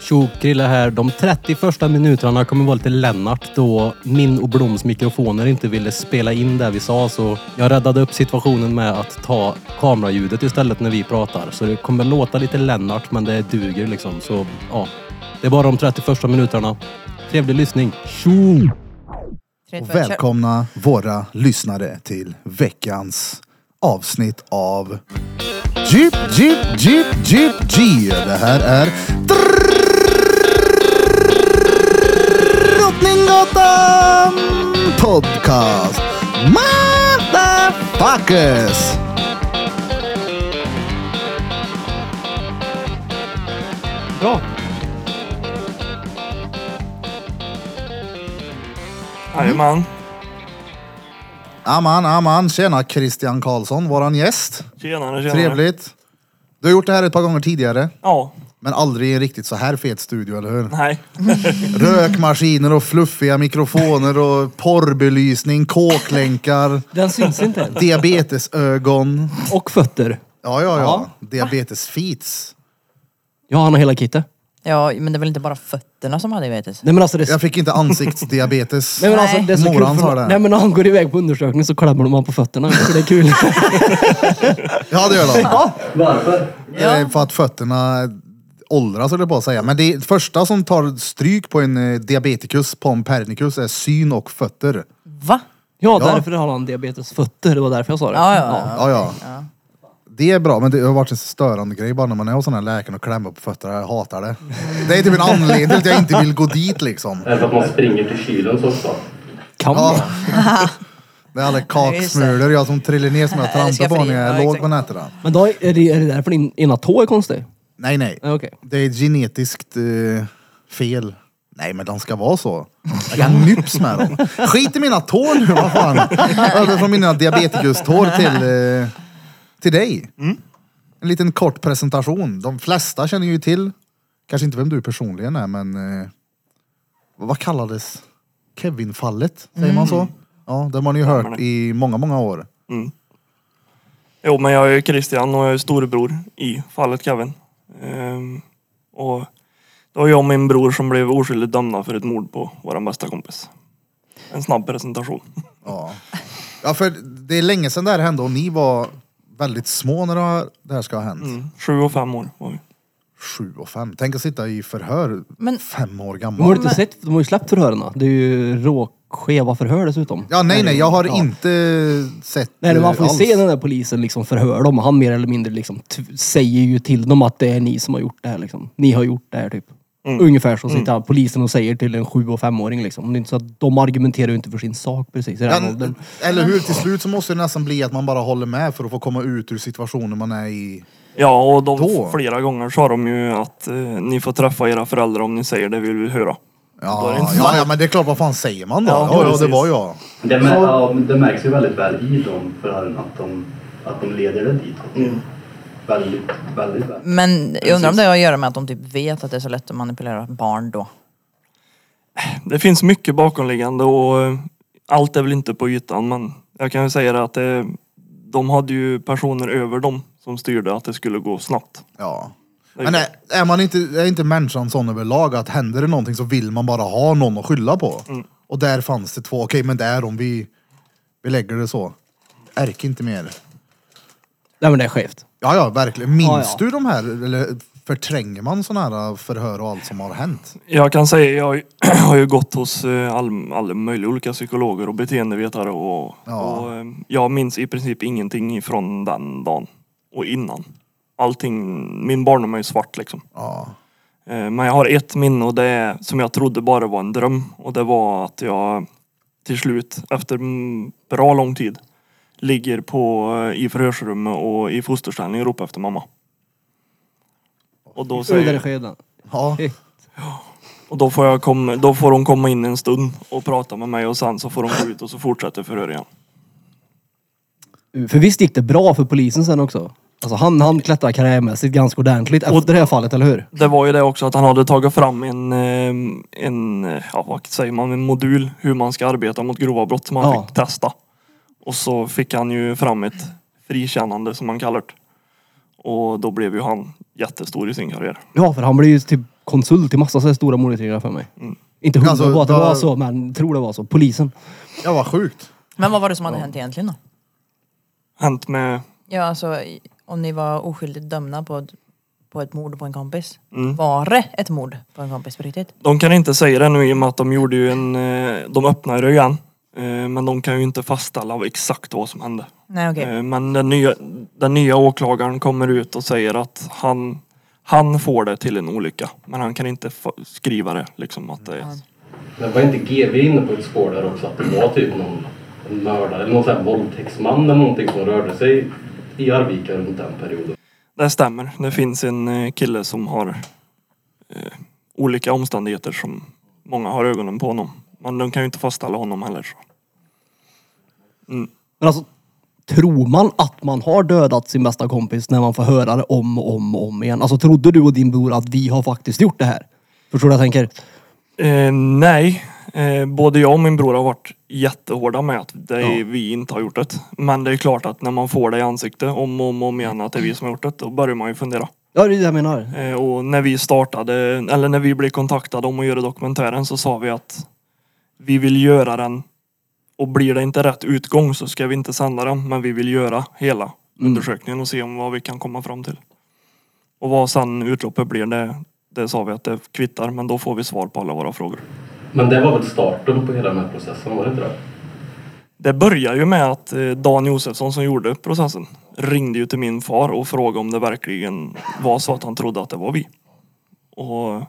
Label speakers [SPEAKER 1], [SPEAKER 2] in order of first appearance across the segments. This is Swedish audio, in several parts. [SPEAKER 1] Tjo, Krille här. De 30 första minuterna kommer vara lite Lennart då min och Bloms mikrofoner inte ville spela in det vi sa så jag räddade upp situationen med att ta kameraljudet istället när vi pratar. Så det kommer låta lite Lennart men det duger liksom. Så ja, det är bara de 30 första minuterna. Trevlig lyssning. Tjo!
[SPEAKER 2] Trevligt
[SPEAKER 3] Och
[SPEAKER 2] väl, kör.
[SPEAKER 3] välkomna våra lyssnare till veckans avsnitt av Jeep, Jeep, Jeep, Jeep, G. Det här är Drottninggatan Podcast. Motherfuckers!
[SPEAKER 1] Bra!
[SPEAKER 4] Jajamän.
[SPEAKER 3] Aman, aman. Tjena Christian Karlsson, våran gäst.
[SPEAKER 4] Tjenare, tjenare.
[SPEAKER 3] Trevligt. Du har gjort det här ett par gånger tidigare,
[SPEAKER 4] Ja.
[SPEAKER 3] men aldrig i en riktigt så här fet studio, eller hur?
[SPEAKER 4] Nej.
[SPEAKER 3] Rökmaskiner och fluffiga mikrofoner och porrbelysning, kåklänkar,
[SPEAKER 1] Den syns inte än.
[SPEAKER 3] diabetesögon.
[SPEAKER 1] Och fötter.
[SPEAKER 3] Ja, ja, ja. Diabetesfeats.
[SPEAKER 1] Ja, han har hela kittet.
[SPEAKER 2] Ja, men det är väl inte bara fötterna som har diabetes?
[SPEAKER 1] Nej men alltså det
[SPEAKER 3] Jag fick inte ansiktsdiabetes.
[SPEAKER 5] Nej men alltså
[SPEAKER 2] Nej.
[SPEAKER 5] det är så
[SPEAKER 3] Morran
[SPEAKER 5] kul
[SPEAKER 3] sa
[SPEAKER 5] för
[SPEAKER 3] det.
[SPEAKER 5] Nej men när han går iväg på undersökning så klämmer de honom på fötterna. Så det är kul.
[SPEAKER 3] Ja, det gör de. Det är
[SPEAKER 2] Ja.
[SPEAKER 3] För att fötterna åldras, höll jag på att säga. Men det första som tar stryk på en eh, diabetikus, pompernicus, är syn och fötter.
[SPEAKER 2] Va?
[SPEAKER 5] ja,
[SPEAKER 3] Ja.
[SPEAKER 5] därför har han diabetesfötter. Det var därför jag sa det.
[SPEAKER 2] Ja, ja,
[SPEAKER 3] Ja, ja. Det är bra, men det har varit en störande grej bara när man är hos den här läkaren och klämmer på fötterna. Jag hatar det.
[SPEAKER 2] Mm.
[SPEAKER 3] Det är typ en anledning till att jag inte vill gå dit liksom.
[SPEAKER 6] Eller för att man springer till kylen så ofta.
[SPEAKER 5] Kan man?
[SPEAKER 3] Ja. Det är alla kaksmulor jag som trillar ner som jag
[SPEAKER 2] Nej, det ska
[SPEAKER 3] trampar på
[SPEAKER 2] jag fri-
[SPEAKER 3] när jag
[SPEAKER 2] ja,
[SPEAKER 3] är låg
[SPEAKER 2] exakt.
[SPEAKER 3] på nätterna.
[SPEAKER 5] Men då är det, är det därför din ena tå är konstig?
[SPEAKER 3] Nej, nej.
[SPEAKER 5] Nej, Okej.
[SPEAKER 3] Det är ett genetiskt eh, fel. Nej, men de ska vara så. Jag kan nyps med dem. Skit i mina tår nu, vad fan. Över från mina diabetikustår till, eh, till dig. En liten kort presentation. De flesta känner ju till, kanske inte vem du personligen är, men eh, vad kallades Kevin-fallet? Säger man så? Ja, det har man ju hört i många, många år.
[SPEAKER 4] Jo, men jag är Christian och jag är storebror i fallet Kevin. Ehm, och det var jag och min bror som blev oskyldigt dömda för ett mord på vår bästa kompis. En snabb presentation.
[SPEAKER 3] Ja. ja, för det är länge sedan det här hände och ni var väldigt små när det här- det här ska ha hänt.
[SPEAKER 4] Mm. Sju och fem år var vi.
[SPEAKER 3] Sju och fem. Tänk att sitta i förhör
[SPEAKER 2] Men-
[SPEAKER 3] fem år
[SPEAKER 5] De har
[SPEAKER 3] gammal.
[SPEAKER 5] du inte sett, de har ju släppt förhören. Det är ju råskeva förhör dessutom.
[SPEAKER 3] Ja, nej, nej, jag har
[SPEAKER 5] Ja.
[SPEAKER 3] inte sett
[SPEAKER 5] Nej, men man får ju
[SPEAKER 3] eh,
[SPEAKER 5] se den där polisen liksom förhör dem. Han mer eller mindre liksom t- säger ju till dem att det är ni som har gjort det här liksom. Ni har gjort det här typ.
[SPEAKER 4] Mm.
[SPEAKER 5] Ungefär så sitter polisen och säger till en sju och femåring liksom. Det är inte så att de argumenterar ju inte för sin sak precis i den här åldern.
[SPEAKER 3] Ja, eller hur? Till slut så måste det nästan bli att man bara håller med för att få komma ut ur situationen man är i.
[SPEAKER 4] Ja, och de
[SPEAKER 3] Då?
[SPEAKER 4] flera gånger sa de ju att eh, ni får träffa era föräldrar om ni säger det vi vill höra. Då är det
[SPEAKER 3] Ja,
[SPEAKER 4] inte-
[SPEAKER 3] ja, ja, men det är klart, vad fan säger man då?
[SPEAKER 4] Ja,
[SPEAKER 3] Ja, ja, det
[SPEAKER 4] precis.
[SPEAKER 3] var jag.
[SPEAKER 6] Det, mär, ja, men det märks ju väldigt väl i de förhören att de, att de leder det ditåt. Väldigt, väldigt väl.
[SPEAKER 2] Men jag undrar om det har att göra med att de typ vet att det är så lätt att manipulera barn då.
[SPEAKER 4] Det finns mycket bakomliggande och eh, allt är väl inte på ytan men jag kan ju säga det att det, de hade ju personer över dem som styrde att det skulle gå snabbt.
[SPEAKER 3] Ja.
[SPEAKER 4] Det är
[SPEAKER 3] Men
[SPEAKER 4] klart.
[SPEAKER 3] är, är man inte, är inte människan sån överlag att händer det någonting så vill man bara ha någon att skylla på? Och där fanns det två, okej men det är de, vi, vi lägger det så. Ärk inte mer.
[SPEAKER 5] Nej men det är skevt.
[SPEAKER 3] Ja, ja, verkligen. Minns
[SPEAKER 5] Ja, ja.
[SPEAKER 3] du de här, eller förtränger man sådana här äh, förhör och allt som har hänt?
[SPEAKER 4] Jag kan säga, jag har ju- har ju gått hos eh, all, alla möjliga olika psykologer och beteendevetare och,
[SPEAKER 3] Ja.
[SPEAKER 4] och eh, jag minns i princip ingenting från den dagen och innan. Allting, min barndom är ju svart liksom.
[SPEAKER 3] Ja.
[SPEAKER 4] Eh, Men jag har ett minne och det är, som jag trodde bara var en dröm och det var att jag till slut, efter mm, bra lång tid, ligger på, eh, i förhörsrummet och i fosterställning och ropar efter mamma. Och då,
[SPEAKER 5] Under
[SPEAKER 4] säger,
[SPEAKER 5] skeden.
[SPEAKER 3] ja.
[SPEAKER 4] och då, får jag komma, då får hon komma in en stund och prata med mig och sen så får hon gå ut och så fortsätter förhör igen.
[SPEAKER 5] För visst gick det bra för polisen sen också? Alltså han, han klättrar karriärmässigt ganska ordentligt efter det här fallet, eller hur?
[SPEAKER 4] Det var ju det också att han hade tagit fram en, eh, en eh, ja, vad säger man, en modul hur man ska arbeta mot grova brott som han
[SPEAKER 5] Ja.
[SPEAKER 4] fick testa. Och så fick han ju fram ett frikännande som man kallar det. Och då blev ju han jättestor i sin karriär.
[SPEAKER 5] Ja, för han blev ju typ konsult i massa så här stora monitorer för mig. Inte hundra
[SPEAKER 3] Alltså,
[SPEAKER 5] på att det
[SPEAKER 3] vad-
[SPEAKER 5] var så, men tror det var så. Polisen.
[SPEAKER 3] Ja, vad sjukt.
[SPEAKER 2] Men vad var det som hade hänt egentligen då?
[SPEAKER 4] Hänt med...
[SPEAKER 2] Ja, alltså i- om ni var oskyldigt dömda på ett, på ett mord på en kompis. Var det ett mord på en kompis på riktigt?
[SPEAKER 4] De kan inte säga det nu i och med att de gjorde ju en... eh, De öppnade ju igen. Eh, Men de kan ju inte fastställa exakt vad som hände.
[SPEAKER 2] Nej okej.
[SPEAKER 4] Eh, Men den nya, den nya åklagaren kommer ut och säger att han, han får det till en olycka. Men han kan inte fa- skriva det liksom att det är...
[SPEAKER 6] Men var inte GV inne på ett spår där också att det var typ någon en mördare eller någon sån här våldtäktsman eller någonting som rörde sig i Arvika runt den perioden?
[SPEAKER 4] Det stämmer. Det finns en eh, kille som har eh, olika omständigheter som många har ögonen på honom. Men de kan ju inte fastställa honom heller. Så.
[SPEAKER 5] Men alltså, tror man att man har dödat sin bästa kompis när man får höra det om och om och om igen? Alltså trodde du och din bror att vi har faktiskt gjort det här? Förstår du vad jag tänker?
[SPEAKER 4] Eh, nej, eh, både jag och min bror har varit jättehårda med att det är vi inte har gjort det. Men det är klart att när man får det i ansiktet om och om, och om igen att det är vi som har gjort det, då börjar man ju fundera.
[SPEAKER 5] Ja, det är det jag menar.
[SPEAKER 4] Eh, och när vi startade, eller när vi blev kontaktade om att göra dokumentären så sa vi att vi vill göra den och blir det inte rätt utgång så ska vi inte sända den, men vi vill göra hela undersökningen och se om vad vi kan komma fram till. Och vad sen utloppet blir, det, det sa vi att det kvittar, men då får vi svar på alla våra frågor.
[SPEAKER 6] Men det var väl starten på hela den här processen, var det inte det?
[SPEAKER 4] Det börjar ju med att eh, Dan Josefsson som gjorde processen ringde ju till min far och frågade om det verkligen var så att han trodde att det var vi. Och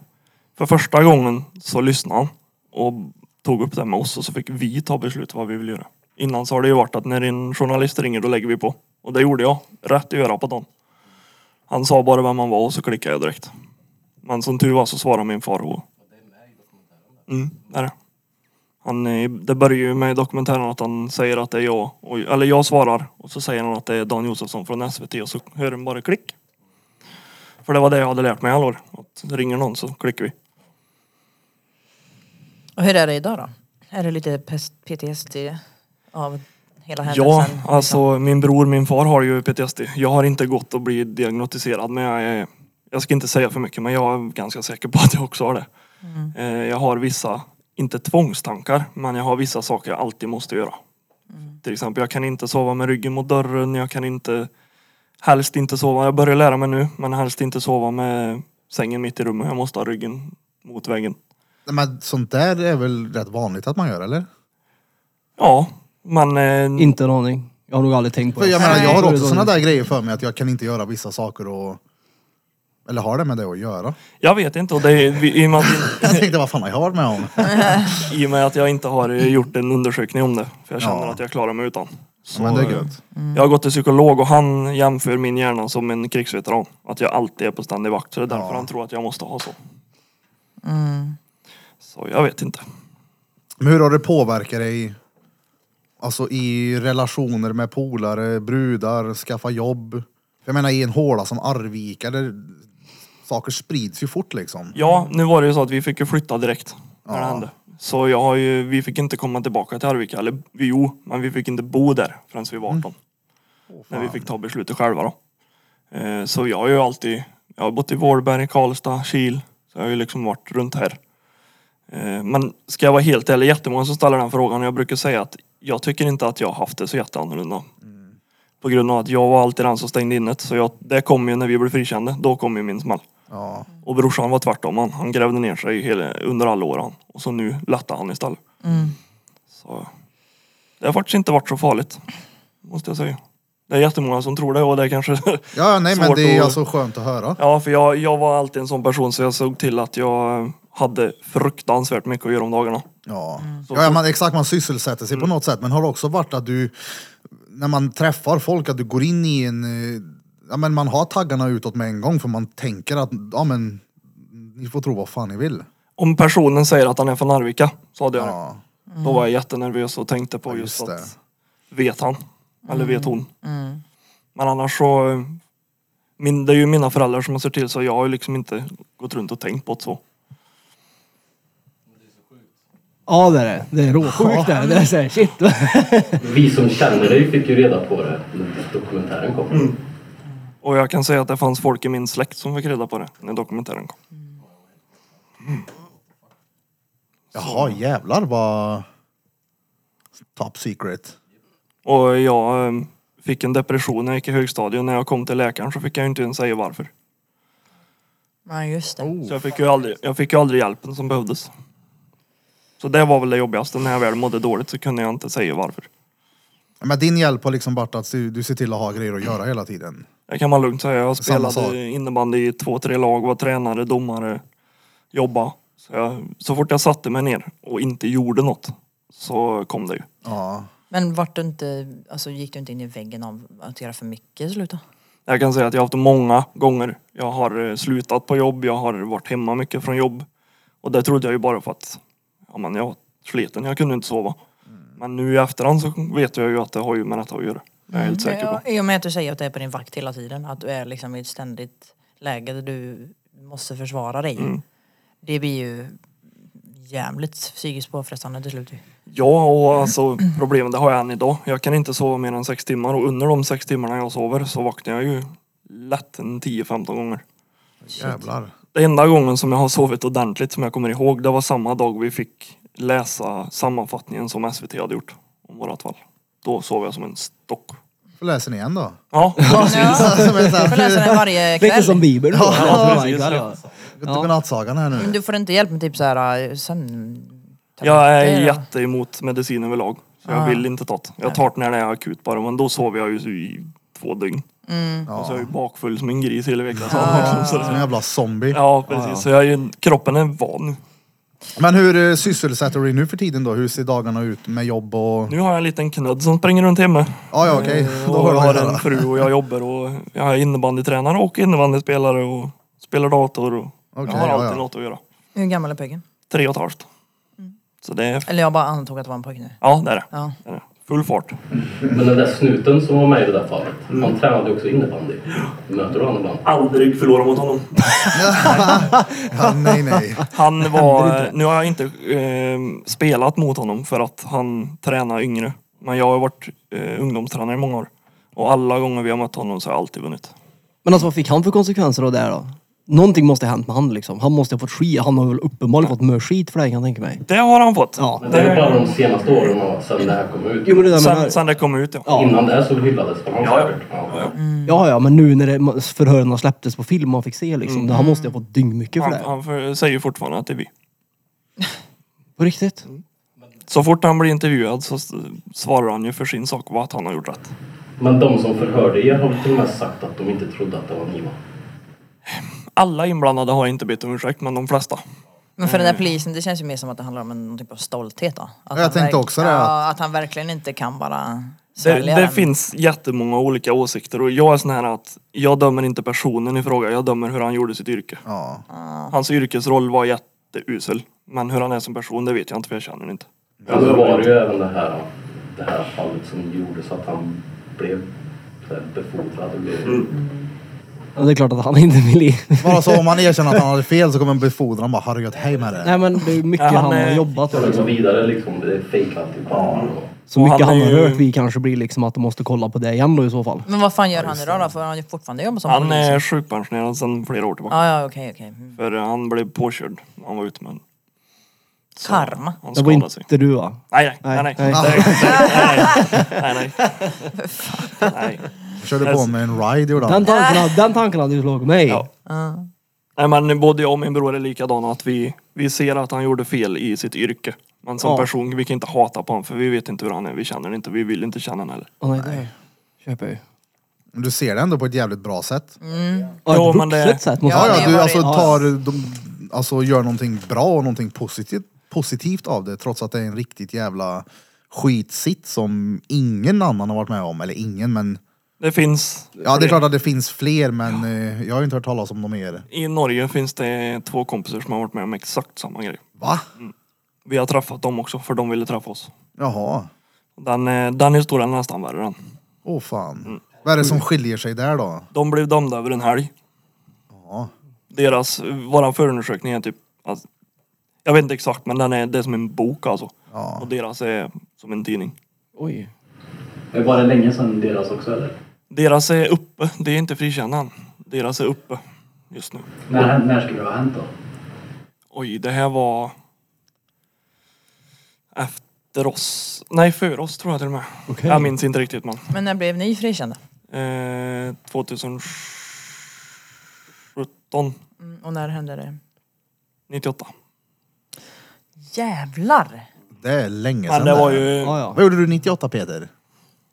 [SPEAKER 4] för första gången så lyssnade han och tog upp det med oss och så fick vi ta beslut vad vi vill göra. Innan så har det ju varit att när en journalist ringer då lägger vi på. Och det gjorde jag. Rätt i örat på Dan. Han sa bara vem han var och så klickade jag direkt. Men som tur var så svarade min far och... Mm, det är det. Han, eh, det börjar ju med i dokumentären att han säger att det är jag, och, eller jag svarar och så säger han att det är Dan Josefsson från SVT och så hör han bara klick. För det var det jag hade lärt mig i alla år. Att ringer någon så klickar vi.
[SPEAKER 2] Och hur är det idag då? Är det lite pes- PTSD av hela händelsen?
[SPEAKER 4] Ja,
[SPEAKER 2] liksom?
[SPEAKER 4] alltså min bror, min far har ju PTSD. Jag har inte gått och blivit diagnostiserad men jag är, jag ska inte säga för mycket men jag är ganska säker på att jag också har det. Eh, Jag har vissa, inte tvångstankar, men jag har vissa saker jag alltid måste göra. Till exempel, jag kan inte sova med ryggen mot dörren, jag kan inte, helst inte sova, jag börjar lära mig nu, men helst inte sova med sängen mitt i rummet, jag måste ha ryggen mot väggen.
[SPEAKER 3] Nej, Men sånt där är väl rätt vanligt att man gör, eller?
[SPEAKER 4] Ja, men... eh,
[SPEAKER 5] Inte en aning. Jag har nog aldrig tänkt på
[SPEAKER 3] För
[SPEAKER 5] det.
[SPEAKER 3] jag menar, jag
[SPEAKER 5] Nej.
[SPEAKER 3] har också såna där grejer för mig att jag kan inte göra vissa saker och... Eller har det med det att göra?
[SPEAKER 4] Jag vet inte och det är, vi- i och med att
[SPEAKER 3] Jag tänkte, vad fan har jag varit med om?
[SPEAKER 4] I och med att jag inte har eh, gjort en undersökning om det. För jag känner
[SPEAKER 3] Ja.
[SPEAKER 4] att jag klarar mig utan. Så,
[SPEAKER 3] Men det är
[SPEAKER 4] eh,
[SPEAKER 3] gött.
[SPEAKER 4] Jag har gått till psykolog och han jämför min hjärna som en krigsveteran. Att jag alltid är på ständig vakt. Så det är därför han tror att jag måste ha så. Så jag vet inte.
[SPEAKER 3] Men hur har det påverkat dig? Alltså i relationer med polare, brudar, skaffa jobb. Jag menar i en håla som Arvika, där saker sprids ju fort liksom.
[SPEAKER 4] Ja, nu var det ju så att vi fick ju flytta direkt när det hände. Så jag har ju, vi fick inte komma tillbaka till Arvika. Eller jo, men vi fick inte bo där förrän vi var 18. när vi fick ta beslutet själva då. Eh, så jag har ju alltid, jag har bott i Vårberg, Karlstad, Kil. Så jag har ju liksom varit runt här. Eh, men ska jag vara helt ärlig, jättemånga som ställer den frågan och jag brukar säga att jag tycker inte att jag har haft det så jätteannorlunda. På grund av att jag var alltid den som stängde inne. Så jag, det kom ju när vi blev frikända, då kom ju min smäll.
[SPEAKER 3] Ja.
[SPEAKER 4] Och brorsan var tvärtom. Han, han grävde ner sig hela, under alla åren. Och så nu lättar han istället.
[SPEAKER 3] Mm.
[SPEAKER 4] Så det har faktiskt inte varit så farligt. Måste jag säga. Det är jättemånga som tror det och det är kanske...
[SPEAKER 3] Ja, ja, nej men
[SPEAKER 4] Svårt
[SPEAKER 3] det är
[SPEAKER 4] att-
[SPEAKER 3] alltså skönt att höra.
[SPEAKER 4] ja, för jag, jag var alltid en sån person så jag såg till att jag hade fruktansvärt mycket att göra om dagarna.
[SPEAKER 3] Ja, ja ja, man, exakt man sysselsätter sig på något sätt. Men har det också varit att du, när man träffar folk, att du går in i en... eh, Ja men man har taggarna utåt med en gång för man tänker att, ja men, ni får tro vad fan ni vill.
[SPEAKER 4] Om personen säger att han är från Arvika, så hade jag
[SPEAKER 3] Ja.
[SPEAKER 4] det. Då var jag jättenervös och tänkte på
[SPEAKER 3] Ja,
[SPEAKER 4] just,
[SPEAKER 3] just Mm.
[SPEAKER 4] att, vet han? Eller vet hon? Men annars så, min, det är ju mina föräldrar som har sett till så jag har ju liksom inte gått runt och tänkt på det så.
[SPEAKER 5] Ja, det är det. Det är råsjukt det här. Det är så här, shit.
[SPEAKER 6] Vi som känner dig fick ju reda på det när dokumentären kom.
[SPEAKER 4] Och jag kan säga att det fanns folk i min släkt som fick reda på det när dokumentären kom.
[SPEAKER 3] Jaha, jävlar vad... Top secret.
[SPEAKER 4] Och jag eh, fick en depression när jag gick i högstadiet. När jag kom till läkaren så fick jag ju inte ens säga varför.
[SPEAKER 2] Nej, just det.
[SPEAKER 4] Så jag fick ju aldrig, jag fick ju aldrig hjälpen som behövdes. Så det var väl det jobbigaste. När jag väl mådde dåligt så kunde jag inte säga varför.
[SPEAKER 3] Men din hjälp har liksom varit att du, du ser till att ha grejer att göra hela tiden.
[SPEAKER 4] Det kan man lugnt säga. Jag
[SPEAKER 3] Samma sak.
[SPEAKER 4] spelade innebandy i två, tre lag, var tränare, domare, jobba. Så, jag, så fort jag satte mig ner och inte gjorde något så kom det ju.
[SPEAKER 3] Ja.
[SPEAKER 2] Men vart du inte, alltså gick du inte in i väggen av att göra för mycket i slutet?
[SPEAKER 4] Jag kan säga att jag har haft många gånger. Jag har eh, slutat på jobb, jag har varit hemma mycket från jobb. Och det trodde jag ju bara för att ja, men jag var sliten, jag kunde inte sova. Men nu i efterhand så vet jag ju att det har ju med detta att göra. Det är jag helt säker på.
[SPEAKER 2] Mm. Ja, I och med att du säger att du är på din vakt hela tiden, att du är liksom i ett ständigt läge där du måste försvara dig. Det blir ju jävligt psykiskt påfrestande till slut. ju.
[SPEAKER 4] Ja, och alltså problemet det har jag än idag. Jag kan inte sova mer än sex timmar och under de sex timmarna jag sover så vaknar jag ju lätt en 10-15 gånger.
[SPEAKER 3] Jävlar.
[SPEAKER 4] Den enda gången som jag har sovit ordentligt som jag kommer ihåg, det var samma dag vi fick läsa sammanfattningen som SVT hade gjort om vårat fall. Då sov jag som en stock.
[SPEAKER 3] Får läsa den igen då.
[SPEAKER 4] Ja,
[SPEAKER 3] Alltså, men så
[SPEAKER 2] Du får läsa
[SPEAKER 3] här-
[SPEAKER 2] den varje
[SPEAKER 5] Lite
[SPEAKER 2] kväll.
[SPEAKER 5] som Bibeln. då.
[SPEAKER 4] Ja,
[SPEAKER 5] my
[SPEAKER 4] precis.
[SPEAKER 5] God, ja.
[SPEAKER 3] Gå till nattsagan här
[SPEAKER 2] Men
[SPEAKER 3] nu.
[SPEAKER 2] du får inte hjälp med typ såhär sömn...
[SPEAKER 4] jag är
[SPEAKER 2] tabletter,
[SPEAKER 4] jätte emot medicin överlag. Så jag vill inte ta det. Jag tar det när det är akut bara, men då sover jag ju i två dygn. Och så är jag ju bakfull som en gris hela veckan. Så
[SPEAKER 3] Som en jävla zombie.
[SPEAKER 4] Ja, precis. Så jag är ju, kroppen är van.
[SPEAKER 3] Men hur eh, sysselsätter du dig nu för tiden då? Hur ser dagarna ut med jobb och...
[SPEAKER 4] Nu har jag en liten knudd som springer runt hemma.
[SPEAKER 3] Ja, ja okej.
[SPEAKER 4] Eh,
[SPEAKER 3] Då
[SPEAKER 4] Och
[SPEAKER 3] har
[SPEAKER 4] jag
[SPEAKER 3] du
[SPEAKER 4] har
[SPEAKER 3] vad att
[SPEAKER 4] en
[SPEAKER 3] göra.
[SPEAKER 4] fru och jag jobbar och jag är innebandytränare och innebandyspelare och spelar dator och
[SPEAKER 3] Okej,
[SPEAKER 4] jag har
[SPEAKER 3] ja,
[SPEAKER 4] alltid
[SPEAKER 3] ja.
[SPEAKER 4] något att göra.
[SPEAKER 2] Hur gammal är pojken?
[SPEAKER 4] Tre och ett halvt. Så det är,
[SPEAKER 2] Eller jag bara antog att det var en pojke nu.
[SPEAKER 4] ja det är det.
[SPEAKER 2] Ja.
[SPEAKER 4] Det är det. Full fart.
[SPEAKER 6] Men den där snuten som var med i det där fallet, han tränade ju också innebandy. Möter du honom ibland?
[SPEAKER 4] Aldrig förlora mot honom.
[SPEAKER 3] Ja, nej, nej.
[SPEAKER 4] Han var, nu har jag inte eh, spelat mot honom för att han tränar yngre. Men jag har varit eh, ungdomstränare i många år. Och alla gånger vi har mött honom så har jag alltid vunnit.
[SPEAKER 5] Men alltså vad fick han för konsekvenser av det här då? Någonting måste ha hänt med han liksom. Han måste ha fått skit. Han har väl uppenbarligen fått mer skit för det här, kan jag tänka mig.
[SPEAKER 4] Det har han fått.
[SPEAKER 5] Ja.
[SPEAKER 6] Men det är bara de senaste åren och sen det här kom ut.
[SPEAKER 5] Jo men det där
[SPEAKER 4] Sen,
[SPEAKER 5] med...
[SPEAKER 4] sen det kom ut ja.
[SPEAKER 6] Innan det här så hyllades han
[SPEAKER 4] Ja, ja.
[SPEAKER 6] säkert. Ja.
[SPEAKER 5] Ja, ja, men nu när det, förhören släpptes på film och man fick se liksom. Han måste ha fått dyngmycket för
[SPEAKER 4] Han,
[SPEAKER 5] det. här.
[SPEAKER 4] han för, säger fortfarande att det är vi.
[SPEAKER 5] På riktigt.
[SPEAKER 4] Så fort han blir intervjuad så s- svarar han ju för sin sak vad att han har gjort rätt.
[SPEAKER 6] Men de som förhörde er har väl till och med sagt att de inte trodde att det var ni va?
[SPEAKER 4] Alla inblandade har inte bett om ursäkt, men de flesta.
[SPEAKER 2] Men för den där polisen, det känns ju mer som att det handlar om en, någon typ av stolthet då. Att
[SPEAKER 3] jag
[SPEAKER 2] han
[SPEAKER 3] tänkte
[SPEAKER 2] verk-
[SPEAKER 3] också det,
[SPEAKER 2] Ja, att han verkligen inte kan bara
[SPEAKER 4] Det,
[SPEAKER 2] svälja
[SPEAKER 4] det
[SPEAKER 2] den.
[SPEAKER 4] finns jättemånga olika åsikter och jag är sån här att jag dömer inte personen i fråga, jag dömer hur han gjorde sitt yrke.
[SPEAKER 3] Ja.
[SPEAKER 4] Hans yrkesroll var jätteusel, men hur han är som person det vet jag inte för jag känner honom inte.
[SPEAKER 6] Men så Alltså, var det ju även det här, det här fallet som gjorde så att han blev så här befordrad och blev...
[SPEAKER 4] Mm.
[SPEAKER 5] Ja, det är klart att han inte vill i.
[SPEAKER 3] Bara så om man erkänner att han hade fel så kommer en befordran bara, har du gått hej med det?
[SPEAKER 5] Nej men det är mycket
[SPEAKER 4] Ja, han
[SPEAKER 5] han, har
[SPEAKER 4] är-
[SPEAKER 5] jobbat
[SPEAKER 6] Så
[SPEAKER 5] med.
[SPEAKER 6] det går
[SPEAKER 5] Liksom.
[SPEAKER 6] vidare liksom, det är fejkat i barn och...
[SPEAKER 5] Så
[SPEAKER 4] Och
[SPEAKER 5] mycket
[SPEAKER 4] han
[SPEAKER 5] han,
[SPEAKER 4] är
[SPEAKER 5] har
[SPEAKER 4] ju-
[SPEAKER 5] rört vi kanske blir liksom att de måste kolla på det igen då i så fall.
[SPEAKER 2] Men vad fan gör han idag då? För han ju fortfarande jobba som
[SPEAKER 4] Han
[SPEAKER 2] polis?
[SPEAKER 4] är sjukpensionerad sedan flera år tillbaka.
[SPEAKER 2] Ja, ja, okej, okej. Mm.
[SPEAKER 4] För han blev påkörd när han var ute men
[SPEAKER 2] Karma.
[SPEAKER 4] han
[SPEAKER 5] Det var
[SPEAKER 4] skadade sig.
[SPEAKER 5] inte du va?
[SPEAKER 4] Nej, nej,
[SPEAKER 5] Nej,
[SPEAKER 4] nej. Nej,
[SPEAKER 5] nej.
[SPEAKER 4] nej. nej, nej, nej. nej.
[SPEAKER 3] Körde på med en ride gjorde
[SPEAKER 5] Den
[SPEAKER 3] han.
[SPEAKER 5] tanken, hade- den tanken hade ju slagit mig.
[SPEAKER 4] Ja. Nej men både jag och min bror är likadana att vi, vi ser att han gjorde fel i sitt yrke. Men som
[SPEAKER 5] Ja.
[SPEAKER 4] person, vi kan inte hata på honom för vi vet inte hur han är, vi känner honom inte, vi vill inte känna honom heller.
[SPEAKER 5] Åh, nej, det köper jag ju.
[SPEAKER 3] Men Du ser det ändå på ett jävligt bra sätt.
[SPEAKER 5] Ja,
[SPEAKER 4] Jo,
[SPEAKER 5] ett
[SPEAKER 4] men det-
[SPEAKER 5] vuxet sätt måste
[SPEAKER 3] Ja,
[SPEAKER 5] jag
[SPEAKER 3] ja,
[SPEAKER 5] säga.
[SPEAKER 2] det
[SPEAKER 3] du
[SPEAKER 2] var
[SPEAKER 3] alltså
[SPEAKER 2] det.
[SPEAKER 3] tar, de, alltså gör någonting bra och någonting positivt, positivt av det trots att det är en riktigt jävla skitsit som ingen annan har varit med om. Eller ingen men,
[SPEAKER 4] Det finns,
[SPEAKER 3] ja det är klart att det finns fler men eh, jag har ju inte hört talas om dem mer.
[SPEAKER 4] i Norge finns det två kompisar som har varit med om exakt samma grej.
[SPEAKER 3] Va?
[SPEAKER 4] Vi har träffat dem också för de ville träffa oss.
[SPEAKER 3] Jaha.
[SPEAKER 4] Den, eh, den historien är nästan värre än.
[SPEAKER 3] Åh fan. Vad är det som skiljer sig där då?
[SPEAKER 4] De blev dömda över en helg.
[SPEAKER 3] Ja.
[SPEAKER 4] Deras, våran förundersökning är typ, alltså, jag vet inte exakt men den är, det är som en bok alltså.
[SPEAKER 3] Ja.
[SPEAKER 4] Och deras är som en tidning.
[SPEAKER 5] Oj.
[SPEAKER 6] Men var det länge sedan deras också eller?
[SPEAKER 4] Deras är uppe, det är inte frikännan. Deras är uppe just nu.
[SPEAKER 6] När, när skulle det ha hänt då?
[SPEAKER 4] Oj, det här var efter oss. Nej, före oss tror jag till och med.
[SPEAKER 5] Okej.
[SPEAKER 4] Jag minns inte riktigt men.
[SPEAKER 2] Men när blev ni frikända?
[SPEAKER 4] Eh, 2017,
[SPEAKER 2] Mm, och när hände det?
[SPEAKER 4] 98.
[SPEAKER 2] Jävlar!
[SPEAKER 3] Det är länge sedan.
[SPEAKER 4] Men det var ju...
[SPEAKER 5] Ja, ja.
[SPEAKER 3] Vad gjorde du 98 Peter?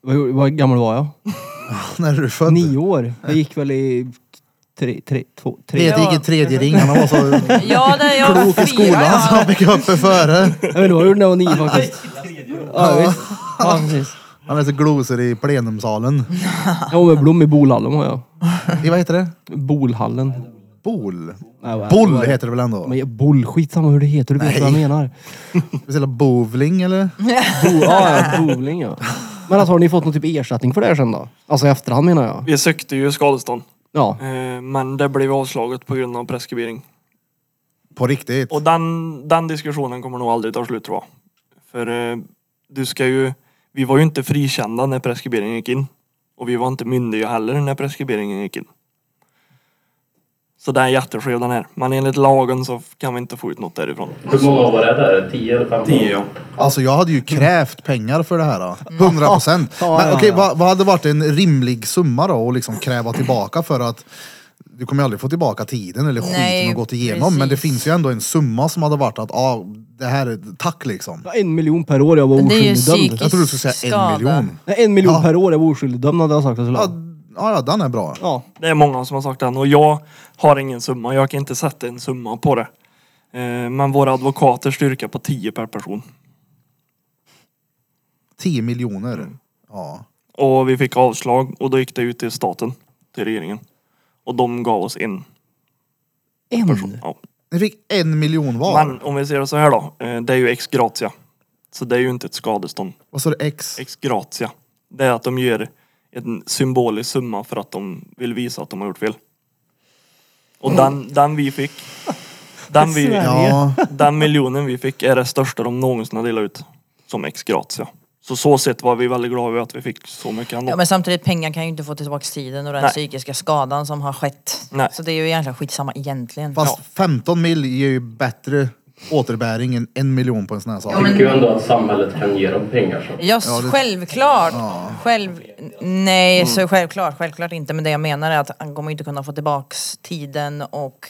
[SPEAKER 5] Vad, vad gammal var jag?
[SPEAKER 3] När du föddes?
[SPEAKER 5] Nio år. Jag gick väl i tre, tre, två, tre.
[SPEAKER 3] Peter gick i tredje ring, han var så
[SPEAKER 2] Ja, det jag
[SPEAKER 3] klok i skolan
[SPEAKER 2] firar,
[SPEAKER 3] så han fick upp för före.
[SPEAKER 5] Jag vet inte vad jag gjorde när jag var nio faktiskt. Ja, visst. Ja, precis.
[SPEAKER 3] Han är så glosor i plenumsalen.
[SPEAKER 5] Jag var med Blom i Bolhallen var jag.
[SPEAKER 3] I vad heter det?
[SPEAKER 5] Bolhallen.
[SPEAKER 3] Bol.
[SPEAKER 5] Nej, vad-
[SPEAKER 3] Boll
[SPEAKER 5] vad-
[SPEAKER 3] heter det väl ändå?
[SPEAKER 5] Men jag- boll, skitsamma hur det heter, du vet vad jag menar.
[SPEAKER 3] Speciella bowling eller?
[SPEAKER 5] Bo, ja, ja, bowling ja. Men alltså har ni fått någon typ ersättning för det här sen då? Alltså i efterhand menar jag.
[SPEAKER 4] Vi sökte ju skadestånd.
[SPEAKER 5] Ja.
[SPEAKER 4] Eh, men det blev avslaget på grund av preskribering.
[SPEAKER 3] På riktigt.
[SPEAKER 4] Och den, den diskussionen kommer nog aldrig ta slut tror jag. För eh, du ska ju... Vi var ju inte frikända när preskriberingen gick in. Och vi var inte myndiga heller när preskriberingen gick in. Så det är en jätteskev den här. Men enligt lagen så kan vi inte få ut något därifrån.
[SPEAKER 6] Hur många var det där? 10 eller 15?
[SPEAKER 3] Alltså jag hade ju krävt pengar för det här. då. 100 procent.
[SPEAKER 5] Ja, ja,
[SPEAKER 3] Men okej,
[SPEAKER 5] ja.
[SPEAKER 3] vad, vad hade varit en rimlig summa då att liksom kräva tillbaka för att du kommer ju aldrig få tillbaka tiden eller skiten
[SPEAKER 2] Nej,
[SPEAKER 3] och gått igenom. Men det
[SPEAKER 2] precis.
[SPEAKER 3] finns ju ändå en summa som hade varit att, ja, ah, det här är tack liksom.
[SPEAKER 5] Ja, En miljon per år jag var
[SPEAKER 2] Men det är ju
[SPEAKER 5] oskyldig dömd.
[SPEAKER 2] psykisk-
[SPEAKER 3] Jag trodde du skulle säga
[SPEAKER 2] Skada.
[SPEAKER 3] en miljon.
[SPEAKER 5] Nej, En miljon
[SPEAKER 3] Ja.
[SPEAKER 5] per år jag var oskyldig dömd hade jag sagt att jag
[SPEAKER 3] Ja,
[SPEAKER 5] skulle ha.
[SPEAKER 3] ja, ja, den är bra.
[SPEAKER 5] Ja.
[SPEAKER 4] Det är många som har sagt den och jag har ingen summa. Jag kan inte sätta en summa på det. Eh, Men våra advokater styrka på 10 per person.
[SPEAKER 3] 10 miljoner. Ja.
[SPEAKER 4] Och vi fick avslag och då gick det ut till staten, till regeringen. Och de gav oss en
[SPEAKER 5] En?
[SPEAKER 4] Ja.
[SPEAKER 3] Ni fick en miljon var.
[SPEAKER 4] Men om vi ser det så här då. eh, Det är ju ex gratia. Så det är ju inte ett skadestånd.
[SPEAKER 3] Vad sa du? X?
[SPEAKER 4] Ex gratia. Det är att de ger en symbolisk summa för att de vill visa att de har gjort fel. Och den, den vi fick. Den vi,
[SPEAKER 3] Ja.
[SPEAKER 4] Den miljonen vi fick är det största de någonsin har delat ut. Som ex gratia. Så så sett var vi väldigt glada över att vi fick så mycket ändå.
[SPEAKER 2] Ja, men samtidigt, pengar kan ju inte få tillbaka tiden och den
[SPEAKER 4] Nej.
[SPEAKER 2] psykiska skadan som har skett.
[SPEAKER 4] Nej.
[SPEAKER 2] Så det är ju egentligen skitsamma egentligen.
[SPEAKER 3] Fast 15 mil ger ju bättre återbäring än en miljon på en sån här sak.
[SPEAKER 6] Jag tycker ju ändå att samhället kan ge dem pengar. Så.
[SPEAKER 2] Ja, självklart! Själv... Nej,
[SPEAKER 3] Mm.
[SPEAKER 2] så självklart, självklart inte. Men det jag menar är att han kommer ju inte kunna få tillbaks tiden och...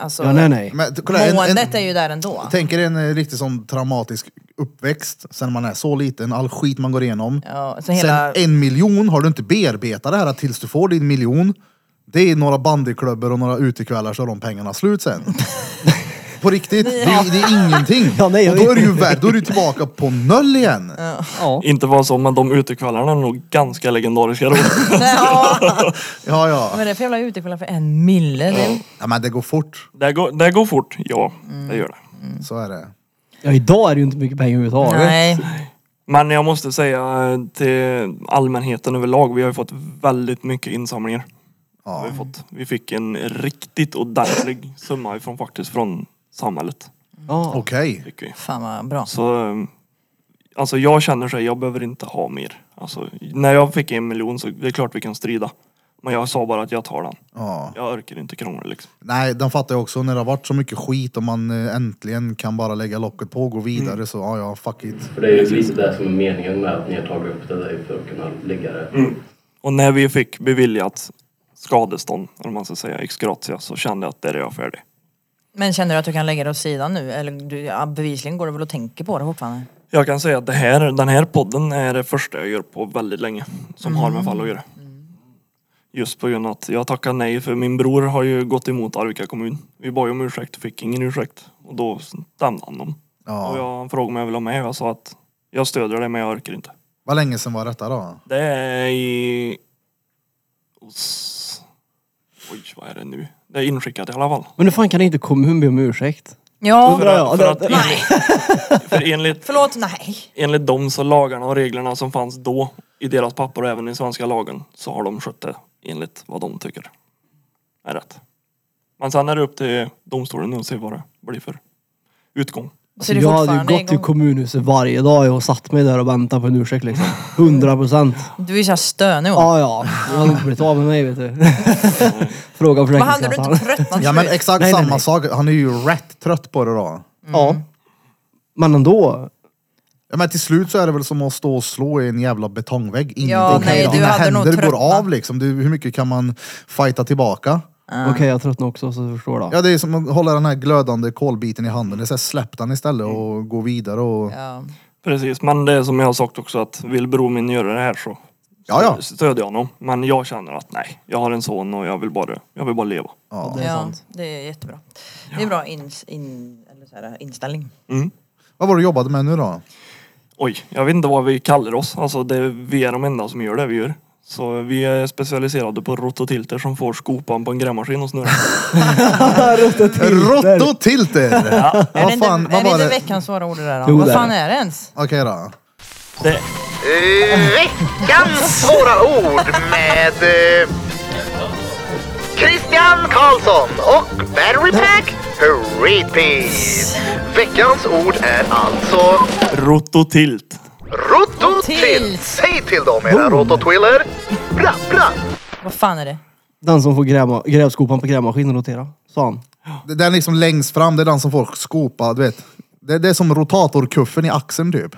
[SPEAKER 2] Alltså,
[SPEAKER 5] Ja, nej nej.
[SPEAKER 3] Men, t- kolla, en, en,
[SPEAKER 2] måendet är ju där ändå.
[SPEAKER 3] tänk er en eh, riktigt sån traumatisk uppväxt sen man är så liten, all skit man går igenom.
[SPEAKER 2] Ja, så hela...
[SPEAKER 3] Sen en miljon har du inte bearbetat det här tills du får din miljon. Det är några bandyklubbor och några utekvällar så är de pengarna slut sen. På riktigt, det, är- det är ingenting.
[SPEAKER 5] Ja, nej, jag
[SPEAKER 3] och då är
[SPEAKER 5] vet.
[SPEAKER 3] du ju värd, då är du tillbaka på noll igen.
[SPEAKER 5] Ja.
[SPEAKER 4] Inte var så men de utekvällarna är nog ganska legendariska då.
[SPEAKER 2] Nej, ja.
[SPEAKER 3] Ja, ja.
[SPEAKER 2] Men det är för jävla utekvällar för en mille. Det är väl-
[SPEAKER 3] ja men det går fort.
[SPEAKER 4] det, går, det går fort, ja. Det gör det.
[SPEAKER 3] Så är det.
[SPEAKER 5] ja, idag är det ju inte mycket pengar överhuvudtaget.
[SPEAKER 2] Nej.
[SPEAKER 4] Men jag måste säga eh, till allmänheten överlag, vi har ju fått väldigt mycket insamlingar.
[SPEAKER 3] Ja.
[SPEAKER 4] Vi, har fått, vi fick en riktigt ordentlig summa ifrån, faktiskt från samhället.
[SPEAKER 5] Ja.
[SPEAKER 3] Okej.
[SPEAKER 4] Fick vi.
[SPEAKER 2] Fan vad bra.
[SPEAKER 4] Så eh, alltså jag känner så här, jag behöver inte ha mer. Alltså, när jag fick en miljon så det är klart vi kan strida. Men jag sa bara att jag tar den.
[SPEAKER 3] Ja.
[SPEAKER 4] Jag orkar inte krångla liksom.
[SPEAKER 3] Nej, den fattar jag också. När det har varit så mycket skit och man eh, äntligen kan bara lägga locket på och gå vidare
[SPEAKER 2] Mm.
[SPEAKER 3] så ja, ja, fuck it.
[SPEAKER 6] För det är ju lite det som är meningen med att ni har tagit upp det där för att kunna lägga det.
[SPEAKER 4] Och när vi fick beviljat skadestånd, eller vad man ska säga, ex gratia, så kände jag att där är jag färdig.
[SPEAKER 2] Men känner du att du kan lägga det åt sidan nu? Eller du, ja, bevisligen går det väl att tänka på det fortfarande?
[SPEAKER 4] Jag kan säga att det här, den här podden är det första jag gör på väldigt länge som har
[SPEAKER 5] Mm.
[SPEAKER 4] med fall att göra. Just på grund av att jag tackar nej för min bror har ju gått emot Arvika kommun. Vi bad ju om ursäkt och fick ingen ursäkt. Och då stämde han dem.
[SPEAKER 3] Ja.
[SPEAKER 4] Och jag, han frågade om jag ville vara med och jag sa att jag stödjer det men jag orkar inte.
[SPEAKER 3] Vad länge sedan var detta då?
[SPEAKER 4] Det är i... Os... Oj, vad är det nu? Det är inskickat i alla fall.
[SPEAKER 5] Men hur fan kan inte kommunen be om ursäkt?
[SPEAKER 2] Ja.
[SPEAKER 4] För,
[SPEAKER 5] Ja,
[SPEAKER 4] för,
[SPEAKER 5] det-
[SPEAKER 4] att, enligt, för enligt
[SPEAKER 2] Förlåt, nej.
[SPEAKER 4] enligt dem så lagarna och reglerna som fanns då i deras papper och även i svenska lagen så har de skött det enligt vad de tycker är rätt. Men sen är det upp till domstolen att se vad det blir för utgång.
[SPEAKER 2] Så det är
[SPEAKER 5] jag hade
[SPEAKER 2] fortfarande
[SPEAKER 5] ju gått till
[SPEAKER 2] igång.
[SPEAKER 5] kommunhuset varje dag och satt mig där och väntat på en ursäkt liksom. 100 procent.
[SPEAKER 2] Du är ju såhär stönig.
[SPEAKER 5] Ja,
[SPEAKER 2] Ja,
[SPEAKER 5] ja. Jag hade inte blivit av med mig vet du. Fråga
[SPEAKER 2] men hade du
[SPEAKER 5] Försäkringskassan.
[SPEAKER 2] inte tröttnat
[SPEAKER 3] Ja men exakt
[SPEAKER 5] Nej, nej,
[SPEAKER 3] samma
[SPEAKER 5] nej.
[SPEAKER 3] sak. Han är ju rätt trött på det då.
[SPEAKER 5] Ja.
[SPEAKER 2] Mm.
[SPEAKER 5] Men ändå.
[SPEAKER 3] Ja, men till slut så är det väl som att stå och slå i en jävla betongvägg. Ingenting
[SPEAKER 2] Ja,
[SPEAKER 3] kan
[SPEAKER 2] nej,
[SPEAKER 3] göra.
[SPEAKER 2] du
[SPEAKER 3] Dina
[SPEAKER 2] hade nog
[SPEAKER 3] händer går
[SPEAKER 2] tröttnat.
[SPEAKER 3] av liksom. Du, hur mycket kan man fighta tillbaka?
[SPEAKER 5] Okej, jag tröttnade också så du förstår då.
[SPEAKER 3] Ja det är som att hålla den här glödande kolbiten i handen. Det är så här, släpp den istället och gå vidare och...
[SPEAKER 2] Ja.
[SPEAKER 4] Precis, men det är som jag har sagt också att vill bror min göra det här så
[SPEAKER 3] Ja ja.
[SPEAKER 4] stödjer jag honom. Men jag känner att nej, jag har en son och jag vill bara, jag vill bara leva.
[SPEAKER 3] ja.
[SPEAKER 5] Det är
[SPEAKER 2] ja,
[SPEAKER 5] sant.
[SPEAKER 2] det är jättebra. Det är bra ins, in, eller så här, inställning.
[SPEAKER 3] Vad var det du jobbade med nu då?
[SPEAKER 4] Oj, jag vet inte vad vi kallar oss. Alltså det, vi är de enda som gör det vi gör. Så vi är specialiserade på rototilter som får skopan på en grävmaskin och snurra.
[SPEAKER 3] Rottotilter! ja.
[SPEAKER 2] är det
[SPEAKER 3] Vad
[SPEAKER 2] inte,
[SPEAKER 3] fan,
[SPEAKER 2] är
[SPEAKER 3] vad
[SPEAKER 2] det
[SPEAKER 3] var
[SPEAKER 2] inte
[SPEAKER 3] det?
[SPEAKER 2] veckans svåra ord det där då?
[SPEAKER 5] Jo,
[SPEAKER 2] Vad
[SPEAKER 5] det är
[SPEAKER 2] fan
[SPEAKER 5] det.
[SPEAKER 2] är det ens?
[SPEAKER 3] Okej då.
[SPEAKER 4] Det,
[SPEAKER 7] Veckans svåra ord med eh, Christian Karlsson och Barry Pack Repeat. Veckans ord är alltså
[SPEAKER 4] rototilt.
[SPEAKER 7] rototilt. Säg till dem era rototwiller. Bra, bra.
[SPEAKER 2] Vad fan är det?
[SPEAKER 5] Den som får gräma, grävskopan på grävmaskinen rotera, sa han.
[SPEAKER 3] Det- Den liksom längst fram, det är den som folk skopa, du vet. Det, det är som rotatorkuffen i axeln typ.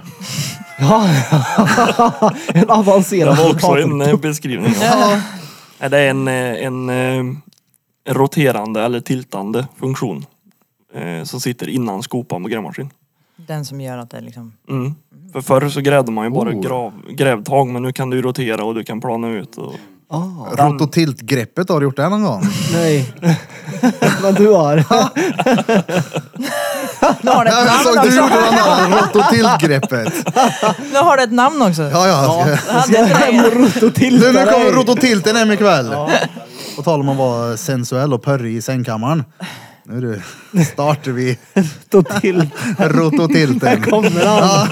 [SPEAKER 5] Ja, en avancerad
[SPEAKER 4] Det var också
[SPEAKER 5] rotator.
[SPEAKER 4] en eh, beskrivning.
[SPEAKER 2] Ja.
[SPEAKER 4] Ja, Det är en, eh, en, eh, en roterande eller tiltande funktion eh, som sitter innan skopan på grävmaskin.
[SPEAKER 2] Den som gör att det liksom...
[SPEAKER 4] Mm. För förr så grävde man ju bara
[SPEAKER 3] Oh.
[SPEAKER 4] grav, grävtag men nu kan du ju rotera och du kan plana ut. Och...
[SPEAKER 5] Ah,
[SPEAKER 4] Den-
[SPEAKER 3] Rototiltgreppet, har du gjort det någon gång?
[SPEAKER 5] nej. Men du har.
[SPEAKER 2] Nu har det
[SPEAKER 3] Ja, alltså,
[SPEAKER 2] ett namn
[SPEAKER 3] jag såg
[SPEAKER 2] också!
[SPEAKER 3] du gjorde det där rototiltgreppet.
[SPEAKER 2] Nu har det ett namn också!
[SPEAKER 3] Ja, ja.
[SPEAKER 2] Jag hade inte det.
[SPEAKER 3] Nu, nu kommer rototilten hem ikväll. På tal om att vara sensuell och pörrig i sängkammaren. Nu du, startar vi
[SPEAKER 5] rototilt.
[SPEAKER 3] rototilten.
[SPEAKER 5] Kommer han?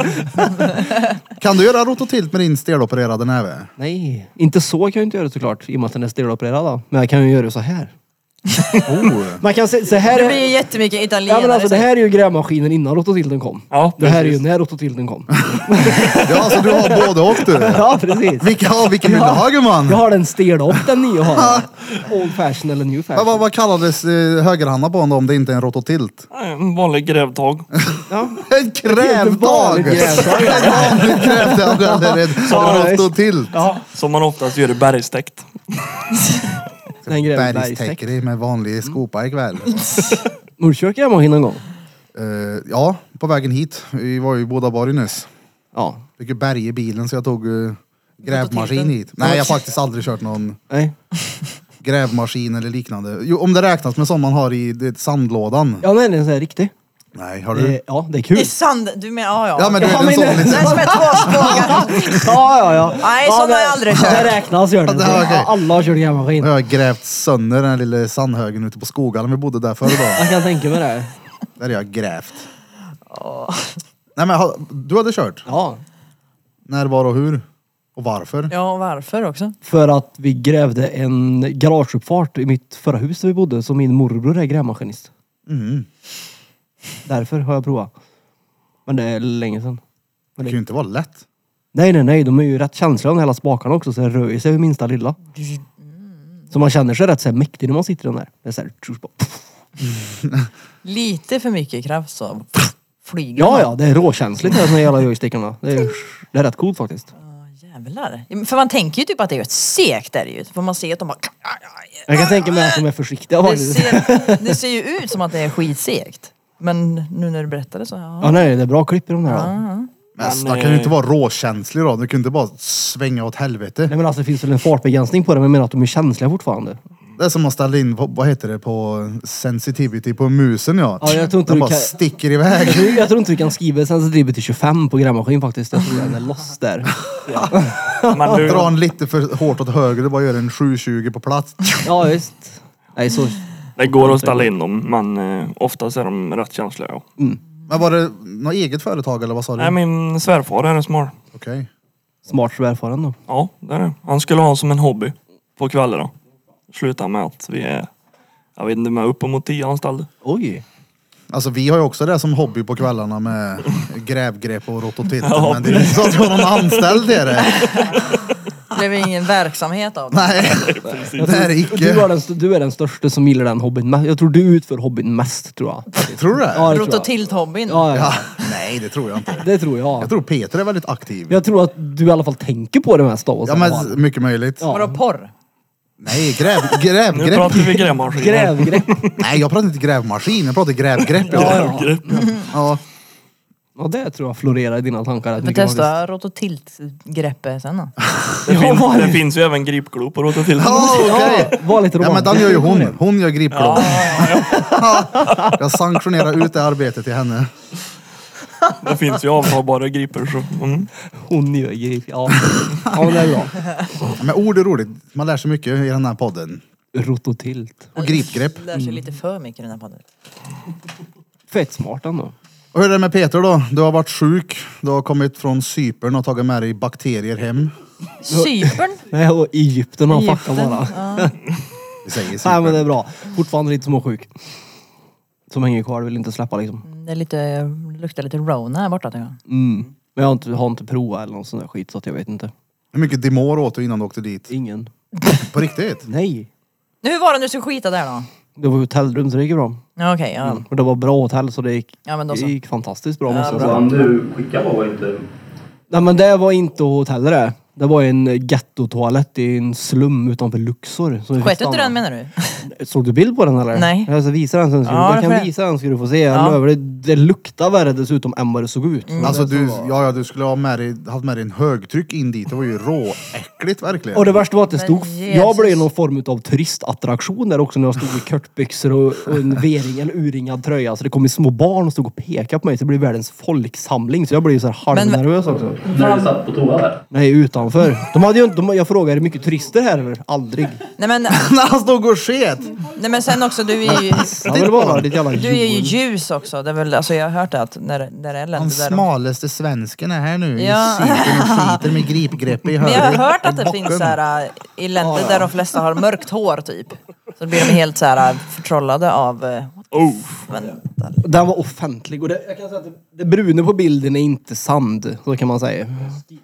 [SPEAKER 3] Kan du göra rototilt med din stelopererade näve?
[SPEAKER 5] Nej, inte så kan jag inte göra det såklart i och med att den är stelopererad. då. Men jag kan ju göra det så här.
[SPEAKER 3] Oh.
[SPEAKER 5] Man kan se, så här
[SPEAKER 2] Det blir
[SPEAKER 5] är,
[SPEAKER 2] ju jättemycket
[SPEAKER 5] ja,
[SPEAKER 2] italienare.
[SPEAKER 5] men alltså, det här är ju grävmaskinen innan rototilten kom.
[SPEAKER 4] Ja,
[SPEAKER 5] det här är ju
[SPEAKER 4] precis.
[SPEAKER 5] när rototilten kom.
[SPEAKER 3] Ja, så du har både och du.
[SPEAKER 5] ja, precis.
[SPEAKER 3] Vilka, ja, vilken hylla har du, man?
[SPEAKER 5] Jag har den stel upp den nya har. Old fashion eller new
[SPEAKER 3] Ja, vad,
[SPEAKER 5] fashion.
[SPEAKER 3] vad kallades eh, högerhanden på honom då, om det inte är en rototilt?
[SPEAKER 4] Nej, En vanlig grävtag.
[SPEAKER 5] Ja.
[SPEAKER 3] En krävdag!
[SPEAKER 5] vanligt grävtag.
[SPEAKER 3] En vanlig krävdag eller en
[SPEAKER 5] Ja, visst.
[SPEAKER 3] rototilt.
[SPEAKER 5] Ja,
[SPEAKER 4] Som man oftast gör i bergstäkt.
[SPEAKER 5] den gräver
[SPEAKER 3] Bergstäcker
[SPEAKER 5] bergstäck.
[SPEAKER 3] dig med vanlig skopa ikväll.
[SPEAKER 5] Norrkök grävmaskin en gång.
[SPEAKER 3] Eh, ja, på vägen hit. Vi var ju i Bådaborg nyss.
[SPEAKER 5] Ja,
[SPEAKER 3] Fick ju berg i bilen så jag tog eh, grävmaskin
[SPEAKER 2] Rototilten.
[SPEAKER 3] hit. Nej, jag har faktiskt aldrig kört någon
[SPEAKER 5] nej.
[SPEAKER 3] grävmaskin eller liknande. Jo, om det räknas med sån man har i du vet, sandlådan.
[SPEAKER 5] Ja, nej, den är så här riktig.
[SPEAKER 3] Nej, har
[SPEAKER 5] Eh,
[SPEAKER 3] du?
[SPEAKER 5] ja, det är
[SPEAKER 2] I
[SPEAKER 5] kul.
[SPEAKER 2] sand... Du menar... Ja, ja.
[SPEAKER 3] Ja, men du
[SPEAKER 5] Ja,
[SPEAKER 3] vet en
[SPEAKER 5] men
[SPEAKER 3] sån
[SPEAKER 5] det-
[SPEAKER 3] liten...
[SPEAKER 2] Den som är tvåspågad.
[SPEAKER 5] Ja, ja, ja.
[SPEAKER 2] Nej,
[SPEAKER 5] ja,
[SPEAKER 2] sån har
[SPEAKER 5] det-
[SPEAKER 2] jag aldrig kört.
[SPEAKER 5] Det räknas gör det.
[SPEAKER 3] Ja, okej.
[SPEAKER 5] Alla har kört grävmaskin.
[SPEAKER 3] Jag har grävt sönder den här lilla sandhögen ute på Skogalm vi bodde där förr då.
[SPEAKER 5] Jag kan tänka mig det.
[SPEAKER 3] Där har jag grävt. Nej men har- du hade kört?
[SPEAKER 5] Ja.
[SPEAKER 3] När, var och hur? Och varför?
[SPEAKER 2] Ja, och varför också?
[SPEAKER 5] För att vi grävde en garageuppfart i mitt förra hus där vi bodde. Så min morbror är grävmaskinist.
[SPEAKER 3] Mm.
[SPEAKER 5] Därför har jag provat. Men det är länge sedan.
[SPEAKER 3] Det kan ju inte vara lätt.
[SPEAKER 5] Nej, nej, nej. De är ju rätt känsliga de hela spakarna också. Så det rör ju sig vid minsta lilla. Så man känner sig rätt så här mäktig när man sitter i den där. Det är så här, tjus, bara, pff.
[SPEAKER 2] Lite för mycket kraft så flyger
[SPEAKER 5] ja,
[SPEAKER 2] man.
[SPEAKER 5] ja. Det är råkänsligt det här, de här jävla joystickarna. Det är, det är rätt coolt faktiskt.
[SPEAKER 2] Jävlar. Ja, men För man tänker ju typ att det är ett sekt är det ju. För man ser att de bara...
[SPEAKER 5] Jag kan tänka mig att de är försiktiga
[SPEAKER 2] Det
[SPEAKER 5] faktiskt.
[SPEAKER 2] ser, det ser ju ut som att det är skitsegt. Men nu när du berättade så,
[SPEAKER 5] Ja,
[SPEAKER 2] ja.
[SPEAKER 5] nej, det är bra klipp i de här. då.
[SPEAKER 2] Ah.
[SPEAKER 3] Men
[SPEAKER 4] Men,
[SPEAKER 3] stackaren kan ju
[SPEAKER 4] eh,
[SPEAKER 3] inte vara råkänslig då. Du kan ju inte bara svänga åt helvete.
[SPEAKER 5] Nej, men alltså det finns väl en fartbegränsning på det, men jag menar att de är känsliga fortfarande.
[SPEAKER 3] Det är som att ställa in, på, vad heter det, på sensitivity på musen ja.
[SPEAKER 5] Ja, jag tror inte
[SPEAKER 3] Den
[SPEAKER 5] du
[SPEAKER 3] bara
[SPEAKER 5] kan-
[SPEAKER 3] sticker iväg.
[SPEAKER 5] Jag tror inte vi kan skriva sensitivity till 25 på grävmaskin faktiskt. Jag tror den är loss där.
[SPEAKER 4] Men du,
[SPEAKER 3] Dra den lite för hårt åt höger, det bara gör en 720 på plats.
[SPEAKER 5] Ja, visst. Nej, så...
[SPEAKER 4] det går att ställa in dem men eh, oftast är de rätt känsliga. Ja.
[SPEAKER 3] Men var det något eget företag eller vad sa du?
[SPEAKER 4] Nej, min svärfar är en smal.
[SPEAKER 3] Okej.
[SPEAKER 5] Smart så erfaren då.
[SPEAKER 4] Ja, det är det. Han skulle ha som en hobby på kvällarna. Sluta med att vi är, jag vet inte, med uppemot tio anställda.
[SPEAKER 5] Oj.
[SPEAKER 3] Alltså vi har ju också det som hobby på kvällarna med grävgrepp och rototitter. men det är ju inte så att vi har någon anställd i det.
[SPEAKER 2] Det blev ingen verksamhet av det.
[SPEAKER 3] Nej, det är det
[SPEAKER 5] Du, har
[SPEAKER 3] icke.
[SPEAKER 5] den, st- du är den största som gillar den hobbyn mest. Jag tror du utför hobbyn mest tror jag.
[SPEAKER 3] Tror du det?
[SPEAKER 5] Ja, det tror jag.
[SPEAKER 2] Rototilt-hobbyn.
[SPEAKER 5] Ja, ja.
[SPEAKER 3] Ja, nej, det tror jag inte.
[SPEAKER 5] Det tror jag.
[SPEAKER 3] Jag tror Peter är väldigt aktiv.
[SPEAKER 5] Jag tror att du i alla fall tänker på det mest av oss.
[SPEAKER 3] Ja, men mycket möjligt.
[SPEAKER 5] Ja.
[SPEAKER 2] Vadå porr?
[SPEAKER 3] Nej, gräv,
[SPEAKER 4] Nu
[SPEAKER 3] grävgrepp.
[SPEAKER 4] pratar vi grävmaskiner.
[SPEAKER 5] Grävgrepp.
[SPEAKER 3] Nej, jag pratar inte grävmaskin. Jag pratar grävgrepp.
[SPEAKER 5] Ja, ja.
[SPEAKER 4] Grävgrepp.
[SPEAKER 3] Ja.
[SPEAKER 5] ja, det tror jag florerar i dina tankar rätt
[SPEAKER 2] Vi
[SPEAKER 5] mycket faktiskt.
[SPEAKER 2] testar rototilt-greppet sen då.
[SPEAKER 4] Det,
[SPEAKER 5] Ja,
[SPEAKER 4] finns,
[SPEAKER 5] var
[SPEAKER 4] det
[SPEAKER 5] det?
[SPEAKER 4] finns ju även gripglopor åt och till.
[SPEAKER 3] Ja, okej.
[SPEAKER 5] Ja, var lite
[SPEAKER 3] Ja, men
[SPEAKER 5] romantisk.
[SPEAKER 3] den gör ju hon. Hon gör gripblom.
[SPEAKER 4] Ja,
[SPEAKER 3] Jag sanktionerar ut det arbetet till henne.
[SPEAKER 4] Det finns ju avtalbara griper så. Mm.
[SPEAKER 5] Hon gör grip. Ja. ja, men det är bra.
[SPEAKER 3] Men ord är roligt. Man lär sig mycket i den här podden.
[SPEAKER 5] Rototilt.
[SPEAKER 3] Och gripgrepp.
[SPEAKER 2] Lär sig lite för mycket i den här podden.
[SPEAKER 5] Fett smart ändå.
[SPEAKER 3] Och hur är det med Peter då? Du har varit sjuk. Du har kommit från Cypern och tagit med dig bakterier hem.
[SPEAKER 2] Cypern?
[SPEAKER 5] Nej, och Egypten har fuckat
[SPEAKER 2] Egypten,
[SPEAKER 5] bara.
[SPEAKER 3] Vi säger
[SPEAKER 5] Nej men det
[SPEAKER 3] Cypern.
[SPEAKER 5] är bra. Fortfarande lite småsjuk. Som hänger kvar, vill inte släppa liksom.
[SPEAKER 2] Det är lite, det luktar lite Rona här borta tycker jag.
[SPEAKER 5] Mm. Men jag har inte, har inte provat eller någon sån där skit så att jag vet inte.
[SPEAKER 3] Hur mycket Dimor åt du innan du åkte dit?
[SPEAKER 5] Ingen.
[SPEAKER 3] På riktigt?
[SPEAKER 5] Nej.
[SPEAKER 2] Nu hur var det nu skulle skita där då?
[SPEAKER 5] Det var hotellrum så det gick ju bra.
[SPEAKER 2] Ja, Okej, ja.
[SPEAKER 5] Mm. Och det var bra hotell så det gick,
[SPEAKER 2] Ja, men då så.
[SPEAKER 5] det gick fantastiskt bra
[SPEAKER 2] Ja,
[SPEAKER 5] måste jag
[SPEAKER 2] bra.
[SPEAKER 5] säga.
[SPEAKER 6] Alltså, Han du skickade var inte...
[SPEAKER 5] Nej men det var inte hotell det. Det var en gettotoalett i en slum utanför Luxor. så vi fick
[SPEAKER 2] Sköt inte
[SPEAKER 5] stanna.
[SPEAKER 2] den menar du?
[SPEAKER 5] Såg du bild på den eller?
[SPEAKER 2] Nej.
[SPEAKER 5] Jag ska visa den sen. ska du-
[SPEAKER 2] Ja, det
[SPEAKER 5] jag
[SPEAKER 2] får jag.
[SPEAKER 5] kan visa den ska du få se. Jag
[SPEAKER 2] Ja. Mm.
[SPEAKER 5] lovar, det, det luktar värre dessutom än vad det såg ut.
[SPEAKER 3] Alltså du, ja, ja, du skulle ha med dig, haft med dig en högtryck in dit. Det var ju råäckligt verkligen.
[SPEAKER 5] Och det värsta var att det
[SPEAKER 2] Men
[SPEAKER 5] stod...
[SPEAKER 2] Jesus.
[SPEAKER 5] Jag blev någon form av turistattraktion där också när jag stod i kortbyxor och, och en V-ring, en urringad tröja. Så det kom ju små barn och stod och pekade på mig. Så det blev världens folksamling. Så jag blev ju så här halvnervös också.
[SPEAKER 6] När du satt på toa där.
[SPEAKER 5] Nej, utanför. De hade ju inte... De, jag frågade, är det mycket turister här eller? Aldrig.
[SPEAKER 2] Nej men,
[SPEAKER 3] När han stod och sket!
[SPEAKER 2] nej men sen också, du är ju,
[SPEAKER 5] Jag vill vara ditt jävla
[SPEAKER 2] du är ju
[SPEAKER 5] djur.
[SPEAKER 2] ljus också. Det är väl, alltså jag har hört att när, när det är
[SPEAKER 3] Den
[SPEAKER 2] länder där de-
[SPEAKER 3] smalaste svensken är här nu
[SPEAKER 2] Ja.
[SPEAKER 3] i Cypern och skiter med gripgrepp i
[SPEAKER 2] Men
[SPEAKER 3] höger
[SPEAKER 2] jag har hört att det
[SPEAKER 3] backen.
[SPEAKER 2] finns så här, äh, i länder där de flesta har mörkt hår typ. Så blir de helt så här äh, förtrollade av... äh,
[SPEAKER 4] Oh.
[SPEAKER 2] Vänta.
[SPEAKER 5] Den var offentlig. Och det, jag kan säga att det, det bruna på bilden är inte sand. Så kan man säga.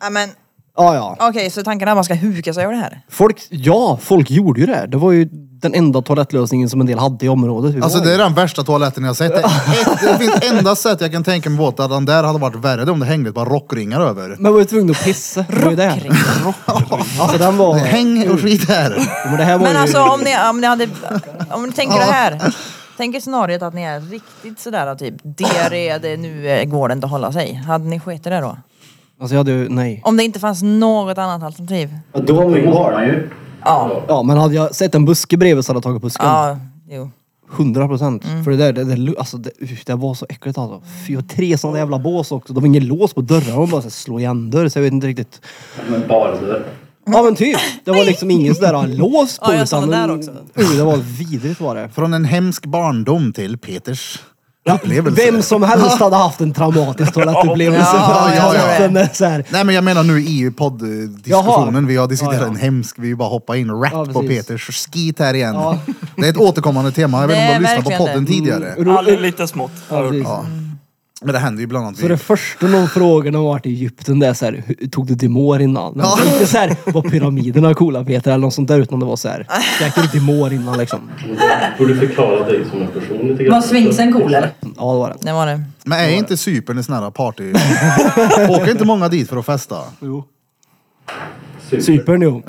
[SPEAKER 2] Ja, men
[SPEAKER 5] Ja, ja.
[SPEAKER 2] okej, så tanken är att man ska huka sig över det här?
[SPEAKER 5] Folk, ja, folk gjorde ju det. här. Det var ju den enda toalettlösningen som en del hade i området. Vi
[SPEAKER 3] Alltså
[SPEAKER 5] var
[SPEAKER 3] det
[SPEAKER 5] ju-
[SPEAKER 3] är den värsta toaletten jag har sett. Det, är ett, det finns enda sätt jag kan tänka mig på att den där hade varit värre. Det är om det hängde ett par rockringar över.
[SPEAKER 5] Men var ju tvungen att pissa. Det var ju det. Alltså den var...
[SPEAKER 3] Häng och skit här.
[SPEAKER 5] Men det här var
[SPEAKER 2] Men
[SPEAKER 5] ju...
[SPEAKER 2] alltså om ni, om ni hade... Om ni tänker det här. Tänk er scenariot att ni är riktigt sådär typ diarré, det nu eh, går det inte att hålla sig. Hade ni skitit det då?
[SPEAKER 5] Alltså jag hade ju... Nej.
[SPEAKER 2] Om det inte fanns något annat alternativ?
[SPEAKER 6] Då måste man ju.
[SPEAKER 2] Ja.
[SPEAKER 5] Ja men hade jag sett en buske bredvid så hade jag tagit busken.
[SPEAKER 2] Ja, Mm. jo.
[SPEAKER 5] 100 procent. För det där, det, det, lu- alltså, det, usch, det var så äckligt alltså. Fy, jag har tre sådana jävla bås också. Det var ingen lås på dörrarna. De bara så här, slå igen dörr. Så jag vet inte riktigt.
[SPEAKER 6] Med bardörr.
[SPEAKER 5] Ja men typ. Det var liksom ingen sån där lås på.
[SPEAKER 2] Mm. Ja, jag såg
[SPEAKER 5] utan
[SPEAKER 2] den där
[SPEAKER 5] en-
[SPEAKER 2] också.
[SPEAKER 5] Oj, det var vidrigt var det.
[SPEAKER 3] Från en hemsk barndom till Peters upplevelse.
[SPEAKER 5] Vem som helst hade haft en traumatisk toalettupplevelse.
[SPEAKER 2] Ja, ja, ja, ja.
[SPEAKER 5] Den är så här,
[SPEAKER 3] Nej men jag menar nu i
[SPEAKER 5] Jaha.
[SPEAKER 3] podd-diskussionen. Vi har diskuterat
[SPEAKER 5] Ja, ja.
[SPEAKER 3] en hemsk, vi vill bara hoppa in rätt
[SPEAKER 5] Ja,
[SPEAKER 3] på
[SPEAKER 5] precis.
[SPEAKER 3] Peters skit här igen.
[SPEAKER 5] Ja.
[SPEAKER 3] Det är ett återkommande tema. Jag vet inte om du
[SPEAKER 2] Det
[SPEAKER 3] har
[SPEAKER 2] är
[SPEAKER 3] lyssnat på podden
[SPEAKER 2] verkligen
[SPEAKER 3] tidigare.
[SPEAKER 4] Ja, det är lite smått.
[SPEAKER 5] Ja, precis.
[SPEAKER 3] Ja. Men det händer ju bland annat
[SPEAKER 5] Så det
[SPEAKER 3] vid...
[SPEAKER 5] första någon frågar när man varit i Egypten det är såhär, tog du Dimor innan? Men
[SPEAKER 3] Ja.
[SPEAKER 5] Inte såhär, var pyramiderna coola Peter eller något sånt där utan det var såhär, käkade du Dimor innan liksom?
[SPEAKER 6] Mm. Får du förklara dig som en person lite grann?
[SPEAKER 2] cool eller?
[SPEAKER 5] Ja det var det.
[SPEAKER 2] Det var det.
[SPEAKER 3] Men är inte Cypern en sån här party... Åker inte många dit för att festa?
[SPEAKER 5] Jo.
[SPEAKER 6] Super.
[SPEAKER 5] Cypern jo.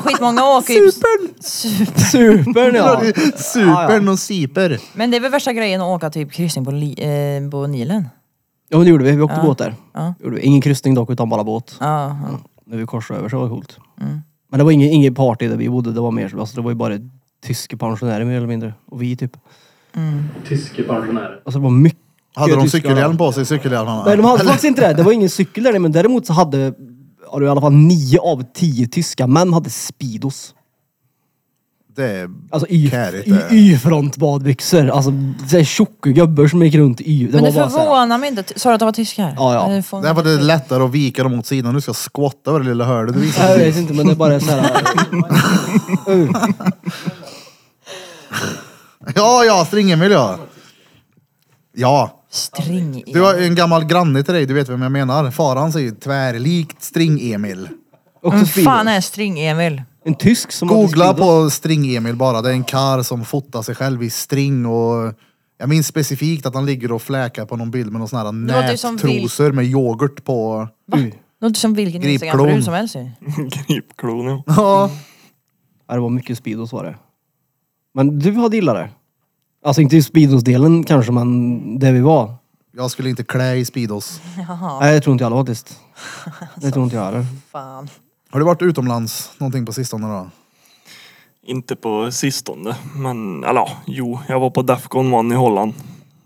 [SPEAKER 2] skitmånga åker ju...
[SPEAKER 5] Cypern!
[SPEAKER 2] Super.
[SPEAKER 5] Cypern ja!
[SPEAKER 3] Cypern och Cyper.
[SPEAKER 2] Men det är väl värsta grejen att åka typ kryssning på, li, eh, på Nilen?
[SPEAKER 5] Ja men det gjorde vi, vi åkte båt där.
[SPEAKER 2] Ja.
[SPEAKER 5] Gjorde vi. Ingen kryssning dock utan bara båt.
[SPEAKER 2] Ja, ja.
[SPEAKER 5] När vi korsade över så var det coolt. Men det var ingen, ingen party där vi bodde, det var mer, alltså, det var ju bara tyska pensionärer mer eller mindre. Och vi typ.
[SPEAKER 6] Tyske pensionärer.
[SPEAKER 5] Alltså det var mycket
[SPEAKER 3] Hade de
[SPEAKER 5] tyskar.
[SPEAKER 3] cykelhjälm på sig, cykelhjälmarna?
[SPEAKER 5] Nej, de hade faktiskt inte det. Det var ingen cykel där men däremot så hade ja, det var i alla fall nio av tio tyska män hade Speedos.
[SPEAKER 3] Det är...
[SPEAKER 5] Alltså y,
[SPEAKER 3] Kärigt,
[SPEAKER 5] y,
[SPEAKER 3] det.
[SPEAKER 5] y-front badbyxor. Alltså så här tjocka gubbar som gick runt i y. Det
[SPEAKER 2] Men det
[SPEAKER 5] var bara så här-
[SPEAKER 2] förvånar mig inte. Sa du att det var tyskar?
[SPEAKER 5] Ja, ja.
[SPEAKER 2] Det får-
[SPEAKER 3] Där var det lättare att vika dem åt sidan. Du ska squatta över det lilla hörnet du
[SPEAKER 5] Jag
[SPEAKER 3] visade.
[SPEAKER 5] vet inte men det är bara så här. uh.
[SPEAKER 3] Ja, ja, stringemiljö. Ja,
[SPEAKER 2] String
[SPEAKER 3] du har ju en gammal granne till dig, du vet vem jag menar. Faran säger ju tvärlikt String-Emil.
[SPEAKER 5] Också
[SPEAKER 2] Vem
[SPEAKER 5] speedo.
[SPEAKER 2] Mm, fan är String-Emil?
[SPEAKER 5] En tysk som hade
[SPEAKER 3] Googla
[SPEAKER 5] speedo.
[SPEAKER 3] på String-Emil bara. Det är en kar som fotar sig själv i string och jag minns specifikt att han ligger och fläkar på någon bild med någon sån här
[SPEAKER 2] Det låter ju som
[SPEAKER 3] nättrosor med yoghurt på. Mm.
[SPEAKER 5] Uh,
[SPEAKER 2] Låter som vilken
[SPEAKER 3] Gripklon.
[SPEAKER 2] Instagram-brud som helst ju.
[SPEAKER 4] Gripklon ja.
[SPEAKER 3] Ja,
[SPEAKER 5] ja, det var mycket speedos var det. Men du hade gillat det? Alltså inte i speedos-delen kanske, men där vi var.
[SPEAKER 3] jag skulle inte klä i Speedos.
[SPEAKER 5] Nej, det tror inte jag heller faktiskt. Det tror inte jag heller.
[SPEAKER 2] Fan.
[SPEAKER 3] Har du varit utomlands någonting på sistone då?
[SPEAKER 4] Inte på sistone, men eller ja, jo, jag var på Defcon 1 i Holland.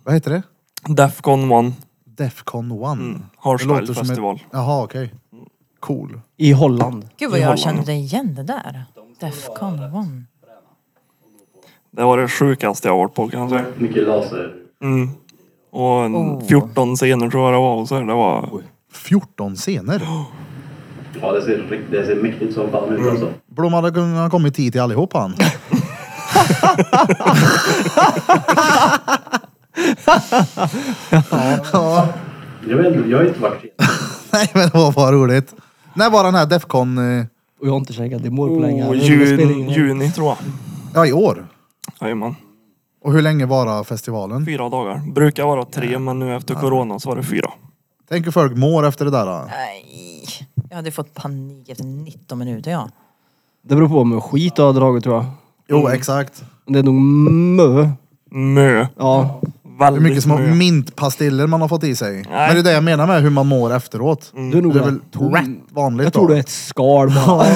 [SPEAKER 3] Vad heter det?
[SPEAKER 4] Defcon 1,
[SPEAKER 3] Defcon 1? Mm.
[SPEAKER 4] Hardstyle festival.
[SPEAKER 3] Jaha, okej. Cool.
[SPEAKER 5] I Holland.
[SPEAKER 2] Gud vad
[SPEAKER 4] I
[SPEAKER 2] jag
[SPEAKER 4] Holland.
[SPEAKER 2] kände igen det där. Defcon 1.
[SPEAKER 4] Det var det sjukaste jag varit på kan jag säga.
[SPEAKER 6] Mycket laser.
[SPEAKER 4] Mm. Och en
[SPEAKER 2] Oh.
[SPEAKER 4] 14 scener tror jag det var. och Så här, det var
[SPEAKER 3] 14 scener.
[SPEAKER 6] Ja, det ser, rikt- det ser mäktigt som fan ut alltså.
[SPEAKER 3] Blom hade kunnat kommit hit till allihop han. ja.
[SPEAKER 6] Jag vet inte, jag har inte varit helt...
[SPEAKER 3] Nej men det var bara roligt. När var den här Defcon? eh,
[SPEAKER 5] Och jag har inte käkat limor på länge.
[SPEAKER 4] oh,
[SPEAKER 5] Det spelar
[SPEAKER 4] jun,
[SPEAKER 5] ingen roll.
[SPEAKER 4] juni tror jag.
[SPEAKER 3] Ja i år.
[SPEAKER 4] Jajamän.
[SPEAKER 3] Och hur länge varar festivalen?
[SPEAKER 4] Fyra dagar. Brukar vara tre men nu efter corona så var det fyra.
[SPEAKER 3] Tänk hur folk mår efter det där. Då.
[SPEAKER 2] Nej. Jag hade fått panik efter 19 minuter ja.
[SPEAKER 5] Det beror på om skit du har dragit tror jag.
[SPEAKER 3] Jo exakt.
[SPEAKER 5] Det är nog mö.
[SPEAKER 4] Mö.
[SPEAKER 5] Ja.
[SPEAKER 4] Väldigt
[SPEAKER 3] Hur mycket små
[SPEAKER 4] mö.
[SPEAKER 3] mintpastiller man har fått i sig. Men det är det jag menar med hur man mår efteråt.
[SPEAKER 5] Du är nog
[SPEAKER 3] Det är väl
[SPEAKER 5] rätt tom.
[SPEAKER 3] rätt vanligt
[SPEAKER 5] Jag tror
[SPEAKER 3] då.
[SPEAKER 5] du är ett skal bara.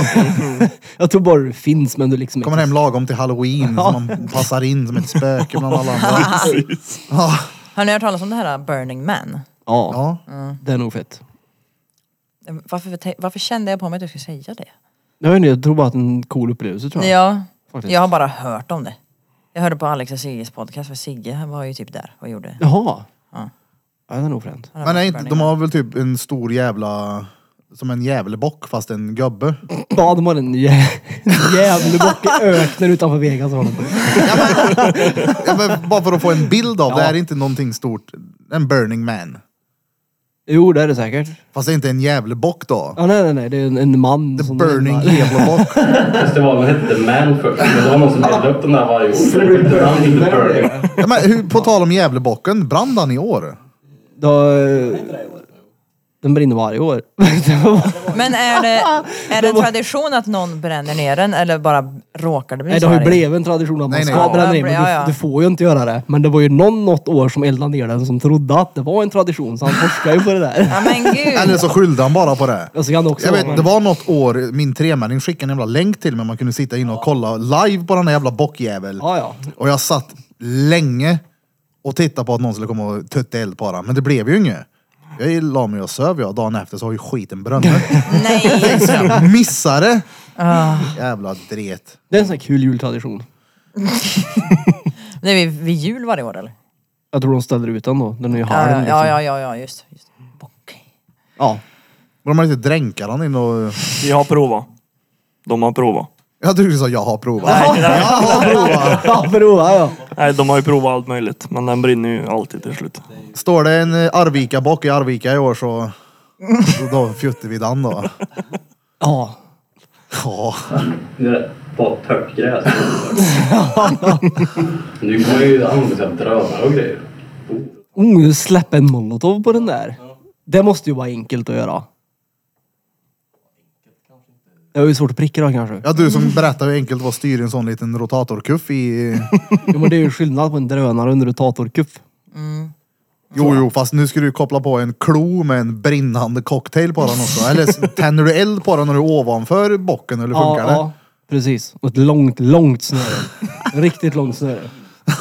[SPEAKER 5] jag tror bara det finns men du liksom
[SPEAKER 3] Kommer hem lagom till halloween så man passar in som ett spöke bland alla andra.
[SPEAKER 4] Precis.
[SPEAKER 3] Ja,
[SPEAKER 2] Har ni hört talas om det här Burning Man?
[SPEAKER 5] Ja,
[SPEAKER 3] ja.
[SPEAKER 5] det är nog fett.
[SPEAKER 2] Ehm, Varför, varför kände jag på mig att jag skulle säga det?
[SPEAKER 5] Jag, vet inte, jag tror bara att det är en cool upplevelse tror jag.
[SPEAKER 2] Ja,
[SPEAKER 5] Faktiskt.
[SPEAKER 2] jag har bara hört om det. Jag hörde på Alex och Sigges podcast för Sigge var ju typ där och gjorde.
[SPEAKER 5] Jaha.
[SPEAKER 2] Ja.
[SPEAKER 5] Ja, det är nog fränt.
[SPEAKER 2] Han har
[SPEAKER 3] Men
[SPEAKER 2] varit på
[SPEAKER 3] är inte,
[SPEAKER 2] Burning
[SPEAKER 3] de
[SPEAKER 2] Man.
[SPEAKER 3] har väl typ en stor jävla... Som en djävulbock fast en gubbe.
[SPEAKER 5] Ja, de har en jä- en jävla bock i öknen utanför Vegas. har de.
[SPEAKER 3] Ja, men bara för att få en bild av. Det här är inte någonting stort. En burning man.
[SPEAKER 5] Jo, det är det säkert.
[SPEAKER 3] Fast det är inte en djävulbock då.
[SPEAKER 5] Ja, nej, nej, nej. Det är en, en man.
[SPEAKER 3] The
[SPEAKER 5] som-
[SPEAKER 3] burning djävulbock.
[SPEAKER 6] Festivalen hette The Man först, men det var någon som hällde upp den där varje år. Så det bytte namn till The Burning.
[SPEAKER 3] Ja, men hur, på tal om djävulbocken, brann han i år?
[SPEAKER 5] Då, den brinner varje år. Det var-
[SPEAKER 2] Men är det, är det en tradition att någon bränner ner den eller bara råkar det bli
[SPEAKER 5] Nej, det
[SPEAKER 2] så
[SPEAKER 5] har ju
[SPEAKER 2] här?
[SPEAKER 5] blivit en tradition att man
[SPEAKER 3] Nej, nej.
[SPEAKER 5] ska
[SPEAKER 3] Ja.
[SPEAKER 5] bränna ner, men
[SPEAKER 2] Ja, ja.
[SPEAKER 5] du, du får ju inte göra det. Men det var ju någon något år som eldade ner den som trodde att det var en tradition, så han forskade ju på det där.
[SPEAKER 2] Ja men gud.
[SPEAKER 3] Eller så skyllde han bara på det.
[SPEAKER 5] Och så kan det också
[SPEAKER 3] Jag
[SPEAKER 5] vara-
[SPEAKER 3] vet, det var något år min tremänning skickade en jävla länk till mig man kunde sitta inne och kolla live på den här jävla bockjävel.
[SPEAKER 5] Ja, ja.
[SPEAKER 3] Och jag satt länge och tittade på att någon skulle komma och tutta eld på den. Men det blev ju inget. Jag la mig och söv jag. Dagen efter så har ju skiten brunnit.
[SPEAKER 2] Nej.
[SPEAKER 3] Missade! Jävla dret.
[SPEAKER 5] Det är en sån här kul jultradition.
[SPEAKER 2] Det är vid, vid jul varje år eller?
[SPEAKER 5] Jag tror de ställer ut den då. Den är ju halv.
[SPEAKER 2] Ja, ja,
[SPEAKER 5] liksom.
[SPEAKER 2] ja, ja, ja, ja just, just. Bock.
[SPEAKER 5] ja.
[SPEAKER 3] Men de har inte dränkat den in och...
[SPEAKER 4] Vi har provat. De har provat.
[SPEAKER 3] Jag trodde du sa jag har provat.
[SPEAKER 4] Nej,
[SPEAKER 3] jag har provat!
[SPEAKER 5] Ja, för då, ja, ja.
[SPEAKER 4] Nej, de har ju provat allt möjligt. Men den brinner ju alltid till slut.
[SPEAKER 3] Står det en eh, Arvika-bock i Arvika i år så... så Då fjuttar vi den då.
[SPEAKER 5] ja.
[SPEAKER 3] Ja.
[SPEAKER 6] Det är bara törtgräs. nu kommer ju använda sig av drönare och grejer.
[SPEAKER 5] Oh, nu släpper en molotov på den där. Det måste ju vara enkelt att göra. Det var ju svårt att pricka då kanske.
[SPEAKER 3] Ja, du som berättade hur enkelt det var att styra en sån liten rotatorkuff i...
[SPEAKER 5] Jo, men det är ju skillnad på en drönare och en rotatorkupp.
[SPEAKER 3] Jo, jo, fast nu ska du koppla på en klo med en brinnande cocktail på den också. Eller s- tänder du eld på den när du är ovanför bocken eller funkar det?
[SPEAKER 5] precis. Och ett långt, långt snöre. Riktigt långt snöre.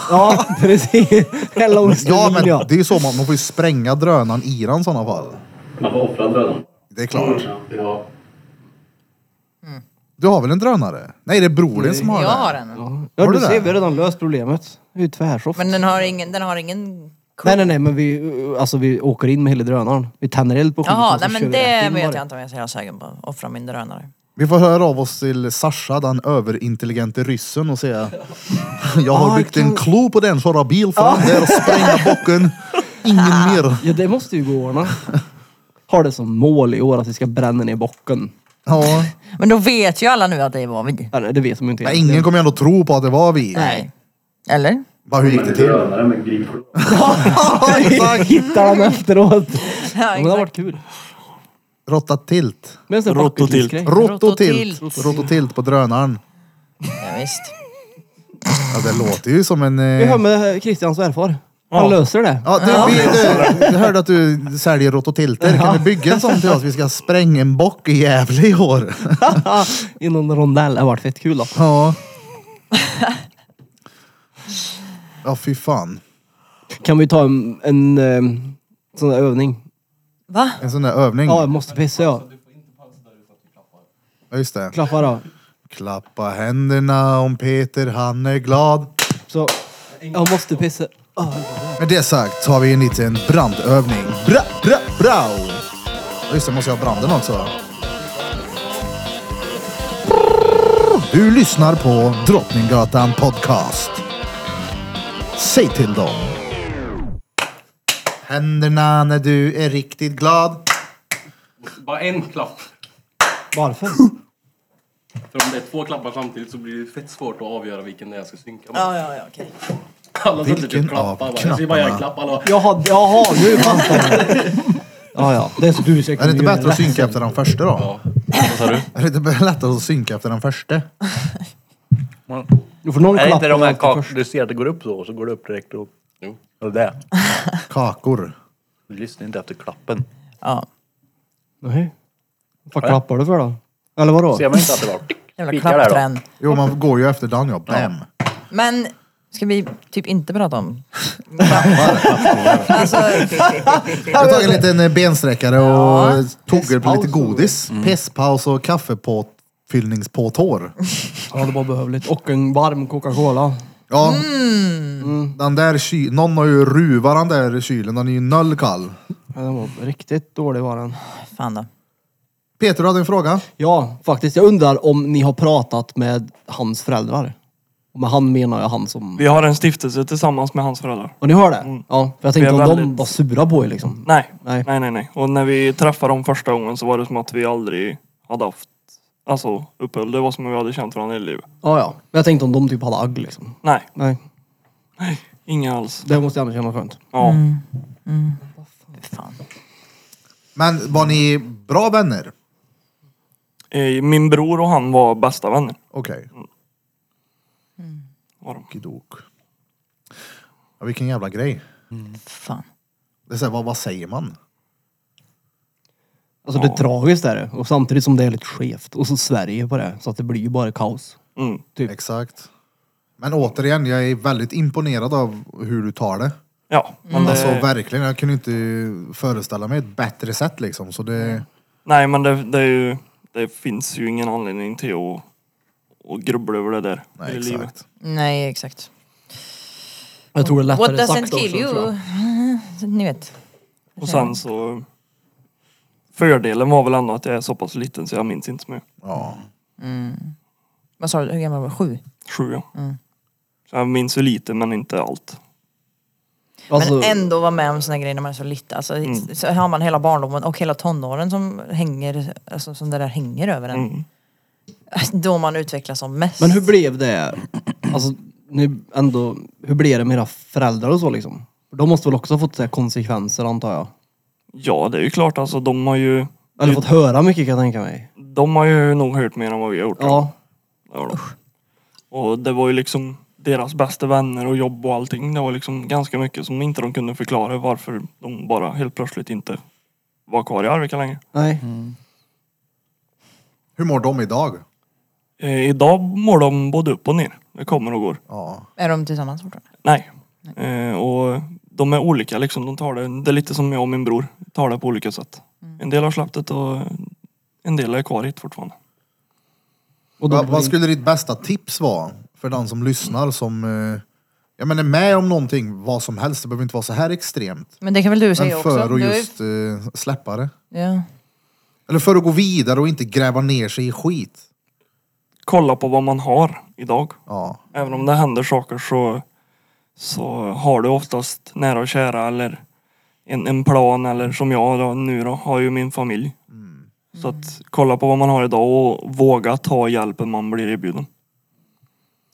[SPEAKER 5] Ja, precis. En lång
[SPEAKER 3] Ja,
[SPEAKER 5] snöre.
[SPEAKER 3] men
[SPEAKER 5] Ja,
[SPEAKER 3] det är ju så man, man får ju spränga drönaren i den i sådana fall.
[SPEAKER 6] Man får offra drönaren.
[SPEAKER 3] Det är klart.
[SPEAKER 6] Ja.
[SPEAKER 3] Du har väl en drönare? Nej, det är brodern som har
[SPEAKER 2] Mm. Jag
[SPEAKER 3] det.
[SPEAKER 2] har den.
[SPEAKER 5] ja
[SPEAKER 3] Har
[SPEAKER 5] du
[SPEAKER 3] du det?
[SPEAKER 5] ser, vi har redan löst problemet. Vi är ju tvärsoft.
[SPEAKER 2] Men den har ingen, den har ingen
[SPEAKER 5] Nej, nej, nej, men vi, alltså, vi åker in med hela drönaren. Vi tänder eld på skiten.
[SPEAKER 2] Jaha,
[SPEAKER 5] och så
[SPEAKER 2] nej
[SPEAKER 5] kör
[SPEAKER 2] men
[SPEAKER 5] vi rätt
[SPEAKER 2] det
[SPEAKER 5] in
[SPEAKER 2] vet
[SPEAKER 5] bara.
[SPEAKER 2] jag inte om jag är så jävla sugen på. Offra min drönare.
[SPEAKER 3] Vi får höra av oss till Sasha, den överintelligente ryssen och säga Jag har byggt en klo på den, köra bil fram där och spränga bocken. Ingen mer.
[SPEAKER 5] Ja, det måste ju gå att ordna. Har det som mål i år att vi ska bränna ner bocken.
[SPEAKER 3] Ja.
[SPEAKER 2] Men då vet ju alla nu att det var vi.
[SPEAKER 5] Ja, nej, det vet de ju inte.
[SPEAKER 3] Men
[SPEAKER 5] egentligen.
[SPEAKER 3] ingen kommer ändå tro på att det var vi.
[SPEAKER 2] Nej. Eller?
[SPEAKER 3] Bara, hur gick
[SPEAKER 6] Men
[SPEAKER 3] det
[SPEAKER 6] en
[SPEAKER 3] till?
[SPEAKER 6] drönare med gripklon.
[SPEAKER 5] Hittar den efteråt.
[SPEAKER 2] Ja,
[SPEAKER 5] Ja, men det har varit kul.
[SPEAKER 3] Rottatilt.
[SPEAKER 5] Men sen
[SPEAKER 4] Rått och tilt.
[SPEAKER 5] grej.
[SPEAKER 3] Rototilt.
[SPEAKER 2] Rototilt.
[SPEAKER 3] Rototilt på drönaren.
[SPEAKER 2] Ja, visst.
[SPEAKER 3] Ja, det låter ju som en... eh,
[SPEAKER 5] Vi hör med Christian svärfar. Han
[SPEAKER 4] Ja.
[SPEAKER 5] löser det.
[SPEAKER 3] Ja, du, vi, du, jag hörde att du säljer rototilter. Kan du bygga en sån till oss? Vi ska spränga en bock i Gävle i år.
[SPEAKER 5] Inom en rondell. Det har varit fett kul då.
[SPEAKER 3] Ja. Ja, fy fan.
[SPEAKER 5] Kan vi ta en, en, eh, sån där övning?
[SPEAKER 2] Va?
[SPEAKER 3] En sån där övning.
[SPEAKER 5] Ja, jag måste pissa ja.
[SPEAKER 3] Ja, just det.
[SPEAKER 5] Klappa då.
[SPEAKER 3] Klappa händerna om Peter, han är glad.
[SPEAKER 5] Så. Jag måste pissa. Ah,
[SPEAKER 3] Med det sagt så har vi en liten brandövning. Bra, bra, bra! Ja, Just det, måste jag ha branden också. Du lyssnar på Drottninggatan Podcast. Säg till dem. Händerna när du är riktigt glad.
[SPEAKER 8] Bara en klapp.
[SPEAKER 5] Varför?
[SPEAKER 8] För om det är två klappar samtidigt så blir det fett svårt att avgöra vilken det är jag ska synka med.
[SPEAKER 2] Ja, ja, ja, okej.
[SPEAKER 8] Alla sitter
[SPEAKER 3] vilken
[SPEAKER 8] typ
[SPEAKER 3] av
[SPEAKER 8] klappar bara. Jag ser bara
[SPEAKER 3] knapparna?
[SPEAKER 8] en klapp. Alla bara,
[SPEAKER 5] Jaha, jaha nu fattar jag. Ja, ja. Det är så du
[SPEAKER 3] Är
[SPEAKER 5] säkert
[SPEAKER 3] det inte bättre att synka efter den första då?
[SPEAKER 8] vad sa du?
[SPEAKER 3] Är det inte lättare att synka efter den första?
[SPEAKER 5] Du får någon
[SPEAKER 9] Är det
[SPEAKER 5] klapp.
[SPEAKER 9] inte de här
[SPEAKER 5] alltid
[SPEAKER 9] kak...
[SPEAKER 5] först.
[SPEAKER 9] Du ser att det går upp så och så går det upp direkt upp.
[SPEAKER 8] Jo.
[SPEAKER 9] Och det.
[SPEAKER 3] Kakor.
[SPEAKER 9] Du lyssnar inte efter klappen.
[SPEAKER 2] Ja.
[SPEAKER 5] Nej. Vad klappar du för då? Eller vadå?
[SPEAKER 9] Ser man inte att det var tick,
[SPEAKER 2] Jävla
[SPEAKER 9] pikar där då?
[SPEAKER 2] klappträn.
[SPEAKER 3] Jo, man går ju efter den ja. Bam.
[SPEAKER 2] Men ska vi typ inte prata om... alltså,
[SPEAKER 3] Jag har tagit en liten eh, bensträckare och
[SPEAKER 2] Ja.
[SPEAKER 3] tog på lite godis. Pesspaus och kaffepåfyllningspåtår.
[SPEAKER 5] Ja, det var behövligt. Och en varm Coca-Cola.
[SPEAKER 3] Ja. Den där ky- Någon har ju ruvat den där kylen. Den är ju noll kall.
[SPEAKER 5] Ja, den var riktigt dålig var den.
[SPEAKER 2] fan då.
[SPEAKER 3] Peter, du hade en fråga?
[SPEAKER 5] Ja, faktiskt. Jag undrar om ni har pratat med hans föräldrar? Och med han menar jag han som...
[SPEAKER 4] Vi har en stiftelse tillsammans med hans föräldrar.
[SPEAKER 5] Och ni hör
[SPEAKER 3] Mm.
[SPEAKER 5] det? Ja, för jag tänkte
[SPEAKER 4] är
[SPEAKER 5] om de
[SPEAKER 4] väldigt-
[SPEAKER 5] var sura på er liksom.
[SPEAKER 4] Nej.
[SPEAKER 5] Nej.
[SPEAKER 4] nej, nej, nej. Och när vi träffade dem första gången så var det som att vi aldrig hade haft alltså, uppehåll. Det var som om vi hade känt varandra i livet.
[SPEAKER 5] Ja, ja. Men jag tänkte om de typ hade agg liksom.
[SPEAKER 4] Nej,
[SPEAKER 5] Nej, Mm.
[SPEAKER 4] inga alls.
[SPEAKER 5] det måste jag ändå känna skönt.
[SPEAKER 4] Ja.
[SPEAKER 2] Fan.
[SPEAKER 3] Men var ni bra vänner?
[SPEAKER 4] Eh, Min bror och han var bästa vänner.
[SPEAKER 3] Okej.
[SPEAKER 4] Var de.
[SPEAKER 3] Okidok. Ja, vilken jävla grej.
[SPEAKER 2] Fan.
[SPEAKER 3] Det är så här, vad, vad säger man?
[SPEAKER 5] Alltså det är tragiskt är det. Och samtidigt som det är lite skevt. Och så Sverige på det. Så att det blir ju bara kaos.
[SPEAKER 4] Mm.
[SPEAKER 3] Exakt. Men återigen, jag är väldigt imponerad av hur du tar det.
[SPEAKER 4] Ja, men
[SPEAKER 5] Mm.
[SPEAKER 4] det,
[SPEAKER 3] Alltså verkligen, jag kunde inte föreställa mig ett bättre sätt liksom. Så det,
[SPEAKER 4] nej, men det, det, är ju, det finns ju ingen anledning till att, att grubbla över det där
[SPEAKER 3] nej,
[SPEAKER 4] i livet.
[SPEAKER 3] exakt.
[SPEAKER 2] Nej, exakt.
[SPEAKER 5] Jag tror det är
[SPEAKER 2] What
[SPEAKER 5] lättare sagt
[SPEAKER 2] doesn't
[SPEAKER 5] också.
[SPEAKER 2] kill
[SPEAKER 5] tror
[SPEAKER 2] you?
[SPEAKER 5] jag.
[SPEAKER 2] Ni vet.
[SPEAKER 4] Och sen så... Fördelen var väl ändå att jag är så pass liten så jag minns inte så mycket.
[SPEAKER 3] Ja.
[SPEAKER 2] Vad sa du? Hur gammal var du? Sju?
[SPEAKER 4] Sju ja. Så jag minns ju lite men inte allt.
[SPEAKER 5] Alltså,
[SPEAKER 2] Men ändå vara med om såna grejer när man är så liten. Alltså, Så har man hela barndomen och hela tonåren som hänger, alltså, som det där hänger över en. Då man utvecklas som mest.
[SPEAKER 5] Men hur blev det? Alltså, nu ändå, hur blev det med era föräldrar och så liksom? De måste väl också ha fått så här, konsekvenser antar jag?
[SPEAKER 4] Ja det är ju klart alltså de har ju...
[SPEAKER 5] Eller fått höra mycket kan jag tänka mig.
[SPEAKER 4] De har ju nog hört mer än vad vi har gjort.
[SPEAKER 5] Ja.
[SPEAKER 4] Det har de. Och det var ju liksom deras bästa vänner och jobb och allting. Det var liksom ganska mycket som inte de kunde förklara varför de bara helt plötsligt inte var kvar i Arvika längre.
[SPEAKER 5] Nej.
[SPEAKER 3] Mm. Hur mår de idag?
[SPEAKER 4] Eh, idag mår de både upp och ner. Det kommer och går.
[SPEAKER 3] Ja.
[SPEAKER 2] Är de tillsammans fortfarande?
[SPEAKER 4] Nej. Eh, och de är olika liksom. De tar det, det är lite som jag och min bror. Tar det på olika sätt. En del har släppt det och en del är kvar hit fortfarande.
[SPEAKER 5] Och
[SPEAKER 3] Va,
[SPEAKER 5] de,
[SPEAKER 3] vad skulle ditt bästa tips vara för den som lyssnar som eh, jag menar, är med om någonting, vad som helst, det behöver inte vara så här extremt.
[SPEAKER 2] Men det kan väl du säga
[SPEAKER 3] Men
[SPEAKER 2] också?
[SPEAKER 3] för och
[SPEAKER 2] Du är-
[SPEAKER 3] just eh, släppa det.
[SPEAKER 2] Ja.
[SPEAKER 3] Eller för att gå vidare och inte gräva ner sig i skit.
[SPEAKER 4] Kolla på vad man har idag.
[SPEAKER 3] Ja.
[SPEAKER 4] Även om det händer saker så, så har du oftast nära och kära eller en, en plan eller som jag då, nu då, har ju min familj. Så att kolla på vad man har idag och våga ta hjälpen man blir erbjuden.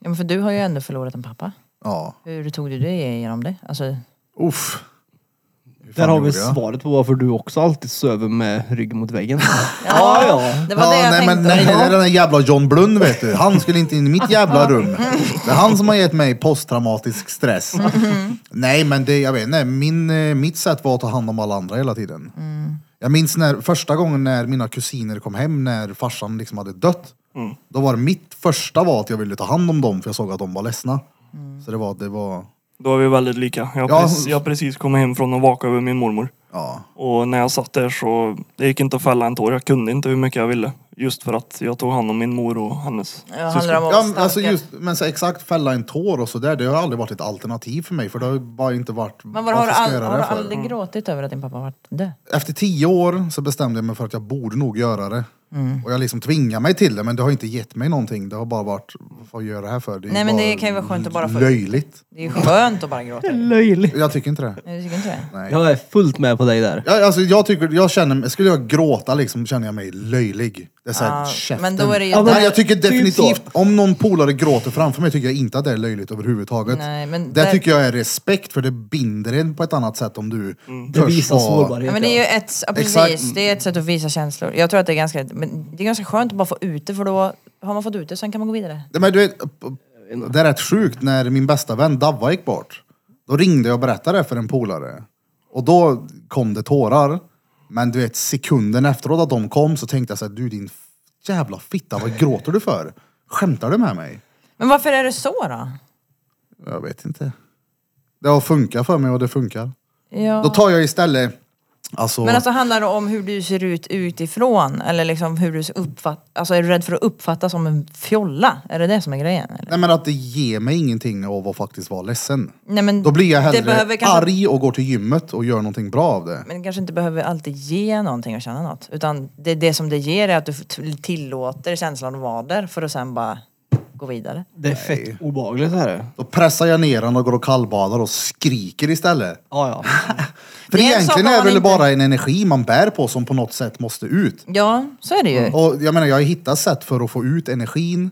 [SPEAKER 2] Ja, men för du har ju ändå förlorat en pappa.
[SPEAKER 3] Ja.
[SPEAKER 2] Hur tog du dig igenom det? Alltså,
[SPEAKER 3] Uff.
[SPEAKER 5] Där
[SPEAKER 3] Hur fan
[SPEAKER 5] har vi
[SPEAKER 3] gjorde jag?
[SPEAKER 5] svaret på varför du också alltid söver med ryggen mot väggen.
[SPEAKER 2] ja, ja, det var det jag
[SPEAKER 3] nej,
[SPEAKER 2] tänkte.
[SPEAKER 3] men, nej, det är den där jävla John Blund vet du. Han skulle inte in i mitt jävla rum. Det är han som har gett mig posttraumatisk stress.
[SPEAKER 2] Mm.
[SPEAKER 3] Nej, men det, jag vet inte. Min, eh, mitt sätt var att ta hand om alla andra hela tiden.
[SPEAKER 2] Mm.
[SPEAKER 3] Jag minns när, första gången när mina kusiner kom hem när farsan liksom hade dött.
[SPEAKER 5] Mm.
[SPEAKER 3] Då var det mitt första var att jag ville ta hand om dem för jag såg att de var ledsna.
[SPEAKER 2] Mm.
[SPEAKER 3] Så det var, det var,
[SPEAKER 4] Då är vi väldigt lika. Jag
[SPEAKER 3] Ja.
[SPEAKER 4] har precis, jag har precis kommit hem från att vaka över min mormor.
[SPEAKER 3] ja.
[SPEAKER 4] Och när jag satt där så, det gick inte att fälla en tår. Jag kunde inte hur mycket jag ville. Just för att jag tog hand om min mor och hennes
[SPEAKER 2] Ja, handlar om att
[SPEAKER 3] ja
[SPEAKER 2] vara
[SPEAKER 3] men,
[SPEAKER 2] starka.
[SPEAKER 3] alltså just, men så exakt fälla en tår och sådär, det har aldrig varit ett alternativ för mig. För det har ju bara inte varit,
[SPEAKER 2] men var, har, du
[SPEAKER 3] varför ska jag
[SPEAKER 2] all,
[SPEAKER 3] göra
[SPEAKER 2] har du
[SPEAKER 3] det för?
[SPEAKER 2] aldrig gråtit över att din pappa varit död?
[SPEAKER 3] efter tio år så bestämde jag mig för att jag borde nog göra det.
[SPEAKER 2] Mm.
[SPEAKER 3] Och jag liksom tvingar mig till det, men det har inte gett mig någonting. Det har bara varit, vad fan gör jag det här för? Det är
[SPEAKER 2] Nej, men
[SPEAKER 3] bara
[SPEAKER 2] det kan ju vara skönt att bara få-
[SPEAKER 3] Löjligt.
[SPEAKER 2] Det är ju skönt att bara gråta.
[SPEAKER 5] Löjligt.
[SPEAKER 3] Jag tycker inte det.
[SPEAKER 2] Nej, du tycker inte det?
[SPEAKER 3] Nej.
[SPEAKER 5] Jag är fullt med på dig där.
[SPEAKER 3] Jag, alltså, jag tycker, jag känner, skulle jag gråta liksom känner jag mig löjlig. Det är såhär,
[SPEAKER 2] Ja,
[SPEAKER 3] käften.
[SPEAKER 2] men då är det ju-
[SPEAKER 3] Nej, jag tycker
[SPEAKER 5] Typ
[SPEAKER 3] definitivt, om någon polare gråter framför mig tycker jag inte att det är löjligt överhuvudtaget.
[SPEAKER 2] Nej, men
[SPEAKER 3] det
[SPEAKER 2] där-
[SPEAKER 3] tycker jag är respekt, för det binder en på ett annat sätt om du
[SPEAKER 5] Mm. Det
[SPEAKER 3] törs
[SPEAKER 5] visar
[SPEAKER 3] vara-
[SPEAKER 5] sårbarhet.
[SPEAKER 2] Ja, men det är ju ett, ja, precis,
[SPEAKER 3] Exakt.
[SPEAKER 2] det är ett sätt att visa känslor. Jag tror att det är ganska, men det är ganska skönt att bara få ut det för då har man fått ut det, sen kan man gå vidare.
[SPEAKER 3] Nej, men du vet, det är rätt sjukt när min bästa vän Davva gick bort. Då ringde jag och berättade det för en polare. Och då kom det tårar. Men du vet sekunden efteråt att de kom så tänkte jag såhär, du din f- jävla fitta, vad gråter du för? Skämtar du med mig?
[SPEAKER 2] Men varför är det så då?
[SPEAKER 3] Jag vet inte. Det har funkat för mig och det funkar. Då
[SPEAKER 2] Ja.
[SPEAKER 3] tar jag istället, alltså,
[SPEAKER 2] Men alltså handlar det om hur du ser ut utifrån? Eller liksom hur du uppfattas? Alltså är du rädd för att uppfattas som en fjolla? Är det det som är grejen? Eller?
[SPEAKER 3] nej men att det ger mig ingenting av att faktiskt vara ledsen.
[SPEAKER 2] Nej men
[SPEAKER 3] Då blir jag hellre
[SPEAKER 2] det behöver kanske,
[SPEAKER 3] arg och går till gymmet och gör någonting bra av det.
[SPEAKER 2] Men det kanske inte behöver alltid ge någonting och känna något. Utan det, det som det ger är att du t- tillåter känslan att vara där för att sen bara gå vidare.
[SPEAKER 5] Det är fett obehagligt det här. är.
[SPEAKER 3] Då pressar jag ner den och går och kallbadar och skriker istället.
[SPEAKER 5] Ja, ja.
[SPEAKER 3] För
[SPEAKER 2] Det är en sak
[SPEAKER 3] egentligen
[SPEAKER 2] om
[SPEAKER 3] är
[SPEAKER 2] man
[SPEAKER 3] väl
[SPEAKER 2] inte-
[SPEAKER 3] bara en energi man bär på som på något sätt måste ut.
[SPEAKER 2] Ja, så är det ju.
[SPEAKER 3] Och jag menar, jag har hittat sätt för att få ut energin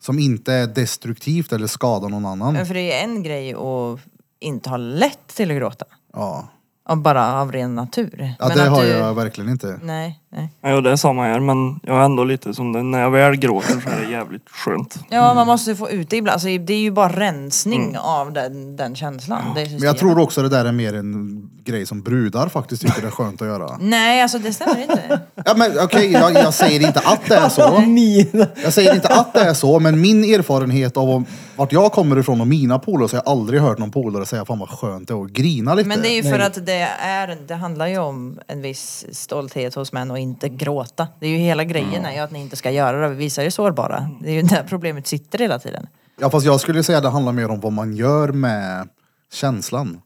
[SPEAKER 3] som inte är destruktivt eller skadar någon annan.
[SPEAKER 2] Men för det är en grej att inte ha lätt till att gråta.
[SPEAKER 3] Ja,
[SPEAKER 2] Av- Bara av ren natur.
[SPEAKER 3] ja
[SPEAKER 2] Men
[SPEAKER 3] det
[SPEAKER 2] att
[SPEAKER 3] har
[SPEAKER 2] du- Mm,
[SPEAKER 3] jag verkligen inte.
[SPEAKER 2] Nej, nej.
[SPEAKER 4] Ja, det är samma här men jag är ändå lite som det. När jag väl gråter så är det jävligt skönt.
[SPEAKER 2] Ja,
[SPEAKER 3] Mm.
[SPEAKER 2] man måste ju få ut det ibland. Alltså, det är ju bara rensning av den, den känslan. Det
[SPEAKER 3] Men jag tror också det där är mer en grej som brudar faktiskt tycker det är skönt att göra.
[SPEAKER 2] Nej, alltså det stämmer inte.
[SPEAKER 3] Ja, men okej, jag, jag säger inte att det är så.
[SPEAKER 5] Ni,
[SPEAKER 3] Jag säger inte att det är så, men min erfarenhet av vart jag kommer ifrån och mina polare så har jag aldrig hört någon polare säga fan vad skönt det är att grina lite.
[SPEAKER 2] Men det är ju för att det, är, det handlar ju om en viss stolthet hos män och inte gråta. Det är ju hela grejen är ju att ni inte ska göra det. Vi visar er sårbara. Det är ju där problemet sitter hela tiden.
[SPEAKER 3] Ja fast jag skulle säga att det handlar mer om vad man gör med känslan.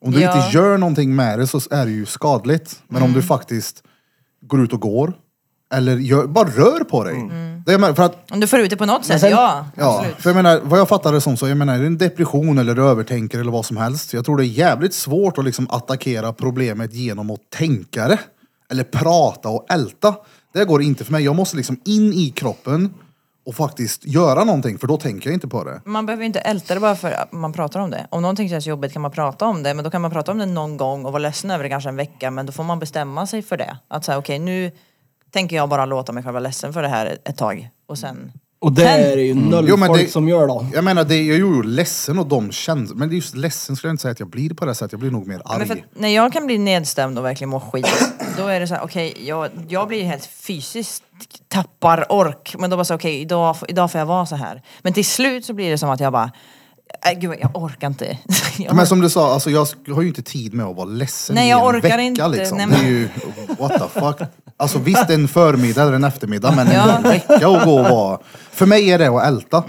[SPEAKER 3] Om du
[SPEAKER 2] Ja. Mm.
[SPEAKER 3] inte gör någonting med det så är det ju skadligt. Men om du faktiskt går ut och går, eller gör, bara rör på dig.
[SPEAKER 2] Mm.
[SPEAKER 3] Det är med, för att
[SPEAKER 2] Om du får ut det på något sätt,
[SPEAKER 5] sen-
[SPEAKER 2] ja.
[SPEAKER 3] Ja, för jag menar, vad jag fattar det som så, jag menar, är det en depression eller du övertänker eller vad som helst. Jag tror det är jävligt svårt att liksom attackera problemet genom att tänka det. Eller prata och älta. Det går inte för mig. Jag måste liksom in i kroppen och faktiskt göra någonting, för då tänker jag inte på det.
[SPEAKER 2] Man behöver ju inte älta det bara för att man pratar om det. Om någonting känns jobbigt kan man prata om det, men då kan man prata om det någon gång och vara ledsen över det kanske en vecka, men då får man bestämma sig för det. Att säga okej, nu tänker jag bara låta mig själv vara ledsen för det här ett tag och sen...
[SPEAKER 3] Mm.
[SPEAKER 5] och det är det ju noll
[SPEAKER 3] Jo, men
[SPEAKER 5] folk
[SPEAKER 3] det-
[SPEAKER 5] som gör då.
[SPEAKER 3] Jag menar, det, jag gjorde ju ledsen och de känslorna. Men just ledsen skulle jag inte säga att jag blir på det här sättet. Jag blir nog mer arg.
[SPEAKER 2] Men för att när jag kan bli nedstämd och verkligen må skit, då är det så här, okej, jag, jag blir helt fysiskt tappar ork, men då bara så okej, idag, får- idag får jag vara så här. Men till slut så blir det som att jag bara, äh, gud, jag orkar inte. Jag
[SPEAKER 3] Men som du sa, alltså jag sk- har ju inte tid med att vara ledsen
[SPEAKER 2] Nej,
[SPEAKER 3] i
[SPEAKER 2] jag
[SPEAKER 3] en
[SPEAKER 2] orkar
[SPEAKER 3] vecka
[SPEAKER 2] inte.
[SPEAKER 3] liksom.
[SPEAKER 2] Nej,
[SPEAKER 3] Det
[SPEAKER 2] men-
[SPEAKER 3] är ju, what the fuck. Alltså visst en förmiddag eller en eftermiddag, men en
[SPEAKER 2] Ja.
[SPEAKER 3] hel vecka att gå och vara. För mig är det att älta.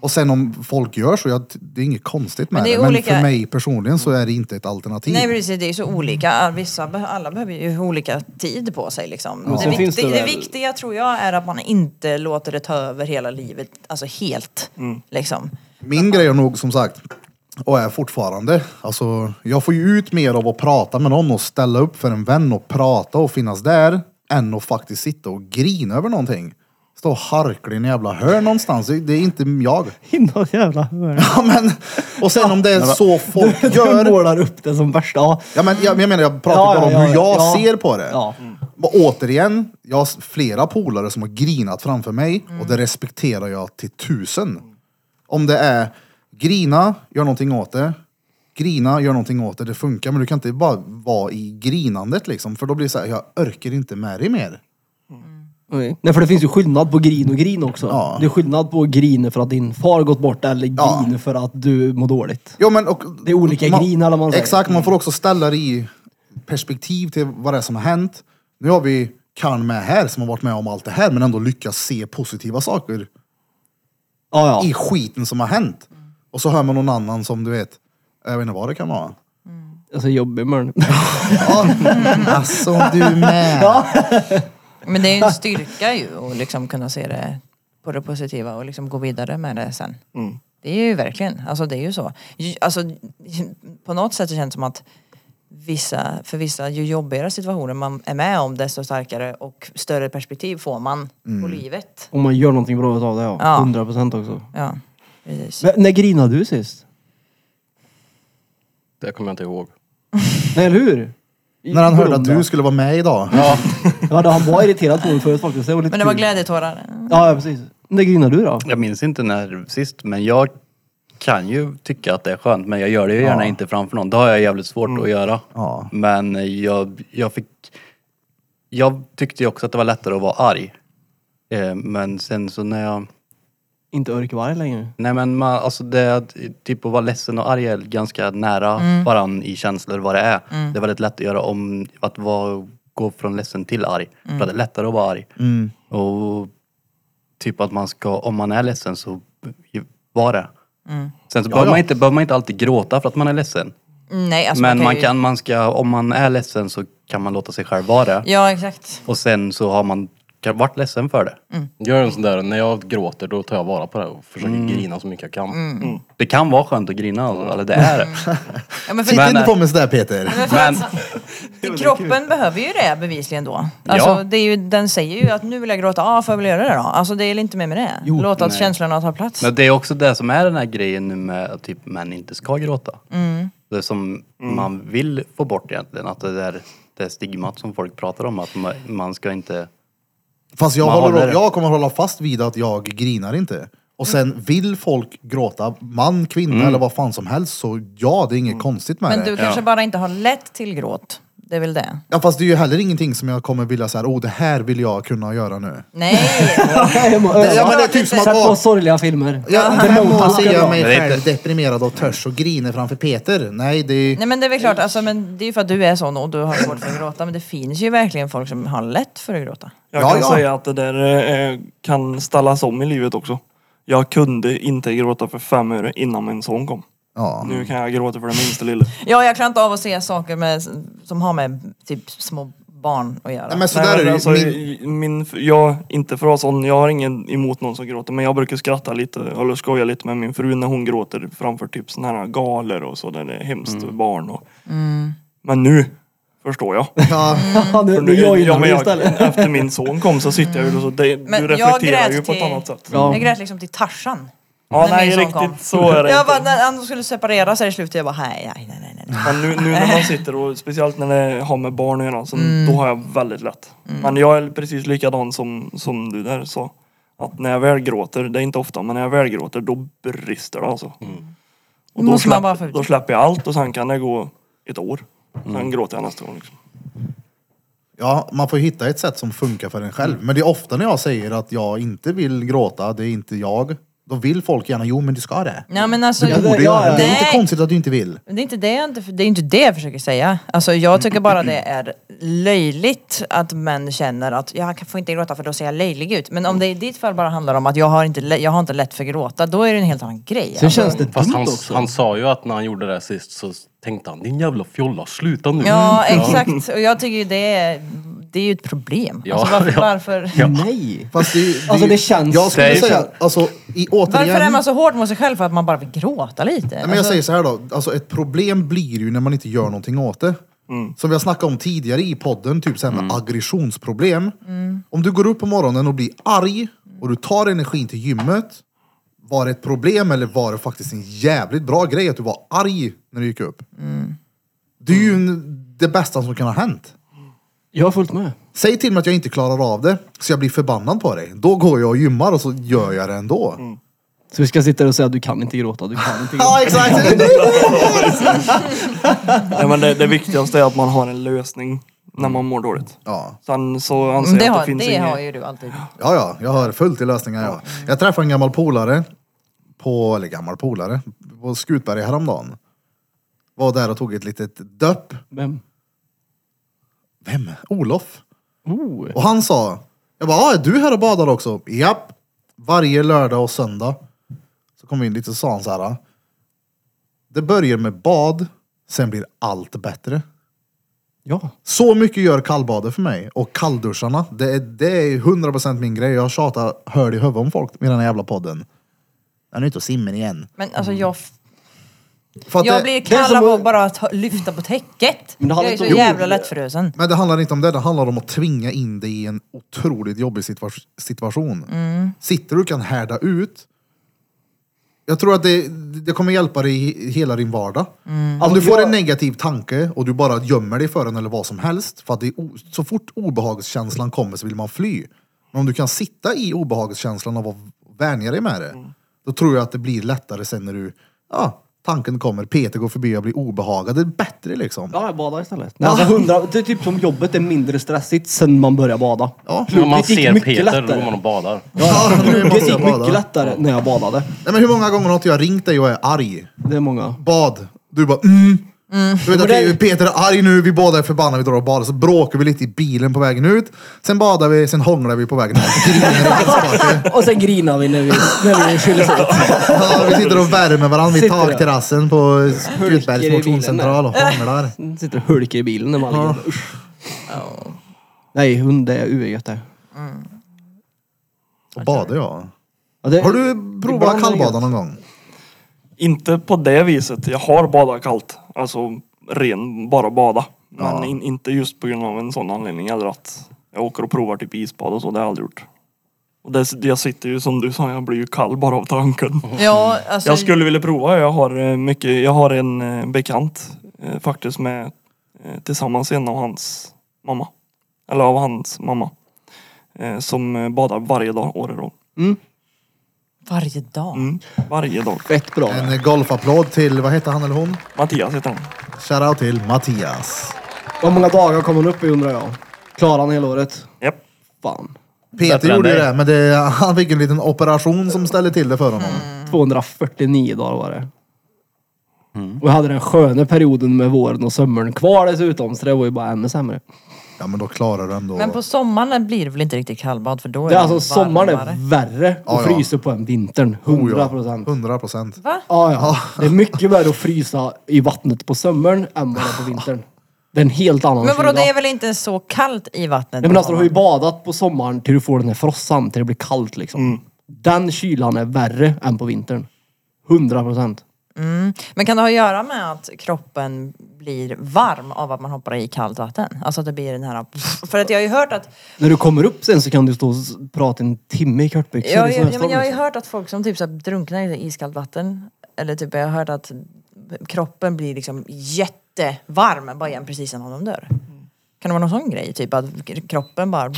[SPEAKER 3] Och sen om folk gör så, jag, det är inget konstigt med
[SPEAKER 2] Mm. Men det är
[SPEAKER 3] det. Men
[SPEAKER 2] olika-
[SPEAKER 3] för mig personligen så är det inte ett alternativ.
[SPEAKER 2] Nej precis, det är ju så olika. Vissa, be- alla behöver ju olika tid på sig liksom.
[SPEAKER 5] Men
[SPEAKER 2] Det,
[SPEAKER 5] sen
[SPEAKER 2] vikti-
[SPEAKER 5] finns det
[SPEAKER 2] det
[SPEAKER 5] väl-
[SPEAKER 2] viktiga tror jag är att man inte låter det ta över hela livet, alltså helt.
[SPEAKER 5] Mm.
[SPEAKER 2] Liksom.
[SPEAKER 3] Min grej är nog som sagt, och är fortfarande, alltså jag får ju ut mer av att prata med någon och ställa upp för en vän och prata och finnas där, än att faktiskt sitta och grina över någonting. Stå och harkla i en jävla hörn någonstans, det det är inte jag.
[SPEAKER 5] I någon jävla hörn.
[SPEAKER 3] Ja, men, och sen om det är så folk
[SPEAKER 5] Du
[SPEAKER 3] gör.
[SPEAKER 5] målar upp det som värsta. Ja.
[SPEAKER 3] Ja, men, jag, jag menar, jag pratar
[SPEAKER 5] Ja,
[SPEAKER 3] bara om
[SPEAKER 5] ja, ja,
[SPEAKER 3] hur jag
[SPEAKER 5] ja.
[SPEAKER 3] ser på det.
[SPEAKER 5] Ja.
[SPEAKER 3] Och återigen, jag har s- flera polare som har grinat framför mig och det respekterar jag till tusen. Om det är grina, gör någonting åt det. Grina, gör någonting åt det. Det funkar, men du kan inte bara vara i grinandet liksom. För då blir det så här, jag orkar inte med dig mer.
[SPEAKER 5] Okej. Nej för det finns ju skillnad på grin och grin också.
[SPEAKER 3] Ja.
[SPEAKER 5] Det är skillnad på att grina för att din far gått bort eller
[SPEAKER 3] Ja.
[SPEAKER 5] grina för att du mår dåligt.
[SPEAKER 3] Jo, men, och,
[SPEAKER 5] Det är olika grin, eller vad man säger. Mm.
[SPEAKER 3] Exakt, man får också ställa det i perspektiv till vad det är som har hänt. Nu har vi Kan med här som har varit med om allt det här men ändå lyckas se positiva saker
[SPEAKER 5] Ja,
[SPEAKER 3] i
[SPEAKER 5] ja.
[SPEAKER 3] skiten som har hänt.
[SPEAKER 2] Mm.
[SPEAKER 3] Och så hör man någon annan som du vet, jag vet inte vad det kan vara.
[SPEAKER 5] Alltså jobbig mörn.
[SPEAKER 3] Ja, alltså du med.
[SPEAKER 2] Men det är ju en styrka ju att liksom kunna se det på det positiva och liksom gå vidare med det sen.
[SPEAKER 5] Mm.
[SPEAKER 2] Det är ju verkligen, alltså det är ju så. Ju- Alltså, på något sätt så känns det som att vissa, för vissa, ju jobbigare situationer man är med om desto starkare och större perspektiv får man
[SPEAKER 5] Mm.
[SPEAKER 2] på livet.
[SPEAKER 5] Om man gör någonting bra utav det
[SPEAKER 2] Ja.
[SPEAKER 5] ja. 100 procent också.
[SPEAKER 2] Ja, precis.
[SPEAKER 5] Men, när grinade du sist?
[SPEAKER 8] Det kommer jag inte ihåg.
[SPEAKER 5] Nej, eller hur? I-
[SPEAKER 3] När han
[SPEAKER 5] i
[SPEAKER 3] hörde att
[SPEAKER 5] Blomda.
[SPEAKER 3] du skulle vara med idag.
[SPEAKER 5] Ja, det, han var irriterad på mig förut faktiskt. Det var lite
[SPEAKER 2] Men det var
[SPEAKER 5] kul.
[SPEAKER 10] Mm.
[SPEAKER 2] glädjetårar.
[SPEAKER 5] Ja, ja, precis. När grinade du då?
[SPEAKER 10] Jag minns inte när sist, men jag kan ju tycka att det är skönt, men jag gör det ju gärna inte framför någon. Det har jag jävligt svårt att göra.
[SPEAKER 3] Ja.
[SPEAKER 10] Men jag, jag fick... Jag tyckte ju också att det var lättare att vara arg. Eh, Men sen så när jag...
[SPEAKER 5] Inte örkvarg längre.
[SPEAKER 10] Nej men man, alltså det, typ att vara ledsen och arg är ganska nära
[SPEAKER 2] Mm.
[SPEAKER 10] varann i känslor vad det är. Det är väldigt lätt att göra om, att vara, gå från ledsen till arg.
[SPEAKER 2] Mm.
[SPEAKER 10] För att det är lättare att vara arg. Och typ att man ska, om man är ledsen så ju- var det. Sen så behöver, Man inte, behöver man inte alltid gråta för att man är ledsen.
[SPEAKER 2] Nej, Mm. alltså
[SPEAKER 10] men man
[SPEAKER 2] ju-
[SPEAKER 10] kan, man ska, om man är ledsen så kan man låta sig själv vara det.
[SPEAKER 2] Ja, exakt.
[SPEAKER 10] Och sen så har man kan- varit ledsen för det.
[SPEAKER 2] Mm.
[SPEAKER 8] Jag gör en sån där, när jag gråter då tar jag vara på det och försöker
[SPEAKER 3] Mm.
[SPEAKER 8] grina så mycket jag kan.
[SPEAKER 10] Det kan vara skönt att grina, alltså, eller det är det.
[SPEAKER 2] Ja, men för
[SPEAKER 10] Men-
[SPEAKER 3] Titta inte på mig sådär Peter.
[SPEAKER 2] Men för att, kroppen behöver ju det bevisligen då. Alltså,
[SPEAKER 10] Ja.
[SPEAKER 2] det är ju, den säger ju att nu vill jag gråta, ja får jag väl göra det då? Alltså det är väl inte mer med det. Låt att känslorna ta plats.
[SPEAKER 10] Men det är också det som är den här grejen nu med att typ män inte ska gråta. Det som
[SPEAKER 9] Mm.
[SPEAKER 10] man vill få bort egentligen, att det där det stigmat som folk pratar om att ma- man ska inte...
[SPEAKER 3] Fast jag,
[SPEAKER 10] Man
[SPEAKER 3] håller,
[SPEAKER 10] håller-
[SPEAKER 3] jag kommer hålla fast vid att jag grinar inte. Och sen vill folk gråta, man, kvinna
[SPEAKER 10] Mm.
[SPEAKER 3] eller vad fan som helst, så ja, det är inget konstigt med
[SPEAKER 2] Men
[SPEAKER 3] det.
[SPEAKER 2] du kanske bara inte har lätt till gråt. Det är väl det.
[SPEAKER 3] Ja, fast det är ju heller ingenting som jag kommer vilja säga, oh det här vill jag kunna göra nu.
[SPEAKER 2] Nej!
[SPEAKER 3] Ja, Mm. men det är typ som att,
[SPEAKER 5] Sätt
[SPEAKER 3] åh,
[SPEAKER 5] på sorgliga filmer.
[SPEAKER 3] Ja, om fem år ser jag mig
[SPEAKER 10] Men det är
[SPEAKER 3] själv deprimerad och törs och griner framför Peter. Nej, det är...
[SPEAKER 2] Nej men det är väl klart, alltså, men det är ju för att du är sån och du har svårt för att gråta. Men det finns ju verkligen folk som har lätt för att gråta.
[SPEAKER 4] Jag
[SPEAKER 3] Ja,
[SPEAKER 4] kan
[SPEAKER 3] ja.
[SPEAKER 4] säga att det där eh, kan ställas om i livet också. Jag kunde inte gråta för fem öre innan min son kom.
[SPEAKER 3] Ja.
[SPEAKER 10] Mm.
[SPEAKER 4] Nu kan jag gråta för den minsta lilla.
[SPEAKER 2] Ja, jag klarar inte av att se saker med, som har med typ små barn att göra.
[SPEAKER 3] Nej, men sådär är det
[SPEAKER 4] alltså,
[SPEAKER 3] ju. Min...
[SPEAKER 4] min, jag, inte för att vara sån, jag har ingen emot någon som gråter men jag brukar skratta lite eller skoja lite med min fru när hon gråter framför typ såna här galor och så där det är hemskt
[SPEAKER 3] Mm.
[SPEAKER 4] för barn och...
[SPEAKER 2] Mm.
[SPEAKER 4] Men nu förstår jag.
[SPEAKER 3] Ja,
[SPEAKER 5] Ja, nu,
[SPEAKER 4] För
[SPEAKER 5] nu
[SPEAKER 4] nu- ja,
[SPEAKER 5] joinar
[SPEAKER 4] men
[SPEAKER 5] vi
[SPEAKER 4] jag-
[SPEAKER 5] istället.
[SPEAKER 4] Efter min son kom så sitter jag ju och så det,
[SPEAKER 2] Men
[SPEAKER 4] du
[SPEAKER 2] jag
[SPEAKER 4] reflekterar
[SPEAKER 2] grät
[SPEAKER 4] ju på ett
[SPEAKER 2] till-
[SPEAKER 4] annat sätt.
[SPEAKER 5] Ja.
[SPEAKER 2] Jag grät liksom till Tarzan.
[SPEAKER 4] Ja,
[SPEAKER 2] när
[SPEAKER 4] nej
[SPEAKER 2] min son
[SPEAKER 4] riktigt
[SPEAKER 2] kom.
[SPEAKER 4] så är det
[SPEAKER 2] Jag
[SPEAKER 4] inte.
[SPEAKER 2] bara, när han skulle separera sig i slutet, jag bara nej, nej, nej, nej, nej.
[SPEAKER 4] Men nu, nu när man sitter och speciellt när det har med barn att göra, så
[SPEAKER 2] Mm.
[SPEAKER 4] då har jag väldigt lätt. Men jag är precis likadan som, som du där sa. Att när jag väl gråter, det är inte ofta, men när jag väl gråter då brister det alltså.
[SPEAKER 2] Måste
[SPEAKER 4] Och då,
[SPEAKER 2] man
[SPEAKER 4] släpp,
[SPEAKER 2] bara få ut
[SPEAKER 4] då
[SPEAKER 2] det.
[SPEAKER 4] släpper jag allt och sen kan det gå ett år. Sen gråter jag nästa gång. Liksom.
[SPEAKER 3] ja, man får hitta ett sätt som funkar för en
[SPEAKER 5] Mm.
[SPEAKER 3] själv. Men det är ofta när jag säger att jag inte vill gråta, det är inte jag. Då vill folk gärna, jo men du ska det.
[SPEAKER 2] Nej men alltså,
[SPEAKER 3] Du borde
[SPEAKER 5] ja,
[SPEAKER 3] göra det. Det är
[SPEAKER 2] Nej.
[SPEAKER 3] inte konstigt att du inte vill.
[SPEAKER 2] Men Det är inte det jag, inte, det är inte det jag försöker säga. Alltså jag tycker bara det är löjligt att män känner att jag kan- får inte gråta för då ser jag löjlig ut. Men om det i ditt fall bara handlar om att jag har inte, lä- jag har inte lätt för att gråta, då är det en helt annan grej.
[SPEAKER 5] Sen känns det
[SPEAKER 8] Fast
[SPEAKER 5] dumt
[SPEAKER 8] han,
[SPEAKER 5] också.
[SPEAKER 8] han sa ju att när han gjorde det här sist så tänkte han din jävla fjolla, sluta nu.
[SPEAKER 2] Ja, exakt. Och jag tycker ju det är, det är ju ett problem.
[SPEAKER 8] Ja,
[SPEAKER 2] alltså varför,
[SPEAKER 8] ja.
[SPEAKER 2] varför,
[SPEAKER 5] Nej!
[SPEAKER 3] Fast det, är ju- är
[SPEAKER 5] Alltså
[SPEAKER 3] ju-
[SPEAKER 5] det känns...
[SPEAKER 3] Jag skulle
[SPEAKER 9] Det är-
[SPEAKER 3] säga, alltså i, återigen.
[SPEAKER 2] varför är man så hård mot sig själv för att man bara vill gråta lite?
[SPEAKER 3] Nej, men jag säger så här då, alltså ett problem blir ju när man inte gör någonting åt det. Som vi har snackat om tidigare i podden, typ så här med aggressionsproblem. Om du går upp på morgonen och blir arg och du tar energin till gymmet. Var det ett problem eller var det faktiskt en jävligt bra grej att du var arg när du gick upp? Det är ju en, det bästa som kan ha hänt.
[SPEAKER 5] Jag har fullt med.
[SPEAKER 3] Säg till mig att jag inte klarar av det, så jag blir förbannad på dig. Då går jag och gymmar och så gör jag det ändå.
[SPEAKER 5] Så vi ska sitta där och säga att du kan inte gråta, du kan inte gråta.
[SPEAKER 3] Ja, exakt!
[SPEAKER 4] Nej, men det, det viktigaste är att man har en lösning när man mår dåligt.
[SPEAKER 3] Ja.
[SPEAKER 4] Sen så anser
[SPEAKER 2] Men Alltså, det
[SPEAKER 4] jag att det
[SPEAKER 2] har,
[SPEAKER 4] finns
[SPEAKER 2] det har
[SPEAKER 4] inget...
[SPEAKER 2] ju du alltid.
[SPEAKER 3] Ja, ja, jag har fullt i lösningar. Ja. Jag träffade en gammal polare, på, eller gammal polare, på Skutberg häromdagen. Var där och tog ett litet döpp.
[SPEAKER 5] Vem?
[SPEAKER 3] Vem? Olof.
[SPEAKER 5] Oh.
[SPEAKER 3] Och han sa, jag bara, ah, är du här och badar också? Japp. Varje lördag och söndag. Så kom vi in lite och sa han så här. Det börjar med bad, sen blir allt bättre.
[SPEAKER 5] Ja.
[SPEAKER 3] Så mycket gör kallbadet för mig och kallduscharna. Det är, det är 100% min grej. Jag tjatar hör i huvudet om folk med den här jävla podden. Han är ute och simmar igen.
[SPEAKER 2] Men alltså jag,
[SPEAKER 3] För att
[SPEAKER 2] jag
[SPEAKER 3] det,
[SPEAKER 2] blir
[SPEAKER 5] Mm. det är
[SPEAKER 2] kall
[SPEAKER 5] som
[SPEAKER 2] av att
[SPEAKER 5] att-
[SPEAKER 2] bara ta, lyfta på täcket.
[SPEAKER 5] Men det
[SPEAKER 2] Jag
[SPEAKER 5] handlar
[SPEAKER 2] är
[SPEAKER 5] inte
[SPEAKER 2] så
[SPEAKER 5] om-
[SPEAKER 2] jävla lättfrusen.
[SPEAKER 3] Men det handlar inte om det. Det handlar om att tvinga in dig i en otroligt jobbig situa- situation. Sitter du och kan härda ut. Jag tror att det, det kommer hjälpa dig i hela din vardag. Om du får en negativ tanke och du bara gömmer dig för den eller vad som helst. För att det är o- så fort obehagskänslan kommer så vill man fly. Men om du kan sitta i obehagskänslan och vara- vänja dig med det. Då tror jag att det blir lättare sen när du, ja, tanken kommer. Peter går förbi och jag blir obehagad. Det är bättre liksom.
[SPEAKER 5] Ja, jag badar istället. Nej, alltså, hundra, det är typ som jobbet är mindre stressigt sen man börjar bada.
[SPEAKER 3] Ja.
[SPEAKER 1] När man
[SPEAKER 5] Plugget gick
[SPEAKER 1] ser
[SPEAKER 5] mycket
[SPEAKER 1] Peter, då
[SPEAKER 5] lättare.
[SPEAKER 1] går man och badar.
[SPEAKER 3] Ja, nu måste
[SPEAKER 5] Plugget
[SPEAKER 3] jag
[SPEAKER 5] gick
[SPEAKER 3] bada.
[SPEAKER 5] mycket lättare när jag badade.
[SPEAKER 3] Nej, men hur många gånger har inte jag ringt dig och är arg?
[SPEAKER 5] Det är många.
[SPEAKER 3] Bad. Du bara mm. Du vet att
[SPEAKER 5] det-
[SPEAKER 3] vi- Peter är arg nu, vi båda är förbannade, vi drar och badar. Så bråkar vi lite i bilen på vägen ut. Sen badar vi, sen hånglar vi på vägen hem.
[SPEAKER 5] Och sen grinar vi när vi, när vi skiljer sig åt.
[SPEAKER 3] Ja, vi sitter och värmer varandra vid
[SPEAKER 5] Sitter där.
[SPEAKER 3] takterrassen på
[SPEAKER 5] Hulkar i
[SPEAKER 3] Gutbergs
[SPEAKER 5] bilen
[SPEAKER 3] motionscentral och hånglar.
[SPEAKER 5] Den Sitter och hulkar i bilen när man ligger. Usch. Nej, hund det är E uegött det.
[SPEAKER 3] Och badar ja.
[SPEAKER 5] Ja, det.
[SPEAKER 3] Har du provat
[SPEAKER 5] Ibland är det
[SPEAKER 3] kallbada
[SPEAKER 5] gött.
[SPEAKER 3] någon gång?
[SPEAKER 4] Inte på det viset. Jag har badat kallt. Alltså ren, bara bada. Men in, inte just på grund av en sån anledning. Eller att jag åker och provar typ isbad och så. Det har jag aldrig gjort. Och det, jag sitter ju som du sa, jag blir ju kall bara av tanken.
[SPEAKER 2] Ja, alltså,
[SPEAKER 4] Jag skulle vilja prova. Jag har eh, mycket, jag har en eh, bekant eh, faktiskt med eh, tillsammans en av hans mamma. Eller av hans mamma. Eh, Som eh, badar varje dag året runt.
[SPEAKER 2] Varje dag.
[SPEAKER 4] Mm. Varje dag.
[SPEAKER 5] Fett bra.
[SPEAKER 3] En golfapplåd till, vad heter han eller hon?
[SPEAKER 4] Mattias heter han.
[SPEAKER 3] Shoutout till Mattias.
[SPEAKER 5] Hur många dagar kom hon upp i undrar jag? Klarar han hela året?
[SPEAKER 4] Japp.
[SPEAKER 5] Fan.
[SPEAKER 3] Peter
[SPEAKER 9] Bättre än
[SPEAKER 3] gjorde ju
[SPEAKER 9] dig.
[SPEAKER 3] det, men det, han fick en liten operation som ställde till det för honom.
[SPEAKER 5] Mm. 249 dagar var det.
[SPEAKER 3] Mm.
[SPEAKER 5] Och jag hade den sköna perioden med våren och sommaren kvar dessutom, så det var ju bara ännu sämre.
[SPEAKER 3] Ja men då klarar du ändå.
[SPEAKER 2] Men på sommaren blir det väl inte riktigt kallbad för då är
[SPEAKER 5] Det är alltså sommaren
[SPEAKER 2] varmare.
[SPEAKER 5] är värre att
[SPEAKER 3] Ja, Oh, ja.
[SPEAKER 5] frysa på än vintern. 100 procent.
[SPEAKER 3] 100 procent.
[SPEAKER 5] Ja, ja. Det är mycket värre att frysa i vattnet på sommaren än vad det är på vintern. Det är en helt annan
[SPEAKER 2] Men vadå,
[SPEAKER 5] kyla.
[SPEAKER 2] det är väl inte så kallt i vattnet?
[SPEAKER 5] Nej men alltså du har ju badat på sommaren till du får den här frossan, till det blir kallt liksom. Den kylan är värre än på vintern. 100 procent.
[SPEAKER 2] Men kan det ha att göra med att kroppen blir varm av att man hoppar i kallt vatten? Alltså att det blir den här... För att jag har ju hört att...
[SPEAKER 5] När du kommer upp sen så kan du stå och s- prata en timme i kortbyxor. i
[SPEAKER 2] Jag, jag,
[SPEAKER 5] snöstorm,
[SPEAKER 2] ja, men jag har ju
[SPEAKER 5] liksom.
[SPEAKER 2] hört att folk som typ så här drunknar i iskallt vatten, eller typ jag har hört att kroppen blir liksom jättevarm bara igen precis innan de dör. Kan det vara någon sån grej? Typ att kroppen bara...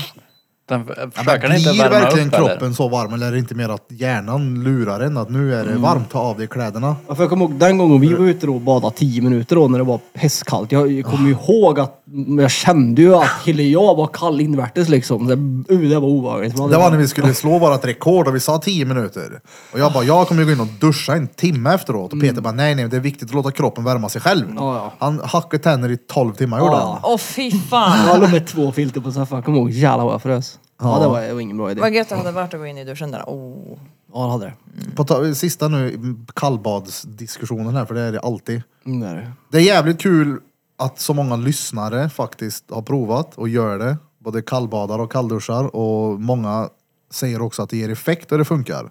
[SPEAKER 10] Den, f-
[SPEAKER 3] Men
[SPEAKER 10] försöker den inte
[SPEAKER 3] blir
[SPEAKER 10] värma
[SPEAKER 3] verkligen
[SPEAKER 10] upp
[SPEAKER 3] kroppen
[SPEAKER 10] eller?
[SPEAKER 3] så varm eller är det inte mer att hjärnan lurar en att nu
[SPEAKER 5] Mm.
[SPEAKER 3] är det varmt, ta av dig kläderna?
[SPEAKER 5] Ah. Ja, för jag kommer ihåg den gången vi var ute då och badade 10 minuter då när det var pestkallt. Jag kommer ihåg att Men jag kände ju att hela jag var kall invärtes liksom. Det, uh, det var obehagligt. Man-
[SPEAKER 3] Det var när vi skulle slå vårt rekord och vi sa 10 minuter. Och jag bara, jag kommer ju gå in och duscha en timme efteråt. Och Peter bara, nej nej, det är viktigt att låta kroppen värma sig själv.
[SPEAKER 5] Mm. ja.
[SPEAKER 3] Han hackade tänder i 12 timmar gjorde
[SPEAKER 5] Ja,
[SPEAKER 3] han.
[SPEAKER 2] Åh fy
[SPEAKER 5] Jag
[SPEAKER 2] fan!
[SPEAKER 5] låg med två filter på soffan. Kommer ihåg jävlar vad jag frös. Ja, det var, det var ingen bra idé.
[SPEAKER 2] Vad gött det hade varit att gå in i duschen där. Oh.
[SPEAKER 5] Ja, det hade det.
[SPEAKER 3] På ta- sista nu, kallbadsdiskussionen här, för det är det alltid.
[SPEAKER 5] Mm, det är det.
[SPEAKER 3] Det är jävligt kul att så många lyssnare faktiskt har provat och gör det. Både kallbadar och kallduschar och många säger också att det ger effekt och det funkar.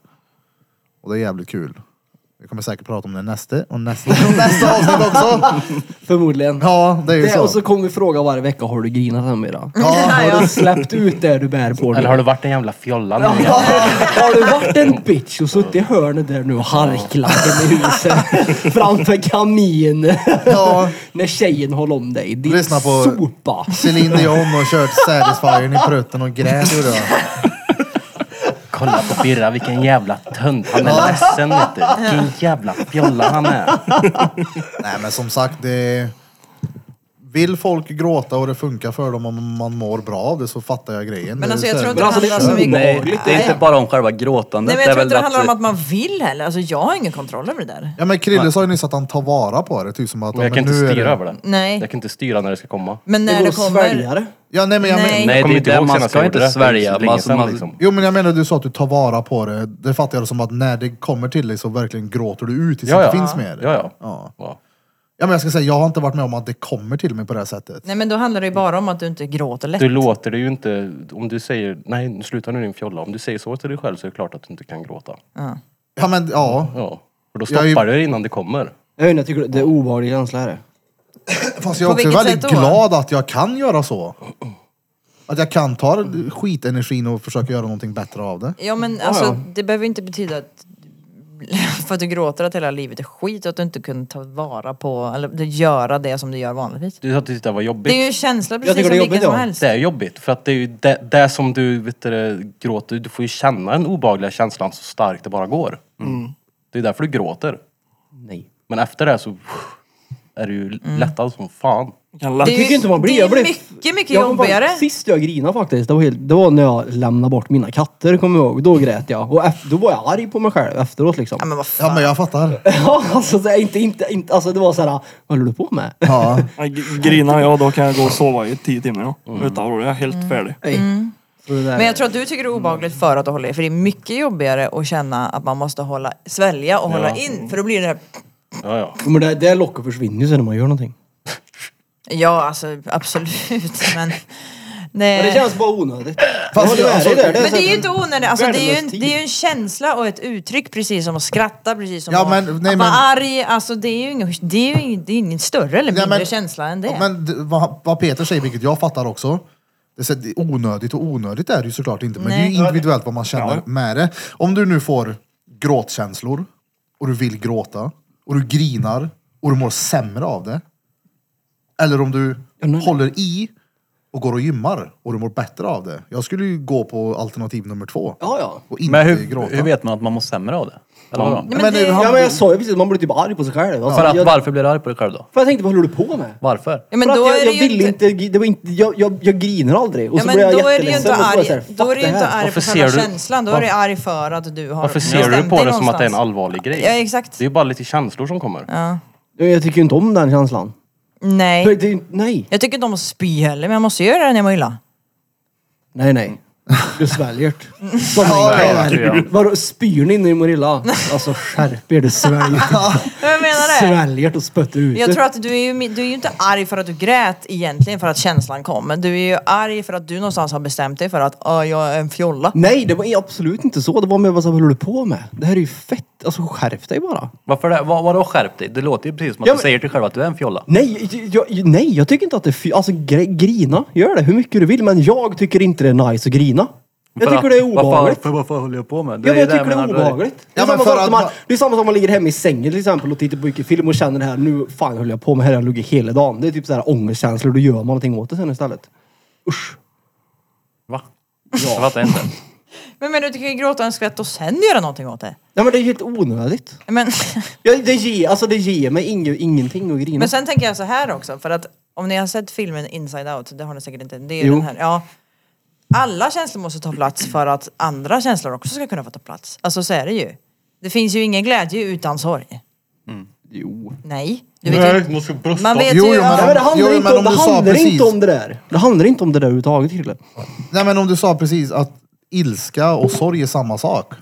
[SPEAKER 3] Och det är jävligt kul. Vi kommer säkert prata om det nästa och nästa och nästa avsnitt också.
[SPEAKER 5] Förmodligen.
[SPEAKER 3] Ja, det är ju
[SPEAKER 5] Det,
[SPEAKER 3] så.
[SPEAKER 5] och så kommer vi fråga varje vecka, har du grinat än idag?
[SPEAKER 3] Ja,
[SPEAKER 5] Har du släppt ut det du bär på? nu?
[SPEAKER 9] Eller har du varit en jävla fjolla nu igen?
[SPEAKER 5] Har du varit en bitch och suttit i hörnet där nu och harklat i huset framför kaminen
[SPEAKER 3] ja.
[SPEAKER 5] när tjejen håller om dig? Din
[SPEAKER 3] Lyssna på-
[SPEAKER 5] sopa!
[SPEAKER 3] Céline Dion och kört Satisfyern i prutten och grät gjorde jag.
[SPEAKER 9] Kolla på Birra, vilken jävla tönt. Han är ledsen vet du. Vilken jävla fjolla han är.
[SPEAKER 3] Nej men som sagt, det... Vill folk gråta och det funkar för dem om man mår bra av det så fattar jag grejen.
[SPEAKER 2] Men
[SPEAKER 3] Det är
[SPEAKER 2] alltså jag
[SPEAKER 3] så här-
[SPEAKER 2] tror
[SPEAKER 5] Men
[SPEAKER 2] inte det
[SPEAKER 5] alltså, det
[SPEAKER 2] handlar så
[SPEAKER 5] är
[SPEAKER 2] mycket
[SPEAKER 10] Nej, det är inte bara om själva
[SPEAKER 2] Nej
[SPEAKER 10] gråtandet.
[SPEAKER 2] men jag
[SPEAKER 10] det
[SPEAKER 2] tror
[SPEAKER 10] är
[SPEAKER 2] inte det handlar om
[SPEAKER 10] att-
[SPEAKER 2] att man vill heller. Alltså jag har ingen kontroll över det där.
[SPEAKER 3] Ja men Krille sa ju nyss att han tar vara på det, typ som att...
[SPEAKER 9] Men jag
[SPEAKER 3] ja,
[SPEAKER 9] kan
[SPEAKER 3] men
[SPEAKER 9] inte
[SPEAKER 3] nu är
[SPEAKER 9] styra
[SPEAKER 3] det...
[SPEAKER 9] över det.
[SPEAKER 2] Nej.
[SPEAKER 9] Jag kan inte styra när det ska komma.
[SPEAKER 2] Men när
[SPEAKER 5] går
[SPEAKER 2] det
[SPEAKER 5] att
[SPEAKER 2] kommer...
[SPEAKER 5] svälja det.
[SPEAKER 3] Ja nej men jag
[SPEAKER 2] Nej.
[SPEAKER 3] men...
[SPEAKER 10] Nej,
[SPEAKER 9] Jag kommer
[SPEAKER 10] det
[SPEAKER 9] inte
[SPEAKER 10] är det
[SPEAKER 9] ihåg
[SPEAKER 10] man
[SPEAKER 9] senast
[SPEAKER 10] ska
[SPEAKER 9] jag
[SPEAKER 10] inte
[SPEAKER 9] gjorde det. Det är
[SPEAKER 10] svälja.
[SPEAKER 9] länge
[SPEAKER 10] Man,
[SPEAKER 9] sedan,
[SPEAKER 10] man,
[SPEAKER 9] liksom.
[SPEAKER 3] Jo men jag menar du sa att du tar vara på det, det fattar jag som att när det kommer till dig så verkligen gråter du ut tills
[SPEAKER 9] Ja,
[SPEAKER 3] det
[SPEAKER 9] ja.
[SPEAKER 3] inte finns mer.
[SPEAKER 9] Ja, ja.
[SPEAKER 3] ja.
[SPEAKER 9] Ja.
[SPEAKER 3] Ja men jag ska säga, jag har inte varit med om att det kommer till mig på det här sättet.
[SPEAKER 2] Nej men då handlar det ju bara om att du inte gråter lätt.
[SPEAKER 9] Du låter det ju inte... Om du säger nej, nu sluta nu din fjolla. Om du säger så till dig själv så är det klart att du inte kan gråta.
[SPEAKER 3] Ja men ja,
[SPEAKER 9] Ja. För då
[SPEAKER 3] Jag är ju-
[SPEAKER 9] stoppar du det innan det kommer.
[SPEAKER 5] Jag vet inte, jag tycker det är obehaglig känsla är det.
[SPEAKER 3] Fast jag
[SPEAKER 2] På
[SPEAKER 3] är också
[SPEAKER 2] vilket
[SPEAKER 3] väldigt
[SPEAKER 2] sätt då?
[SPEAKER 3] glad att jag kan göra så. Att jag kan ta skitenergin och försöka göra någonting bättre av det.
[SPEAKER 2] Ja men alltså det behöver inte betyda att för att du gråter att hela livet är skit och att du inte kunde ta vara på eller göra det som du gör vanligtvis.
[SPEAKER 9] Du sa att du tyckte det var
[SPEAKER 2] Det
[SPEAKER 9] jobbigt.
[SPEAKER 2] är ju en känsla precis
[SPEAKER 5] tycker
[SPEAKER 2] som
[SPEAKER 5] det är
[SPEAKER 2] vilken
[SPEAKER 5] jobbigt,
[SPEAKER 2] som
[SPEAKER 5] ja.
[SPEAKER 2] helst.
[SPEAKER 9] Det är jobbigt för att det är ju det, det som du vet du, det, gråter, du får ju känna den obehagliga känslan så starkt det bara går.
[SPEAKER 3] Mm.
[SPEAKER 2] Mm.
[SPEAKER 9] Det är därför du gråter.
[SPEAKER 5] Nej.
[SPEAKER 9] Men efter det så är du ju
[SPEAKER 2] Mm.
[SPEAKER 9] lättad som fan.
[SPEAKER 4] Kan lätt
[SPEAKER 2] Det är ju-
[SPEAKER 5] tycker inte man blir-
[SPEAKER 2] det är
[SPEAKER 5] jag blir-
[SPEAKER 2] ju mycket, mycket
[SPEAKER 5] Jag kommer ihåg
[SPEAKER 2] jobbigare.
[SPEAKER 5] Sist jag grinade faktiskt, det var, helt, det var när jag lämnade bort mina katter, kommer jag ihåg. Då grät jag. Och efter, då var jag arg på mig själv efteråt liksom.
[SPEAKER 2] Ja men vad
[SPEAKER 3] Ja
[SPEAKER 2] fan.
[SPEAKER 3] men jag fattar.
[SPEAKER 5] Ja, alltså, det, är inte, inte, inte, alltså det var såhär, vad håller du på med?
[SPEAKER 3] Ja.
[SPEAKER 4] Ja, g- Grinar jag då kan jag gå och sova i tio timmar. Ja.
[SPEAKER 3] Mm.
[SPEAKER 4] Utan oro, jag är
[SPEAKER 2] Mm.
[SPEAKER 4] helt färdig.
[SPEAKER 5] Nej. Så det där-
[SPEAKER 2] Men jag tror att du tycker det är obehagligt för att du håller i. För det är mycket jobbigare att känna att man måste hålla, svälja och hålla in. För då blir det här,
[SPEAKER 9] Ja, ja.
[SPEAKER 5] Men det, det locket försvinner ju sen när man gör någonting.
[SPEAKER 2] ja alltså absolut men...
[SPEAKER 5] Men
[SPEAKER 2] Nej.
[SPEAKER 5] det känns bara onödigt.
[SPEAKER 3] Fast
[SPEAKER 5] Ja, det är
[SPEAKER 3] alltså,
[SPEAKER 5] det, det är det.
[SPEAKER 2] Men det är ju inte onödigt, alltså, det, är ju en,
[SPEAKER 5] värdelös tid.
[SPEAKER 2] det är ju en känsla och ett uttryck precis som att skratta, precis som
[SPEAKER 3] Ja,
[SPEAKER 2] att-
[SPEAKER 3] men-
[SPEAKER 2] att
[SPEAKER 3] nej,
[SPEAKER 2] vara
[SPEAKER 3] men-
[SPEAKER 2] arg. Alltså, det är ju ingen, det är ju ingen, det är ingen större eller mindre
[SPEAKER 3] men-
[SPEAKER 2] känsla än det.
[SPEAKER 3] Men d- vad, vad Peter säger, vilket jag fattar också. Det är så- det är onödigt och onödigt är det ju såklart inte. Men det är ju individuellt vad man känner med det. Om du nu får gråtkänslor och du vill gråta och du grinar och du mår sämre av det. Eller om du håller i och går och gymmar och du mår bättre av det. Jag skulle ju gå på alternativ nummer två.
[SPEAKER 5] Ja, ja.
[SPEAKER 3] Och inte
[SPEAKER 10] men
[SPEAKER 3] gråta.
[SPEAKER 10] hur, hur vet man att man mår sämre av det? Eller vadå?
[SPEAKER 2] Nej, men
[SPEAKER 3] men
[SPEAKER 2] det-
[SPEAKER 3] han-
[SPEAKER 5] Ja, men jag sa ju precis, man blir typ arg på sig själv. Alltså,
[SPEAKER 10] För att,
[SPEAKER 5] jag,
[SPEAKER 10] varför blir du arg på dig själv då?
[SPEAKER 5] för jag tänkte, vad håller du på med?
[SPEAKER 10] Varför?
[SPEAKER 2] Ja, men
[SPEAKER 5] för
[SPEAKER 2] då
[SPEAKER 5] att jag,
[SPEAKER 2] är det
[SPEAKER 5] jag
[SPEAKER 2] ju
[SPEAKER 5] ville
[SPEAKER 2] inte-
[SPEAKER 5] inte, det var inte jag, jag, jag grinar aldrig. Och
[SPEAKER 2] Ja,
[SPEAKER 5] så
[SPEAKER 2] men
[SPEAKER 5] blir jag
[SPEAKER 2] då är det ju inte
[SPEAKER 5] jätteledsen. och så var jag så här,
[SPEAKER 2] arg, då
[SPEAKER 5] fuck
[SPEAKER 2] är det ju inte
[SPEAKER 5] här.
[SPEAKER 2] arg
[SPEAKER 9] Varför
[SPEAKER 2] på
[SPEAKER 9] ser
[SPEAKER 2] själva
[SPEAKER 9] du-
[SPEAKER 2] känslan, då är du arg för att du har
[SPEAKER 9] Varför ser
[SPEAKER 2] bestämt
[SPEAKER 9] du på
[SPEAKER 2] dig
[SPEAKER 9] det som att det är en
[SPEAKER 2] någonstans.
[SPEAKER 9] allvarlig grej?
[SPEAKER 2] Ja, exakt.
[SPEAKER 9] Det är ju bara lite känslor som kommer.
[SPEAKER 5] Ja, Jag tycker ju inte om den känslan. För
[SPEAKER 2] Nej.
[SPEAKER 5] det är ju- Nej,
[SPEAKER 2] Jag tycker inte om att spy heller, men jag måste göra det när jag mår illa.
[SPEAKER 5] nej, nej. Du sväljer det. Sån
[SPEAKER 10] ja, ja.
[SPEAKER 5] är Vadå, spyr ni när ni mår illa? Alltså skärp er, du sväljer
[SPEAKER 2] Jag menar det.
[SPEAKER 5] Sväljer det och spötter ut
[SPEAKER 2] Jag
[SPEAKER 5] det.
[SPEAKER 2] tror att du är, ju, du är ju inte arg för att du grät egentligen för att känslan kom. Men du är ju arg för att du någonstans har bestämt dig för att "Ah, jag är en fjolla.
[SPEAKER 5] Nej, det var absolut inte så. Det var mer vad så här, vad håller du på med? Det här är ju fett. Alltså skärp dig bara.
[SPEAKER 10] Varför det? Vad, vadå skärp dig? Det låter ju precis som att
[SPEAKER 5] Ja,
[SPEAKER 10] du
[SPEAKER 5] men-
[SPEAKER 10] säger till dig själv att du är en fjolla.
[SPEAKER 5] Nej, jag, nej, jag tycker inte att det är fy- Alltså gre- grina, gör det hur mycket du vill. Men jag tycker inte det är nice att grina. Jag
[SPEAKER 10] För
[SPEAKER 5] tycker
[SPEAKER 10] att-
[SPEAKER 5] det är
[SPEAKER 10] varför-
[SPEAKER 5] obehagligt.
[SPEAKER 10] Varför, varför håller jag på med?
[SPEAKER 5] Ja, men jag
[SPEAKER 10] är
[SPEAKER 5] tycker det är
[SPEAKER 10] menar, då
[SPEAKER 5] obehagligt. Det är,
[SPEAKER 3] Ja,
[SPEAKER 5] samma
[SPEAKER 3] men för
[SPEAKER 5] sak
[SPEAKER 3] att
[SPEAKER 5] som man,
[SPEAKER 3] man-
[SPEAKER 5] det är samma som om man ligger hemma i sängen till exempel och tittar på mycket film och känner det här, nu fan höll jag på med, här har jag legat hela dagen. Det är typ så här ångestkänslor, då gör man någonting åt det sen istället. Usch.
[SPEAKER 10] Va? Jag fattar inte.
[SPEAKER 2] Men, men du tycker ju gråta en skvätt och sen göra någonting åt det.
[SPEAKER 5] Nej men det är helt onödigt.
[SPEAKER 2] Men,
[SPEAKER 5] Jag, det, ger, alltså, det ger mig ing, ingenting att grina.
[SPEAKER 2] men sen tänker jag så här också, för att Om ni har sett filmen Inside Out, det har ni säkert inte. Det är
[SPEAKER 5] Jo.
[SPEAKER 2] den här, ja. Alla känslor måste ta plats för att andra känslor också ska kunna få ta plats. Alltså så är det ju. Det finns ju ingen glädje utan sorg.
[SPEAKER 5] Mm. Jo.
[SPEAKER 2] Nej. Du vet ju,
[SPEAKER 9] Nej, man ska brösta.
[SPEAKER 2] man vet
[SPEAKER 3] Jo,
[SPEAKER 2] ju...
[SPEAKER 3] jo,
[SPEAKER 5] Nej,
[SPEAKER 2] Ja,
[SPEAKER 5] men det handlar,
[SPEAKER 3] Jo,
[SPEAKER 5] inte,
[SPEAKER 3] men
[SPEAKER 5] om,
[SPEAKER 3] om
[SPEAKER 5] det
[SPEAKER 3] du sa
[SPEAKER 5] handlar
[SPEAKER 3] precis-
[SPEAKER 5] inte om det där. Det handlar inte om det där överhuvudtaget, Krille.
[SPEAKER 3] Nej men om du sa precis att ilska och sorg är samma sak.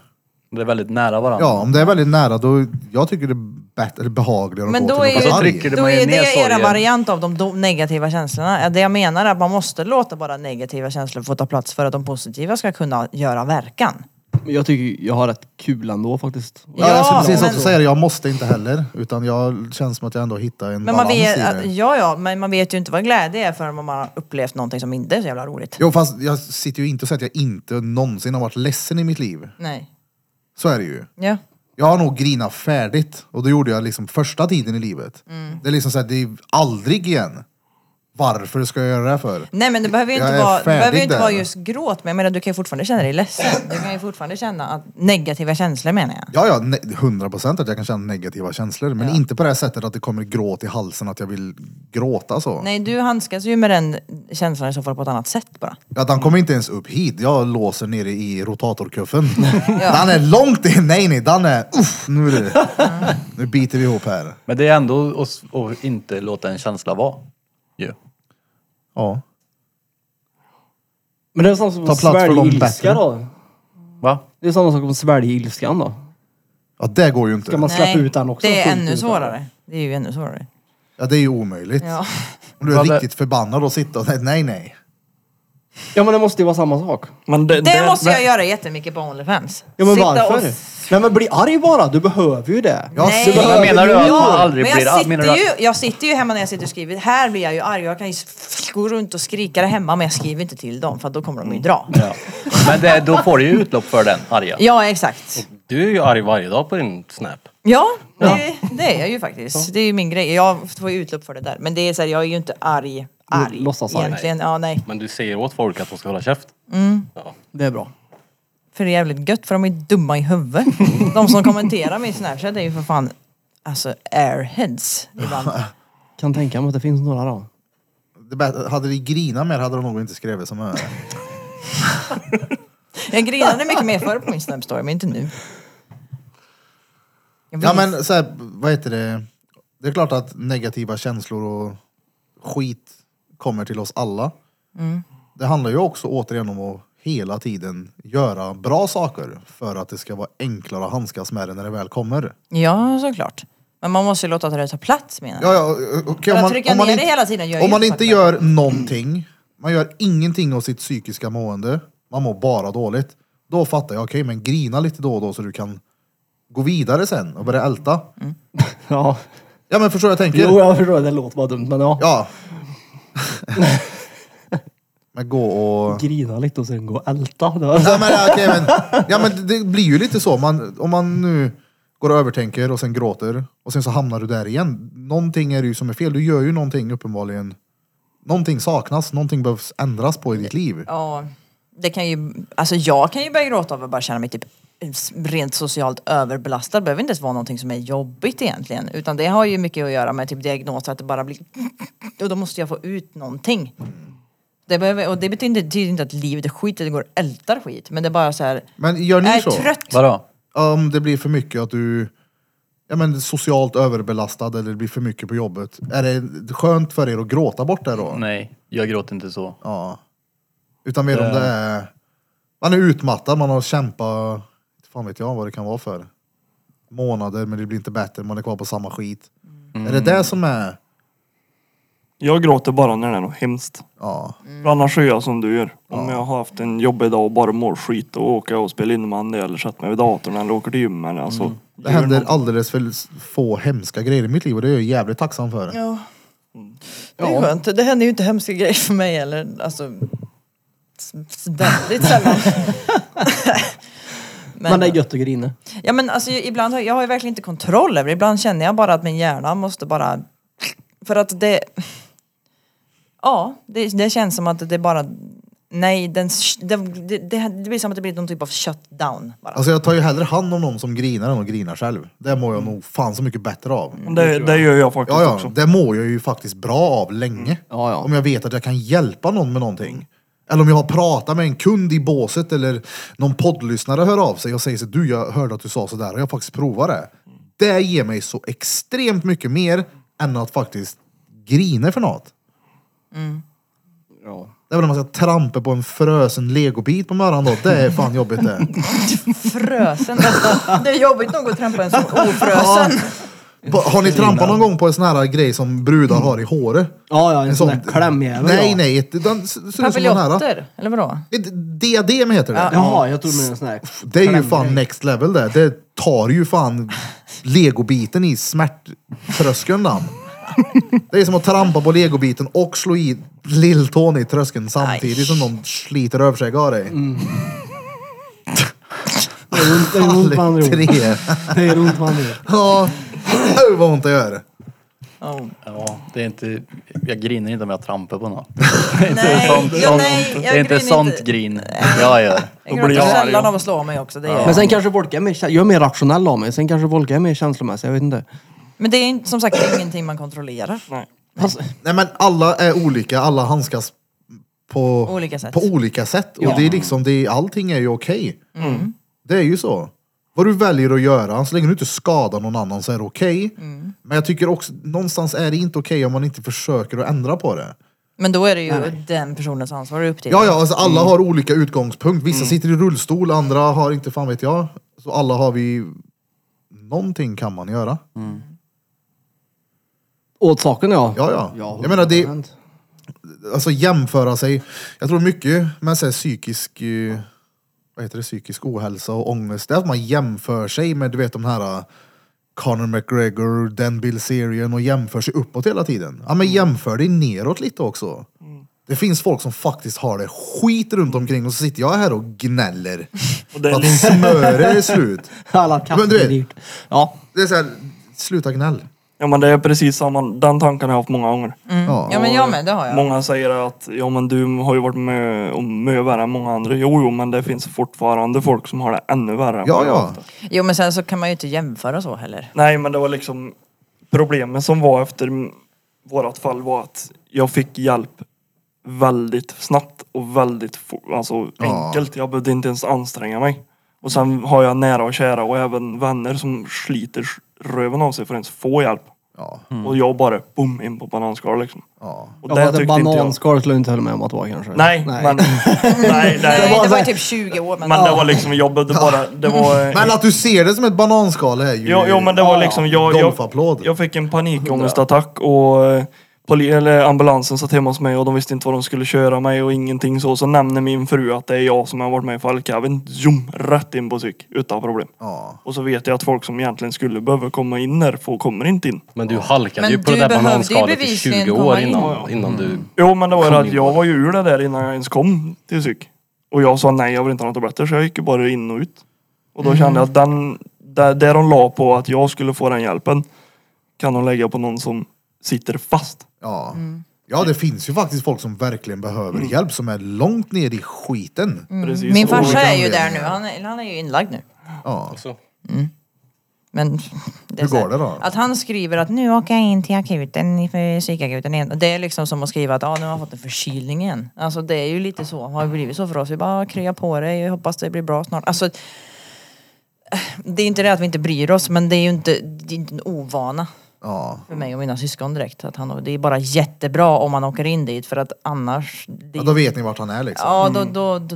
[SPEAKER 10] Det är väldigt nära varandra.
[SPEAKER 3] Ja, om det är väldigt nära då, jag tycker det är bättre, behagligare att
[SPEAKER 2] Men
[SPEAKER 3] gå
[SPEAKER 2] då
[SPEAKER 3] till
[SPEAKER 2] är ju,
[SPEAKER 3] någon Alltså,
[SPEAKER 10] så
[SPEAKER 3] som arg.
[SPEAKER 10] trycker det
[SPEAKER 2] då
[SPEAKER 10] man ju
[SPEAKER 2] är
[SPEAKER 10] ner
[SPEAKER 2] det era
[SPEAKER 10] sorgen.
[SPEAKER 2] variant av de do- negativa känslorna. Ja, Det jag menar är att man måste låta bara negativa känslor få ta plats för att de positiva ska kunna göra verkan.
[SPEAKER 5] Men jag tycker jag har rätt kul ändå faktiskt.
[SPEAKER 3] Ja, jag skulle precis
[SPEAKER 2] men-
[SPEAKER 3] också säga det. Jag måste inte heller. Utan jag känns som att jag ändå hittar en
[SPEAKER 2] Men man
[SPEAKER 3] balans
[SPEAKER 2] vet,
[SPEAKER 3] i det.
[SPEAKER 2] ja, ja, men man vet ju inte vad glädje är förrän man har upplevt någonting som inte är så jävla roligt.
[SPEAKER 3] Jo, fast jag sitter ju inte och säger att jag inte någonsin har varit ledsen i mitt liv.
[SPEAKER 2] Nej.
[SPEAKER 3] Så är det ju.
[SPEAKER 2] Ja.
[SPEAKER 3] Jag har nog grinat färdigt och det gjorde jag liksom första tiden i livet.
[SPEAKER 2] Mm.
[SPEAKER 3] Det är liksom såhär, det är aldrig igen. Varför ska jag göra det här för?
[SPEAKER 2] Nej men det behöver ju
[SPEAKER 3] Jag
[SPEAKER 2] inte,
[SPEAKER 3] är
[SPEAKER 2] vara, det behöver
[SPEAKER 3] färdig
[SPEAKER 2] ju inte
[SPEAKER 3] där.
[SPEAKER 2] vara just gråt, men jag menar du kan ju fortfarande känna dig ledsen. Du kan ju fortfarande känna att negativa känslor menar jag.
[SPEAKER 3] Ja, ja, ne- 100 procent att jag kan känna negativa känslor. Men inte på det här sättet att det kommer gråt i halsen, att jag vill gråta så.
[SPEAKER 2] Nej, du handskas ju med den känslan i så fall på ett annat sätt bara.
[SPEAKER 3] Att han kommer inte ens upp hit. Jag låser nere i rotatorkuffen. Den är långt in. Nej, nej, den är... Uff, nu är det... Nu biter vi ihop här.
[SPEAKER 10] Men det är ändå att, att inte låta en känsla vara. ju.
[SPEAKER 3] Ja.
[SPEAKER 5] Men det är samma sak
[SPEAKER 3] Ta
[SPEAKER 5] som
[SPEAKER 3] plats för
[SPEAKER 5] svälja
[SPEAKER 3] de
[SPEAKER 5] ilska
[SPEAKER 3] bättre.
[SPEAKER 5] då.
[SPEAKER 10] Va?
[SPEAKER 5] Det är samma sak som svälja ilskan då.
[SPEAKER 3] Ja, det går ju inte.
[SPEAKER 5] Ska man släppa
[SPEAKER 2] Nej,
[SPEAKER 5] ut den också?
[SPEAKER 2] det är
[SPEAKER 5] fullt
[SPEAKER 2] ännu
[SPEAKER 5] ut?
[SPEAKER 2] svårare. Det är ju ännu svårare.
[SPEAKER 3] Ja, det är ju omöjligt.
[SPEAKER 2] Ja.
[SPEAKER 3] Om du är
[SPEAKER 10] Ja, det-
[SPEAKER 3] riktigt förbannad och sitter och säger nej, nej.
[SPEAKER 5] Ja men det måste ju vara samma sak.
[SPEAKER 4] Men det,
[SPEAKER 2] Det måste jag
[SPEAKER 4] men-
[SPEAKER 2] göra jättemycket på Onlyfans.
[SPEAKER 5] Ja men
[SPEAKER 2] Sitta
[SPEAKER 5] varför?
[SPEAKER 2] och-
[SPEAKER 5] Nej men bli arg bara, du behöver ju det.
[SPEAKER 3] Ja,
[SPEAKER 2] Nej.
[SPEAKER 3] så-
[SPEAKER 10] Men menar du att
[SPEAKER 2] Ja,
[SPEAKER 10] man aldrig
[SPEAKER 2] men
[SPEAKER 10] blir
[SPEAKER 2] jag
[SPEAKER 10] arg? Menar
[SPEAKER 2] sitter,
[SPEAKER 10] du att-
[SPEAKER 2] ju, jag sitter ju hemma när jag sitter och skriver. Här blir jag ju arg. Jag kan ju s- gå runt och skrika där hemma men jag skriver inte till dem för att då kommer de ju dra.
[SPEAKER 10] Ja. Men det, då får du ju utlopp för den arga.
[SPEAKER 2] Ja, exakt.
[SPEAKER 9] Du är ju arg varje dag på din Snap.
[SPEAKER 2] Ja, det, det är jag ju faktiskt. Det är ju min grej. Jag får ju utlopp för det där. Men det är så här, jag är ju inte arg. Arg.
[SPEAKER 5] låtsasarg.
[SPEAKER 2] egentligen. Ja, nej.
[SPEAKER 9] Men du säger åt folk att de ska hålla käft.
[SPEAKER 5] Det är bra.
[SPEAKER 2] För det är jävligt gött för de är ju dumma i huvudet. De som kommenterar min Snapchat är ju för fan alltså airheads ibland.
[SPEAKER 5] Kan tänka mig att det finns några då.
[SPEAKER 3] Det bä- hade vi grinat mer hade de nog inte skrivit som är.
[SPEAKER 2] Jag grinade mycket mer förr på min Snap-story, men inte nu. Jag vill-
[SPEAKER 3] Ja, men så här, vad heter det? Det är klart att negativa känslor och skit kommer till oss alla.
[SPEAKER 2] Mm.
[SPEAKER 3] Det handlar ju också återigen om att hela tiden göra bra saker för att det ska vara enklare att handskas med det när det väl kommer.
[SPEAKER 2] Ja, såklart. Men man måste ju låta det ta plats menar jag.
[SPEAKER 3] Ja, ja, okej,
[SPEAKER 2] Bara trycka ner det hela tiden gör ju
[SPEAKER 3] om man inte
[SPEAKER 2] saker.
[SPEAKER 3] gör någonting, man gör ingenting av sitt psykiska mående, man mår bara dåligt. Då fattar jag, okej men grina lite då och då så du kan gå vidare sen och börja älta.
[SPEAKER 2] Mm.
[SPEAKER 5] Ja.
[SPEAKER 3] Ja men förstår jag tänker?
[SPEAKER 5] Jo jag förstår, det låter bara dumt men ja.
[SPEAKER 3] Ja. men gå och...
[SPEAKER 5] Grina lite och sen gå och älta. Det var-
[SPEAKER 3] Ja men, okej, men, ja, men det blir ju lite så. Man, om man nu går och övertänker och sen gråter och sen så hamnar du där igen. Någonting är det ju som är fel. Du gör ju någonting uppenbarligen. Någonting saknas, någonting behövs ändras på i ditt liv.
[SPEAKER 2] Ja, det kan ju, alltså jag kan ju börja gråta av att bara känna mig typ rent socialt överbelastad. Det behöver inte ens vara någonting som är jobbigt egentligen. Utan det har ju mycket att göra med typ diagnoser, att det bara blir... Och då måste jag få ut någonting. Det behöver, och det betyder, betyder inte att livet är skit, det går att ältar skit. Men det är bara så här...
[SPEAKER 3] Men gör
[SPEAKER 2] Jag
[SPEAKER 3] ni
[SPEAKER 2] är
[SPEAKER 3] så?
[SPEAKER 2] trött.
[SPEAKER 10] Vadå?
[SPEAKER 3] Om det blir för mycket att du ja, men, socialt överbelastad eller det blir för mycket på jobbet. Är det skönt för er att gråta bort det då?
[SPEAKER 10] Nej, jag gråter inte så.
[SPEAKER 3] Ja. Utan mer om det är... Man är utmattad, man har kämpat, inte fan vet jag vad det kan vara för. Månader, men det blir inte bättre, man är kvar på samma skit. Är det det som är...
[SPEAKER 4] jag gråter bara när det är något hemskt.
[SPEAKER 3] Ja.
[SPEAKER 2] Mm.
[SPEAKER 4] För Annars är jag som du gör. Om jag har haft en jobbig dag och bara mår skit, då åker jag och spelar innebandy eller sätter mig vid datorn eller åker till gym eller alltså.
[SPEAKER 3] Mm. Det händer alldeles för få hemska grejer i mitt liv och det är jag jävligt tacksam för.
[SPEAKER 2] Ja. Det är skönt. Det händer ju inte hemska grejer för mig eller alltså s- s- väldigt sällan.
[SPEAKER 5] Men det är gött att grina.
[SPEAKER 2] Ja men alltså ibland, har, jag har ju verkligen inte kontroll över det. Ibland känner jag bara att min hjärna måste bara... För att det... Ja, det, det känns som att det bara Nej, den, det, det, det, det blir som att det blir någon typ av shutdown bara.
[SPEAKER 3] Alltså jag tar ju hellre hand om någon som grinar än att grina själv. Det mår jag nog fan så mycket bättre av.
[SPEAKER 4] Det, det gör jag faktiskt
[SPEAKER 3] Ja, ja,
[SPEAKER 4] också.
[SPEAKER 3] det mår jag ju faktiskt bra av länge.
[SPEAKER 5] Mm. Ja, ja.
[SPEAKER 3] Om jag vet att jag kan hjälpa någon med någonting. Eller om jag har pratat med en kund i båset eller någon poddlyssnare hör av sig och säger så du jag hörde att du sa sådär och jag har faktiskt provat det. Det ger mig så extremt mycket mer än att faktiskt grina för något.
[SPEAKER 5] Mm. Ja.
[SPEAKER 3] Det är väl när man ska trampa på en frösen legobit på morgonen då. Det är fan jobbigt det.
[SPEAKER 2] Frösen. Alltså, det är jobbigt nog att trampa en som ofrösen.
[SPEAKER 3] Ba- Har ni trampat någon gång på en sån här grej som brudar har i håret?
[SPEAKER 5] Ja, ja, en sån där klämjävel.
[SPEAKER 3] Nej,
[SPEAKER 5] ja.
[SPEAKER 3] nej. ett- Den s- ser ut som den här.
[SPEAKER 2] Papiljotter, eller vadå?
[SPEAKER 3] Ett Diadem heter det.
[SPEAKER 5] Jaha, jag trodde du menade en sån här.
[SPEAKER 3] Det är ju
[SPEAKER 5] klämgrej.
[SPEAKER 3] fan next level det. Det tar ju fan legobiten i smärttröskeln den. Det är som att trampa på legobiten och slå i lilltån i tröskeln samtidigt som någon sliter rövskägg av dig.
[SPEAKER 5] Mm. Det är runt- det är runt med andra
[SPEAKER 3] Alla
[SPEAKER 5] ord.
[SPEAKER 3] tre.
[SPEAKER 5] Det är runt med andra ord.
[SPEAKER 3] Ja, Oj, vad ont det gör.
[SPEAKER 2] Oh.
[SPEAKER 10] Ja, det är inte, jag grinar inte om jag trampar på någon.
[SPEAKER 2] Nej,
[SPEAKER 10] sånt,
[SPEAKER 2] ja, nej, jag
[SPEAKER 10] det är inte
[SPEAKER 2] griner
[SPEAKER 10] sånt
[SPEAKER 2] inte.
[SPEAKER 10] grin jag gör.
[SPEAKER 2] Jag
[SPEAKER 4] blir jag
[SPEAKER 2] gråter
[SPEAKER 4] arg,
[SPEAKER 2] sällan
[SPEAKER 4] ja.
[SPEAKER 2] av att slå mig också. Det är
[SPEAKER 5] Men sen kanske folk är mer, kä- jag är mer rationell av mig. Sen kanske folk är mer känslomässiga, jag vet inte.
[SPEAKER 2] Men det är inte- som sagt det är ingenting man kontrollerar.
[SPEAKER 5] Fast,
[SPEAKER 3] Nej men alla är olika, alla handskas på
[SPEAKER 2] Olika sätt.
[SPEAKER 3] På olika sätt. Och det är liksom, det är, allting är ju okej.
[SPEAKER 2] Mm.
[SPEAKER 3] Det är ju så. Vad du väljer att göra, så länge du inte skadar någon annan så är det okej.
[SPEAKER 2] Mm.
[SPEAKER 3] Men jag tycker också, någonstans är det inte okej om man inte försöker att ändra på det.
[SPEAKER 2] Men då är det ju den personens ansvar att upp till.
[SPEAKER 3] Ja, ja, alltså alla har olika utgångspunkt. Vissa sitter i rullstol, andra har inte fan vet jag. Så alla har vi... Någonting kan man göra.
[SPEAKER 5] åt saken ja.
[SPEAKER 3] Ja, ja.
[SPEAKER 5] ja
[SPEAKER 3] Jag menar, det-
[SPEAKER 5] 100%.
[SPEAKER 3] alltså jämföra sig. Jag tror mycket med så här, psykisk, eh, vad heter det, psykisk ohälsa och ångest, det är att man jämför sig med du vet de här eh, Conor McGregor, Dan Bilzerian och jämför sig uppåt hela tiden. Ja men
[SPEAKER 4] Mm.
[SPEAKER 3] jämför dig neråt lite också. Det finns folk som faktiskt har det skit runt omkring och så sitter jag här och gnäller.
[SPEAKER 4] Och det är
[SPEAKER 3] att
[SPEAKER 4] lite-
[SPEAKER 3] smöret är slut.
[SPEAKER 5] Alla
[SPEAKER 3] Men du
[SPEAKER 5] katter
[SPEAKER 3] vet-
[SPEAKER 5] är dyrt. Ja.
[SPEAKER 3] Det är så här, sluta gnäll.
[SPEAKER 4] Ja men det är precis samma, den tanken har jag haft många gånger.
[SPEAKER 3] Ja.
[SPEAKER 2] Mm. Ja, men jag med, det har jag.
[SPEAKER 4] Många säger att ja men du har ju varit med om mycket värre än många andra. Jo jo men det finns fortfarande folk som har det ännu värre. än
[SPEAKER 3] Ja,
[SPEAKER 4] vad jag
[SPEAKER 3] ja.
[SPEAKER 4] har haft det.
[SPEAKER 2] Jo men sen så kan man ju inte jämföra så heller.
[SPEAKER 4] Nej men det var liksom problemen som var efter m- vårat fall var att jag fick hjälp väldigt snabbt och väldigt fo- alltså, enkelt. Jag behövde inte ens anstränga mig. Och sen har jag nära och kära och även vänner som sliter s- röven av sig för att ens få hjälp.
[SPEAKER 3] Ja.
[SPEAKER 4] Och jag bara boom in på bananskal liksom.
[SPEAKER 3] Ja.
[SPEAKER 4] Och
[SPEAKER 5] Jag
[SPEAKER 4] det
[SPEAKER 5] hade
[SPEAKER 4] tyckte inte jag.
[SPEAKER 5] bananskal skulle jag inte hålla med om att det var kanske.
[SPEAKER 4] Nej, men... nej,
[SPEAKER 2] Nej,
[SPEAKER 4] nej.
[SPEAKER 2] det var ju typ 20 år men...
[SPEAKER 4] Men det
[SPEAKER 2] ja.
[SPEAKER 4] var liksom, jag behövde bara... Det var...
[SPEAKER 3] Men att du ser det som ett bananskal är ju... Ah,
[SPEAKER 4] Jo, jo men det var liksom, jag, jag,
[SPEAKER 3] Golfapplåd.
[SPEAKER 4] jag fick en panikångestattack och eh, poli- eller ambulansen satt hemma hos mig och de visste inte vad de skulle köra mig och ingenting så. Så nämner min fru att det är jag som har varit med i fallkabeln. Zoom! Rätt in på psyk, utan problem.
[SPEAKER 3] Ja.
[SPEAKER 4] Och så vet jag att folk som egentligen skulle behöva komma in där, får kommer inte in.
[SPEAKER 9] Men du halkade
[SPEAKER 2] Men
[SPEAKER 9] ju på
[SPEAKER 2] du
[SPEAKER 9] det där
[SPEAKER 2] behövde ju
[SPEAKER 9] bananskalet i
[SPEAKER 2] bevisligen
[SPEAKER 9] 20 år
[SPEAKER 2] komma in. Mm.
[SPEAKER 9] innan, innan du...
[SPEAKER 4] Jo men det var ju det
[SPEAKER 9] Kom
[SPEAKER 4] att
[SPEAKER 9] in
[SPEAKER 4] jag
[SPEAKER 9] bara.
[SPEAKER 4] var ju ur det där innan jag ens kom till psyk. Och jag sa nej, jag vill inte ha något tabletter så jag gick ju bara in och ut. Och då
[SPEAKER 5] Mm.
[SPEAKER 4] kände jag att den, där, där de la på att jag skulle få den hjälpen kan de lägga på någon som sitter fast.
[SPEAKER 3] Ja. ja, det finns ju faktiskt folk som verkligen behöver hjälp, som är långt ner i skiten.
[SPEAKER 4] Precis.
[SPEAKER 2] Min
[SPEAKER 4] Och-
[SPEAKER 2] farsa är ju
[SPEAKER 3] det.
[SPEAKER 2] där nu, han är, han är ju inlagd nu. Mm.
[SPEAKER 3] Ja.
[SPEAKER 2] Men det är
[SPEAKER 3] Hur
[SPEAKER 2] så här-
[SPEAKER 3] går det då?
[SPEAKER 2] Att han skriver att nu åker jag in till akuten, för psykakuten igen. Det är liksom som att skriva att ah, nu har jag fått en förkylning igen. Alltså det är ju lite så, har det blivit så för oss. Vi bara ah, krya på dig, jag hoppas det blir bra snart. Alltså, det är inte det att vi inte bryr oss, men det är ju inte, det är inte en ovana
[SPEAKER 3] Ja.
[SPEAKER 2] för mig och mina syskon direkt. Att han, det är bara jättebra om man åker in dit för att annars... Det,
[SPEAKER 3] ja, då vet ni vart han är liksom.
[SPEAKER 2] ja, då, då, då,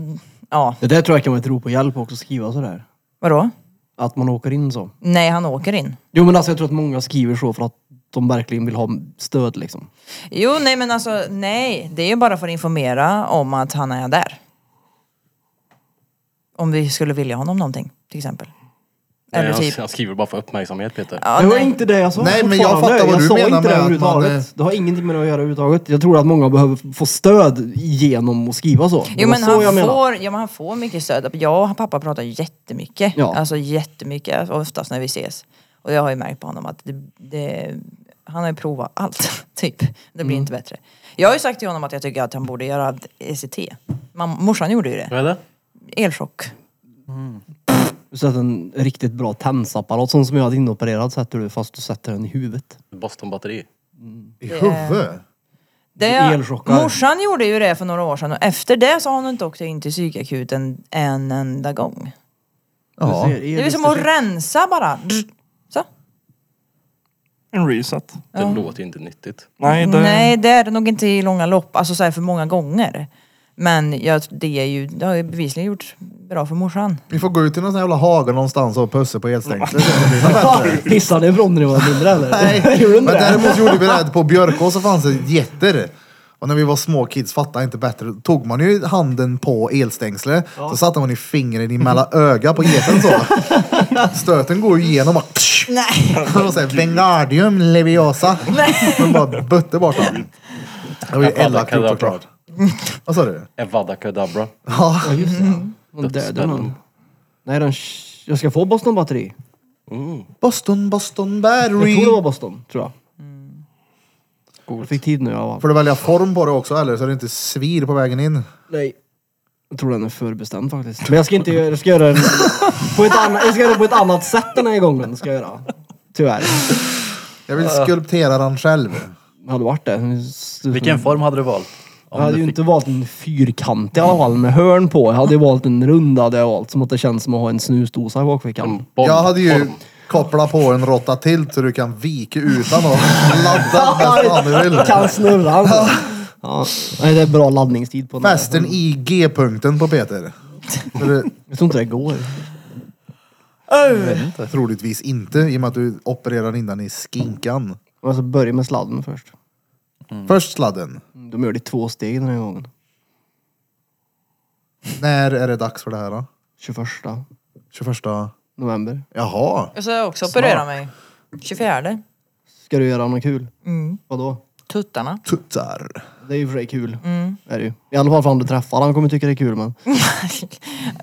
[SPEAKER 2] ja,
[SPEAKER 5] Det där tror jag kan vara ett rop på hjälp också, skriva sådär.
[SPEAKER 2] vadå?
[SPEAKER 5] Att man åker in så.
[SPEAKER 2] Nej, han åker in.
[SPEAKER 5] Jo men alltså jag tror att många skriver så för att de verkligen vill ha stöd liksom.
[SPEAKER 2] Jo, nej men alltså nej. Det är ju bara för att informera om att han är där. Om vi skulle vilja honom någonting, till exempel. Eller
[SPEAKER 9] Nej, han,
[SPEAKER 2] typ...
[SPEAKER 9] han skriver bara för uppmärksamhet Peter.
[SPEAKER 2] Ja,
[SPEAKER 5] det var
[SPEAKER 2] nej.
[SPEAKER 5] inte det jag sa
[SPEAKER 3] Nej, men jag
[SPEAKER 5] fortfarande.
[SPEAKER 3] fattar vad du
[SPEAKER 5] sa
[SPEAKER 3] menar
[SPEAKER 5] inte
[SPEAKER 3] med
[SPEAKER 5] det
[SPEAKER 3] att man,
[SPEAKER 5] överhuvudtaget.
[SPEAKER 3] eh,
[SPEAKER 5] Det har ingenting med det att göra överhuvudtaget. Jag tror att många behöver få stöd genom att skriva så. Det
[SPEAKER 2] Jo
[SPEAKER 5] var
[SPEAKER 2] men
[SPEAKER 5] så
[SPEAKER 2] han
[SPEAKER 5] jag menar.
[SPEAKER 2] får, ja, men han får mycket stöd. Jag och pappa pratar jättemycket.
[SPEAKER 5] Ja.
[SPEAKER 2] Alltså jättemycket, oftast när vi ses. Och jag har ju märkt på honom att det, det, han har ju provat
[SPEAKER 5] Mm.
[SPEAKER 2] allt, typ. Det blir inte bättre. Jag har ju sagt till honom att jag tycker att han borde göra ECT. Mam- morsan gjorde ju det.
[SPEAKER 9] Vad är det?
[SPEAKER 2] Elchock.
[SPEAKER 5] Du sätter en riktigt bra tensapparat, sån som jag hade inopererad sätter du fast du sätter den i huvudet.
[SPEAKER 9] Boston-batteri.
[SPEAKER 3] I huvudet?
[SPEAKER 2] Det,
[SPEAKER 5] Elchockar.
[SPEAKER 2] morsan gjorde ju det för några år sedan och efter det så har hon inte åkt in till psykakuten en enda gång.
[SPEAKER 3] Ja.
[SPEAKER 5] Du ser,
[SPEAKER 2] Det är ju som att rensa bara. Drr. Så.
[SPEAKER 4] En reset.
[SPEAKER 9] Det låter ju inte nyttigt.
[SPEAKER 4] Nej, det...
[SPEAKER 2] Nej, det är det nog inte i långa lopp, alltså så här för många gånger. Men jag, det, är ju, det har ju bevisligen gjort bra för morsan.
[SPEAKER 3] Vi får gå ut i någon sån här jävla hage någonstans och pussa på elstängslet.
[SPEAKER 5] Pissade ni ifrån när ni var mindre eller?
[SPEAKER 3] Nej,
[SPEAKER 5] Gjorde
[SPEAKER 3] men
[SPEAKER 5] ni det?
[SPEAKER 3] däremot gjorde vi det här på Björkås så fanns det getter. Och när vi var små kids fattade inte bättre. Då Tog man ju handen på elstängslet så satte man ju fingret i mellan öga på geten så. Stöten går ju igenom och...
[SPEAKER 2] Nej.
[SPEAKER 3] Det var såhär Wingardium leviosa. Man bara bötte bort den. Det var ju
[SPEAKER 9] Avada
[SPEAKER 3] elakt gjort
[SPEAKER 9] Kedavra.
[SPEAKER 3] såklart. Vad sa du?
[SPEAKER 9] Evada Kedavra.
[SPEAKER 3] Ja.
[SPEAKER 10] Mm.
[SPEAKER 5] Hon dödade någon. Nej, den... Jag ska få Boston batteri.
[SPEAKER 3] Boston, Boston
[SPEAKER 5] Jag
[SPEAKER 3] Battery.
[SPEAKER 5] tror det var Boston, tror jag.
[SPEAKER 10] Mm.
[SPEAKER 5] Jag fick tid nu. Jag var...
[SPEAKER 3] Får du välja form på det också eller? Så det inte svir på vägen in.
[SPEAKER 5] Nej. Jag tror den är förbestämd faktiskt. Men jag ska inte göra... Jag ska göra den på ett, annat, jag ska göra den på ett annat sätt den här gången. Ska jag göra. Tyvärr.
[SPEAKER 3] Jag vill skulptera den själv.
[SPEAKER 5] Det hade varit det.
[SPEAKER 10] Vilken form hade du valt?
[SPEAKER 5] Jag
[SPEAKER 10] Om
[SPEAKER 5] hade
[SPEAKER 10] du
[SPEAKER 5] ju
[SPEAKER 10] fick-
[SPEAKER 5] inte valt en fyrkant i alla fall med hörn på. Jag hade ju valt en rund hade jag valt. Som att det känns som att ha en snusdosa i bakfickan.
[SPEAKER 9] Bomb.
[SPEAKER 3] Jag hade ju kopplat på en rotta till så du kan vika utan och ladda bäst fan du vill.
[SPEAKER 5] Kan snurra alltså. Ja. Nej, det är bra laddningstid på den.
[SPEAKER 3] Fäst den i G-punkten på Peter. Så det,
[SPEAKER 5] Jag tror inte det går.
[SPEAKER 3] troligtvis inte i och med att du opererar innan i
[SPEAKER 5] Jag
[SPEAKER 3] skinkan.
[SPEAKER 5] måste Alltså, börja med sladden först.
[SPEAKER 3] Först sladden.
[SPEAKER 5] De gör det i två steg den här gången.
[SPEAKER 3] När är det dags för det här då?
[SPEAKER 5] 21
[SPEAKER 3] 21
[SPEAKER 5] november.
[SPEAKER 3] Jaha.
[SPEAKER 2] Jag ska också operera mig. 24.
[SPEAKER 5] Ska du göra något kul?
[SPEAKER 2] Mm.
[SPEAKER 5] Vadå?
[SPEAKER 2] Tuttarna.
[SPEAKER 3] Tuttar.
[SPEAKER 5] Det är ju för sig kul.
[SPEAKER 2] Mm.
[SPEAKER 5] Är det ju. I alla fall för han du träffar. Han kommer tycka det är kul men.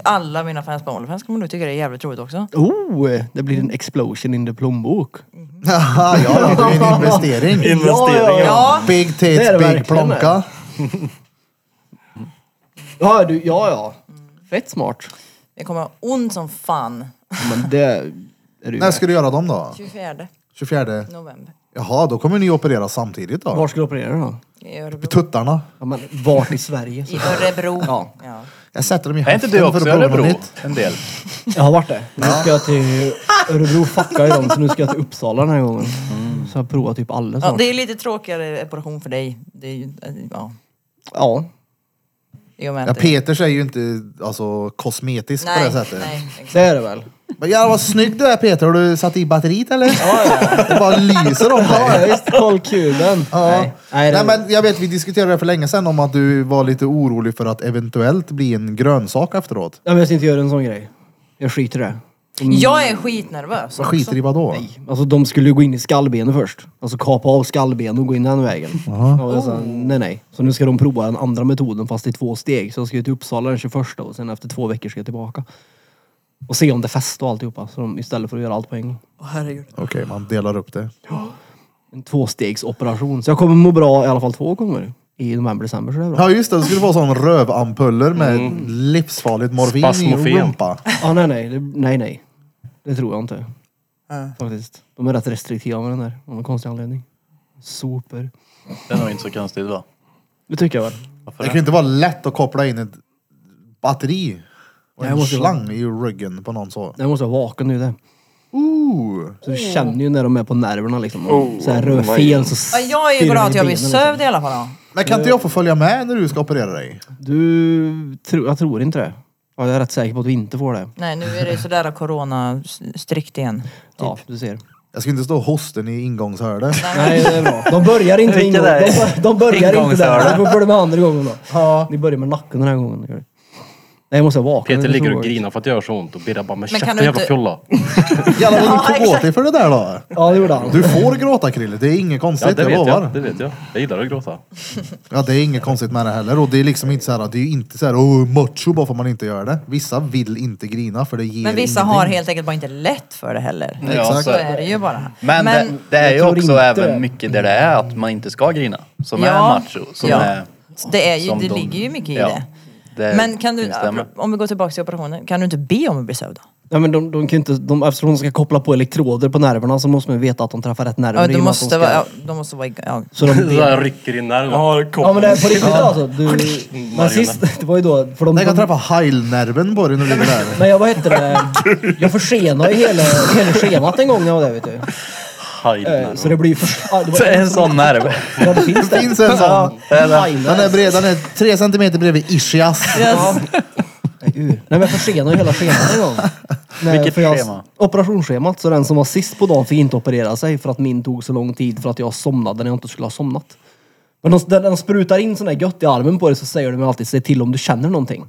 [SPEAKER 2] Alla mina fans på Onlyfans kommer nog tycka det är jävligt roligt också.
[SPEAKER 5] Oh! Det blir en explosion in the plånbok.
[SPEAKER 3] Haha, ja, det är en investering.
[SPEAKER 4] Investeringar.
[SPEAKER 2] Ja,
[SPEAKER 3] Big
[SPEAKER 5] Det är det
[SPEAKER 3] tits, big
[SPEAKER 5] verkligen.
[SPEAKER 3] plonka.
[SPEAKER 5] Ja, du, ja, ja. Fett smart.
[SPEAKER 2] jag kommer ha ont som fan.
[SPEAKER 5] Men det är du
[SPEAKER 3] När ska du göra dem då?
[SPEAKER 2] 24
[SPEAKER 3] 24?
[SPEAKER 2] november.
[SPEAKER 3] Jaha, då kommer ni operera samtidigt då?
[SPEAKER 5] Var ska du operera då?
[SPEAKER 2] I Örebro.
[SPEAKER 3] Tuttarna.
[SPEAKER 5] Ja, men vart i Sverige?
[SPEAKER 2] I Örebro.
[SPEAKER 5] Ja.
[SPEAKER 2] Ja.
[SPEAKER 3] Jag sätter dem i
[SPEAKER 9] Är inte
[SPEAKER 3] höften
[SPEAKER 9] du
[SPEAKER 3] för
[SPEAKER 9] också
[SPEAKER 3] att
[SPEAKER 9] i
[SPEAKER 3] prova något
[SPEAKER 9] Örebro?
[SPEAKER 3] nytt.
[SPEAKER 9] En del.
[SPEAKER 5] Jag har varit det. Nu ska jag till Örebro fuckar ju dem så nu ska jag till Uppsala den här gången. Så jag provar typ alla
[SPEAKER 2] Ja,
[SPEAKER 5] snart.
[SPEAKER 2] det är lite tråkigare operation för dig. Det är ju, eh, ja,
[SPEAKER 5] Ja.
[SPEAKER 2] i och med
[SPEAKER 3] Ja,
[SPEAKER 2] att det-
[SPEAKER 3] Peters är ju inte alltså, kosmetisk på det
[SPEAKER 2] Nej,
[SPEAKER 3] sättet.
[SPEAKER 2] nej, exakt.
[SPEAKER 5] Det är det väl?
[SPEAKER 3] Men jävlar vad snygg du är Peter, har du satt i batteriet eller? Ja, ja. Det bara lyser om
[SPEAKER 5] Ja,
[SPEAKER 3] dig.
[SPEAKER 5] visst. Kolkulen.
[SPEAKER 3] Ja.
[SPEAKER 5] Nej.
[SPEAKER 3] Nej,
[SPEAKER 5] Nej, det-
[SPEAKER 3] men jag vet, vi diskuterade det för länge sedan om att du var lite orolig för att eventuellt bli en grönsak efteråt.
[SPEAKER 5] Ja, men jag ska inte göra en sån grej. Jag skiter i det.
[SPEAKER 2] Jag är skitnervös.
[SPEAKER 3] Vad skiter i vadå?
[SPEAKER 5] Alltså de skulle ju gå in i skallbenet först. Alltså kapa av skallbenet och gå in den vägen. Ja, och sen, nej nej. Så nu ska de prova den andra metoden fast i två steg. Så jag ska ju till Uppsala den 21 och sen efter två veckor ska jag tillbaka. Och se om det fäster och alltihopa. Så de, istället för att göra allt på en gång.
[SPEAKER 2] Åh, herregud.
[SPEAKER 3] Okej, man delar upp det.
[SPEAKER 5] En tvåstegsoperation. Så jag kommer må bra i alla fall två gånger. I november, december så det är bra.
[SPEAKER 3] Ja just det, du skulle vara sån rövampuller med livsfarligt morfin i
[SPEAKER 9] Spasmofen.
[SPEAKER 3] rumpa.
[SPEAKER 5] Ah, nej nej. Det, nej nej. Det tror jag inte. Faktiskt. De är rätt restriktiva med den där. Av någon konstig anledning. Super.
[SPEAKER 10] Det är nog inte så konstigt va?
[SPEAKER 5] Det tycker jag väl.
[SPEAKER 3] Det kan ju inte vara lätt att koppla in ett batteri och
[SPEAKER 5] Nej,
[SPEAKER 3] en
[SPEAKER 5] jag måste-
[SPEAKER 3] slang i ryggen på någon så.
[SPEAKER 5] Den måste vara vaken nu det.
[SPEAKER 3] Ooh.
[SPEAKER 5] Så du känner ju när de är på nerverna liksom.
[SPEAKER 4] Oh,
[SPEAKER 5] så här rör
[SPEAKER 4] vad-
[SPEAKER 5] fel så
[SPEAKER 2] Ja, jag är ju
[SPEAKER 5] stirrar
[SPEAKER 2] glad att
[SPEAKER 5] i
[SPEAKER 2] jag
[SPEAKER 5] benen,
[SPEAKER 2] blir
[SPEAKER 5] liksom.
[SPEAKER 2] sövd i alla fall. ja.
[SPEAKER 3] Men kan inte jag få följa med när du ska operera dig?
[SPEAKER 5] liksom. Du, tro, jag tror inte det. Ja, jag är rätt säker på att du inte får det.
[SPEAKER 2] Nej, nu är det sådär corona-strikt igen.
[SPEAKER 5] Ja, du ser.
[SPEAKER 3] Jag ska inte stå och hosten i ingångshörnet.
[SPEAKER 5] Nej, det är bra. De börjar inte
[SPEAKER 10] Vilka
[SPEAKER 5] ingång,
[SPEAKER 10] där?
[SPEAKER 5] de, de börjar inte där.
[SPEAKER 10] Ingångsöron.
[SPEAKER 5] Du får börja med andra gången då.
[SPEAKER 3] Ja.
[SPEAKER 5] Ni börjar med nacken den här gången. gör ni. Nej, jag måste vara vaken. Det
[SPEAKER 9] Peter
[SPEAKER 5] är
[SPEAKER 9] ligger
[SPEAKER 5] så
[SPEAKER 9] och
[SPEAKER 5] roligt.
[SPEAKER 9] grinar för att det gör så ont och Birra bara “men
[SPEAKER 2] Men kan
[SPEAKER 9] käften
[SPEAKER 2] du
[SPEAKER 9] jävla
[SPEAKER 2] inte-
[SPEAKER 9] fjolla”.
[SPEAKER 3] Jävlar vad
[SPEAKER 2] Ja,
[SPEAKER 3] du kom åt dig för det där då.
[SPEAKER 5] Ja, det gjorde han.
[SPEAKER 3] Du får gråta Krille, det är inget konstigt,
[SPEAKER 9] Ja, det
[SPEAKER 3] jag
[SPEAKER 9] vet
[SPEAKER 3] lovar.
[SPEAKER 9] jag. Det vet jag. Jag gillar att gråta.
[SPEAKER 3] Ja, det är inget konstigt med det heller. Och det är liksom inte så här, det är ju inte så här, oh, macho bara för man inte gör det. Vissa vill inte grina för det ger
[SPEAKER 2] Men vissa har
[SPEAKER 3] ingenting.
[SPEAKER 2] helt enkelt bara inte lätt för det heller.
[SPEAKER 3] Exakt.
[SPEAKER 2] Så är det ju bara.
[SPEAKER 10] Men, det, det är ju
[SPEAKER 5] tror
[SPEAKER 10] också
[SPEAKER 5] inte
[SPEAKER 10] även
[SPEAKER 5] det.
[SPEAKER 10] mycket där det är att man inte ska grina. Som
[SPEAKER 2] Ja.
[SPEAKER 10] är macho. Som
[SPEAKER 2] Ja.
[SPEAKER 10] är...
[SPEAKER 2] det, är ju,
[SPEAKER 10] som
[SPEAKER 2] det
[SPEAKER 10] de-
[SPEAKER 2] ligger ju mycket i
[SPEAKER 10] ja.
[SPEAKER 2] det.
[SPEAKER 10] Det
[SPEAKER 2] Men kan du,
[SPEAKER 10] stämmer.
[SPEAKER 2] om vi går tillbaka till operationen, kan du inte be om att bli sövd?
[SPEAKER 5] Nej, men de, de kan ju inte, de, eftersom de ska koppla på elektroder på nerverna så måste man ju veta att de träffar rätt nerver.
[SPEAKER 2] Ja,
[SPEAKER 5] i och med
[SPEAKER 2] de
[SPEAKER 5] att
[SPEAKER 2] måste
[SPEAKER 5] ska-
[SPEAKER 2] vara, ja, de måste vara, igång, ja.
[SPEAKER 5] Så de,
[SPEAKER 9] Så jag rycker in där.
[SPEAKER 4] Ja, det kom.
[SPEAKER 5] ja men det är på riktigt alltså. Du, men sist, det var ju då... För de,
[SPEAKER 3] Den kan
[SPEAKER 5] de,
[SPEAKER 3] träffa heilnerven på dig när du ligger där.
[SPEAKER 5] men jag, vad hette det? Jag försenade ju hela, hela schemat en gång när jag var där vet du. Eh, Så det blir ju... för- ja, det var-
[SPEAKER 10] Så en sån nerv.
[SPEAKER 5] Ja, det finns
[SPEAKER 3] Det
[SPEAKER 5] det.
[SPEAKER 3] finns en sån. Den är
[SPEAKER 5] Thailand.
[SPEAKER 3] bred, den är tre centimeter bredvid ischias.
[SPEAKER 5] Nej men jag försenade ju hela schemat en gång. Nej,
[SPEAKER 10] Vilket
[SPEAKER 5] för jag,
[SPEAKER 10] schema?
[SPEAKER 5] Operationsschemat. Så den som var sist på dagen fick inte operera sig för att min tog så lång tid för att jag somnade när jag inte skulle ha somnat. Men de, när de sprutar in sån här gött i armen på dig så säger de alltid se till om du känner någonting.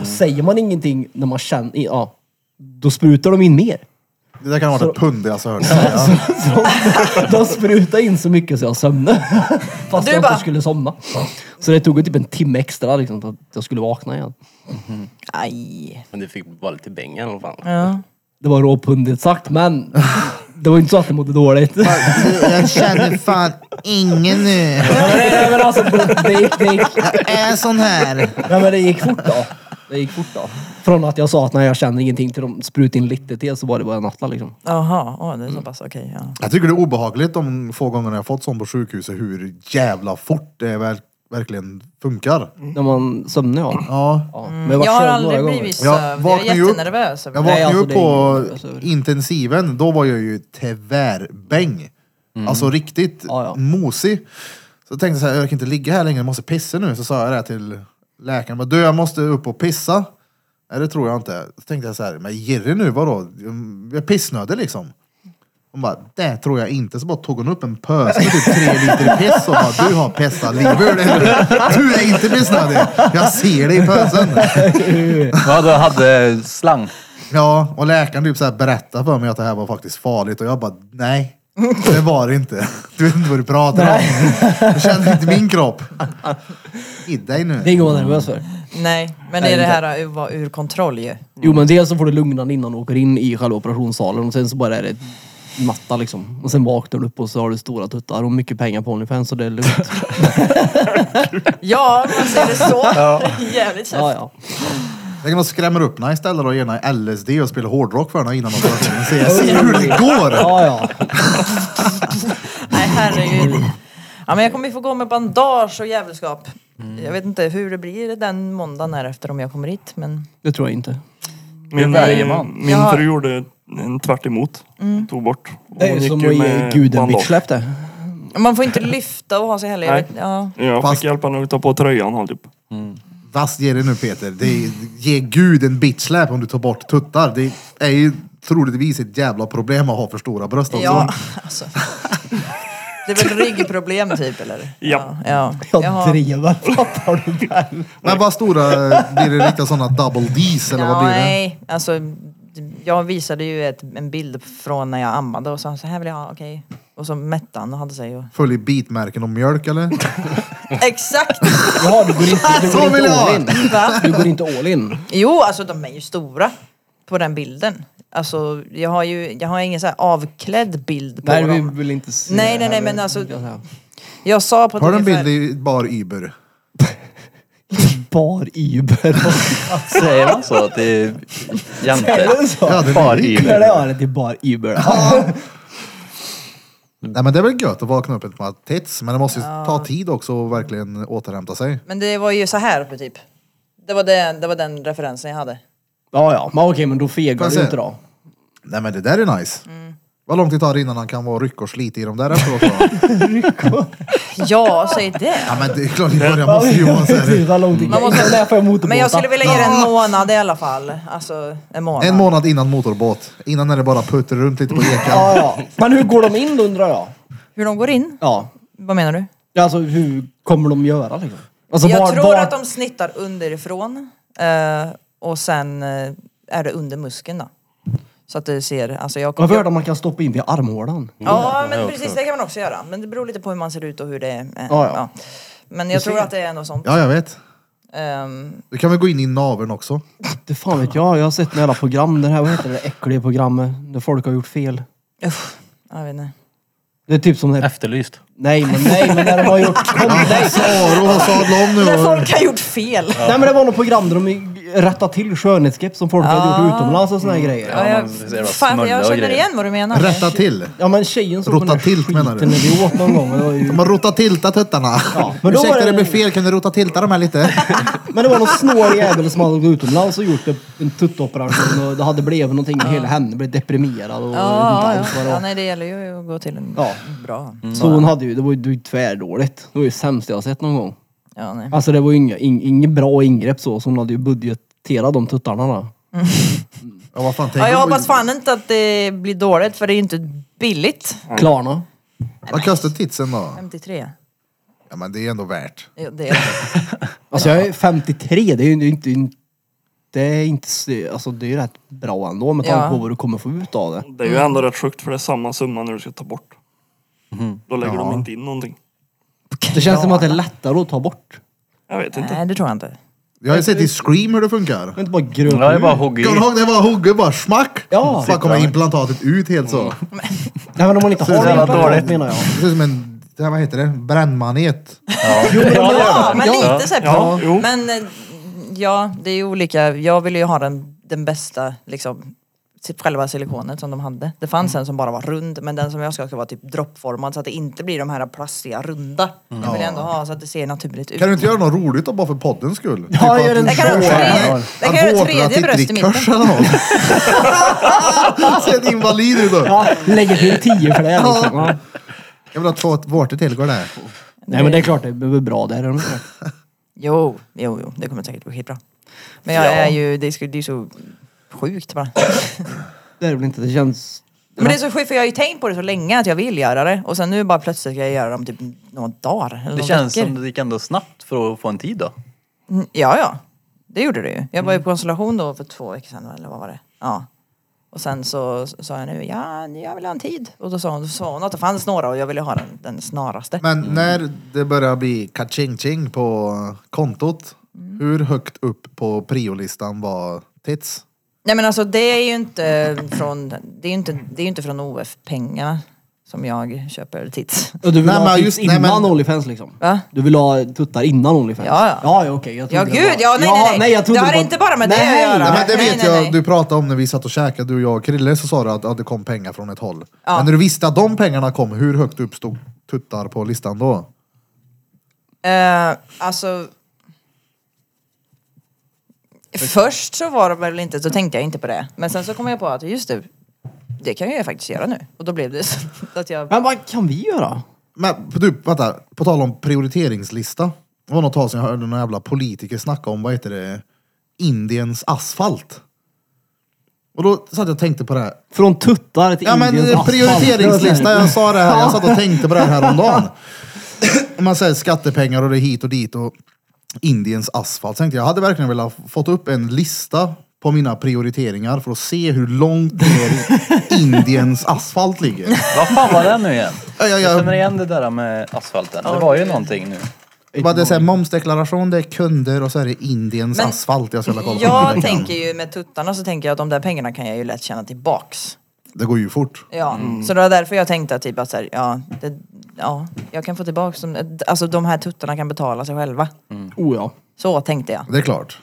[SPEAKER 5] Och säger man ingenting när man känner, ja, då sprutar de in mer.
[SPEAKER 3] Det där kan ha varit ett pund jag så hörde. Ja.
[SPEAKER 5] De sprutade in så mycket så jag sömnade. Fast
[SPEAKER 2] Du
[SPEAKER 5] jag
[SPEAKER 2] bara-
[SPEAKER 5] inte skulle somna. Så det tog ju typ en timme extra liksom, för att jag skulle vakna igen.
[SPEAKER 2] Aj.
[SPEAKER 9] Men du fick vara lite bänga i alla fall.
[SPEAKER 2] Ja.
[SPEAKER 5] Det var råpundigt sagt men det var inte så att det mådde dåligt. nej,
[SPEAKER 3] Jag känner fan ingen nu.
[SPEAKER 5] nej, men alltså, det, gick, det, gick,
[SPEAKER 3] Jag är sån här.
[SPEAKER 5] nej, men det gick fort då. Det gick fort då. Från att jag sa att nej, jag känner ingenting till de sprutade in lite till så var det bara en nattla liksom.
[SPEAKER 2] Jaha, åh, det är så pass, okej. ja.
[SPEAKER 3] Jag tycker det är obehagligt de få gångerna jag fått sån på sjukhuset hur jävla fort det verk- verkligen funkar.
[SPEAKER 5] När man sömnar ja.
[SPEAKER 3] Ja.
[SPEAKER 5] ja. Men jag, var
[SPEAKER 2] Jag har
[SPEAKER 5] sövd
[SPEAKER 2] aldrig
[SPEAKER 5] några
[SPEAKER 2] blivit
[SPEAKER 3] Jag
[SPEAKER 2] sövd, jag är
[SPEAKER 3] vaknar ju upp.
[SPEAKER 2] jättenervös. över
[SPEAKER 3] Jag
[SPEAKER 2] det.
[SPEAKER 3] vaknade
[SPEAKER 5] Nej,
[SPEAKER 3] ju
[SPEAKER 5] alltså,
[SPEAKER 3] upp
[SPEAKER 5] det
[SPEAKER 3] på
[SPEAKER 5] är ju- alltså-
[SPEAKER 3] intensiven, då var jag ju tvärbäng. Alltså riktigt
[SPEAKER 5] Mm. Ja, ja.
[SPEAKER 3] mosig. Så jag tänkte så här, jag kan inte ligga här längre, jag måste pissa nu. Så sa jag det här till läkaren, bara, du jag måste upp och pissa. Nej det tror jag inte. Så tänkte jag så här, men Jerry nu vadå? Jag är pissnödig liksom. Hon bara, det tror jag inte. Så bara tog hon upp en pöse med typ tre liter piss och bara, du har pessat livet ur dig. Du är inte pissnödig. Jag ser det i pösen.
[SPEAKER 10] Ja, du hade slang.
[SPEAKER 3] Ja, och läkaren typ så här berättade för mig att det här var faktiskt farligt och jag bara, nej. Det var det inte. Du vet inte vad du pratar om. Du känner inte min kropp. I dig
[SPEAKER 5] Det är
[SPEAKER 3] nu.
[SPEAKER 5] inget att vara nervös för.
[SPEAKER 2] Nej, men det är det här att vara ur kontroll ju.
[SPEAKER 5] Jo men dels så får du lugnande innan du åker in i själva operationssalen och sen så bara är det matta liksom. Och sen vaknar du upp och så har du stora tuttar och mycket pengar på Onlyfans så det är lugnt.
[SPEAKER 2] Ja, om man säger det så. Jävligt känsligt.
[SPEAKER 5] ja, ja.
[SPEAKER 3] Jag kan nog skrämma upp henne istället och ge henne LSD och spela hårdrock för henne innan operationen. Så jag ser hur det går.
[SPEAKER 5] Ja, ja.
[SPEAKER 2] Nej, herregud. Ja, men jag kommer ju få gå med bandage och jävelskap. Jag vet inte hur det blir den måndagen här efter om jag kommer hit, men...
[SPEAKER 5] Det tror jag inte.
[SPEAKER 4] Min,
[SPEAKER 10] Bergman.
[SPEAKER 4] min
[SPEAKER 2] Jag har- Mm.
[SPEAKER 4] fru gjorde en tvärt emot. Tog bort. Och
[SPEAKER 5] Det är
[SPEAKER 4] hon
[SPEAKER 5] ju
[SPEAKER 4] gick
[SPEAKER 5] som att ge
[SPEAKER 4] med
[SPEAKER 5] guden
[SPEAKER 4] bandage.
[SPEAKER 5] bitchsläpp det.
[SPEAKER 2] Man får inte lyfta och ha sig heller. Jag
[SPEAKER 4] Nej.
[SPEAKER 2] vet, ja.
[SPEAKER 4] Jag
[SPEAKER 3] Fast-
[SPEAKER 4] fick hjälpa henne att ta på tröjan och typ.
[SPEAKER 3] Fast ge dig nu Peter. Det är, ge gud en bitchsläp om du tar bort tuttar. Det är ju troligtvis ett jävla problem att ha för stora bröst också.
[SPEAKER 2] ja, alltså. Det är väl ryggproblem typ, eller?
[SPEAKER 4] Ja.
[SPEAKER 2] ja.
[SPEAKER 5] Jag
[SPEAKER 2] Jag har-
[SPEAKER 5] drevar, fattar du väl?
[SPEAKER 3] Men vad stora, blir det riktiga sådana double D's eller vad blir det?
[SPEAKER 2] Nej, alltså jag visade ju ett, en bild från när jag ammade och sa så här vill jag ha, okej. Och så mätte han och hade sig och...
[SPEAKER 3] Följ i bitmärken och mjölk eller?
[SPEAKER 2] Exakt!
[SPEAKER 5] Ja, du går inte, du
[SPEAKER 3] Så
[SPEAKER 5] går
[SPEAKER 3] vill
[SPEAKER 5] inte
[SPEAKER 3] jag ha.
[SPEAKER 5] all in.
[SPEAKER 2] Va?
[SPEAKER 5] Du går inte all in.
[SPEAKER 2] Jo, alltså de är ju stora på den bilden. Alltså jag har ju, jag har ingen så här avklädd bild på
[SPEAKER 5] Nej, vi
[SPEAKER 2] dem.
[SPEAKER 5] vill inte se
[SPEAKER 2] Nej, nej, nej, men alltså- Jag sa på ett
[SPEAKER 3] Har du en
[SPEAKER 2] ungefär-
[SPEAKER 3] bild i bar Uber?
[SPEAKER 5] Bar Uber.
[SPEAKER 10] Säger man så till
[SPEAKER 5] Är det
[SPEAKER 10] jante?
[SPEAKER 5] så?
[SPEAKER 3] Ja, det är
[SPEAKER 10] Far
[SPEAKER 3] mycket.
[SPEAKER 5] Nej,
[SPEAKER 10] Iver.
[SPEAKER 5] det var det till Bar Uber.
[SPEAKER 3] Nej men det är väl gött att vakna upp ett par tits, men det måste ju ta tid också att verkligen återhämta sig.
[SPEAKER 2] Men det var ju så här uppe typ. Det var, det, det var den referensen jag hade.
[SPEAKER 5] Ja, ja. Men okej, men då fegar
[SPEAKER 3] Får
[SPEAKER 5] du
[SPEAKER 3] jag
[SPEAKER 5] inte
[SPEAKER 3] se?
[SPEAKER 5] då.
[SPEAKER 3] Nej men det där är nice. Vad lång tid tar det innan han kan vara ryck och slita i dem där efteråt då?
[SPEAKER 2] Ja, säg det.
[SPEAKER 3] Ja men det är klart i början måste ju vara såhär.
[SPEAKER 5] Vad långt det
[SPEAKER 2] Man måste-
[SPEAKER 5] kan. När får jag motorbåtar?
[SPEAKER 2] Men jag skulle vilja ge det en månad i alla fall. Alltså en månad.
[SPEAKER 3] En månad innan motorbåt. Innan är det bara putter runt lite på ekan.
[SPEAKER 5] Ja, ja. Men hur går de in undrar jag?
[SPEAKER 2] Hur de går in?
[SPEAKER 5] Ja.
[SPEAKER 2] Vad menar du?
[SPEAKER 5] Alltså hur kommer de göra liksom? Alltså,
[SPEAKER 2] jag
[SPEAKER 5] var-
[SPEAKER 2] tror
[SPEAKER 5] var-
[SPEAKER 2] att de snittar underifrån eh, och sen eh, är det under muskeln då. Så att du ser, alltså jag
[SPEAKER 5] Jag har hört
[SPEAKER 2] jag-
[SPEAKER 5] att man kan stoppa in via armhålan.
[SPEAKER 2] Ja men precis det kan man också göra. Men det beror lite på hur man ser ut och hur det är. eh,
[SPEAKER 5] ja.
[SPEAKER 2] Men jag tror att det är något sånt.
[SPEAKER 3] Ja jag vet.
[SPEAKER 2] Ehm,
[SPEAKER 3] Du kan väl gå in i naveln också?
[SPEAKER 5] Det fan vet jag. Jag har sett några jävla program. Det här, vad heter det äckliga programmet? Där folk har gjort fel.
[SPEAKER 2] usch, jag vet inte.
[SPEAKER 5] Det är typ som när...
[SPEAKER 9] Efterlyst.
[SPEAKER 5] Nej men nej men när de har gjort... Kom, nej,
[SPEAKER 3] Aro har sadlat om nu.
[SPEAKER 2] När
[SPEAKER 3] och-
[SPEAKER 2] folk har gjort fel.
[SPEAKER 5] nej men det var något program där de rättade till skönhetsgrepp som folk hade gjort utomlands och såna här grejer.
[SPEAKER 2] Ah. Mm. Ja, jag,
[SPEAKER 10] men det är bara
[SPEAKER 2] fan,
[SPEAKER 10] smörjda
[SPEAKER 2] jag
[SPEAKER 10] och
[SPEAKER 2] känner
[SPEAKER 10] grejer.
[SPEAKER 2] igen vad du menar.
[SPEAKER 3] Rätta till.
[SPEAKER 5] Ja men tjejen såg
[SPEAKER 3] Rotta
[SPEAKER 5] den där
[SPEAKER 3] tilt, menar du?
[SPEAKER 5] skiten när vi åt någon gång. och Det var ju...
[SPEAKER 3] De har rotat tiltat tuttarna.
[SPEAKER 5] men då var
[SPEAKER 3] Ursäkta
[SPEAKER 5] det-
[SPEAKER 3] det blev fel, kan du rota tilta de här lite?
[SPEAKER 5] Men det var någon snårig jävel som hade gått utomlands och gjort en tuttoperation och det hade blivit någonting med hela henne. Blev deprimerad och
[SPEAKER 2] Ah. Ja,
[SPEAKER 5] inte
[SPEAKER 2] ja, ja.
[SPEAKER 5] alls
[SPEAKER 2] ja,
[SPEAKER 5] vad det
[SPEAKER 2] nej det gäller ju att gå till en
[SPEAKER 5] Ja.
[SPEAKER 2] bra.
[SPEAKER 5] var. Så hon hade ju, det var ju det var ju tvärdåligt. Det var ju sämst jag har sett någon gång.
[SPEAKER 2] Ja, nej.
[SPEAKER 5] Alltså det var ju inga, ing, inget bra ingrepp så, så hon hade ju budgeterat de tuttarna då.
[SPEAKER 3] Ja, vad fan, tänk
[SPEAKER 2] Ja, jag
[SPEAKER 3] om-
[SPEAKER 2] hoppas fan inte att det blir dåligt för det är ju inte billigt.
[SPEAKER 5] Klarna.
[SPEAKER 3] Vad kostar titsen då?
[SPEAKER 2] 53.
[SPEAKER 3] Ja, men det är ändå värt.
[SPEAKER 2] Ja, det är...
[SPEAKER 5] Alltså jag är 53, det är ju inte... inte- Det är inte... s- Alltså det är ju rätt bra ändå med tanke
[SPEAKER 2] Ja.
[SPEAKER 5] på vad du kommer få ut av det.
[SPEAKER 4] Det är
[SPEAKER 2] Mm.
[SPEAKER 4] ju ändå rätt sjukt för det är samma summa när du ska ta bort.
[SPEAKER 5] Mm.
[SPEAKER 4] Då lägger de inte in någonting.
[SPEAKER 5] Det känns som att det är lättare att ta bort.
[SPEAKER 4] Jag vet inte.
[SPEAKER 2] Nej, det tror jag inte.
[SPEAKER 3] Jag har ju sett i Scream hur det funkar.
[SPEAKER 5] Det är inte bara gröt.
[SPEAKER 10] Ja, det är bara hugg i.
[SPEAKER 3] Kommer du ihåg när det var hugger bara smack?
[SPEAKER 5] Ja.
[SPEAKER 3] Bara kommer implantatet ut helt så.
[SPEAKER 5] Nej men om man inte har
[SPEAKER 3] jävla
[SPEAKER 5] det implantat
[SPEAKER 10] dåligt.
[SPEAKER 5] menar jag.
[SPEAKER 3] Det ser ut som en, det här, vad heter det? Brännmanet.
[SPEAKER 2] Ja, men lite så här.
[SPEAKER 4] Ja, jo.
[SPEAKER 2] Men eh, ja, det är ju olika. Jag ville ju ha den, den bästa, liksom, sitt- själva silikonet som de hade. Det fanns en som bara var rund, men den som jag ska ha ska vara typ droppformad så att det inte blir de här plastiga runda. Jag vill ändå ha så att det ser naturligt ut.
[SPEAKER 3] Kan du inte göra något roligt då, bara för poddens skull? Typ
[SPEAKER 5] Ja, jag gör en-
[SPEAKER 2] Jag kan ha
[SPEAKER 5] Åh,
[SPEAKER 2] tre- jag kan göra ett tredje bröst i mitten.
[SPEAKER 3] mitten. Ser invalid ut då.
[SPEAKER 5] Ja, lägger till 10 för det liksom. Ja.
[SPEAKER 3] Jag vill ha två vårtor till, går det?
[SPEAKER 5] Nej men det är klart det är bra där.
[SPEAKER 2] Jo, jo, jo, det kommer säkert gå skitbra. Men jag är ju, det är ju så sjukt bara.
[SPEAKER 5] Det är väl inte, det känns...
[SPEAKER 2] Men det är så sjukt för jag har ju tänkt på det så länge att jag vill göra det och sen nu bara plötsligt ska jag göra det om typ några dagar eller
[SPEAKER 10] Det
[SPEAKER 2] några
[SPEAKER 10] känns
[SPEAKER 2] veckor.
[SPEAKER 10] som det gick ändå snabbt för att få en tid då.
[SPEAKER 2] Mm, Ja, ja. Det gjorde det ju. Jag
[SPEAKER 10] Mm.
[SPEAKER 2] var ju på konstellation då för två veckor sedan eller vad var det? Ja. Och sen så så sa jag nu, ja, jag vill ha en tid. Och då sa hon, sa hon att det fanns några och jag ville ha den, den snaraste.
[SPEAKER 3] Men när det börjar bli ka-ching-ching på kontot,
[SPEAKER 2] Mm.
[SPEAKER 3] hur högt upp på priolistan var tits?
[SPEAKER 2] Nej men alltså det är ju inte från, det är ju inte, det är ju inte från OF-pengar som jag köper tids.
[SPEAKER 5] Du vill
[SPEAKER 3] Nej,
[SPEAKER 5] ha
[SPEAKER 3] men
[SPEAKER 5] tips
[SPEAKER 3] just- nej,
[SPEAKER 5] innan
[SPEAKER 3] men-
[SPEAKER 5] Onlyfans liksom?
[SPEAKER 2] Va?
[SPEAKER 5] Du vill ha tuttar innan Onlyfans?
[SPEAKER 2] Ja, ja.
[SPEAKER 5] ja, ja okej. jag
[SPEAKER 2] Ja
[SPEAKER 5] trodde det
[SPEAKER 2] gud,
[SPEAKER 5] var-
[SPEAKER 2] ja nej nej nej.
[SPEAKER 5] jag trodde
[SPEAKER 2] det har
[SPEAKER 5] var-
[SPEAKER 2] inte bara med det
[SPEAKER 5] Nej.
[SPEAKER 2] att göra.
[SPEAKER 3] Ja, men det
[SPEAKER 2] nej,
[SPEAKER 3] vet
[SPEAKER 2] nej,
[SPEAKER 3] jag
[SPEAKER 2] nej.
[SPEAKER 3] du pratade om när vi satt och käkade, du och jag och Krille, så sa du att, att det kom pengar från ett håll.
[SPEAKER 2] Ja.
[SPEAKER 3] Men när du visste att de pengarna kom, hur högt upp stod tuttar på listan då?
[SPEAKER 2] Eh, alltså... Först så var det väl inte, så tänkte jag inte på det. Men sen så kom jag på att just det, det kan jag ju faktiskt göra nu. Och då blev det så att jag...
[SPEAKER 5] Men vad kan vi göra?
[SPEAKER 3] Men du, vänta, på tal om prioriteringslista. Det var något tag sedan jag hörde någon jävla politiker snacka om, vad heter det, Indiens asfalt. Och då satt jag och tänkte på det här.
[SPEAKER 5] Från tuttar till
[SPEAKER 3] Ja men
[SPEAKER 5] Indiens asfalt.
[SPEAKER 3] prioriteringslista, jag sa det här, jag satt och tänkte på det här om dagen. Man säger skattepengar och det är hit och dit och Indiens asfalt. Så Tänkte jag, jag hade verkligen velat fått upp en lista på mina prioriteringar för att se hur långt ner Indiens asfalt ligger.
[SPEAKER 10] Vad fan var det nu igen?
[SPEAKER 3] Ja, ja,
[SPEAKER 10] Jag känner
[SPEAKER 3] ja.
[SPEAKER 10] igen det där med asfalten. Det var ju någonting nu.
[SPEAKER 3] Vad det är så här, momsdeklaration, det är kunder och så är det Indiens
[SPEAKER 2] Men
[SPEAKER 3] asfalt jag ska kolla på.
[SPEAKER 2] Jag tänker ju med tuttarna så tänker jag att de där pengarna kan jag ju lätt tjäna tillbaks.
[SPEAKER 3] Det går ju fort.
[SPEAKER 2] Ja, så det var därför jag tänkte att typ att så här, ja, det, ja, jag kan få tillbaks dem. Alltså de här tuttarna kan betala sig själva.
[SPEAKER 5] Oh ja.
[SPEAKER 2] Så tänkte jag.
[SPEAKER 3] Det är klart.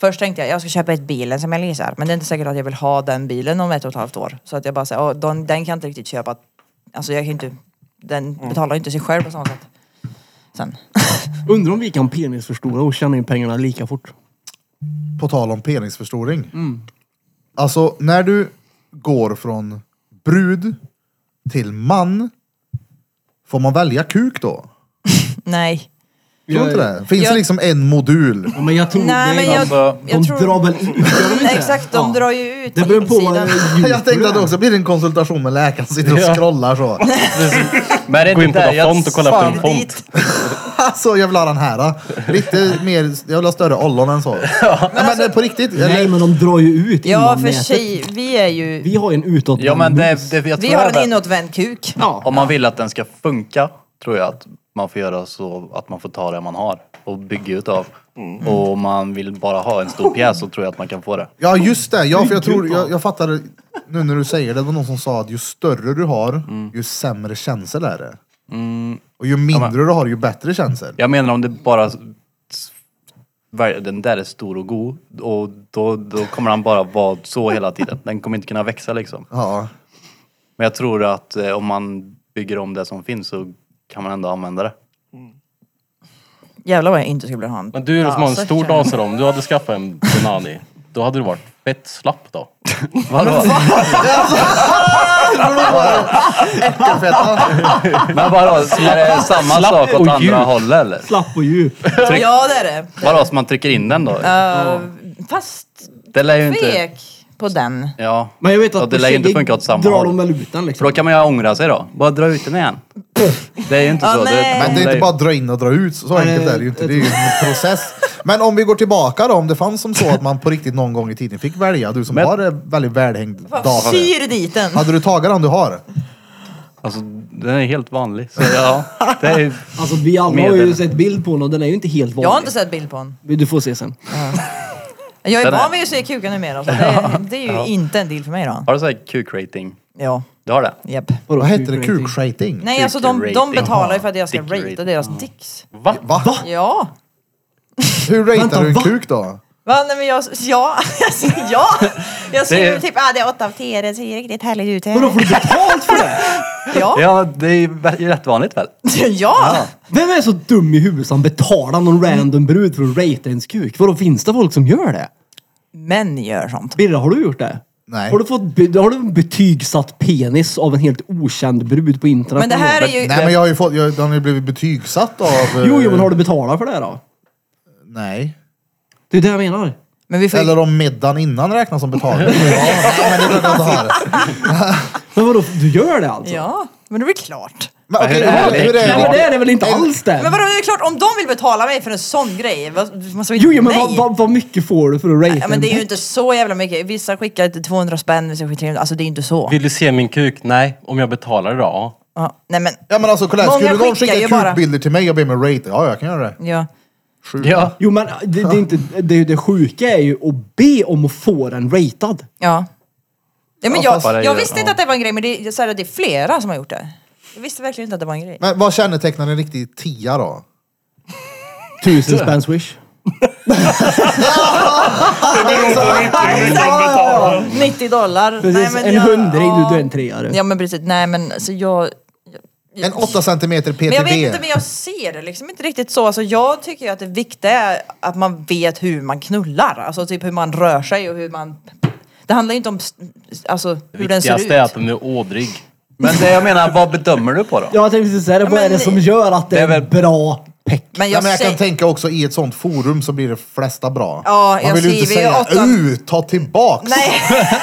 [SPEAKER 2] Först tänkte jag, jag ska köpa ett bilen som jag leasar. Men det är inte säkert att jag vill ha den bilen om ett och ett halvt år. Så att jag bara säger, "Åh, den, den kan jag inte riktigt köpa. Alltså jag kan inte, den
[SPEAKER 5] Mm.
[SPEAKER 2] betalar ju inte sig själv på samma sätt. Sen.
[SPEAKER 5] Undrar om vi kan penisförstora och tjäna in pengarna lika fort.
[SPEAKER 3] På tal om penisförstoring. Alltså när du går från brud till man, får man välja kuk då?
[SPEAKER 2] Nej.
[SPEAKER 3] Tror du inte det? Finns
[SPEAKER 2] jag-
[SPEAKER 3] det liksom en modul?
[SPEAKER 5] Ja, men jag tror
[SPEAKER 2] Nej
[SPEAKER 5] det.
[SPEAKER 2] men jag,
[SPEAKER 10] Alltså,
[SPEAKER 5] de
[SPEAKER 2] jag tror...
[SPEAKER 5] drar väl ut. gör de inte?
[SPEAKER 2] Exakt, de
[SPEAKER 5] Ja.
[SPEAKER 2] drar ju ut
[SPEAKER 5] Det beror på vad
[SPEAKER 2] insidan.
[SPEAKER 3] Jag tänkte att det också blir en konsultation med läkaren, sitter och scrollar så.
[SPEAKER 10] Men är det
[SPEAKER 9] Gå
[SPEAKER 10] inte
[SPEAKER 9] in på
[SPEAKER 10] där jag
[SPEAKER 9] Dafont och kolla efter en
[SPEAKER 10] fan-
[SPEAKER 9] font.
[SPEAKER 3] Alltså jag vill ha den här. Lite mer, jag vill ha större ollon än så. Nej, men det är på riktigt.
[SPEAKER 5] Nej
[SPEAKER 3] eller?
[SPEAKER 5] men de drar ju ut
[SPEAKER 2] Ja
[SPEAKER 5] innan
[SPEAKER 2] för
[SPEAKER 5] nätet.
[SPEAKER 2] sig, vi är ju,
[SPEAKER 5] Vi har ju en utåt.
[SPEAKER 10] Ja men det, det, jag tror
[SPEAKER 2] vi har en
[SPEAKER 10] även-
[SPEAKER 2] inåtvänd kuk.
[SPEAKER 5] Ja.
[SPEAKER 10] Om man vill att den ska funka tror jag att man får göra så att man får ta det man har och bygga utav.
[SPEAKER 9] Mm.
[SPEAKER 10] Och om man vill bara ha en stor pjäs så tror jag att man kan få det.
[SPEAKER 3] Ja just det, ja, för jag tror, jag, jag fattar nu när du säger det, det var någon som sa att ju större du har,
[SPEAKER 5] Mm.
[SPEAKER 3] ju sämre känsel är det. Och ju mindre du har, ju bättre känsel.
[SPEAKER 10] Jag menar om det bara... Var- Den där är stor och god och då, då kommer han bara vara så hela tiden. Den kommer inte kunna växa liksom.
[SPEAKER 3] Ja.
[SPEAKER 10] Men jag tror att eh, om man bygger om det som finns så kan man ändå använda det.
[SPEAKER 2] Jävlar vad jag inte skulle vilja ha en
[SPEAKER 9] Men du är som har en
[SPEAKER 2] daser,
[SPEAKER 9] stor
[SPEAKER 2] känner jag.
[SPEAKER 9] daser om du hade skaffat en Bonani, då hade du varit fett slapp då.
[SPEAKER 10] Vadå?
[SPEAKER 3] Äckelfetta.
[SPEAKER 10] Men vadå, är det samma
[SPEAKER 9] Slapp
[SPEAKER 10] sak
[SPEAKER 9] och
[SPEAKER 10] åt andra
[SPEAKER 9] djup.
[SPEAKER 10] hållet eller?
[SPEAKER 5] Slapp och djup.
[SPEAKER 10] Tryck,
[SPEAKER 2] Ja det är det.
[SPEAKER 10] Vadå, så man trycker in den då?
[SPEAKER 2] Eh, Fast
[SPEAKER 10] Det lär ju inte...
[SPEAKER 2] tvek på den.
[SPEAKER 10] Ja.
[SPEAKER 5] Men jag vet att
[SPEAKER 10] Ja, det lär ju inte
[SPEAKER 5] tjejer
[SPEAKER 10] funka åt samma
[SPEAKER 5] drar
[SPEAKER 10] håll.
[SPEAKER 5] de väl ut den
[SPEAKER 10] För
[SPEAKER 5] liksom.
[SPEAKER 10] då kan man ju ångra sig då. Bara dra ut den igen. Det är ju inte
[SPEAKER 2] Ja,
[SPEAKER 10] så.
[SPEAKER 2] nej.
[SPEAKER 10] de
[SPEAKER 3] Men det är inte
[SPEAKER 10] lär ju-
[SPEAKER 3] bara dra in och dra ut, så enkelt är det ju inte. Det är ju en process. Men om vi går tillbaka då, om det fanns som så att man på riktigt någon gång i tiden fick välja, du som
[SPEAKER 10] Men-
[SPEAKER 3] har en väldigt välhängd
[SPEAKER 2] Fan,
[SPEAKER 3] dator.
[SPEAKER 2] syr dit den.
[SPEAKER 3] Hade du tagit den du har?
[SPEAKER 10] Alltså, den är helt vanlig. Så ja, det är ju...
[SPEAKER 5] Alltså vi alla har
[SPEAKER 10] Medel.
[SPEAKER 5] ju sett bild på den och den är ju inte helt vanlig.
[SPEAKER 2] Jag har inte sett bild på den.
[SPEAKER 5] Du får se sen.
[SPEAKER 2] Jag är
[SPEAKER 10] Den är-
[SPEAKER 2] van vid att se kuken numera så det, det är ju inte en deal för mig då.
[SPEAKER 10] Har du såhär kuk-rating?
[SPEAKER 2] Ja,
[SPEAKER 10] Du har det?
[SPEAKER 2] japp.
[SPEAKER 3] Vad heter det? Kukshating?
[SPEAKER 2] Nej alltså de, de
[SPEAKER 10] Dick-rating.
[SPEAKER 2] betalar ju för att jag ska
[SPEAKER 10] Dick
[SPEAKER 2] ratea
[SPEAKER 10] rating.
[SPEAKER 2] deras dicks.
[SPEAKER 9] Va?
[SPEAKER 3] Va?
[SPEAKER 2] Ja.
[SPEAKER 3] Hur
[SPEAKER 5] Vänta,
[SPEAKER 3] ratear du en
[SPEAKER 5] va?
[SPEAKER 3] kuk då?
[SPEAKER 2] Va? Nej men jag, ja, alltså, ja. Jag skriver
[SPEAKER 10] Det-
[SPEAKER 2] typ, ah, det är åtta av tio, det ser riktigt härligt ut.
[SPEAKER 5] Vadå får du betalt för det?
[SPEAKER 2] Ja.
[SPEAKER 10] Ja, det är ju vä- rätt vanligt väl?
[SPEAKER 2] ja.
[SPEAKER 5] Vem är så dum i huvudet som betalar någon random brud för att ratea ens kuk? Vadå finns det folk som gör det?
[SPEAKER 2] Män gör sånt.
[SPEAKER 5] Birra, har du gjort det?
[SPEAKER 3] Nej.
[SPEAKER 5] Har du fått be- har du en betygsatt penis av en helt okänd brud på internet?
[SPEAKER 2] Men det här är ju...
[SPEAKER 3] Nej men jag har ju fått, jag, den har ju blivit betygsatt av... eh,
[SPEAKER 5] Jo, jo, men har du betalat för det då?
[SPEAKER 3] Nej.
[SPEAKER 5] Det är det jag menar.
[SPEAKER 2] Men vi får ju...
[SPEAKER 3] Eller om middagen innan räknas som betalning. ja, men det brukar jag inte ha.
[SPEAKER 5] Men vadå, du gör det alltså?
[SPEAKER 2] Ja, men det är väl klart.
[SPEAKER 3] Men okej,
[SPEAKER 10] Vad är
[SPEAKER 3] hur, hur
[SPEAKER 5] Nej, men
[SPEAKER 3] är
[SPEAKER 5] det
[SPEAKER 3] det?
[SPEAKER 5] är det väl inte alls det?
[SPEAKER 2] Men vadå, det är klart om de vill betala mig för en sån grej, vad- man säger
[SPEAKER 5] Jo, jo, men
[SPEAKER 2] nej.
[SPEAKER 5] vad, vad, vad mycket får du för att ratea
[SPEAKER 2] Ja, men det är ju inte så jävla mycket. Vissa skickar till 200 spänn, vissa skickar 300. Alltså det är ju inte så.
[SPEAKER 9] Vill du se min kuk? Nej. Om jag betalar idag? Ja.
[SPEAKER 2] Ja, nej men,
[SPEAKER 3] Ja men alltså kolla här,
[SPEAKER 2] Många
[SPEAKER 3] skulle någon
[SPEAKER 2] skickar ju
[SPEAKER 3] skicka
[SPEAKER 2] bara-
[SPEAKER 3] kukbilder till mig och be mig rate? Ja, jag kan göra det.
[SPEAKER 2] ja.
[SPEAKER 10] Ja.
[SPEAKER 5] Jo, men det, det, är inte, det, det sjuka är ju att be om att få den ratad.
[SPEAKER 2] Ja. ja men
[SPEAKER 10] Ja, fast-
[SPEAKER 2] jag, jag visste
[SPEAKER 10] ja.
[SPEAKER 2] inte att det var en grej, men det, är- så här, det är flera som har gjort det. Jag visste verkligen inte att det var en grej.
[SPEAKER 3] Men vad kännetecknar en riktig tia då?
[SPEAKER 5] Tusen spänn swish.
[SPEAKER 2] Exakt! 90 dollar.
[SPEAKER 5] Precis, en
[SPEAKER 2] jag-
[SPEAKER 5] hundring,
[SPEAKER 2] ja.
[SPEAKER 5] du, du är en treare.
[SPEAKER 2] Ja men precis, nej men alltså jag...
[SPEAKER 3] En 8 centimeter PTB?
[SPEAKER 2] Men jag vet inte, men jag ser det liksom inte riktigt så. Alltså jag tycker ju att det viktiga är att man vet hur man knullar. Alltså typ hur man rör sig och hur man... Det handlar ju inte om s- alltså, hur den ser ut.
[SPEAKER 9] Viktigaste är att den är ådrig.
[SPEAKER 10] Men det jag menar, vad bedömer du på då?
[SPEAKER 5] Jag tänkte precis säga det, vad
[SPEAKER 2] men
[SPEAKER 5] är det
[SPEAKER 2] det-
[SPEAKER 5] som gör att det
[SPEAKER 10] Det är
[SPEAKER 5] är
[SPEAKER 10] väl-
[SPEAKER 5] bra peck?
[SPEAKER 2] Men
[SPEAKER 3] Jag,
[SPEAKER 2] jag,
[SPEAKER 3] Nej, men jag kan
[SPEAKER 2] säger...
[SPEAKER 3] tänka också i ett sånt forum så blir det flesta bra.
[SPEAKER 2] Ja,
[SPEAKER 3] Man
[SPEAKER 2] jag
[SPEAKER 3] vill ju inte
[SPEAKER 2] ser, vi är åtta-
[SPEAKER 3] säga "Uh, ta tillbaks.
[SPEAKER 2] Nej,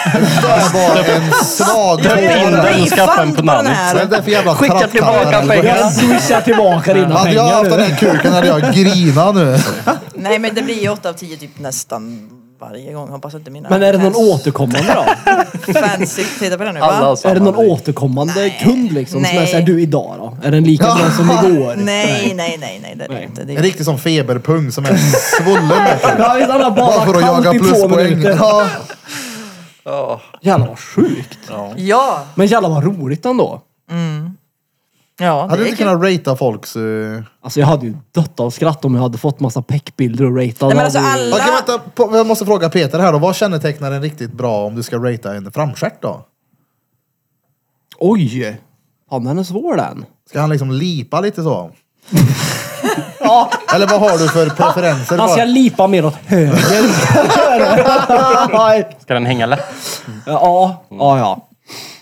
[SPEAKER 3] Det där var en svag
[SPEAKER 2] jag
[SPEAKER 9] in
[SPEAKER 2] vill
[SPEAKER 9] den,
[SPEAKER 2] ha
[SPEAKER 9] skaffa en
[SPEAKER 2] refund på den
[SPEAKER 3] Vad
[SPEAKER 9] Bonanni.
[SPEAKER 3] är
[SPEAKER 2] här.
[SPEAKER 3] det för jävla
[SPEAKER 10] Skicka
[SPEAKER 3] trattkammare,
[SPEAKER 10] tillbaka
[SPEAKER 3] eller?
[SPEAKER 10] pengarna.
[SPEAKER 5] Jag swishar tillbaka dina
[SPEAKER 3] Hade jag haft
[SPEAKER 5] pengar
[SPEAKER 3] den
[SPEAKER 5] nu.
[SPEAKER 3] här kuken hade jag grinat nu.
[SPEAKER 2] Nej men det blir ju 8 av 10 typ nästan varje gång. Hoppas inte mina
[SPEAKER 5] Men är det någon
[SPEAKER 2] fans-
[SPEAKER 5] återkommande då?
[SPEAKER 2] fancy titta på det nu va?
[SPEAKER 10] Alla har samma
[SPEAKER 5] Är det någon
[SPEAKER 10] lik.
[SPEAKER 5] återkommande kund liksom? Som är
[SPEAKER 2] Nej.
[SPEAKER 5] såhär, du idag då? Är den lika bra som igår?
[SPEAKER 2] Nej, nej, nej, nej, det är det
[SPEAKER 5] Nej.
[SPEAKER 2] inte. Det
[SPEAKER 3] En
[SPEAKER 2] är...
[SPEAKER 3] riktig som feberpung som är svullen. vet du.
[SPEAKER 5] Ja, visst, han har
[SPEAKER 3] Bara för
[SPEAKER 5] badat
[SPEAKER 3] att jaga
[SPEAKER 5] kallt i två
[SPEAKER 3] pluspoäng.
[SPEAKER 5] minuter.
[SPEAKER 3] Ja.
[SPEAKER 5] Jävlar vad sjukt.
[SPEAKER 2] Ja,
[SPEAKER 5] Men jävlar vad roligt ändå.
[SPEAKER 2] ja.
[SPEAKER 3] Hade
[SPEAKER 2] det
[SPEAKER 3] du
[SPEAKER 2] är
[SPEAKER 3] inte
[SPEAKER 2] kul.
[SPEAKER 3] kunnat ratea folks... Uh...
[SPEAKER 5] Alltså jag hade ju dött av skratt om jag hade fått massa peckbilder och ratead.
[SPEAKER 2] Nej men alltså alla...
[SPEAKER 3] Okej, vänta. på- Jag måste fråga Peter här då. Vad kännetecknar en riktigt bra om du ska ratea en framstjärt då?
[SPEAKER 5] Oj! Fan den är svår den.
[SPEAKER 3] Ska han liksom lipa lite så? ja. Eller vad har du för preferenser?
[SPEAKER 5] Han ska
[SPEAKER 3] Bara-
[SPEAKER 5] lipa Alltså, mer åt höger.
[SPEAKER 9] Ska den hänga lätt?
[SPEAKER 5] ja, ja, ja.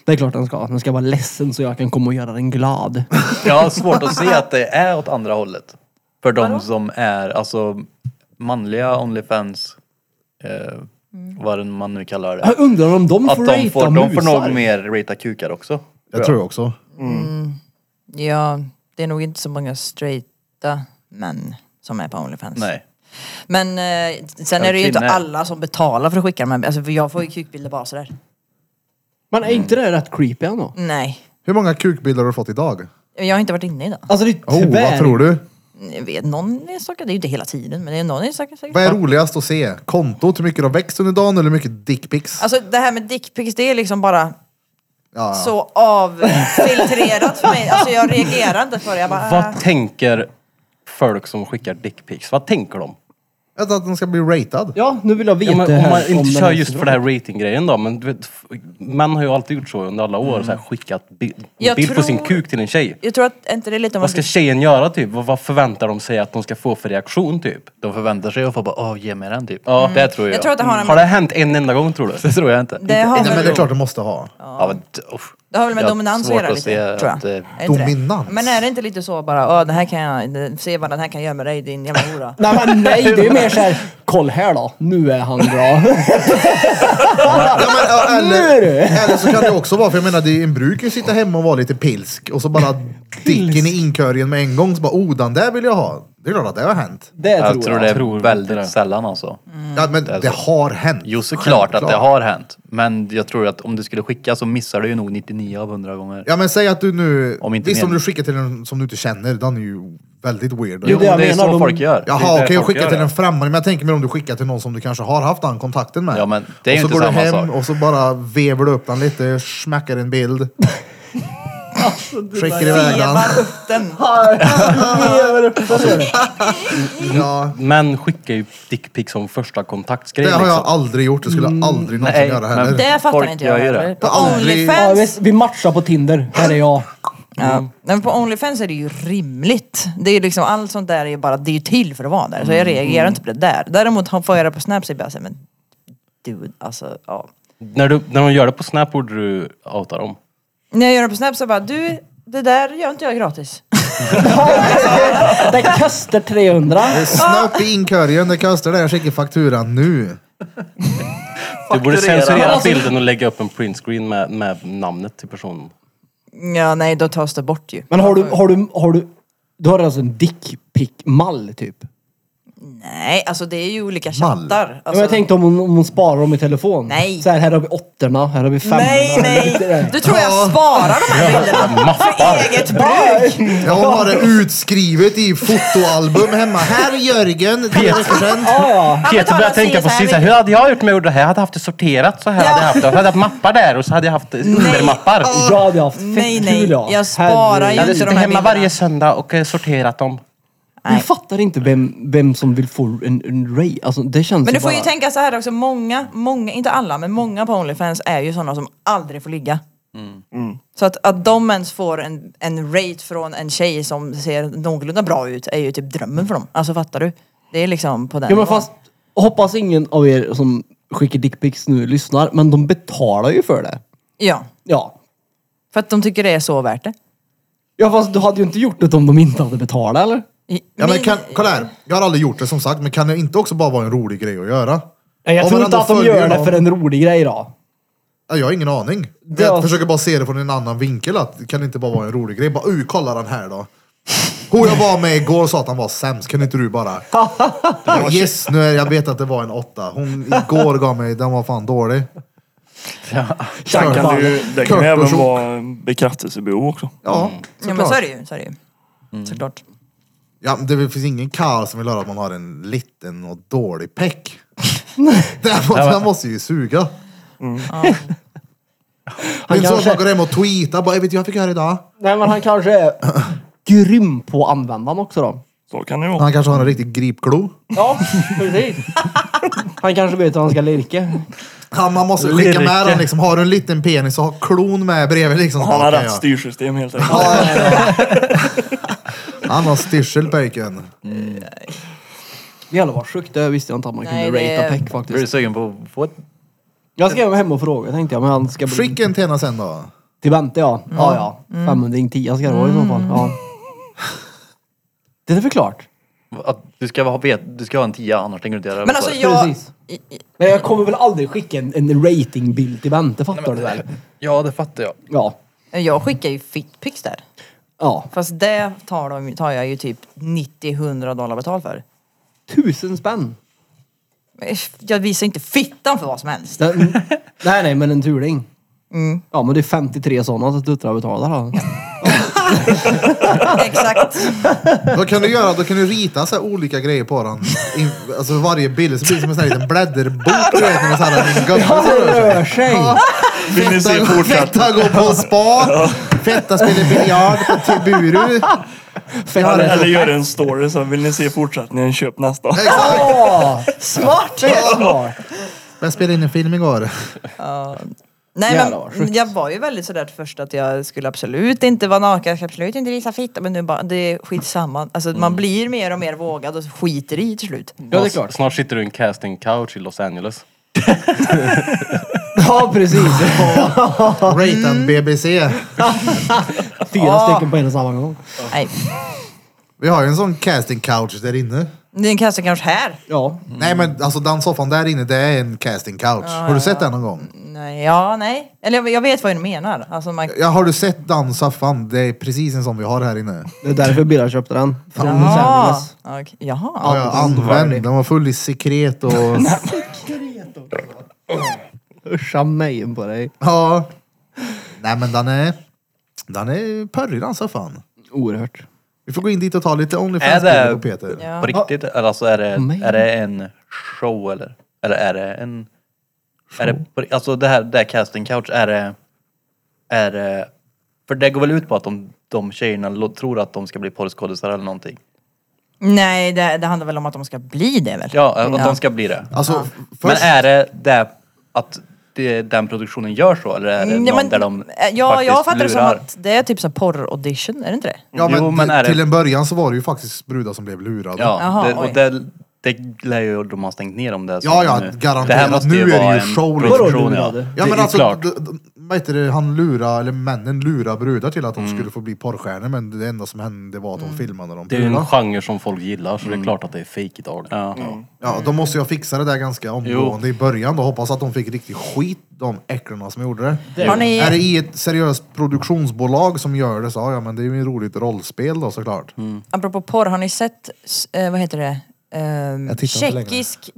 [SPEAKER 5] Det är klart den ska. Den ska vara ledsen så jag kan komma och göra den glad.
[SPEAKER 10] Jag har svårt att se att det är åt andra hållet. För de som är, alltså manliga Onlyfans, eh, vad man nu kallar det.
[SPEAKER 5] Jag undrar om de
[SPEAKER 10] Att
[SPEAKER 5] får
[SPEAKER 10] Ah, de får,
[SPEAKER 5] ratea
[SPEAKER 10] de får
[SPEAKER 5] musar.
[SPEAKER 10] nog mer ratea kukar också.
[SPEAKER 3] Jag tror också.
[SPEAKER 2] Ja, det är nog inte så många straighta män som är på Onlyfans.
[SPEAKER 10] Nej.
[SPEAKER 2] Men eh, sen
[SPEAKER 10] Ja,
[SPEAKER 2] är det ju inte
[SPEAKER 10] kvinnor.
[SPEAKER 2] alla som betalar för att skicka dem. Alltså, för jag får ju kukbilder bara sådär.
[SPEAKER 5] Men är inte det rätt creepy ändå?
[SPEAKER 2] Nej,
[SPEAKER 3] Hur många kukbilder har du fått idag?
[SPEAKER 2] jag har inte varit inne idag.
[SPEAKER 5] Alltså det är
[SPEAKER 3] Oh,
[SPEAKER 5] tyvärr.
[SPEAKER 3] vad tror du?
[SPEAKER 2] jag vet, någon enstaka, det är ju inte hela tiden, men det är någon enstaka säkert.
[SPEAKER 3] Vad är roligast att se? Kontot, hur mycket de växt under dagen eller hur mycket dickpics?
[SPEAKER 2] Alltså det här med dickpics, det är liksom bara
[SPEAKER 3] Ja, ja.
[SPEAKER 2] så avfiltrerat för mig. Alltså jag reagerar inte på det. Jag bara, äh.
[SPEAKER 9] Vad tänker folk som skickar dickpics? Vad tänker de?
[SPEAKER 3] Att, att den ska bli ratad.
[SPEAKER 5] Ja, nu vill jag veta
[SPEAKER 9] Ja, men om
[SPEAKER 5] här
[SPEAKER 9] man
[SPEAKER 5] om
[SPEAKER 9] inte
[SPEAKER 5] den
[SPEAKER 9] kör
[SPEAKER 5] här
[SPEAKER 9] just för
[SPEAKER 5] syndromet.
[SPEAKER 9] den här ratinggrejen då, men du vet, f- män har ju alltid gjort så under alla år, så här, skickat bild,
[SPEAKER 2] Jag
[SPEAKER 9] bild på sin
[SPEAKER 2] tror-
[SPEAKER 9] kuk till en tjej.
[SPEAKER 2] Jag tror att, är inte det är lite om
[SPEAKER 9] Vad
[SPEAKER 2] att
[SPEAKER 9] ska tjejen göra typ? Vad, vad förväntar de sig att de ska få för reaktion typ?
[SPEAKER 10] De förväntar sig att få bara, åh ge mig den typ.
[SPEAKER 9] Ja.
[SPEAKER 10] Det tror jag.
[SPEAKER 2] Jag tror att det har en...
[SPEAKER 9] Har det hänt en enda gång tror du?
[SPEAKER 10] Det tror jag inte.
[SPEAKER 2] Det har
[SPEAKER 3] Nej, men
[SPEAKER 2] väl,
[SPEAKER 3] det är klart du måste ha.
[SPEAKER 10] Ja, men, t- uff.
[SPEAKER 2] det har väl med
[SPEAKER 10] Jag har
[SPEAKER 2] dominans att
[SPEAKER 10] svårt
[SPEAKER 2] göra lite,
[SPEAKER 10] se
[SPEAKER 2] tror jag.
[SPEAKER 10] att, eh,
[SPEAKER 2] Är det inte det?
[SPEAKER 3] Dominans.
[SPEAKER 2] Men är det inte lite så bara, "Åh, det här kan jag, se vad den här kan göra med dig din jävla hora.
[SPEAKER 5] Nej, men nej, det är mer såhär, koll här då. Nu är han bra.
[SPEAKER 3] Ja, men, ja,
[SPEAKER 5] Nu
[SPEAKER 3] eller,
[SPEAKER 5] är det.
[SPEAKER 3] eller så kan det också vara, för jag menar, det är- en brukar ju sitta hemma och vara lite pilsk och så bara dicken i inkorgen med en gång. Så bara, oh den där vill jag ha. Det är klart att det har hänt.
[SPEAKER 5] Det tror
[SPEAKER 10] jag
[SPEAKER 5] jag.
[SPEAKER 10] tror det är
[SPEAKER 9] Tror inte
[SPEAKER 10] väldigt
[SPEAKER 9] det.
[SPEAKER 10] sällan alltså.
[SPEAKER 3] Ja, men det, har hänt.
[SPEAKER 10] Jo, såklart att det
[SPEAKER 3] Självklart.
[SPEAKER 10] har hänt. Men jag tror att om du skulle skicka så missar du ju nog 99 av 100 gånger.
[SPEAKER 3] Ja men säg att du nu,
[SPEAKER 10] Om inte
[SPEAKER 3] visst om
[SPEAKER 10] mer.
[SPEAKER 3] du skickar till en som du inte känner, den är ju väldigt weird.
[SPEAKER 10] Jo,
[SPEAKER 5] det
[SPEAKER 10] det
[SPEAKER 5] jag
[SPEAKER 10] är
[SPEAKER 5] menar,
[SPEAKER 10] så
[SPEAKER 5] de-
[SPEAKER 10] folk gör.
[SPEAKER 3] Jaha,
[SPEAKER 9] det är
[SPEAKER 3] okej
[SPEAKER 9] det
[SPEAKER 3] jag
[SPEAKER 9] folk
[SPEAKER 3] skickar
[SPEAKER 9] gör,
[SPEAKER 3] till
[SPEAKER 9] ja.
[SPEAKER 3] en främmande, men jag tänker mig om du skickar till någon som du kanske har haft den kontakten med.
[SPEAKER 10] Ja, men det är ju
[SPEAKER 3] och så
[SPEAKER 10] inte
[SPEAKER 3] går
[SPEAKER 10] samma
[SPEAKER 3] du hem
[SPEAKER 10] sak.
[SPEAKER 3] och så bara vevar du upp den lite, smäcker en bild. Skickar iväg den.
[SPEAKER 2] Vevar upp den.
[SPEAKER 3] Ja,
[SPEAKER 9] Män skickar ju dickpics som första kontaktsgrej.
[SPEAKER 3] det har jag
[SPEAKER 9] liksom.
[SPEAKER 3] aldrig gjort, det skulle
[SPEAKER 5] Mm,
[SPEAKER 3] jag aldrig någonsin
[SPEAKER 10] nej,
[SPEAKER 3] göra
[SPEAKER 10] men-
[SPEAKER 3] heller.
[SPEAKER 2] Det fattar
[SPEAKER 10] Folk
[SPEAKER 2] inte jag
[SPEAKER 10] gör ju det.
[SPEAKER 2] heller. På
[SPEAKER 3] Aldrig-
[SPEAKER 5] Ja,
[SPEAKER 2] Onlyfans.
[SPEAKER 5] visst, vi matchar på Tinder. Här är jag. Mm.
[SPEAKER 2] Ja. Nej, men på Onlyfans är det ju rimligt. Det är ju liksom, allt sånt där är ju bara, det är ju till för att vara där. Så
[SPEAKER 5] Mm,
[SPEAKER 2] jag reagerar inte på det där. Däremot har- får jag det på Snap så är jag bara såhär, men dude, alltså ja.
[SPEAKER 9] När, du, när de gör det på Snap borde du outa dem.
[SPEAKER 2] När jag gör det på Snap så bara, du, det där gör inte jag gratis.
[SPEAKER 5] Det kastar 300.
[SPEAKER 3] Snabbt i inkorgen, det kostar det, jag skickar fakturan nu.
[SPEAKER 9] Du borde
[SPEAKER 10] Fakturera.
[SPEAKER 9] censurera
[SPEAKER 2] Alltså-
[SPEAKER 9] bilden och lägga upp en printscreen med, med namnet till personen.
[SPEAKER 2] Ja, nej, då tas det bort ju.
[SPEAKER 5] Men har du, har du, har du, du har alltså en dickpick-mall typ?
[SPEAKER 2] Nej, alltså det är ju olika
[SPEAKER 3] Mall.
[SPEAKER 2] chattar.
[SPEAKER 5] Ja,
[SPEAKER 2] Alltså,
[SPEAKER 5] men jag tänkte om hon, om hon sparar dem i telefon.
[SPEAKER 2] Nej.
[SPEAKER 5] Så här, här har vi åttorna, här har vi femmorna.
[SPEAKER 2] nej, nej! Du tror jag sparar de här bilderna för eget bruk?
[SPEAKER 3] Jag har det utskrivet i fotoalbum hemma. Här Jörgen, tre veckor sedan.
[SPEAKER 5] Ja, ja.
[SPEAKER 2] Ja, men
[SPEAKER 9] Peter
[SPEAKER 2] tala
[SPEAKER 9] började tänka
[SPEAKER 2] si
[SPEAKER 9] på
[SPEAKER 2] så här
[SPEAKER 9] sist,
[SPEAKER 2] mycket.
[SPEAKER 9] hur hade jag gjort med det här? Jag hade haft det sorterat så här.
[SPEAKER 2] Ja.
[SPEAKER 9] Hade jag, haft det. jag hade haft mappar där och så hade jag haft undermappar.
[SPEAKER 5] Jag hade haft fett
[SPEAKER 2] Nej, nej.
[SPEAKER 5] kul ja.
[SPEAKER 2] Jag sparar ju
[SPEAKER 9] Jag hade
[SPEAKER 2] inte
[SPEAKER 9] suttit
[SPEAKER 2] de här
[SPEAKER 9] hemma varje
[SPEAKER 2] bilderna.
[SPEAKER 9] söndag och eh, sorterat dem.
[SPEAKER 5] Jag fattar inte vem, vem som vill få en, en ray. Alltså det känns
[SPEAKER 2] Men du får
[SPEAKER 5] bara...
[SPEAKER 2] ju tänka så här också, många, många, inte alla, men många på Onlyfans är ju sådana som aldrig får ligga.
[SPEAKER 3] Mm.
[SPEAKER 2] Så att, att de ens får en, en rate från en tjej som ser någorlunda bra ut är ju typ drömmen för dem. Alltså fattar du? Det är liksom på den
[SPEAKER 5] Ja men
[SPEAKER 2] nivån.
[SPEAKER 5] fast, hoppas ingen av er som skickar dickpics nu lyssnar, men de betalar ju för det.
[SPEAKER 2] Ja,
[SPEAKER 5] Ja.
[SPEAKER 2] för att de tycker det är så värt det.
[SPEAKER 5] Ja fast du hade ju inte gjort det om de inte hade betalat eller?
[SPEAKER 2] I-
[SPEAKER 3] Ja, men
[SPEAKER 2] min-
[SPEAKER 3] kan, kolla här, jag har aldrig gjort det som sagt, men kan det inte också bara vara en rolig grej att göra?
[SPEAKER 5] Nej, jag
[SPEAKER 3] Om
[SPEAKER 5] tror
[SPEAKER 3] man
[SPEAKER 5] inte
[SPEAKER 3] ändå
[SPEAKER 5] att de
[SPEAKER 3] följer
[SPEAKER 5] gör det
[SPEAKER 3] någon-
[SPEAKER 5] för en rolig grej då.
[SPEAKER 3] Ja, Jag har ingen aning.
[SPEAKER 5] Det
[SPEAKER 3] jag
[SPEAKER 5] var-
[SPEAKER 3] försöker bara se det från en annan vinkel. Att, kan det inte bara vara en rolig grej? Bara, uh, kolla den här då. Hon jag var med igår sa att han var sämst, kan inte du bara... Ja, yes, nu är, jag vet att det var en åtta. Hon igår gav mig, den var fan dålig.
[SPEAKER 4] Sen kan det ju, det kan ju även
[SPEAKER 3] Körperson.
[SPEAKER 4] vara bekräftelsebehov också.
[SPEAKER 3] Ja,
[SPEAKER 2] Ja men så är
[SPEAKER 3] såklart.
[SPEAKER 2] det ju, så är det ju. Såklart.
[SPEAKER 3] Ja, men det finns ingen karl som vill höra att man har en liten och dålig peck. den, må- den måste ju suga. Det är inte så att man går hem och tweetar bara, jag vet du, jag fick göra idag.
[SPEAKER 5] Nej men han kanske är grym på att använda den också då.
[SPEAKER 4] Så kan det ju vara.
[SPEAKER 3] Han kanske har en riktig gripklo.
[SPEAKER 5] Ja, precis. Han kanske vet hur han ska lirka.
[SPEAKER 3] Ja, man måste skicka med den liksom. Har du en liten penis så ha klon med bredvid liksom.
[SPEAKER 4] Han har
[SPEAKER 3] Okej,
[SPEAKER 4] rätt
[SPEAKER 3] ja.
[SPEAKER 4] styrsystem helt enkelt.
[SPEAKER 3] Han har styrsel pojken.
[SPEAKER 5] Jävlar vad sjukt, det visste jag inte att man
[SPEAKER 2] Nej,
[SPEAKER 5] kunde
[SPEAKER 2] det-
[SPEAKER 5] ratea peck
[SPEAKER 10] Jag blir
[SPEAKER 5] faktiskt.
[SPEAKER 10] sugen på att få ett...
[SPEAKER 5] Jag ska hem och fråga tänkte jag, men han ska bli...
[SPEAKER 3] Skicka en till henne sen då.
[SPEAKER 5] Till Bente ja. Ja
[SPEAKER 2] Mm.
[SPEAKER 5] ja. 500 10 ska det vara i så fall. Ja. Det är väl klart.
[SPEAKER 10] Att du, ska ha, vet- du ska ha en tia annars tänker du inte göra det.
[SPEAKER 2] Men alltså jag...
[SPEAKER 5] Precis. Men jag kommer väl aldrig skicka en, en ratingbild till Bente, fattar du väl?
[SPEAKER 10] Ja, det fattar jag.
[SPEAKER 5] Ja.
[SPEAKER 2] Jag skickar ju fitpics där.
[SPEAKER 5] Ja.
[SPEAKER 2] Fast det tar, de, tar jag ju typ 90-100 dollar betalt för.
[SPEAKER 5] Tusen spänn.
[SPEAKER 2] Men Jag visar inte fittan för vad som helst.
[SPEAKER 5] Den, Mm. nej nej, men en turing. Ja men det är 53 sådana som Duttra betalar då.
[SPEAKER 2] Exakt.
[SPEAKER 3] Vad kan du göra? Då kan du rita så här olika grejer på den. In, alltså varje bild så blir det som en sån här liten blädderbok. Du vet när så här, en gubbe som rör sig.
[SPEAKER 5] Rör sig!
[SPEAKER 4] Vill ni se fortsatt?
[SPEAKER 3] Fetta går på spa. Fetta spelar biljard på Tiburu.
[SPEAKER 4] Eller, eller gör en story så vill ni se fortsättningen, köp nästa.
[SPEAKER 3] Exakt.
[SPEAKER 2] Smart!
[SPEAKER 3] Jag spelade in en film igår.
[SPEAKER 2] Nej
[SPEAKER 5] Jävlar,
[SPEAKER 2] men jag var ju väldigt sådär först att jag skulle absolut inte vara naken, jag skulle absolut inte visa fitta men nu bara, det är skitsamma. Alltså
[SPEAKER 10] Mm.
[SPEAKER 2] man blir mer och mer vågad och skiter i till slut.
[SPEAKER 5] Ja, det är klart.
[SPEAKER 9] Snart sitter du i en casting couch i Los Angeles.
[SPEAKER 5] Ja, precis.
[SPEAKER 3] Rated BBC.
[SPEAKER 5] Fyra stycken på en och samma gång.
[SPEAKER 2] Nej,
[SPEAKER 3] Vi har ju en sån casting couch där inne.
[SPEAKER 2] den kastar kanske här.
[SPEAKER 5] Ja.
[SPEAKER 3] Nej
[SPEAKER 10] Mm.
[SPEAKER 3] men alltså den soffan där inne det är en casting couch. har du sett den någon gång?
[SPEAKER 2] Nej, ja, nej. Eller jag- jag vet vad du menar. Alltså man...
[SPEAKER 10] Mm.
[SPEAKER 3] Ja, har du sett den soffan? Det är precis en sån vi har här inne.
[SPEAKER 5] Det är därför Birra köpte den. Från Los
[SPEAKER 2] Jaha.
[SPEAKER 5] Angeles.
[SPEAKER 2] Okej, Jaha.
[SPEAKER 3] Ja, jag använd. Den var full i sekret och...
[SPEAKER 5] Uscha mig på dig.
[SPEAKER 3] ja. Nej men den är... Den är pörrig den soffan.
[SPEAKER 5] Oerhört.
[SPEAKER 3] Vi får gå in dit och ta lite
[SPEAKER 10] Är
[SPEAKER 3] Onlyfans-bilder
[SPEAKER 10] det-
[SPEAKER 3] på Peter.
[SPEAKER 2] Ja.
[SPEAKER 10] På riktigt? Eller alltså är det,
[SPEAKER 5] Men-
[SPEAKER 10] är det en show eller? Eller är det en... Är det, på ri- alltså det här, det här casting couch, är det... Är det... För det går väl ut på att de, de tjejerna lo- tror att de ska bli porrskådisar eller någonting?
[SPEAKER 2] Nej, det, det handlar väl om att de ska bli det väl?
[SPEAKER 10] Ja, att
[SPEAKER 2] Ja.
[SPEAKER 10] de ska bli det.
[SPEAKER 3] Alltså,
[SPEAKER 10] Men
[SPEAKER 3] först,
[SPEAKER 10] är det det att det, den produktionen gör så eller är det
[SPEAKER 2] Nej,
[SPEAKER 10] någon
[SPEAKER 2] Mm, men- eh,
[SPEAKER 10] där de
[SPEAKER 2] ja, jag
[SPEAKER 10] faktiskt
[SPEAKER 2] fattar det som
[SPEAKER 10] lurar?
[SPEAKER 2] att det är typ som porr-audition, är det inte det?
[SPEAKER 3] ja, men,
[SPEAKER 10] Jo, men är det-
[SPEAKER 3] till en början så var det ju faktiskt brudar som blev lurade.
[SPEAKER 10] Ja,
[SPEAKER 2] Jaha,
[SPEAKER 10] det,
[SPEAKER 2] oj.
[SPEAKER 10] och det, det lär ju de ha stängt ner om det.
[SPEAKER 3] Ja, ja, garanterat. Nu är det ju show, liksom.
[SPEAKER 10] produktion, ja.
[SPEAKER 5] Vadå,
[SPEAKER 3] Ja
[SPEAKER 9] Det
[SPEAKER 3] men
[SPEAKER 9] är
[SPEAKER 3] alltså,
[SPEAKER 9] klart.
[SPEAKER 3] d- d- vad heter det, han lura, eller männen lura brudar till att de skulle få bli porrstjärnor men det enda som hände var att
[SPEAKER 2] Mm.
[SPEAKER 3] de filmade dem.
[SPEAKER 9] Mm. Det är ju en genre som folk gillar så
[SPEAKER 5] Mm.
[SPEAKER 9] det är klart att det är fake idag.
[SPEAKER 10] Ja.
[SPEAKER 3] Ja, de måste ju ha fixat det där ganska omgående i början då. Hoppas att de fick riktigt skit, de äcklorna som gjorde det.
[SPEAKER 2] Har ni-
[SPEAKER 3] Är det i ett seriöst produktionsbolag som gör det så, ja men det är ju ett roligt rollspel då såklart.
[SPEAKER 9] Mm.
[SPEAKER 2] Apropå porr, har ni sett, s- eh, vad heter det? Um,
[SPEAKER 3] Jag tittar inte längre.
[SPEAKER 2] tjeckisk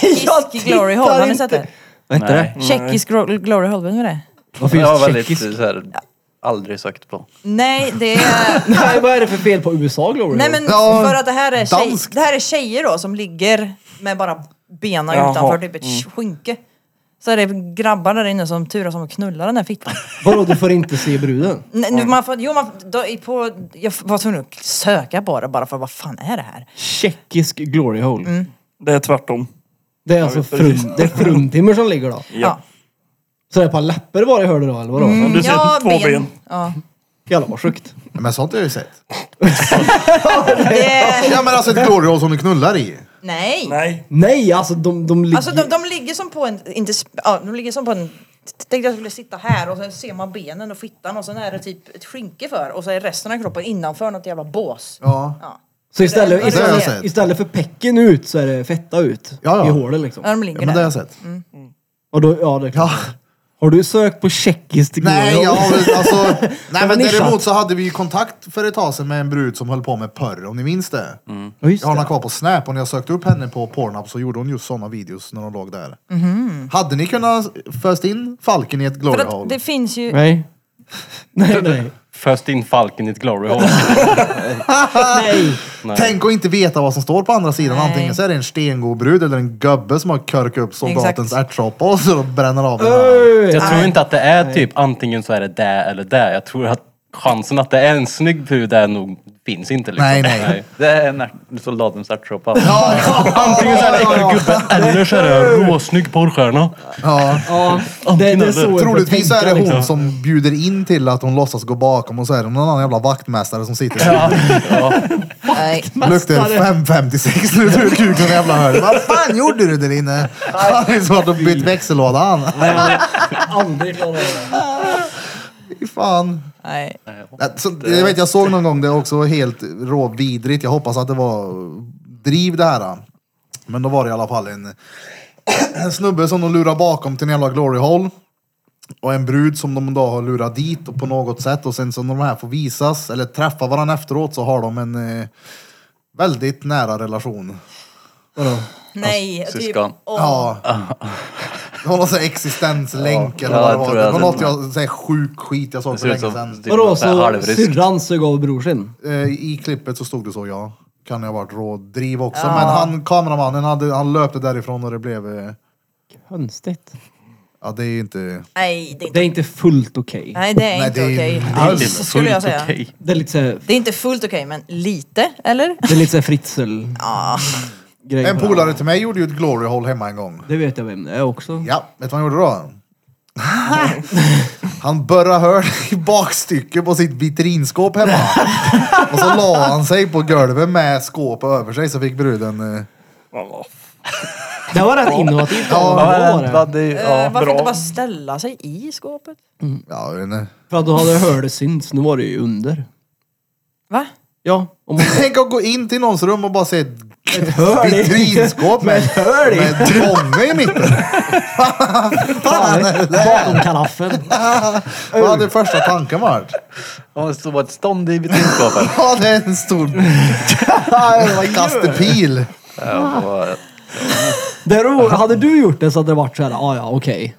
[SPEAKER 2] tjeckisk glory hole, har ni sett det?
[SPEAKER 5] Vad hette det?
[SPEAKER 10] Nej.
[SPEAKER 2] Tjeckisk gro- glory hole, vet ni vad det är?
[SPEAKER 5] Varför
[SPEAKER 10] Jag
[SPEAKER 5] just
[SPEAKER 10] har väldigt
[SPEAKER 5] tjeckisk?
[SPEAKER 10] så här, aldrig sökt på.
[SPEAKER 2] Nej, det är...
[SPEAKER 5] Nej, vad är det för fel på USA Glory?
[SPEAKER 2] Nej men
[SPEAKER 3] Ja,
[SPEAKER 2] för att det här, är tjej,
[SPEAKER 3] danskt.
[SPEAKER 2] det här är tjejer då som ligger med bara benen
[SPEAKER 4] Jaha. Mm.
[SPEAKER 2] utanför typ ett skynke. Så är det grabbar där inne som turas om att knulla den här fittan.
[SPEAKER 5] Vadå, du får inte se bruden?
[SPEAKER 2] Nej, nu, man får, jo, man, då, i- på, jag var tvungen att söka på det bara för vad fan är det här?
[SPEAKER 5] Tjeckisk Glory Hole.
[SPEAKER 4] Det är tvärtom.
[SPEAKER 5] Det är alltså
[SPEAKER 4] vet precis.
[SPEAKER 5] frum, det är fruntimmer som ligger då?
[SPEAKER 4] Ja.
[SPEAKER 5] Så det är ett par läppar bara jag hörde då, eller vadå?
[SPEAKER 2] Mm.
[SPEAKER 4] Men Du ser
[SPEAKER 2] Ja,
[SPEAKER 4] två ben.
[SPEAKER 2] ben. Ja.
[SPEAKER 5] Jävlar vad sjukt.
[SPEAKER 3] Men sånt har jag ju sett.
[SPEAKER 2] Det,
[SPEAKER 3] Ja men alltså ett gloryhål som du knullar i.
[SPEAKER 2] nej!
[SPEAKER 4] Nej.
[SPEAKER 5] Nej, alltså de, de ligger...
[SPEAKER 2] Alltså de, de ligger som på en, inte, sp- ja, de ligger som på en, tänkte jag skulle sitta här och sen ser man benen och fittan och sen är det typ ett skynke för och så är resten av kroppen innanför något jävla bås.
[SPEAKER 3] Ja.
[SPEAKER 2] Ja.
[SPEAKER 5] så istället,
[SPEAKER 2] Det
[SPEAKER 3] har jag
[SPEAKER 5] istället,
[SPEAKER 3] sett.
[SPEAKER 5] istället för pecken ut så är det fetta ut
[SPEAKER 3] Ja, ja.
[SPEAKER 5] i hålet liksom.
[SPEAKER 2] Ja, de
[SPEAKER 3] Ja,
[SPEAKER 2] ligger
[SPEAKER 3] men det har
[SPEAKER 2] där.
[SPEAKER 3] jag sett.
[SPEAKER 5] Och då, ja, det är klart.
[SPEAKER 3] Ja.
[SPEAKER 5] Har du sökt på tjeckiskt Glory
[SPEAKER 3] Nej,
[SPEAKER 5] Hole?
[SPEAKER 3] jag har väl, alltså, nej men
[SPEAKER 5] nischat.
[SPEAKER 3] däremot så hade vi ju kontakt för ett tag sedan med en brud som höll på med porr, om ni minns det?
[SPEAKER 5] Ja, just
[SPEAKER 3] Jag har
[SPEAKER 5] det.
[SPEAKER 3] henne kvar på Snap och när jag sökte upp henne på Pornhub så gjorde hon just sådana videos när hon låg där. Hade ni kunnat föst in falken i ett
[SPEAKER 2] För
[SPEAKER 3] glory
[SPEAKER 2] att
[SPEAKER 3] hole?
[SPEAKER 2] det finns ju,
[SPEAKER 5] Nej. Nej, nej.
[SPEAKER 9] Föst in falken i ett glory hole.
[SPEAKER 5] nej.
[SPEAKER 3] Tänk att inte veta vad som står på andra sidan.
[SPEAKER 2] Nej.
[SPEAKER 3] Antingen så är det en stengod brud eller en gubbe som har körkat upp soldatens
[SPEAKER 2] Exakt.
[SPEAKER 3] ärtsoppa och så bränner av den.
[SPEAKER 5] Öj.
[SPEAKER 9] Jag tror inte att det är typ antingen så är det där eller där. Jag tror att chansen att det är en snygg pud där nog finns inte. Liksom.
[SPEAKER 3] Nej, nej.
[SPEAKER 10] Det är en art- soldatens ärtsoppa.
[SPEAKER 9] Antingen så är det äckelgubbe eller så är det en råsnygg porrstjärna.
[SPEAKER 3] Ja.
[SPEAKER 5] Ja, det, det är så jag får
[SPEAKER 3] Troligtvis så är
[SPEAKER 5] tänka,
[SPEAKER 3] det hon
[SPEAKER 5] liksom.
[SPEAKER 3] som bjuder in till att hon låtsas gå bakom och så är det någon annan jävla vaktmästare som sitter där.
[SPEAKER 2] nej.
[SPEAKER 3] Luktar 556 när du drar ut kuken i jävla hörn. Vad fan gjorde du där inne? Han är svårt att byta växellåda han.
[SPEAKER 5] Aldrig klarar jag det.
[SPEAKER 3] Fy fan.
[SPEAKER 2] nej.
[SPEAKER 3] Ja, Så, jag vet, jag såg någon gång det också var helt råvidrigt. Jag hoppas att det var driv det här. Men då var det i alla fall en, en snubbe som de lurade bakom till en jävla glory hole. Och en brud som de då har lurat dit och på något sätt. Och sen så när de här får visas eller träffa varandra efteråt så har de en eh, väldigt nära relation.
[SPEAKER 5] Vadå?
[SPEAKER 2] Nej, typ,
[SPEAKER 10] syskon.
[SPEAKER 2] åh,
[SPEAKER 3] Ja. Det var någon sån här existenslänk
[SPEAKER 10] Ja,
[SPEAKER 3] eller vad det
[SPEAKER 10] jag
[SPEAKER 3] var.
[SPEAKER 10] tror
[SPEAKER 3] Det
[SPEAKER 10] jag
[SPEAKER 3] var något
[SPEAKER 10] sett
[SPEAKER 3] jag, sån här sjuk skit jag såg
[SPEAKER 10] Det
[SPEAKER 3] för
[SPEAKER 10] ser ut
[SPEAKER 3] länge
[SPEAKER 10] som
[SPEAKER 2] Alltså,
[SPEAKER 3] sedan.
[SPEAKER 10] typ
[SPEAKER 5] Vadå,
[SPEAKER 10] så här
[SPEAKER 5] så
[SPEAKER 10] halvrysk.
[SPEAKER 5] syrran sög av bror sin?
[SPEAKER 3] Eh, I klippet så stod det så ja. Kan jag ha varit rådriv också. Men han, kameramannen hade, han löpte därifrån och det blev... eh,
[SPEAKER 5] Konstigt.
[SPEAKER 3] Ja det är ju inte...
[SPEAKER 2] Nej, det är inte,
[SPEAKER 5] Det är inte fullt okej.
[SPEAKER 2] nej, det är
[SPEAKER 3] Nej,
[SPEAKER 2] inte
[SPEAKER 3] det är-
[SPEAKER 2] okej.
[SPEAKER 3] det är
[SPEAKER 9] Det är
[SPEAKER 2] Alls, skulle jag
[SPEAKER 9] fullt
[SPEAKER 2] säga.
[SPEAKER 9] okej.
[SPEAKER 5] Det är lite såhär,
[SPEAKER 2] Det är inte fullt okej, men lite, eller?
[SPEAKER 5] det är lite såhär fritzel... grej
[SPEAKER 3] En
[SPEAKER 5] på det.
[SPEAKER 3] polare till mig gjorde ju ett glory hole hemma en gång.
[SPEAKER 5] Det vet jag vem det är också.
[SPEAKER 3] Ja, vet du vad han gjorde då? Han började höra i bakstycket på sitt vitrinskåp hemma. Och så la han sig på golvet med skåpet över sig så fick bruden... eh,
[SPEAKER 4] Ja,
[SPEAKER 5] Det var rätt innovativt.
[SPEAKER 3] Ja,
[SPEAKER 5] Ja, det var
[SPEAKER 10] men,
[SPEAKER 5] det.
[SPEAKER 10] vad det,
[SPEAKER 2] Eh,
[SPEAKER 10] ja,
[SPEAKER 2] varför
[SPEAKER 4] bra.
[SPEAKER 2] inte bara ställa sig i skåpet?
[SPEAKER 3] Ja, jag vet inte.
[SPEAKER 5] För att då hade hördes synts, nu var det ju under.
[SPEAKER 2] Va?
[SPEAKER 5] Ja, om man...
[SPEAKER 3] Tänk att gå in till någons rum och bara se ett
[SPEAKER 5] hörn i.
[SPEAKER 3] vitrinskåp med,
[SPEAKER 5] hörn i.
[SPEAKER 3] med ett bånge i mitten.
[SPEAKER 5] Fan, bakom kalaffen.
[SPEAKER 3] Vad hade första tanken varit?
[SPEAKER 10] ja, det stod bara ett stånd i vitrinskåpet.
[SPEAKER 3] Ja, det är en stor kastepil.
[SPEAKER 10] Ja, och-
[SPEAKER 5] Det ro- hade du gjort det så hade det varit såhär, ah, ja okej.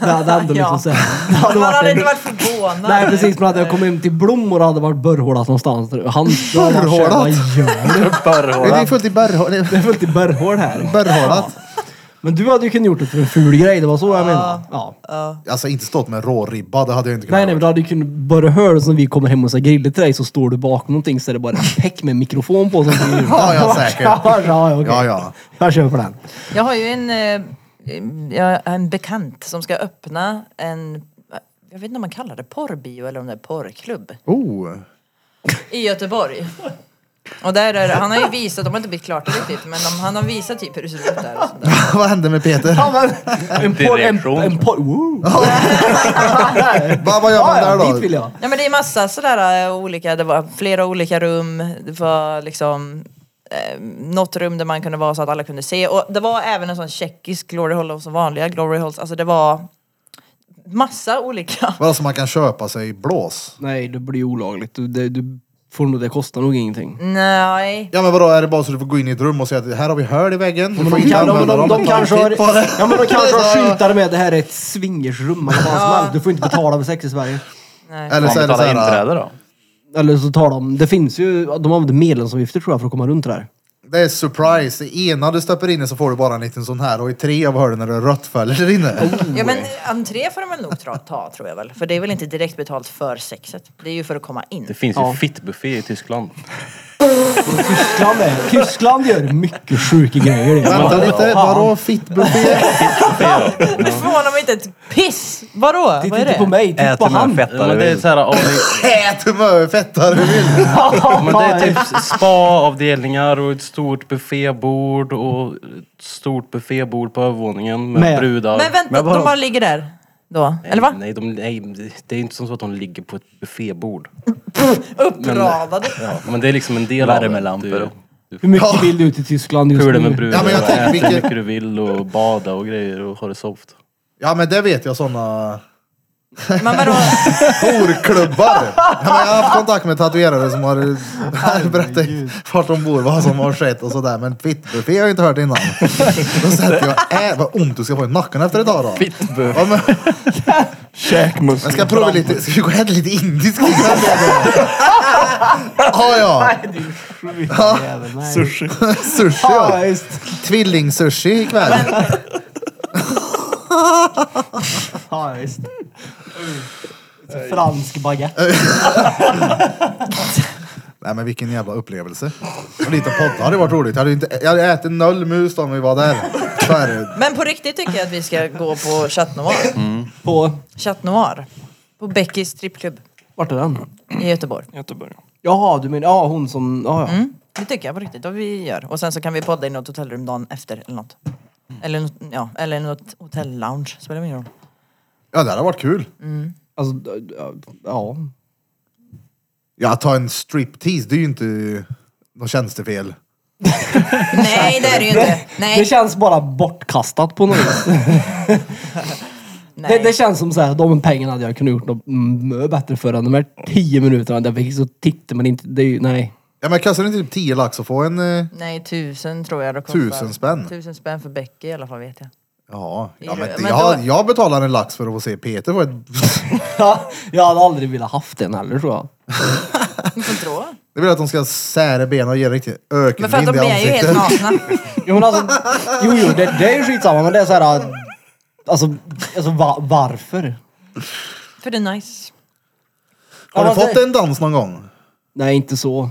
[SPEAKER 5] Det hade ändå liksom
[SPEAKER 2] Ja.
[SPEAKER 5] såhär. Det hade
[SPEAKER 2] Man hade
[SPEAKER 5] varit
[SPEAKER 2] inte
[SPEAKER 5] en...
[SPEAKER 2] varit förvånad.
[SPEAKER 5] Nej precis, men hade jag kommit hem till Blom och det hade varit börrhålat någonstans. Han, då hade han varit såhär, vad gör du?
[SPEAKER 3] Det är
[SPEAKER 10] Börrhålan.
[SPEAKER 3] fullt i berghål- det
[SPEAKER 5] Det
[SPEAKER 3] är
[SPEAKER 5] är fullt i börrhål här.
[SPEAKER 3] berghålat.
[SPEAKER 5] Men du hade ju kunnat gjort det för en ful grej, det var så jag menade. Ja.
[SPEAKER 3] Alltså inte stått med råribba, det hade jag inte kunnat
[SPEAKER 5] Nej nej, men du hade ju kunnat börja höra som vi kommer hem och så grillar till dig så står du bakom någonting så är det bara en peck med en mikrofon på som blir
[SPEAKER 3] Ja, ja, säkert.
[SPEAKER 5] Ja, ja, okej.
[SPEAKER 3] Ja, ja.
[SPEAKER 5] Jag köper den.
[SPEAKER 2] Jag har ju en, eh, jag har en bekant som ska öppna en, jag vet inte om man kallar det porrbio eller om det är porrklubb.
[SPEAKER 3] Oh.
[SPEAKER 2] I Göteborg. Och där är det, han har ju visat, de har inte blivit klart det riktigt, men de, han har visat typ hur det ser ut där. och sånt där.
[SPEAKER 3] Vad hände med Peter?
[SPEAKER 5] En porr... En, en porr... Woo.
[SPEAKER 3] Va, vad gör man
[SPEAKER 5] Ja,
[SPEAKER 3] där
[SPEAKER 5] ja,
[SPEAKER 3] då?
[SPEAKER 5] dit vill jag.
[SPEAKER 2] Ja men det är massa sådär eh, olika, det var flera olika rum, det var liksom eh, något rum där man kunde vara så att alla kunde se och det var även en sån tjeckisk glory hole och så vanliga glory holes, alltså det var massa olika.
[SPEAKER 3] Vadå så man kan köpa sig blås?
[SPEAKER 5] Nej, det blir olagligt. Du, det, du får nog, det kostar nog ingenting.
[SPEAKER 2] Nej.
[SPEAKER 3] Ja men vadå är det bara så du får gå in i ett rum och säga att här har vi hål i väggen. Du får
[SPEAKER 5] De,
[SPEAKER 3] inte
[SPEAKER 5] kan, de,
[SPEAKER 3] använda
[SPEAKER 5] de,
[SPEAKER 3] dem.
[SPEAKER 5] de
[SPEAKER 3] Ta en
[SPEAKER 5] kanske har,
[SPEAKER 3] titt på det.
[SPEAKER 5] ja, men de kanske har
[SPEAKER 3] Det är så-
[SPEAKER 5] skyltar med det här är ett swingersrum eller vad som helst. Du får inte betala för sex i Sverige.
[SPEAKER 3] Eller
[SPEAKER 10] Man
[SPEAKER 3] så är det
[SPEAKER 10] betalar
[SPEAKER 3] såhär.
[SPEAKER 10] inträde då.
[SPEAKER 5] Eller så tar de, det finns ju, de använder medlemsavgifter tror jag för att komma runt det där.
[SPEAKER 3] Det är surprise. I ena du stöper in i så får du bara en liten sån här och i tre av hörnen är det rött fäller där inne.
[SPEAKER 2] Ja men entré får de väl nog tra- ta tror jag väl, för det är väl inte direkt betalt för sexet. Det är ju för att komma in.
[SPEAKER 9] Det finns
[SPEAKER 5] Ja.
[SPEAKER 9] ju fittbuffé i Tyskland.
[SPEAKER 5] Tyskland, är, Tyskland gör mycket sjuka grejer.
[SPEAKER 3] Vänta lite,
[SPEAKER 5] Fan.
[SPEAKER 3] vadå fittbuffé?
[SPEAKER 2] Du förvånar mig inte ett piss! Vadå?
[SPEAKER 5] Titta
[SPEAKER 2] Vad är
[SPEAKER 5] typ inte
[SPEAKER 2] det?
[SPEAKER 5] på mig, titta på
[SPEAKER 10] Äter
[SPEAKER 5] han.
[SPEAKER 10] med
[SPEAKER 9] Ja,
[SPEAKER 10] fettare
[SPEAKER 9] men det är
[SPEAKER 10] vill.
[SPEAKER 9] så här, om ni-
[SPEAKER 3] Ät hur mycket fettar du vill.
[SPEAKER 9] Ja, men det är typ spa-avdelningar och ett stort buffébord och ett stort buffébord på övervåningen med,
[SPEAKER 5] Med-
[SPEAKER 9] brudar.
[SPEAKER 2] Men vänta,
[SPEAKER 9] vadå?
[SPEAKER 2] de bara ligger där? Då? Eller va?
[SPEAKER 9] Nej, de, nej, det är inte som så att de ligger på ett buffébord.
[SPEAKER 2] Uppradade?
[SPEAKER 9] Ja, men det är liksom en del
[SPEAKER 10] Värmelampor
[SPEAKER 9] av det.
[SPEAKER 10] och-
[SPEAKER 9] Du,
[SPEAKER 5] Hur mycket vill du ut i Tyskland
[SPEAKER 9] du
[SPEAKER 5] just
[SPEAKER 9] pular med
[SPEAKER 5] nu?
[SPEAKER 9] brudar
[SPEAKER 3] Ja, men jag
[SPEAKER 9] och
[SPEAKER 3] tänker
[SPEAKER 9] äter
[SPEAKER 3] vilket-
[SPEAKER 9] hur mycket du vill och bada och grejer och ha det soft.
[SPEAKER 3] Ja men det vet jag såna
[SPEAKER 2] Men vadå?
[SPEAKER 3] horklubbar. Ja, men jag har haft kontakt med tatuerare som har har berättat vart de bor, vad som har skett och sådär. Men fittbuffé har jag inte hört innan. Då sätter jag, äh, vad ont du ska få i nacken efter ett tag då. Ja, men, jag
[SPEAKER 4] Käkmuskeln.
[SPEAKER 3] ska prova lite, ska vi gå och äta lite indisk innan det då? Ja, ja.
[SPEAKER 4] Sushi.
[SPEAKER 3] Sushi
[SPEAKER 5] Ja,
[SPEAKER 3] ja.
[SPEAKER 5] just.
[SPEAKER 3] Tvillingsushi ikväll.
[SPEAKER 5] Ja, just. Fransk baguette.
[SPEAKER 3] Nej men vilken jävla upplevelse. Och lite podd, det hade varit roligt. Jag hade, inte, jag hade ätit noll mus då om vi var där. Så är det.
[SPEAKER 2] Men på riktigt tycker jag att vi ska gå på Chat Noir.
[SPEAKER 5] På,
[SPEAKER 2] Chat Noir. På Beckys strippklubb
[SPEAKER 5] vart är den?
[SPEAKER 2] i Göteborg. Mm.
[SPEAKER 4] Göteborg.
[SPEAKER 5] Jaha, du menar, ja hon som, ja ja.
[SPEAKER 2] Det tycker jag på riktigt att vi gör. Och sen så kan vi podda i något hotellrum dagen efter eller något. Eller, något- ja, eller något hotellounge, spelar ingen roll.
[SPEAKER 3] Ja det hade varit kul.
[SPEAKER 5] Alltså, ja, ja.
[SPEAKER 3] Ja, ta en striptease, det är ju inte något tjänstefel.
[SPEAKER 2] Nej det är det ju inte.
[SPEAKER 5] Det
[SPEAKER 2] Nej.
[SPEAKER 5] känns bara bortkastat på något vis. Det, det
[SPEAKER 2] Nej.
[SPEAKER 5] känns som såhär, de pengarna hade jag kunnat gjort något mö bättre för än de här tio minuterna där jag fick så titta men inte, det är ju, nej.
[SPEAKER 3] Ja, men kastar du inte typ 10 lax och få en... eh,
[SPEAKER 2] Nej tusen tror jag det kostar.
[SPEAKER 3] Tusen spänn.
[SPEAKER 2] Tusen spänn för Becky i alla fall vet jag.
[SPEAKER 3] Ja, ja
[SPEAKER 2] Är
[SPEAKER 3] men,
[SPEAKER 2] du-
[SPEAKER 3] det-
[SPEAKER 2] men
[SPEAKER 3] jag,
[SPEAKER 2] då-
[SPEAKER 3] jag betalar en lax för att se Peter få ett...
[SPEAKER 5] jag hade aldrig velat haft den heller tror jag.
[SPEAKER 2] Inte tror jag.
[SPEAKER 3] Det vill att de ska sära benen och ge en riktig
[SPEAKER 2] Men för att
[SPEAKER 3] ökenvind
[SPEAKER 2] de
[SPEAKER 3] i
[SPEAKER 2] är ju helt
[SPEAKER 3] ansiktet.
[SPEAKER 2] nakna.
[SPEAKER 5] Jo men alltså, jo, jo det, det är ju skitsamma men det är så här. Alltså, alltså va, varför?
[SPEAKER 2] För det är nice.
[SPEAKER 3] Har du
[SPEAKER 5] Ja,
[SPEAKER 3] fått
[SPEAKER 5] det-
[SPEAKER 3] en dans någon gång?
[SPEAKER 5] Nej inte så.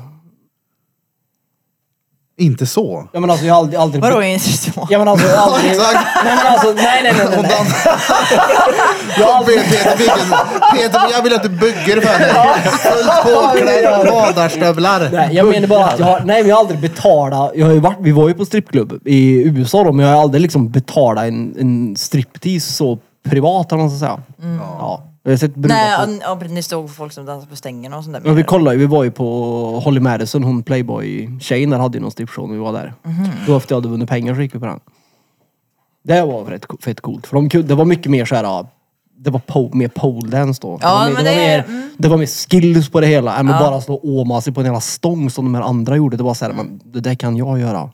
[SPEAKER 3] Inte så.
[SPEAKER 5] Jag men alltså jag har aldrig... aldrig
[SPEAKER 2] Vadå är inte så?
[SPEAKER 5] Jag men alltså jag har aldrig...
[SPEAKER 3] Exakt!
[SPEAKER 5] Nej men alltså nej nej nej. nej, nej. Jag har aldrig...
[SPEAKER 3] Peter, Peter, Peter, jag vill att du bygger för mig. Fullt påklädd, badarstövlar.
[SPEAKER 5] Nej, jag menar bara att jag har, nej, vi har aldrig betalat. Jag har ju varit, vi var ju på strippklubb i USA då, men jag har aldrig liksom betalat en, en striptease så privat eller vad man ska säga. Ja. Jag har sett brudar på-
[SPEAKER 2] Nej, ja, ni stod folk som dansade på stängerna och sånt där.
[SPEAKER 5] men
[SPEAKER 2] menar
[SPEAKER 5] vi
[SPEAKER 2] du?
[SPEAKER 5] kollade ju, vi var ju på Holly Madison, hon Playboy-tjejen där hade ju någon strippshow när vi var där.
[SPEAKER 2] Mhm.
[SPEAKER 5] Då efter jag hade vunnit pengar så gick vi på den. Det var fett, fett coolt, för de, kunde- det var mycket mer såhär, ja, det var po, mer poledance då.
[SPEAKER 2] Ja,
[SPEAKER 5] det, var mer,
[SPEAKER 2] men
[SPEAKER 5] det, var
[SPEAKER 2] det är- mm.
[SPEAKER 5] mer, det var mer skills på det hela, än att bara slå åmasig på en jävla stång som de här andra gjorde. Det var såhär, men det där kan jag göra.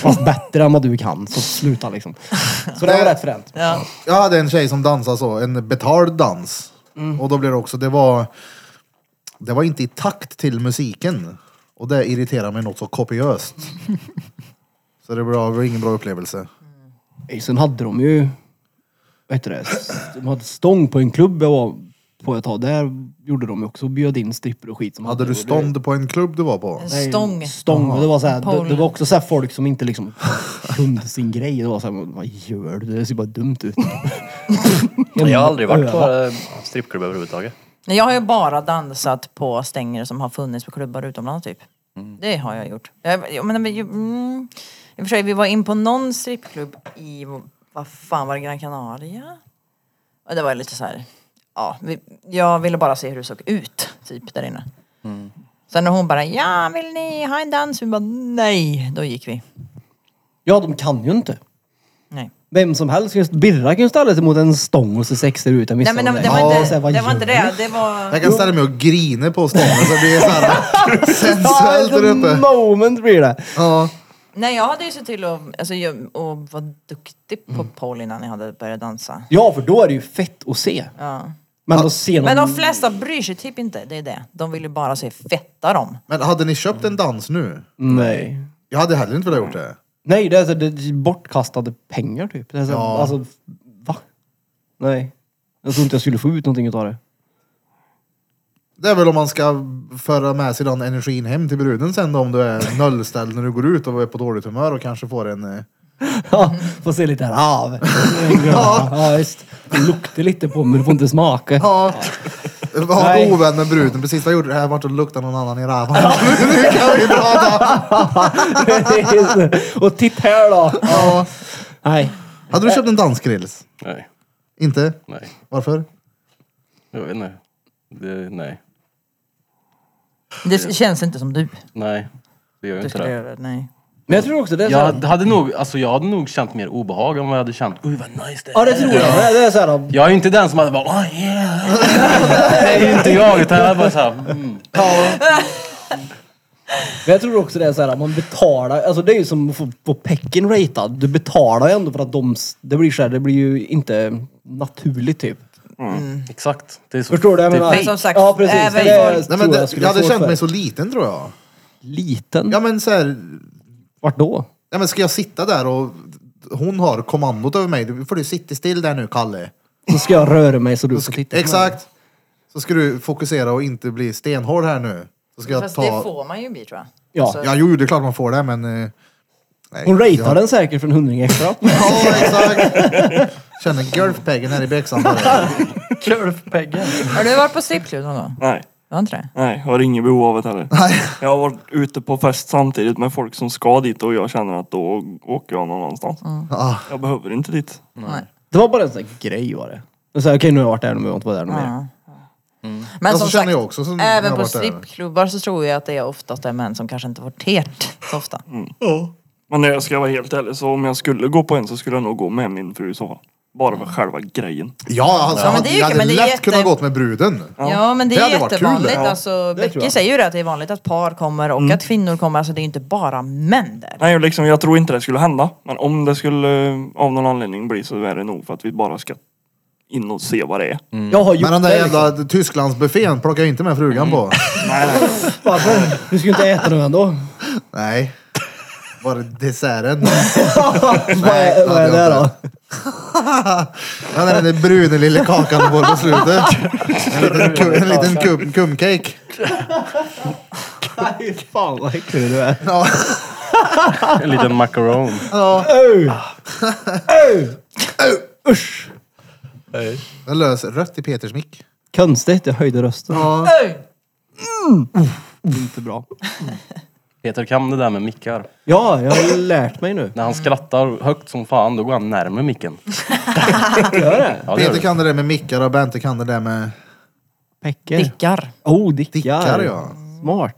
[SPEAKER 5] Fast bättre än vad du kan, så sluta liksom. Så det var rätt fränt.
[SPEAKER 2] Ja.
[SPEAKER 3] Jag hade en tjej som dansade så, en betald dans. Och då blev det också, det var, det var inte i takt till musiken. Och det irriterade mig något så kopiöst. Så det var det var ingen bra upplevelse.
[SPEAKER 5] Sen hade de ju, vad heter det, de hade stång på en klubb jag var på ett tag. Där gjorde de ju också, bjöd in strippor och skit. Som
[SPEAKER 3] Hade du stånd på en klubb du var på?
[SPEAKER 2] En
[SPEAKER 5] Nej,
[SPEAKER 2] stång.
[SPEAKER 5] Stång. Och det, var så här, det,
[SPEAKER 2] Pole.
[SPEAKER 5] det var också så här folk som inte liksom kunde sin grej. Det var så här, vad gör du? Det ser bara dumt ut.
[SPEAKER 10] Jag har aldrig varit på eh, strippklubb överhuvudtaget.
[SPEAKER 2] Nej, jag har ju bara dansat på stänger som har funnits på klubbar utomlands typ.
[SPEAKER 5] Mm.
[SPEAKER 2] Det har jag gjort. Jag, jag, men, men, ju- mm, I och för sig, vi var in på någon strippklubb i, vad fan var det, Gran Canaria? Och det var lite så här, ja, vi, jag ville bara se hur det såg ut typ där inne.
[SPEAKER 5] Mm.
[SPEAKER 2] Sen när hon bara, ja vill ni ha en dans? Vi bara, nej, då gick vi.
[SPEAKER 5] Ja, de kan ju inte.
[SPEAKER 2] Nej.
[SPEAKER 5] Vem som helst, just Birra kan ju ställa sig mot en stång och se sexig ut.
[SPEAKER 2] Nej men det, det
[SPEAKER 5] Ja,
[SPEAKER 2] var
[SPEAKER 5] och så här,
[SPEAKER 2] inte
[SPEAKER 5] vad
[SPEAKER 2] det, var inte
[SPEAKER 5] gör
[SPEAKER 2] det. det var...
[SPEAKER 3] Jag kan ställa mig och grina på stången så det blir såhär
[SPEAKER 5] du?
[SPEAKER 3] sensuellt där
[SPEAKER 5] Ja,
[SPEAKER 3] uppe.
[SPEAKER 5] the moment blir det.
[SPEAKER 3] Ja.
[SPEAKER 2] Nej, jag hade ju sett till att alltså, jag- och vara duktig på
[SPEAKER 5] Mm.
[SPEAKER 2] pole innan jag hade börjat dansa.
[SPEAKER 5] Ja, för då är det ju fett att se.
[SPEAKER 2] Ja.
[SPEAKER 5] Men att se någon...
[SPEAKER 2] Men de flesta bryr sig typ inte, det är det. De vill ju bara se fetta dem.
[SPEAKER 3] Men hade ni köpt en dans nu?
[SPEAKER 5] Nej.
[SPEAKER 3] Jag hade heller inte velat gjort det.
[SPEAKER 5] Nej, det är, så, det är bortkastade pengar typ. Det är så,
[SPEAKER 3] Ja.
[SPEAKER 5] Alltså, va? Nej. Jag tror inte jag skulle få ut någonting utav det.
[SPEAKER 3] Det är väl om man ska föra med sig den energin hem till bruden sen då, om du är nollställd när du går ut och är på dåligt humör och kanske får en... eh,
[SPEAKER 5] Ja, får se lite här av. Ja, ja just. Det luktar lite på men du får inte smaka.
[SPEAKER 3] Ja. Var
[SPEAKER 5] Nej.
[SPEAKER 3] ovän med bruden. Precis vad jag gjorde det här vart att lukta någon annan i röven. nu kan vi prata!
[SPEAKER 5] Just det. Och titta här då.
[SPEAKER 3] Ja.
[SPEAKER 5] Nej.
[SPEAKER 3] Hade du köpt en dansgrills?
[SPEAKER 9] Nej,
[SPEAKER 3] Inte?
[SPEAKER 9] nej.
[SPEAKER 3] Varför?
[SPEAKER 9] Jag vet inte. Det, nej.
[SPEAKER 2] Det känns inte som du.
[SPEAKER 9] Nej. Det gör ju
[SPEAKER 2] Du
[SPEAKER 9] inte
[SPEAKER 2] skulle
[SPEAKER 9] det.
[SPEAKER 2] göra det. Nej.
[SPEAKER 5] Men jag tror också det är
[SPEAKER 9] Jag
[SPEAKER 5] såhär.
[SPEAKER 9] hade- hade nog, alltså jag hade nog känt mer obehag än vad jag hade känt. Oj vad nice det är.
[SPEAKER 5] Ja det tror jag. Det- Det är såhär.
[SPEAKER 9] Jag är ju inte den som hade bara oh, yeah. Det är ju inte jag utan jag är bara såhär mm.
[SPEAKER 5] Men jag tror också det är såhär. Man betalar. Alltså det är ju som att få, få pecken ratad. Du betalar ju ändå för att de. s- Det blir såhär. Det blir ju inte naturligt typ.
[SPEAKER 9] Exakt. Det är så,
[SPEAKER 5] Förstår du? Jag
[SPEAKER 9] det är
[SPEAKER 5] menar.
[SPEAKER 9] fake.
[SPEAKER 2] Men som sagt,
[SPEAKER 5] ja precis.
[SPEAKER 2] även
[SPEAKER 5] det
[SPEAKER 2] folk-
[SPEAKER 3] Nej,
[SPEAKER 5] tror
[SPEAKER 3] men
[SPEAKER 5] jag
[SPEAKER 3] det,
[SPEAKER 5] skulle
[SPEAKER 3] jag hade
[SPEAKER 5] få
[SPEAKER 3] känt
[SPEAKER 5] för.
[SPEAKER 3] mig så liten tror jag.
[SPEAKER 5] Liten?
[SPEAKER 3] Ja men så här,
[SPEAKER 5] Vart då?
[SPEAKER 3] Ja, men ska jag sitta där och hon har kommandot över mig? Du får du sitta still där nu, Kalle.
[SPEAKER 5] Så ska jag röra mig så du får titta på mig.
[SPEAKER 3] Alltså, Exakt. Så ska du fokusera och inte bli stenhård här nu. Så ska jag
[SPEAKER 2] Fast det
[SPEAKER 3] ta...
[SPEAKER 2] får man ju bli tror jag.
[SPEAKER 5] Ja.
[SPEAKER 2] Alltså,
[SPEAKER 3] Ja, jo, det är klart man får det, men... eh, Nej,
[SPEAKER 5] Hon ratear
[SPEAKER 3] jag-
[SPEAKER 5] den säkert för en hundring extra.
[SPEAKER 3] Ja, exakt. Känner golfpeggen här i bexan. bara.
[SPEAKER 10] Klurfpeggen.
[SPEAKER 2] Har du varit på strippklubb någon gång?
[SPEAKER 4] Nej,
[SPEAKER 2] Du har inte det?
[SPEAKER 4] nej, jag har inget behov av det heller.
[SPEAKER 3] Nej.
[SPEAKER 4] Jag har varit ute på fest samtidigt med folk som ska dit och jag känner att då åker jag någon annanstans.
[SPEAKER 3] Mm. Ja,
[SPEAKER 4] Jag behöver inte dit.
[SPEAKER 2] Nej.
[SPEAKER 5] Det var bara en sån här grej var det. Jag sa, Okej nu har jag varit där, nu behöver jag inte vara där någon mer.
[SPEAKER 2] Ja. Men
[SPEAKER 3] Ja, så
[SPEAKER 2] som
[SPEAKER 3] känner
[SPEAKER 2] sagt,
[SPEAKER 3] jag också, så när jag
[SPEAKER 2] även på
[SPEAKER 3] varit där.
[SPEAKER 2] strippklubbar så tror jag att det är oftast är män som kanske inte får tert så ofta.
[SPEAKER 4] Men när jag ska vara helt ärlig så om jag skulle gå på en så skulle jag nog gå med min fru i så fall. Bara för själva grejen.
[SPEAKER 3] Ja, alltså,
[SPEAKER 2] Ja, men det är ju-
[SPEAKER 3] jag hade
[SPEAKER 2] men det är
[SPEAKER 3] lätt
[SPEAKER 2] jätte-
[SPEAKER 3] kunnat gått med bruden.
[SPEAKER 2] Ja, men det,
[SPEAKER 3] Det
[SPEAKER 2] är
[SPEAKER 3] hade varit kul,
[SPEAKER 2] jättevanligt.
[SPEAKER 3] det. Ja,
[SPEAKER 2] alltså,
[SPEAKER 3] det tror
[SPEAKER 2] Becky
[SPEAKER 3] jag.
[SPEAKER 2] säger ju det att det är vanligt att par kommer och att kvinnor kommer. Alltså det är ju inte bara män där.
[SPEAKER 4] Nej, och liksom, jag tror inte det skulle hända. Men om det skulle eh, av någon anledning bli så är det nog för att vi bara ska in och se vad det är.
[SPEAKER 2] Mm.
[SPEAKER 9] Mm.
[SPEAKER 5] Jag har gjort
[SPEAKER 3] Men den där
[SPEAKER 5] det. Liksom. Mm.
[SPEAKER 3] jävla Tysklandsbuffén plockar jag inte med frugan på.
[SPEAKER 5] Varför? Du skulle inte äta den ändå.
[SPEAKER 3] Nej. Var det desserten?
[SPEAKER 5] vad är, vad är
[SPEAKER 3] hade jag
[SPEAKER 5] det då?
[SPEAKER 3] inte. Ja, den där bruna lilla kakan du får på slutet. En liten, ku- en liten kum, kumcake.
[SPEAKER 5] Nej, fan vad äcklig du är.
[SPEAKER 9] En liten macaron.
[SPEAKER 3] Den lös rött i Peters mick.
[SPEAKER 5] Konstigt, jag höjde rösten. Mm.
[SPEAKER 2] Öj!
[SPEAKER 5] Inte bra.
[SPEAKER 9] Peter kan det där med mickar.
[SPEAKER 5] Ja, jag har lärt mig nu.
[SPEAKER 9] När han skrattar högt som fan, då går han närmare micken.
[SPEAKER 5] Gör det?
[SPEAKER 9] Ja, det gör
[SPEAKER 3] Peter
[SPEAKER 9] du.
[SPEAKER 3] kan det där med mickar och Bente kan det där med
[SPEAKER 5] Pecker.
[SPEAKER 2] Dickar.
[SPEAKER 5] Oh, dickar.
[SPEAKER 3] dickar ja.
[SPEAKER 5] Smart.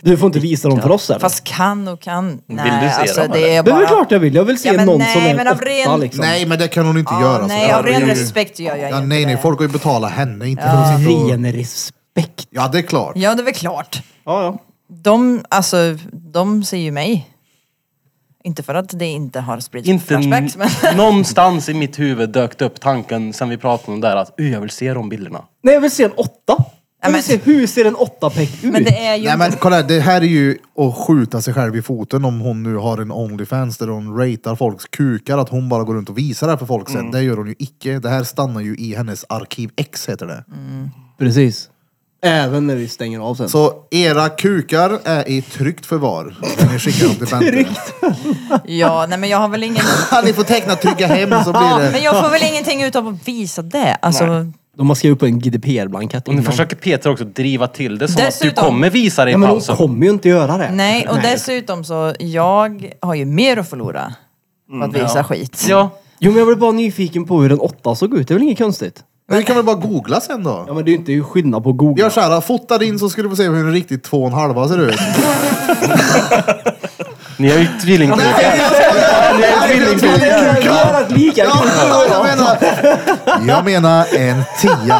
[SPEAKER 5] Du får inte visa dem för oss eller?
[SPEAKER 2] Fast kan och kan. Nej,
[SPEAKER 9] Vill du se
[SPEAKER 2] alltså
[SPEAKER 9] dem,
[SPEAKER 2] det är
[SPEAKER 5] det är
[SPEAKER 2] bara...
[SPEAKER 5] väl klart jag vill. Jag vill se
[SPEAKER 2] Ja, men
[SPEAKER 5] någon
[SPEAKER 2] nej,
[SPEAKER 5] som är
[SPEAKER 2] men
[SPEAKER 5] åtta
[SPEAKER 2] av ren-
[SPEAKER 5] liksom.
[SPEAKER 3] Nej men det kan hon inte göra. alltså.
[SPEAKER 2] Ja,
[SPEAKER 3] så.
[SPEAKER 2] nej, av ren respekt gör jag
[SPEAKER 3] Ja,
[SPEAKER 2] inte
[SPEAKER 3] nej, nej,
[SPEAKER 2] det.
[SPEAKER 3] folk har ju betalat henne. Inte för att sitta och...
[SPEAKER 5] Ren respekt.
[SPEAKER 3] Ja, det är klart.
[SPEAKER 2] Ja, det är väl klart.
[SPEAKER 5] Ja, ja.
[SPEAKER 2] De, alltså, de ser ju mig. Inte för att det inte har spridits
[SPEAKER 9] Inte
[SPEAKER 2] flashbacks, men...
[SPEAKER 9] n- någonstans i mitt huvud dök det upp tanken sen vi pratade om det där att "Ö, jag vill se de bilderna.
[SPEAKER 5] Nej, jag vill se en åtta. Jag
[SPEAKER 2] men-
[SPEAKER 5] vill se hur ser en åtta peck ut?
[SPEAKER 2] Men det är ju...
[SPEAKER 3] Nej
[SPEAKER 2] inte-
[SPEAKER 3] men kolla, här, det här är ju att skjuta sig själv i foten om hon nu har en Onlyfans där hon ratear folks kukar, att hon bara går runt och visar det här för folk sen. Det gör hon ju icke. Det här stannar ju i hennes arkiv X heter det.
[SPEAKER 5] Precis. Även när vi stänger av sen.
[SPEAKER 3] Så era kukar är i tryggt förvar. När ni skickar dem till Bente.
[SPEAKER 2] Ja, nej men jag har väl ingen...
[SPEAKER 3] Ja, ni får teckna trygga hem så
[SPEAKER 2] Ja,
[SPEAKER 3] blir
[SPEAKER 2] men
[SPEAKER 3] det.
[SPEAKER 2] jag får väl ingenting utav att visa det. Alltså,
[SPEAKER 5] De har skrivit på en GDPR-blankett
[SPEAKER 9] Och nu
[SPEAKER 5] innan.
[SPEAKER 9] försöker Peter också driva till det som att du
[SPEAKER 2] Dessutom-
[SPEAKER 9] kommer visa dig i
[SPEAKER 5] Ja, men de
[SPEAKER 9] pausen.
[SPEAKER 5] kommer ju inte göra det.
[SPEAKER 2] nej, och dessutom så, jag har ju mer att förlora på att visa skit.
[SPEAKER 9] Ja,
[SPEAKER 5] Jo, men jag blev bara nyfiken på hur en åtta såg ut. Det är väl inget konstigt?
[SPEAKER 3] Men vi kan väl bara googla sen
[SPEAKER 5] Ja,
[SPEAKER 3] då?
[SPEAKER 5] men det är ju inte det är ju skillnad på att googla.
[SPEAKER 3] Gör såhär, fota din så ska du få se hur en riktig två och en halva ser ut.
[SPEAKER 9] ni har ju tvillingkukar.
[SPEAKER 5] Jag har ett lika.
[SPEAKER 3] Ja, jag menar, jag menar en tia.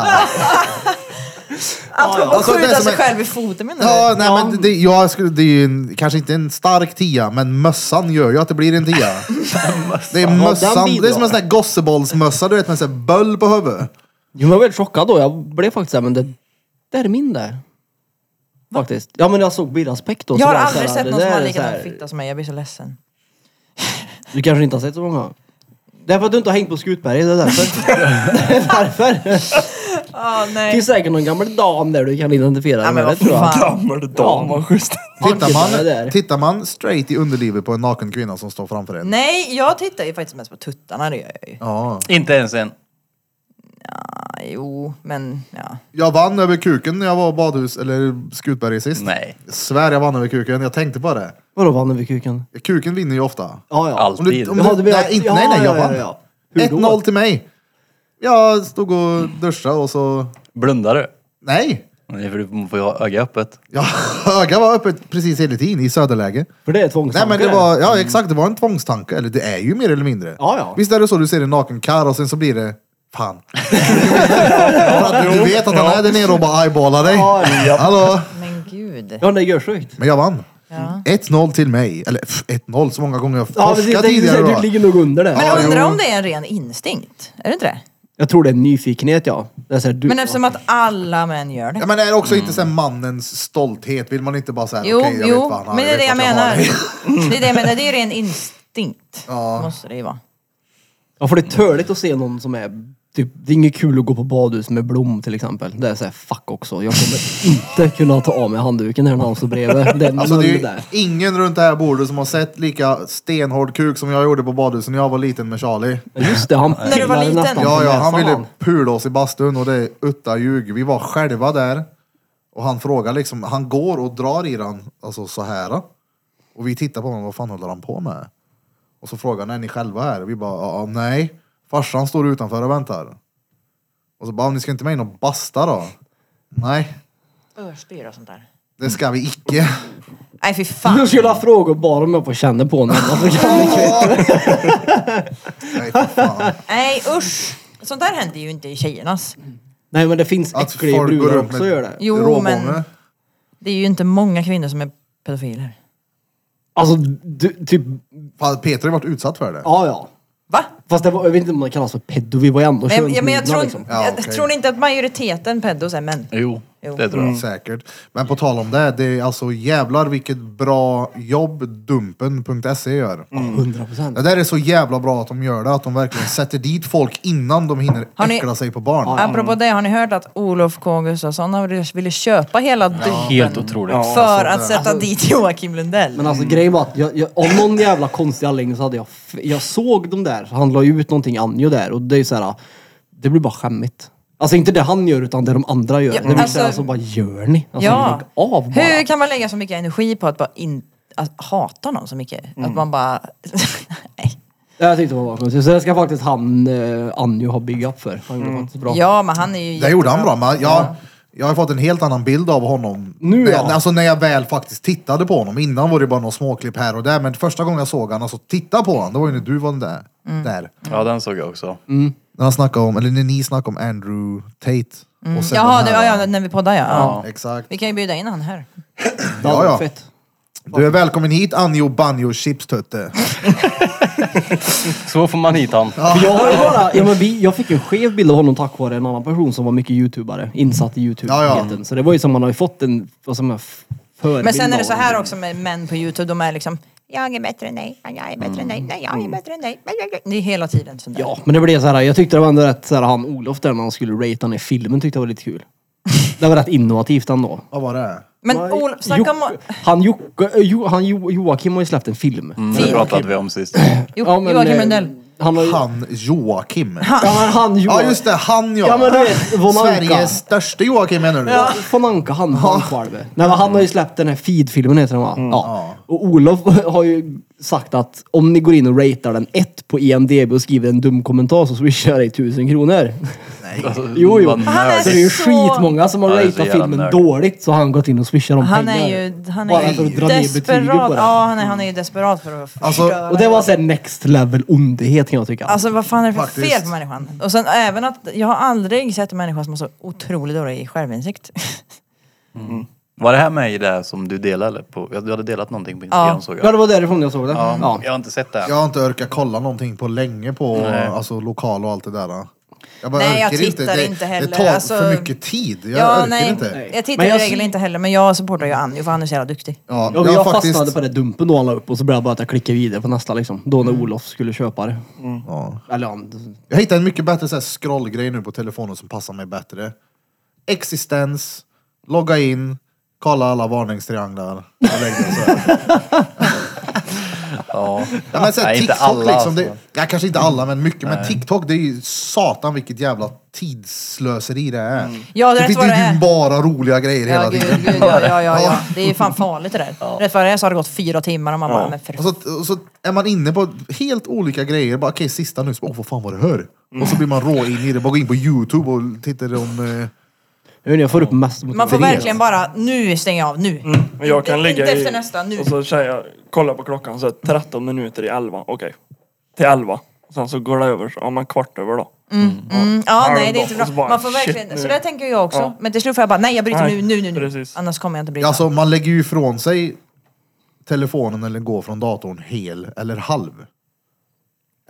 [SPEAKER 2] Att ja,
[SPEAKER 3] Alltså, det är
[SPEAKER 2] skjuta
[SPEAKER 3] som
[SPEAKER 2] sig
[SPEAKER 3] en-
[SPEAKER 2] själv i foten menar du?
[SPEAKER 3] Ja, nej, men det, jag skulle, det är ju en, kanske inte en stark tia, men mössan gör ju att det blir en tia. det är
[SPEAKER 5] den
[SPEAKER 3] mössan.
[SPEAKER 5] bidrar.
[SPEAKER 3] Det är som en sån där gossebollsmössa, du vet med sån här böll på huvudet.
[SPEAKER 5] Jo, men jag var väldigt chockad då. Jag blev faktiskt såhär, men det där är min där. Faktiskt. Ja, men jag såg bildaspekt då. så
[SPEAKER 2] Jag har
[SPEAKER 5] var det
[SPEAKER 2] aldrig
[SPEAKER 5] såhär,
[SPEAKER 2] sett
[SPEAKER 5] Alltså, det
[SPEAKER 2] någon som
[SPEAKER 5] där
[SPEAKER 2] har
[SPEAKER 5] är
[SPEAKER 2] likadan
[SPEAKER 5] såhär-
[SPEAKER 2] fitta som mig, jag blir så ledsen.
[SPEAKER 5] Du kanske inte har sett så många. Det är för att du inte har hängt på Skutberget, det är därför. det är därför.
[SPEAKER 2] Ja,
[SPEAKER 5] Det
[SPEAKER 2] nej.
[SPEAKER 5] finns säkert någon gammal dam där du kan identifiera
[SPEAKER 2] Ja,
[SPEAKER 5] dig
[SPEAKER 2] men
[SPEAKER 5] med. Det
[SPEAKER 2] vad
[SPEAKER 5] tror jag.
[SPEAKER 2] fan.
[SPEAKER 4] Gammal dam, vad schysst.
[SPEAKER 3] Tittar
[SPEAKER 5] det
[SPEAKER 3] man,
[SPEAKER 5] där.
[SPEAKER 3] tittar man straight i underlivet på en naken kvinna som står framför en?
[SPEAKER 2] Nej, jag tittar ju faktiskt mest på tuttarna, det gör jag ju.
[SPEAKER 3] Ja.
[SPEAKER 10] Inte ens en.
[SPEAKER 2] Ja, jo, men ja.
[SPEAKER 3] Jag vann över kuken när jag var badhus, eller Skutberget sist.
[SPEAKER 10] Nej.
[SPEAKER 3] Jag svär jag vann över kuken, jag tänkte på det.
[SPEAKER 5] Vadå vann över kuken?
[SPEAKER 3] Kuken vinner ju ofta.
[SPEAKER 5] Ja, ja.
[SPEAKER 10] Allt.
[SPEAKER 3] Om du, om
[SPEAKER 5] Jaha,
[SPEAKER 3] du,
[SPEAKER 5] du menar-
[SPEAKER 3] nej, inte, nej, nej, jag
[SPEAKER 5] ja, ja,
[SPEAKER 3] vann.
[SPEAKER 5] ja, ja. Hur då?
[SPEAKER 3] 1-0 till mig. Jag stod och duschade och så...
[SPEAKER 10] Blundar du?
[SPEAKER 3] Nej!
[SPEAKER 10] Nej, för du får ju ha ögat öppet.
[SPEAKER 3] Ja, öga var öppet precis hela tiden i söderläge.
[SPEAKER 5] För det är
[SPEAKER 3] Nej
[SPEAKER 5] tvångstanke.
[SPEAKER 3] men det var, ja exakt, det var en tvångstanke. Eller det är ju mer eller mindre.
[SPEAKER 5] Mm. Ja, ja.
[SPEAKER 3] Visst är det så du ser en naken karl och sen så blir det, fan. För att du vet att han är där nere och bara eyeballar dig. Hallå?
[SPEAKER 2] Men gud.
[SPEAKER 5] Ja, det är görsjukt.
[SPEAKER 3] Men jag vann. 1-0 till mig. Eller pff, 1-0, så många gånger jag
[SPEAKER 5] Ja,
[SPEAKER 3] torskade
[SPEAKER 5] precis. Jag tänkte
[SPEAKER 3] tidigare.
[SPEAKER 5] säga,
[SPEAKER 3] då.
[SPEAKER 5] du ligger nog under det.
[SPEAKER 2] Men
[SPEAKER 3] Ja,
[SPEAKER 2] undrar
[SPEAKER 3] jo.
[SPEAKER 2] om det är en ren instinkt, är det inte det?
[SPEAKER 5] Jag tror det är nyfikenhet, ja. Det är så här, du,
[SPEAKER 2] Men eftersom att alla män gör
[SPEAKER 3] Ja,
[SPEAKER 2] det.
[SPEAKER 3] men är det också
[SPEAKER 5] Mm.
[SPEAKER 3] inte sen mannens stolthet? Vill man inte bara säga okej,
[SPEAKER 2] Jo,
[SPEAKER 3] jag vet
[SPEAKER 2] jo,
[SPEAKER 3] vad han har,
[SPEAKER 2] men det är det
[SPEAKER 3] vet
[SPEAKER 2] jag
[SPEAKER 3] vart har
[SPEAKER 2] menar.
[SPEAKER 3] dig."
[SPEAKER 2] Det är det jag menar, det är ren instinkt. Måste det ju vara.
[SPEAKER 5] Ja, för det är törligt att se någon som är... Typ, det är inget kul att gå på badhus med Blom till exempel. Det är såhär, fuck också. Jag kommer inte kunna ta av mig handduken här när han står bredvid. Den
[SPEAKER 3] Alltså det
[SPEAKER 5] munnen
[SPEAKER 3] är ju
[SPEAKER 5] där.
[SPEAKER 3] ingen runt det här bordet som har sett lika stenhård kuk som jag gjorde på badhuset när jag var liten med Charlie.
[SPEAKER 5] Men just det, han
[SPEAKER 2] När du var
[SPEAKER 5] pillade
[SPEAKER 2] liten.
[SPEAKER 5] nästan på
[SPEAKER 3] Ja, ja, han
[SPEAKER 5] näsan,
[SPEAKER 3] ville
[SPEAKER 5] han.
[SPEAKER 3] pula oss i bastun och det är utta ljug. Vi var själva där och han frågar liksom, han går och drar i den, alltså så här. Och vi tittar på honom, vad fan håller han på med? Och så frågar han, är ni själva här? Och vi bara, ja, ja, nej. Farsan står utanför och väntar. Och så bara, ni ska inte med in och basta då? Nej,
[SPEAKER 2] Örspyr och sånt där.
[SPEAKER 3] det ska vi icke.
[SPEAKER 2] Nej fy fan.
[SPEAKER 5] Du skulle ha frågat bara om jag får känna på någon. Varför kan jag inte?
[SPEAKER 3] Nej, för fan.
[SPEAKER 2] Nej usch. Sånt där händer ju inte i tjejernas.
[SPEAKER 5] Nej men det finns
[SPEAKER 3] Att
[SPEAKER 5] äckliga
[SPEAKER 3] folk går
[SPEAKER 5] brudar
[SPEAKER 3] runt
[SPEAKER 5] också
[SPEAKER 3] med-
[SPEAKER 5] gör det.
[SPEAKER 2] Jo men
[SPEAKER 3] Råbånge.
[SPEAKER 2] det är ju inte många kvinnor som är pedofiler.
[SPEAKER 5] Alltså du, typ,
[SPEAKER 3] Fan, Peter har varit utsatt för det.
[SPEAKER 5] ja ja.
[SPEAKER 2] Va?
[SPEAKER 5] Fast det var, jag vet inte om det kallas för pedo, vi var ju ändå liksom.
[SPEAKER 2] Men, ja, men jag tror,
[SPEAKER 3] liksom. Ja,
[SPEAKER 2] jag,
[SPEAKER 3] okej.
[SPEAKER 2] tror ni inte att majoriteten pedos är män.
[SPEAKER 10] Jo,
[SPEAKER 2] Jo.
[SPEAKER 10] det
[SPEAKER 5] Mm.
[SPEAKER 10] tror jag.
[SPEAKER 3] Säkert. Men på tal om det, det är alltså jävlar vilket bra jobb Dumpen.se E gör.
[SPEAKER 5] Mm. 100%.
[SPEAKER 3] Det där är så jävla bra att de gör det, att de verkligen sätter dit folk innan de hinner
[SPEAKER 2] Har ni-
[SPEAKER 3] äckla sig på barn.
[SPEAKER 2] Apropå det, har ni hört att Olof K Gustafsson har ville köpa hela Dumpen
[SPEAKER 9] Helt otroligt.
[SPEAKER 2] för att sätta dit Joakim Lundell?
[SPEAKER 5] alltså Men alltså grejen var att jag, jag, av någon jävla konstig anledning så hade jag, f- jag såg dem där, han la ju ut någonting Anjo där och det är ju såhär, det blir bara skämmigt. Alltså inte det han gör utan det de andra gör.
[SPEAKER 2] Ja,
[SPEAKER 5] det blir
[SPEAKER 2] alltså-
[SPEAKER 5] såhär, alltså vad gör ni? Alltså,
[SPEAKER 2] Ja.
[SPEAKER 5] lägg av bara.
[SPEAKER 2] Hur kan man lägga så mycket energi på att bara in, att hata någon så mycket?
[SPEAKER 5] Mm.
[SPEAKER 2] Att man bara... Nej.
[SPEAKER 5] Jag tyckte det var konstigt. Så det ska faktiskt han, eh, Anjo ha big up för. Han gjorde faktiskt bra.
[SPEAKER 2] Mm. Ja, men han är ju
[SPEAKER 3] Det gjorde han bra, men jag, jag har fått en helt annan bild av honom.
[SPEAKER 5] Nu,
[SPEAKER 3] när,
[SPEAKER 5] ja.
[SPEAKER 3] Alltså när jag väl faktiskt tittade på honom. Innan var det bara några småklipp här och där, men första gången jag såg honom, alltså titta på honom, det var ju när du var där.
[SPEAKER 2] Mm.
[SPEAKER 3] där.
[SPEAKER 10] Ja, den såg jag också.
[SPEAKER 5] Mm.
[SPEAKER 3] När han snackade om, eller när ni snackade om Andrew Tate. Och sen
[SPEAKER 2] Mm. Jaha,
[SPEAKER 3] den
[SPEAKER 2] det,
[SPEAKER 3] här-
[SPEAKER 2] ja, ja, när vi poddar ja. ja.
[SPEAKER 3] Exakt.
[SPEAKER 2] Vi kan ju bjuda in han här.
[SPEAKER 5] Det hade
[SPEAKER 3] ja,
[SPEAKER 5] varit
[SPEAKER 3] ja.
[SPEAKER 5] Fett.
[SPEAKER 3] Du är välkommen hit Anjo Banjo Chipstutte.
[SPEAKER 9] Så får man hit han.
[SPEAKER 5] För Jag, har ju bara, ja, men vi, jag fick en skev bild av honom tack vare en annan person som var mycket youtubare, insatt i youtube-heten.
[SPEAKER 3] Ja, ja.
[SPEAKER 5] Så det var ju som man har ju fått en, vad som en förebild
[SPEAKER 2] Men sen är det
[SPEAKER 5] av
[SPEAKER 2] så
[SPEAKER 5] honom.
[SPEAKER 2] här också med män på Youtube, de är liksom jag är bättre än dig, jag är bättre än dig, nej jag är bättre än dig. Nej, jag är- Det är hela tiden sånt där.
[SPEAKER 5] Mm. Ja, men det blev så här. Jag tyckte det var ändå rätt så här, han Olof där när han skulle rate han i filmen tyckte jag var lite kul. Det var rätt innovativt ändå.
[SPEAKER 3] Vad var det?
[SPEAKER 2] Men Olof, snacka om...
[SPEAKER 5] Jocke- han, Jocke- eh, jo, han jo, Joakim har ju släppt en film.
[SPEAKER 3] Mm.
[SPEAKER 10] Det pratade vi om sist.
[SPEAKER 2] Jo,
[SPEAKER 5] Ja, men,
[SPEAKER 2] Joakim
[SPEAKER 5] eh,
[SPEAKER 2] Lundell.
[SPEAKER 5] Han har ju...
[SPEAKER 3] Han Joakim.
[SPEAKER 5] Ja, men han Joakim.
[SPEAKER 3] Ja just det, han ja.
[SPEAKER 5] Ja, men du vet, von Anka.
[SPEAKER 3] Sveriges största Joakim menar du?
[SPEAKER 5] Ja. Von Anka, han han själv. Nej men han har ju släppt den här feed-filmen heter den va?
[SPEAKER 3] Mm.
[SPEAKER 5] Ja. Och Olof har ju sagt att om ni går in och ratear den ett på E IMDB och skriver en dum kommentar så swishar jag dig tusen kronor.
[SPEAKER 10] Alltså,
[SPEAKER 5] Jo, jo.
[SPEAKER 10] vad
[SPEAKER 5] Han
[SPEAKER 2] är
[SPEAKER 10] nörd.
[SPEAKER 5] Så det är ju
[SPEAKER 2] Så-
[SPEAKER 5] skitmånga som har
[SPEAKER 10] Ja, det är så
[SPEAKER 5] ratat
[SPEAKER 10] jävla
[SPEAKER 5] filmen
[SPEAKER 10] nörd.
[SPEAKER 5] dåligt så har han gått in och swishat dem
[SPEAKER 2] Han
[SPEAKER 5] pengar.
[SPEAKER 2] är ju, han
[SPEAKER 5] Bara
[SPEAKER 2] är
[SPEAKER 5] för
[SPEAKER 2] ju
[SPEAKER 5] att dra ner betygen på
[SPEAKER 2] desperat.
[SPEAKER 5] det.
[SPEAKER 2] Ja, han är, han är ju desperat för att
[SPEAKER 3] Alltså-
[SPEAKER 2] förstöra.
[SPEAKER 5] Och det var såhär next level ondhet kan jag tycka.
[SPEAKER 2] Alltså vad fan är det för
[SPEAKER 3] Faktiskt.
[SPEAKER 2] fel på människan? Och sen även att jag har aldrig sett en människa som har så otroligt dålig självinsikt.
[SPEAKER 10] Var det här med i det som du delade? På? ja, Du hade delat någonting på Instagram
[SPEAKER 2] Ja.
[SPEAKER 10] såg
[SPEAKER 5] ja
[SPEAKER 10] jag.
[SPEAKER 5] det var därifrån jag såg det.
[SPEAKER 10] Ja,
[SPEAKER 5] Ja.
[SPEAKER 10] Jag har inte sett det än.
[SPEAKER 3] Jag har inte orkat kolla någonting på länge på alltså, lokal och allt det där. Jag bara
[SPEAKER 2] Nej, jag
[SPEAKER 3] orkar
[SPEAKER 2] tittar
[SPEAKER 3] Det,
[SPEAKER 2] inte heller.
[SPEAKER 3] det tar
[SPEAKER 2] Alltså-
[SPEAKER 3] för mycket tid. Jag
[SPEAKER 2] ja,
[SPEAKER 3] orkar
[SPEAKER 2] nej.
[SPEAKER 3] inte.
[SPEAKER 2] Jag tittar
[SPEAKER 5] Men
[SPEAKER 2] i
[SPEAKER 5] jag
[SPEAKER 2] regel
[SPEAKER 5] ser-
[SPEAKER 2] inte heller, men jag supportar ju Anjo för han är så jävla duktig.
[SPEAKER 3] Ja,
[SPEAKER 5] Ja, men
[SPEAKER 3] jag
[SPEAKER 5] jag
[SPEAKER 3] har faktiskt-
[SPEAKER 5] fastnade på det dumpen då han la upp och så blev jag bara att jag klickade vidare på nästa liksom. Då när Olof skulle köpa det.
[SPEAKER 3] Ja.
[SPEAKER 5] Eller han...
[SPEAKER 3] Jag hittade en mycket bättre så här, scrollgrej nu på telefonen som passar mig bättre. Existens, logga in, kolla alla varningstrianglar. och lägg den så här.
[SPEAKER 10] Ja.
[SPEAKER 3] Ja, men så här,
[SPEAKER 10] Nej, inte
[SPEAKER 3] TikTok
[SPEAKER 10] alla,
[SPEAKER 3] liksom. Det,
[SPEAKER 10] alltså.
[SPEAKER 3] ja, kanske inte alla, men mycket. Men TikTok, det är ju satan vilket jävla tidslöseri det är.
[SPEAKER 2] Ja, det är
[SPEAKER 3] det
[SPEAKER 2] rätt vad
[SPEAKER 3] finns
[SPEAKER 2] det
[SPEAKER 3] ju
[SPEAKER 2] är.
[SPEAKER 3] bara roliga grejer
[SPEAKER 2] Ja,
[SPEAKER 3] hela
[SPEAKER 2] gud,
[SPEAKER 3] tiden.
[SPEAKER 2] gud, ja, ja, ja, ja. Det är ju fan farligt det där. Rätt vad det är så har det gått fyra timmar och man bara, men för
[SPEAKER 5] Alltså,
[SPEAKER 3] Och så, och så är man inne på helt olika grejer. Bara, Okej, sista nu. Så, Åh, vad fan var det här? Och så blir man rå in i det. Bara går in på YouTube och tittar om... Eh,
[SPEAKER 5] Jag vet inte, jag får upp mest mot
[SPEAKER 2] Man får
[SPEAKER 5] Therese.
[SPEAKER 2] verkligen bara, nu stänger jag av,
[SPEAKER 5] Mm.
[SPEAKER 2] nu.
[SPEAKER 4] Men jag kan
[SPEAKER 2] Inte-
[SPEAKER 4] lägga
[SPEAKER 2] inte
[SPEAKER 4] i-
[SPEAKER 2] efter nästa, nu.
[SPEAKER 4] Och så säger jag, kolla på klockan så här, 13 minuter i 11. Okej. Till 11. Sen så går det över, så, ja men kvart över då.
[SPEAKER 2] Mm, ja,
[SPEAKER 4] Halv
[SPEAKER 2] nej det är
[SPEAKER 4] dag,
[SPEAKER 2] inte
[SPEAKER 4] och
[SPEAKER 2] bra.
[SPEAKER 4] så bara,
[SPEAKER 2] Man får
[SPEAKER 4] shit,
[SPEAKER 2] verkligen,
[SPEAKER 4] nu.
[SPEAKER 2] så där tänker jag också.
[SPEAKER 4] Ja.
[SPEAKER 2] Men till slut får jag bara, nej jag bryter nu,
[SPEAKER 4] Nej,
[SPEAKER 2] nu, nu, nu.
[SPEAKER 4] precis.
[SPEAKER 2] Annars kommer jag inte bryta.
[SPEAKER 3] alltså, man lägger ju ifrån sig telefonen eller går från datorn hel eller halv.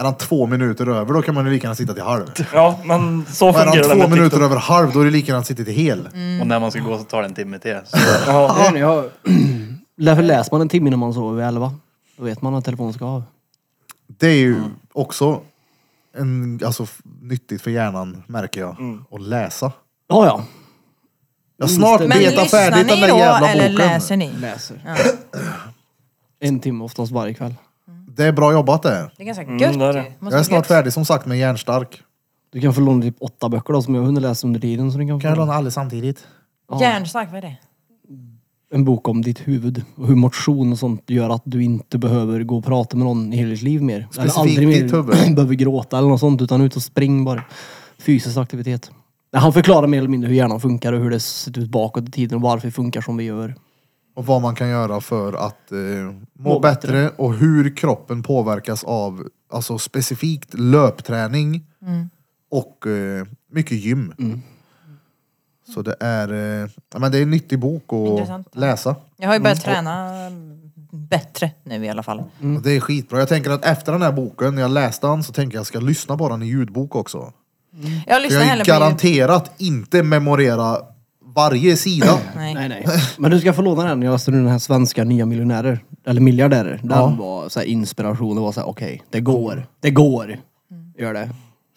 [SPEAKER 3] Är han två minuter över, då kan man ju lika gärna sitta till halv.
[SPEAKER 4] Ja, men så
[SPEAKER 3] Och är
[SPEAKER 4] fungerar
[SPEAKER 3] han
[SPEAKER 4] det
[SPEAKER 3] två
[SPEAKER 4] med
[SPEAKER 3] minuter
[SPEAKER 4] TikTok.
[SPEAKER 3] över halv, då är det lika gärna att sitta till hel.
[SPEAKER 2] Mm.
[SPEAKER 10] Och när man ska gå så tar det en timme till. Så,
[SPEAKER 5] Jag
[SPEAKER 4] Ja,
[SPEAKER 5] vet inte, jag... Därför läser man en timme innan man sover vid elva. Då vet man att telefonen ska av.
[SPEAKER 3] Det är ju också en, alltså, f- nyttigt för hjärnan, märker jag. Att läsa.
[SPEAKER 5] Ja, ja.
[SPEAKER 3] Jag har snart
[SPEAKER 2] men
[SPEAKER 3] betat
[SPEAKER 2] lyssnar
[SPEAKER 3] färdigt den
[SPEAKER 2] ni
[SPEAKER 3] där
[SPEAKER 2] då
[SPEAKER 3] jävla
[SPEAKER 2] eller
[SPEAKER 3] boken.
[SPEAKER 2] läser ni?
[SPEAKER 5] Läser. En timme oftast varje kväll.
[SPEAKER 3] Det är bra jobbat det.
[SPEAKER 2] Det är ganska gött
[SPEAKER 4] Mm, det är det.
[SPEAKER 2] ju. Måste
[SPEAKER 3] Jag är
[SPEAKER 2] vara
[SPEAKER 3] snart
[SPEAKER 2] gött.
[SPEAKER 3] färdig som sagt med Järnstark.
[SPEAKER 5] Du kan få låna typ åtta böcker då som jag hunnit läsa under tiden. Så du kan få
[SPEAKER 3] Kan jag låna alla samtidigt?
[SPEAKER 2] Järnstark, vad är det?
[SPEAKER 5] en bok om ditt huvud och hur motion och sånt gör att du inte behöver gå och prata med någon i hela ditt liv mer.
[SPEAKER 3] Specifikt ditt huvud.
[SPEAKER 5] mer behöver gråta eller något sånt utan ut och spring bara. Fysisk aktivitet. Nej, Han förklarar mer eller mindre hur hjärnan funkar och hur det ser ut bakåt i tiden och varför det funkar som vi gör.
[SPEAKER 3] Och vad man kan göra för att eh, må, bättre. och hur kroppen påverkas av alltså specifikt löpträning
[SPEAKER 2] Mm.
[SPEAKER 3] och eh, mycket gym. Så det är, eh, ja, men det är en nyttig bok att
[SPEAKER 2] Intressant.
[SPEAKER 3] läsa.
[SPEAKER 2] Jag har ju börjat träna bättre nu i alla fall.
[SPEAKER 3] Och det är skitbra. Jag tänker att efter den här boken, när jag läste den, så tänker jag att jag ska lyssna på den i ljudbok också.
[SPEAKER 2] Jag
[SPEAKER 3] För
[SPEAKER 2] lyssnar
[SPEAKER 3] jag har ju
[SPEAKER 2] hellre på ljud.
[SPEAKER 3] garanterat inte memorera varje sida.
[SPEAKER 2] Nej.
[SPEAKER 5] Nej, nej. Men du ska få låna den. Jag läste den här svenska Nya miljonärer. Eller miljardärer. Den var så här inspiration. Det var så här, okej, det går. Det går. Gör det.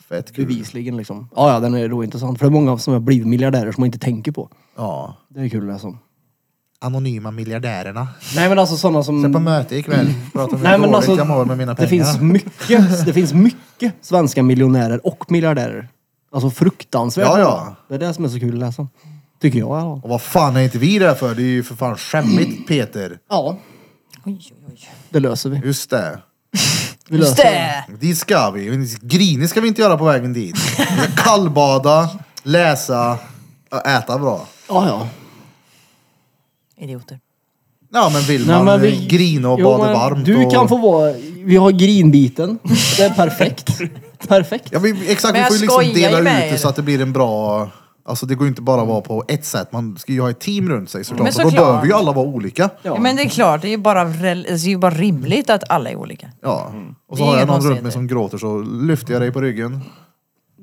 [SPEAKER 3] Fett kul.
[SPEAKER 5] Bevisligen liksom. Ja, ja, den är då intressant. För det är många som har blivit miljardärer som man inte tänker på.
[SPEAKER 3] Ja.
[SPEAKER 5] Det är kul att läsa om.
[SPEAKER 3] Anonyma miljardärerna.
[SPEAKER 5] Nej men alltså sådana
[SPEAKER 3] Sen på
[SPEAKER 5] som...
[SPEAKER 3] möte ikväll pratar vi
[SPEAKER 5] Nej,
[SPEAKER 3] om hur
[SPEAKER 5] men
[SPEAKER 3] dåligt
[SPEAKER 5] alltså,
[SPEAKER 3] jag mår med mina pengar.
[SPEAKER 5] Det finns, mycket, det finns mycket svenska miljonärer och miljardärer. Alltså fruktansvärt.
[SPEAKER 3] Ja, ja.
[SPEAKER 5] Det är det som är så kul att läsa om. Tycker jag i alla fall.
[SPEAKER 3] Och vad fan är inte vi där för? Det är ju för fan skämmigt Peter.
[SPEAKER 5] Ja,
[SPEAKER 2] Oj, oj, oj.
[SPEAKER 5] det löser vi.
[SPEAKER 3] Just det.
[SPEAKER 5] vi
[SPEAKER 2] Just
[SPEAKER 5] löser det.
[SPEAKER 2] det!
[SPEAKER 3] Dit ska vi. Men Grinig ska vi inte göra på vägen dit. Vi ska Kallbada, läsa och äta bra.
[SPEAKER 5] Ja, ja.
[SPEAKER 2] Idioter.
[SPEAKER 3] Ja men vill
[SPEAKER 5] Nej,
[SPEAKER 3] man
[SPEAKER 5] men
[SPEAKER 3] eh, grina och
[SPEAKER 5] Jo,
[SPEAKER 3] bada
[SPEAKER 5] men
[SPEAKER 3] varmt
[SPEAKER 5] Du
[SPEAKER 3] och...
[SPEAKER 5] kan få vara... Vi har grinbiten. Det är perfekt. perfekt.
[SPEAKER 3] Ja, vi,
[SPEAKER 2] Men
[SPEAKER 3] exakt, vi
[SPEAKER 2] jag
[SPEAKER 3] får ju liksom
[SPEAKER 2] skojar ju
[SPEAKER 3] dela ut
[SPEAKER 2] med er.
[SPEAKER 3] det så att det blir en bra... Alltså det går ju inte bara att vara på ett sätt. Man ska ju ha ett team runt sig såklart.
[SPEAKER 2] Men
[SPEAKER 3] Och då
[SPEAKER 2] såklart.
[SPEAKER 3] behöver ju alla vara olika.
[SPEAKER 2] Ja. Men det är klart, det är ju bara, rel- det är ju bara rimligt att alla är olika.
[SPEAKER 3] Ja.
[SPEAKER 2] Det
[SPEAKER 3] Och så
[SPEAKER 2] är
[SPEAKER 3] har
[SPEAKER 2] inga
[SPEAKER 3] jag någon runt
[SPEAKER 2] konstigheter.
[SPEAKER 3] mig som gråter så lyfter jag dig på ryggen.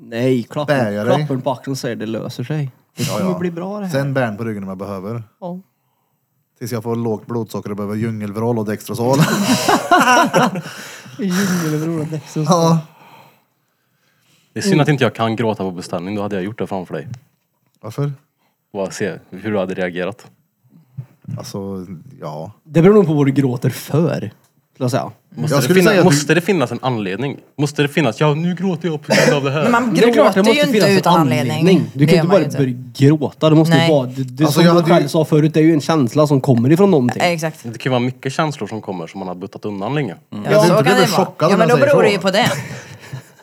[SPEAKER 5] Nej,
[SPEAKER 3] Bär
[SPEAKER 5] klappen,
[SPEAKER 3] jag dig?
[SPEAKER 5] klappen på axeln säger det löser sig. Det
[SPEAKER 3] Ja,
[SPEAKER 5] kommer
[SPEAKER 3] ja.
[SPEAKER 5] bli bra det här.
[SPEAKER 3] Sen bärn på ryggen om jag behöver.
[SPEAKER 5] Ja.
[SPEAKER 3] Tills jag får lågt blodsocker och behöver djungelvrål och Dextrosol.
[SPEAKER 5] Djungelbror och Dexter.
[SPEAKER 3] ja.
[SPEAKER 9] Det är synd att inte jag kan gråta på beställning. Då hade jag gjort det framför dig.
[SPEAKER 3] Varför?
[SPEAKER 9] Bara se hur du hade reagerat.
[SPEAKER 3] Alltså, ja.
[SPEAKER 5] Det beror nog på vad du gråter för. Skulle jag säga.
[SPEAKER 9] Måste,
[SPEAKER 3] Jag
[SPEAKER 9] det,
[SPEAKER 3] skulle
[SPEAKER 9] finna,
[SPEAKER 3] säga att du-
[SPEAKER 9] måste det finnas en anledning? Måste det finnas, ja nu gråter jag på grund av det här.
[SPEAKER 2] Men man
[SPEAKER 5] Det är klart, det
[SPEAKER 2] gråter ju
[SPEAKER 5] måste finnas
[SPEAKER 2] inte
[SPEAKER 5] en
[SPEAKER 2] utan anledning.
[SPEAKER 5] Du
[SPEAKER 2] Det
[SPEAKER 5] kan
[SPEAKER 2] gör
[SPEAKER 5] inte
[SPEAKER 2] man
[SPEAKER 5] bara
[SPEAKER 2] ju
[SPEAKER 5] börja gråta. Det måste
[SPEAKER 2] Nej.
[SPEAKER 5] ju vara... Det, det,
[SPEAKER 3] Alltså,
[SPEAKER 5] som
[SPEAKER 3] jag
[SPEAKER 5] du
[SPEAKER 3] hade ju-
[SPEAKER 5] själv sa förut, det är ju en känsla som kommer ifrån någonting.
[SPEAKER 2] Eh, Exakt.
[SPEAKER 9] Det kan ju vara mycket känslor som kommer som man har buttat undan länge.
[SPEAKER 2] Ja,
[SPEAKER 3] Jag
[SPEAKER 2] så
[SPEAKER 3] tror inte
[SPEAKER 2] kan
[SPEAKER 3] du
[SPEAKER 2] det
[SPEAKER 3] blir
[SPEAKER 2] vara.
[SPEAKER 3] chockad
[SPEAKER 2] Ja,
[SPEAKER 3] om
[SPEAKER 2] men då
[SPEAKER 3] jag säger
[SPEAKER 2] beror det
[SPEAKER 3] så.
[SPEAKER 2] ju på det.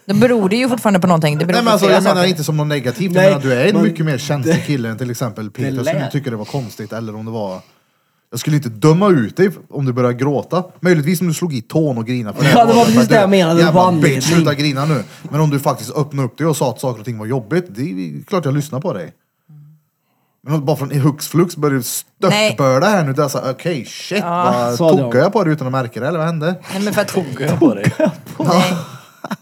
[SPEAKER 2] Då beror det ju fortfarande på någonting. Det beror
[SPEAKER 3] Nej men
[SPEAKER 2] på
[SPEAKER 3] alltså
[SPEAKER 2] flera
[SPEAKER 3] jag menar
[SPEAKER 2] saker.
[SPEAKER 3] inte som någon negativ.
[SPEAKER 5] Nej,
[SPEAKER 3] Jag menar du är en
[SPEAKER 5] men-
[SPEAKER 3] mycket mer känslig kille än till exempel Peter som
[SPEAKER 5] lät.
[SPEAKER 3] jag tycker det var konstigt. Eller om det var... Jag skulle inte döma ut dig om du börjar gråta. Möjligtvis om du slog i tån och grinade. för
[SPEAKER 5] Ja, det var precis det jag menade. Det var
[SPEAKER 3] Jävla
[SPEAKER 5] anledning.
[SPEAKER 3] bitch, sluta grina nu. Men om du faktiskt öppnade upp dig och sa att saker och ting var jobbigt. Det är klart jag lyssnar på dig. Men om du bara från i hux flux börjar störtbörda här nu. Det är såhär, okej shit.
[SPEAKER 5] sa
[SPEAKER 3] vad
[SPEAKER 5] det
[SPEAKER 3] tog jag på dig utan att märka det eller vad hände?
[SPEAKER 2] Nej, men för att,
[SPEAKER 9] Jag på dig.
[SPEAKER 2] nej.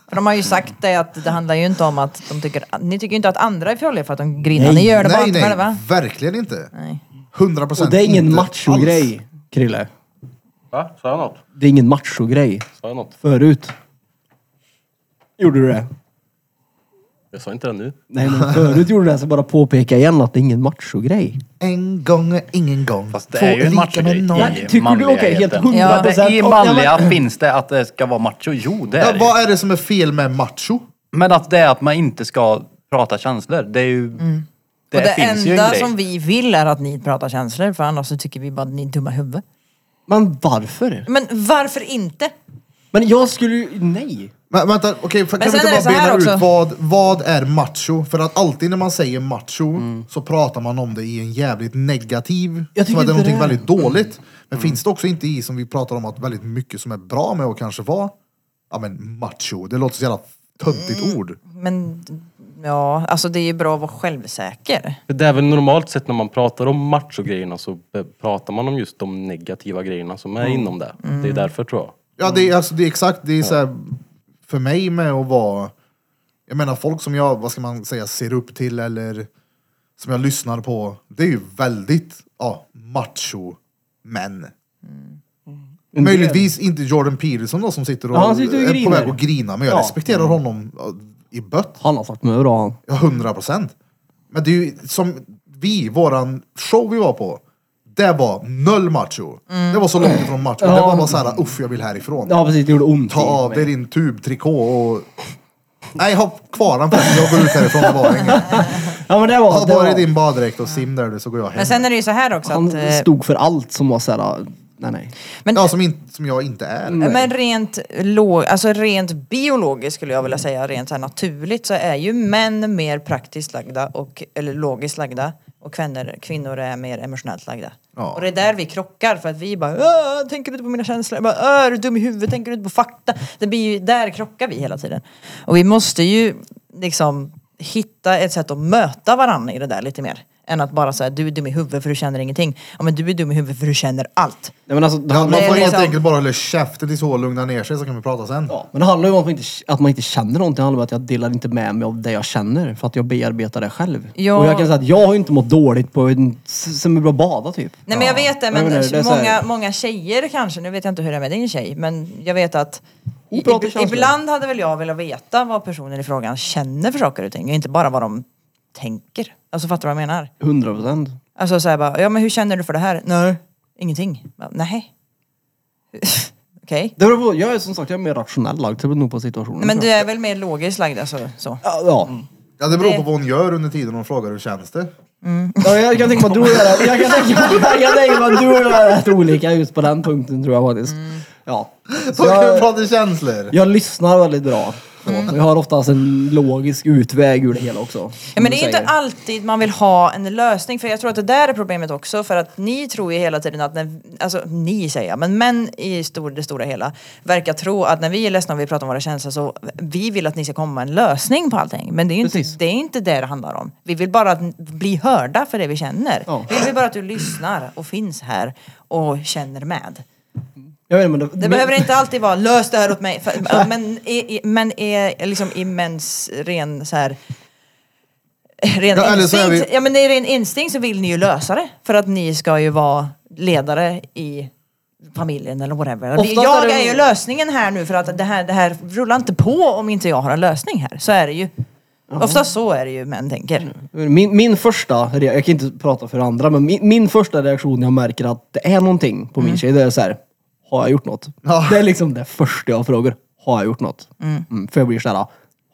[SPEAKER 2] För de har ju sagt det att det handlar ju inte om att de tycker... Ni tycker ju inte att andra är fjolliga för att de grinar. Ni gör det bara
[SPEAKER 3] nej,
[SPEAKER 2] inte
[SPEAKER 3] nej,
[SPEAKER 2] själva.
[SPEAKER 3] verkligen inte.
[SPEAKER 2] Nej.
[SPEAKER 3] 100 procent
[SPEAKER 5] Och det är ingen machogrej, Krille.
[SPEAKER 9] Va? Sa jag något?
[SPEAKER 5] Det är ingen machogrej.
[SPEAKER 9] Sa jag något?
[SPEAKER 5] Förut. Gjorde du det?
[SPEAKER 9] Jag sa inte det nu.
[SPEAKER 5] Nej, men förut gjorde du det. Så bara påpeka igen att det är ingen machogrej.
[SPEAKER 3] En gång är ingen gång.
[SPEAKER 10] Fast det är ju en machogrej
[SPEAKER 3] noll.
[SPEAKER 5] Ja,
[SPEAKER 10] i
[SPEAKER 5] tycker du- okej, helt
[SPEAKER 10] manligheten.
[SPEAKER 2] Ja.
[SPEAKER 10] Ja, det- I
[SPEAKER 5] 100%.
[SPEAKER 10] manliga finns det att det ska vara macho. Jo, det är
[SPEAKER 3] Ja,
[SPEAKER 10] det ju.
[SPEAKER 3] vad är det som är fel med macho?
[SPEAKER 10] Men att det är att man inte ska prata känslor. Det är ju... Det,
[SPEAKER 2] Mm. Och det
[SPEAKER 10] finns ju en
[SPEAKER 2] enda
[SPEAKER 10] grej.
[SPEAKER 2] som vi vill är att ni pratar känslor för annars så tycker vi bara att ni är dumma i huvudet.
[SPEAKER 5] Men varför?
[SPEAKER 2] Men varför inte?
[SPEAKER 5] Men jag skulle ju... Nej.
[SPEAKER 3] Men, vänta, okej, för- kan vi
[SPEAKER 2] sen är
[SPEAKER 3] inte
[SPEAKER 2] det så
[SPEAKER 3] bara
[SPEAKER 2] här
[SPEAKER 3] bena ut
[SPEAKER 2] också.
[SPEAKER 3] vad, vad är macho? För att alltid när man säger macho så pratar man om det i en jävligt negativ,
[SPEAKER 5] Jag
[SPEAKER 3] som
[SPEAKER 5] tycker
[SPEAKER 3] att det är
[SPEAKER 5] inte
[SPEAKER 3] någonting
[SPEAKER 5] det.
[SPEAKER 3] väldigt dåligt.
[SPEAKER 10] Mm.
[SPEAKER 3] Men finns det också inte i, som vi pratar om, att väldigt mycket som är bra med att kanske vara, ja men macho, det låter så jävla töntigt
[SPEAKER 2] Mm.
[SPEAKER 3] ord.
[SPEAKER 2] Men ja, alltså det är ju bra att vara självsäker.
[SPEAKER 9] För Det är väl normalt sett när man pratar om machogrejerna så be- pratar man om just de negativa grejerna som
[SPEAKER 3] Mm.
[SPEAKER 9] är inom det. Det är därför tror jag.
[SPEAKER 3] Ja, det
[SPEAKER 5] Mm.
[SPEAKER 3] är, alltså, det är exakt. Det är så här, för mig med att vara... Jag menar folk som jag, vad ska man säga, ser upp till eller som jag lyssnar på. Det är ju väldigt ja, macho män. Möjligtvis inte Jordan Peterson då som sitter och,
[SPEAKER 5] Mm. Ja, han sitter och
[SPEAKER 3] är på
[SPEAKER 5] griner.
[SPEAKER 3] väg att grina. Men jag
[SPEAKER 5] Ja. Mm.
[SPEAKER 3] respekterar honom ja, i bött.
[SPEAKER 5] Han har fått mig bra han.
[SPEAKER 3] Ja, hundra procent. Men det är ju som vi, våran show vi var på. Det var noll macho. Det var så långt ifrån macho. Det var bara så här, uff jag vill härifrån.
[SPEAKER 5] Mm. Ja precis, det gjorde ont. i
[SPEAKER 3] Ta av
[SPEAKER 5] mig.
[SPEAKER 3] dig din tubtrikå och... Nej, ha kvar den förresten. Jag går ut härifrån. Det var inget.
[SPEAKER 5] Ja men det var...
[SPEAKER 3] Ha
[SPEAKER 5] det
[SPEAKER 3] på dig
[SPEAKER 5] var
[SPEAKER 3] din baddräkt och sim där du så går jag hem.
[SPEAKER 2] Men sen är det ju så här också
[SPEAKER 5] han
[SPEAKER 2] att... eh,
[SPEAKER 5] stod för allt som var såhär... Nej nej.
[SPEAKER 2] Men,
[SPEAKER 3] Ja, som, in, som jag inte är.
[SPEAKER 2] men rent, låg, alltså rent biologiskt skulle jag vilja säga, rent så här naturligt så är ju män mer praktiskt lagda och, eller logiskt lagda Och kvinnor, kvinnor är mer emotionellt lagda.
[SPEAKER 3] Ja.
[SPEAKER 2] Och det är där vi krockar för att vi bara "Åh, tänker du inte på mina känslor? Jag Bara, "Åh, är du dum i huvudet? Tänker du inte på fakta? Det blir ju, där krockar vi hela tiden. Och vi måste ju liksom hitta ett sätt att möta varandra i det där lite mer. Än att bara säga du är dum i huvudet för du känner ingenting. Ja men du är dum i huvudet för du känner allt.
[SPEAKER 5] Nej, men alltså, det,
[SPEAKER 3] Ja, man
[SPEAKER 5] handlar,
[SPEAKER 3] får
[SPEAKER 2] Det är
[SPEAKER 3] helt
[SPEAKER 2] liksom-
[SPEAKER 3] enkelt bara hålla käften tills hon lugnar ner sig så kan vi prata sen.
[SPEAKER 5] ja, men det handlar ju om att man, inte, att man inte känner någonting. Det handlar om att jag delar inte med mig av det jag känner. För att jag bearbetar det själv.
[SPEAKER 2] Ja.
[SPEAKER 5] Och jag kan säga att jag har ju inte mått dåligt på en, s- sen vi började bada typ.
[SPEAKER 2] Nej men jag vet det, men
[SPEAKER 5] Jag menar, det är så här-
[SPEAKER 2] många, många tjejer kanske, nu vet jag inte hur det är med din tjej, men jag vet att
[SPEAKER 5] Hon pratar
[SPEAKER 2] ib-
[SPEAKER 5] känslor.
[SPEAKER 2] ibland hade väl jag velat veta vad personen i frågan känner för saker och ting, inte bara vad de tänker. Alltså fattar du vad jag menar?
[SPEAKER 5] 100 procent.
[SPEAKER 2] Alltså såhär bara, ja men hur känner du för det här? Nej. Ingenting? Bara, Nej. Okej.
[SPEAKER 5] Det beror på, jag är som sagt jag är mer rationell lagd. Det beror nog på situationen.
[SPEAKER 2] Nej, Men
[SPEAKER 5] tror
[SPEAKER 2] du
[SPEAKER 5] jag.
[SPEAKER 2] är väl mer logiskt lagd alltså? Så.
[SPEAKER 5] Ja, ja.
[SPEAKER 3] Ja, det beror på
[SPEAKER 2] Det-
[SPEAKER 3] vad hon gör under tiden hon frågar hur känns det.
[SPEAKER 5] ja, jag kan tänka mig att du och jag är- jag kan tänka jag kan tänka mig att du och jag är rätt olika just på den punkten tror jag faktiskt.
[SPEAKER 2] Mm.
[SPEAKER 5] Ja.
[SPEAKER 3] Så kan vi prata känslor.
[SPEAKER 5] Jag lyssnar väldigt bra. Så.
[SPEAKER 2] Mm.
[SPEAKER 5] Jag har oftast en logisk utväg ur det hela också.
[SPEAKER 2] Ja,
[SPEAKER 5] som
[SPEAKER 2] men
[SPEAKER 5] du
[SPEAKER 2] det är inte
[SPEAKER 5] säger.
[SPEAKER 2] alltid man vill ha en lösning för jag tror att det där är problemet också för att ni tror ju hela tiden att, när, alltså ni säger jag, men män i stor, det stora hela verkar tro att när vi är ledsna och vi pratar om våra känslor så vi vill att ni ska komma med en lösning på allting. Men det är ju inte
[SPEAKER 5] Precis.
[SPEAKER 2] det, är inte det det handlar om. Vi vill bara att n- bli hörda för det vi känner.
[SPEAKER 5] Ja.
[SPEAKER 2] Vi vill bara att du lyssnar och finns här och känner med.
[SPEAKER 5] Jag vet, men det,
[SPEAKER 2] Det behöver inte alltid vara lös det här åt mig. För, men i, i, men är liksom i mäns ren så här... Ren
[SPEAKER 3] Ja, eller så är
[SPEAKER 2] instinkt.
[SPEAKER 3] vi-
[SPEAKER 2] Ja men i ren instinkt så vill ni ju lösa det. För att ni ska ju vara ledare i familjen eller whatever.
[SPEAKER 5] Oftast är
[SPEAKER 2] jag
[SPEAKER 5] det-
[SPEAKER 2] är ju lösningen här nu för att det här, det här rullar inte på om inte jag har en lösning här. Så är det ju. Oftast så är det ju män tänker.
[SPEAKER 5] Min, min första, re- jag kan inte prata för andra, men min, min första reaktion när jag märker att det är någonting på min tjej, det är så här. Har jag gjort något?
[SPEAKER 3] Ja.
[SPEAKER 5] Det är liksom det första jag frågar. Har jag gjort något? Mm, för jag blir såhär,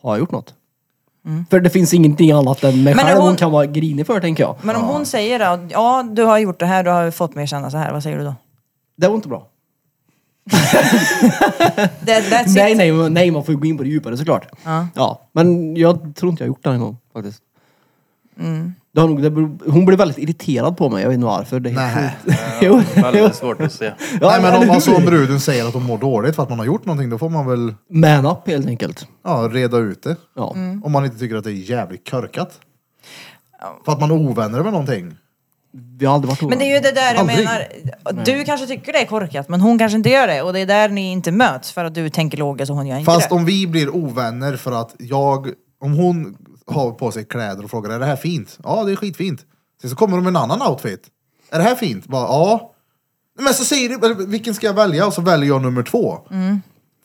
[SPEAKER 5] har jag gjort något? För det finns ingenting annat än mig
[SPEAKER 2] Men
[SPEAKER 5] själv
[SPEAKER 2] hon-
[SPEAKER 5] hon... kan vara grinig för, tänker jag.
[SPEAKER 2] Men om hon säger då, ja du har gjort det här, du har fått mig att känna så här. Vad säger du då?
[SPEAKER 5] Det var inte bra.
[SPEAKER 2] That, that's it.
[SPEAKER 5] Nej, nej, men- nej, man får ju gå in på det djupare såklart. Ja. men jag tror inte jag har gjort det en gång faktiskt. Det har nog, det, beror- hon blev väldigt irriterad på mig, jag vet inte varför. Det är helt
[SPEAKER 3] Nej.
[SPEAKER 5] sjukt. jo, jo.
[SPEAKER 10] Väldigt svårt att se.
[SPEAKER 5] Ja,
[SPEAKER 3] Nej men om
[SPEAKER 5] eller
[SPEAKER 3] man som
[SPEAKER 5] hur?
[SPEAKER 3] bruden säger att hon mår dåligt för att man har gjort någonting, då får man väl
[SPEAKER 5] Man up helt enkelt.
[SPEAKER 3] ja, reda ut det.
[SPEAKER 5] Ja.
[SPEAKER 2] Mm.
[SPEAKER 3] Om man inte tycker att det är jävligt körkat. För att man är ovänner med någonting.
[SPEAKER 5] Vi har aldrig varit
[SPEAKER 2] Men det är ju det där jag menar. Du kanske tycker det är korkat men hon kanske inte gör det och det är där ni inte möts för att du tänker logiskt och hon gör inte
[SPEAKER 3] Fast
[SPEAKER 2] det.
[SPEAKER 3] om vi blir ovänner för att jag, om hon har på sig kläder och frågar är det här fint? Ja det är skitfint. Sen så kommer de med en annan outfit. Är det här fint? Bara, ja. Men så säger du, "Eller vilken ska jag välja? Och så väljer jag nummer två.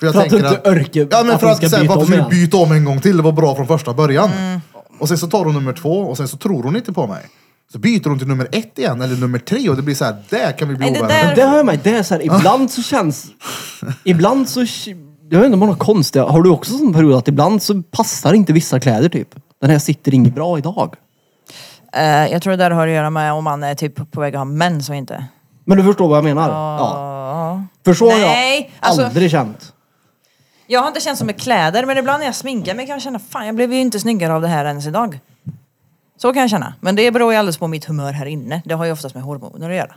[SPEAKER 3] För, jag
[SPEAKER 5] För att du inte orkar-
[SPEAKER 3] Ja men
[SPEAKER 5] att
[SPEAKER 3] för
[SPEAKER 5] hon
[SPEAKER 3] att,
[SPEAKER 5] ska
[SPEAKER 3] sen,
[SPEAKER 5] byta
[SPEAKER 3] varför
[SPEAKER 5] om
[SPEAKER 3] ska du
[SPEAKER 5] igen.
[SPEAKER 3] byta om en gång till? Det var bra från första början. Och sen så tar hon nummer två och sen så tror hon inte på mig. Så byter hon till nummer ett igen eller nummer tre och det blir så här, där kan vi bli
[SPEAKER 2] Nej, det
[SPEAKER 3] ovänner.
[SPEAKER 5] Det hör jag mig. Det är så här, ibland så känns... Ibland så... Jag vet inte om man har konstiga... Har du också sån period att ibland så passar inte vissa kläder typ? Den här sitter inget bra idag.
[SPEAKER 2] Eh, jag tror det där har att göra med om man är typ på väg att ha mens och inte.
[SPEAKER 5] Men du förstår vad jag menar? Ja.
[SPEAKER 2] Ja.
[SPEAKER 5] För så har jag
[SPEAKER 2] Ah. Nej, alltså-
[SPEAKER 5] aldrig känt.
[SPEAKER 2] Jag har inte känt som med kläder men ibland när jag sminkar mig kan jag känna fan jag blev ju inte snyggare av det här ens idag. Så kan jag känna. Men det beror ju alldeles på mitt humör här inne. Det har ju oftast med hormoner att göra.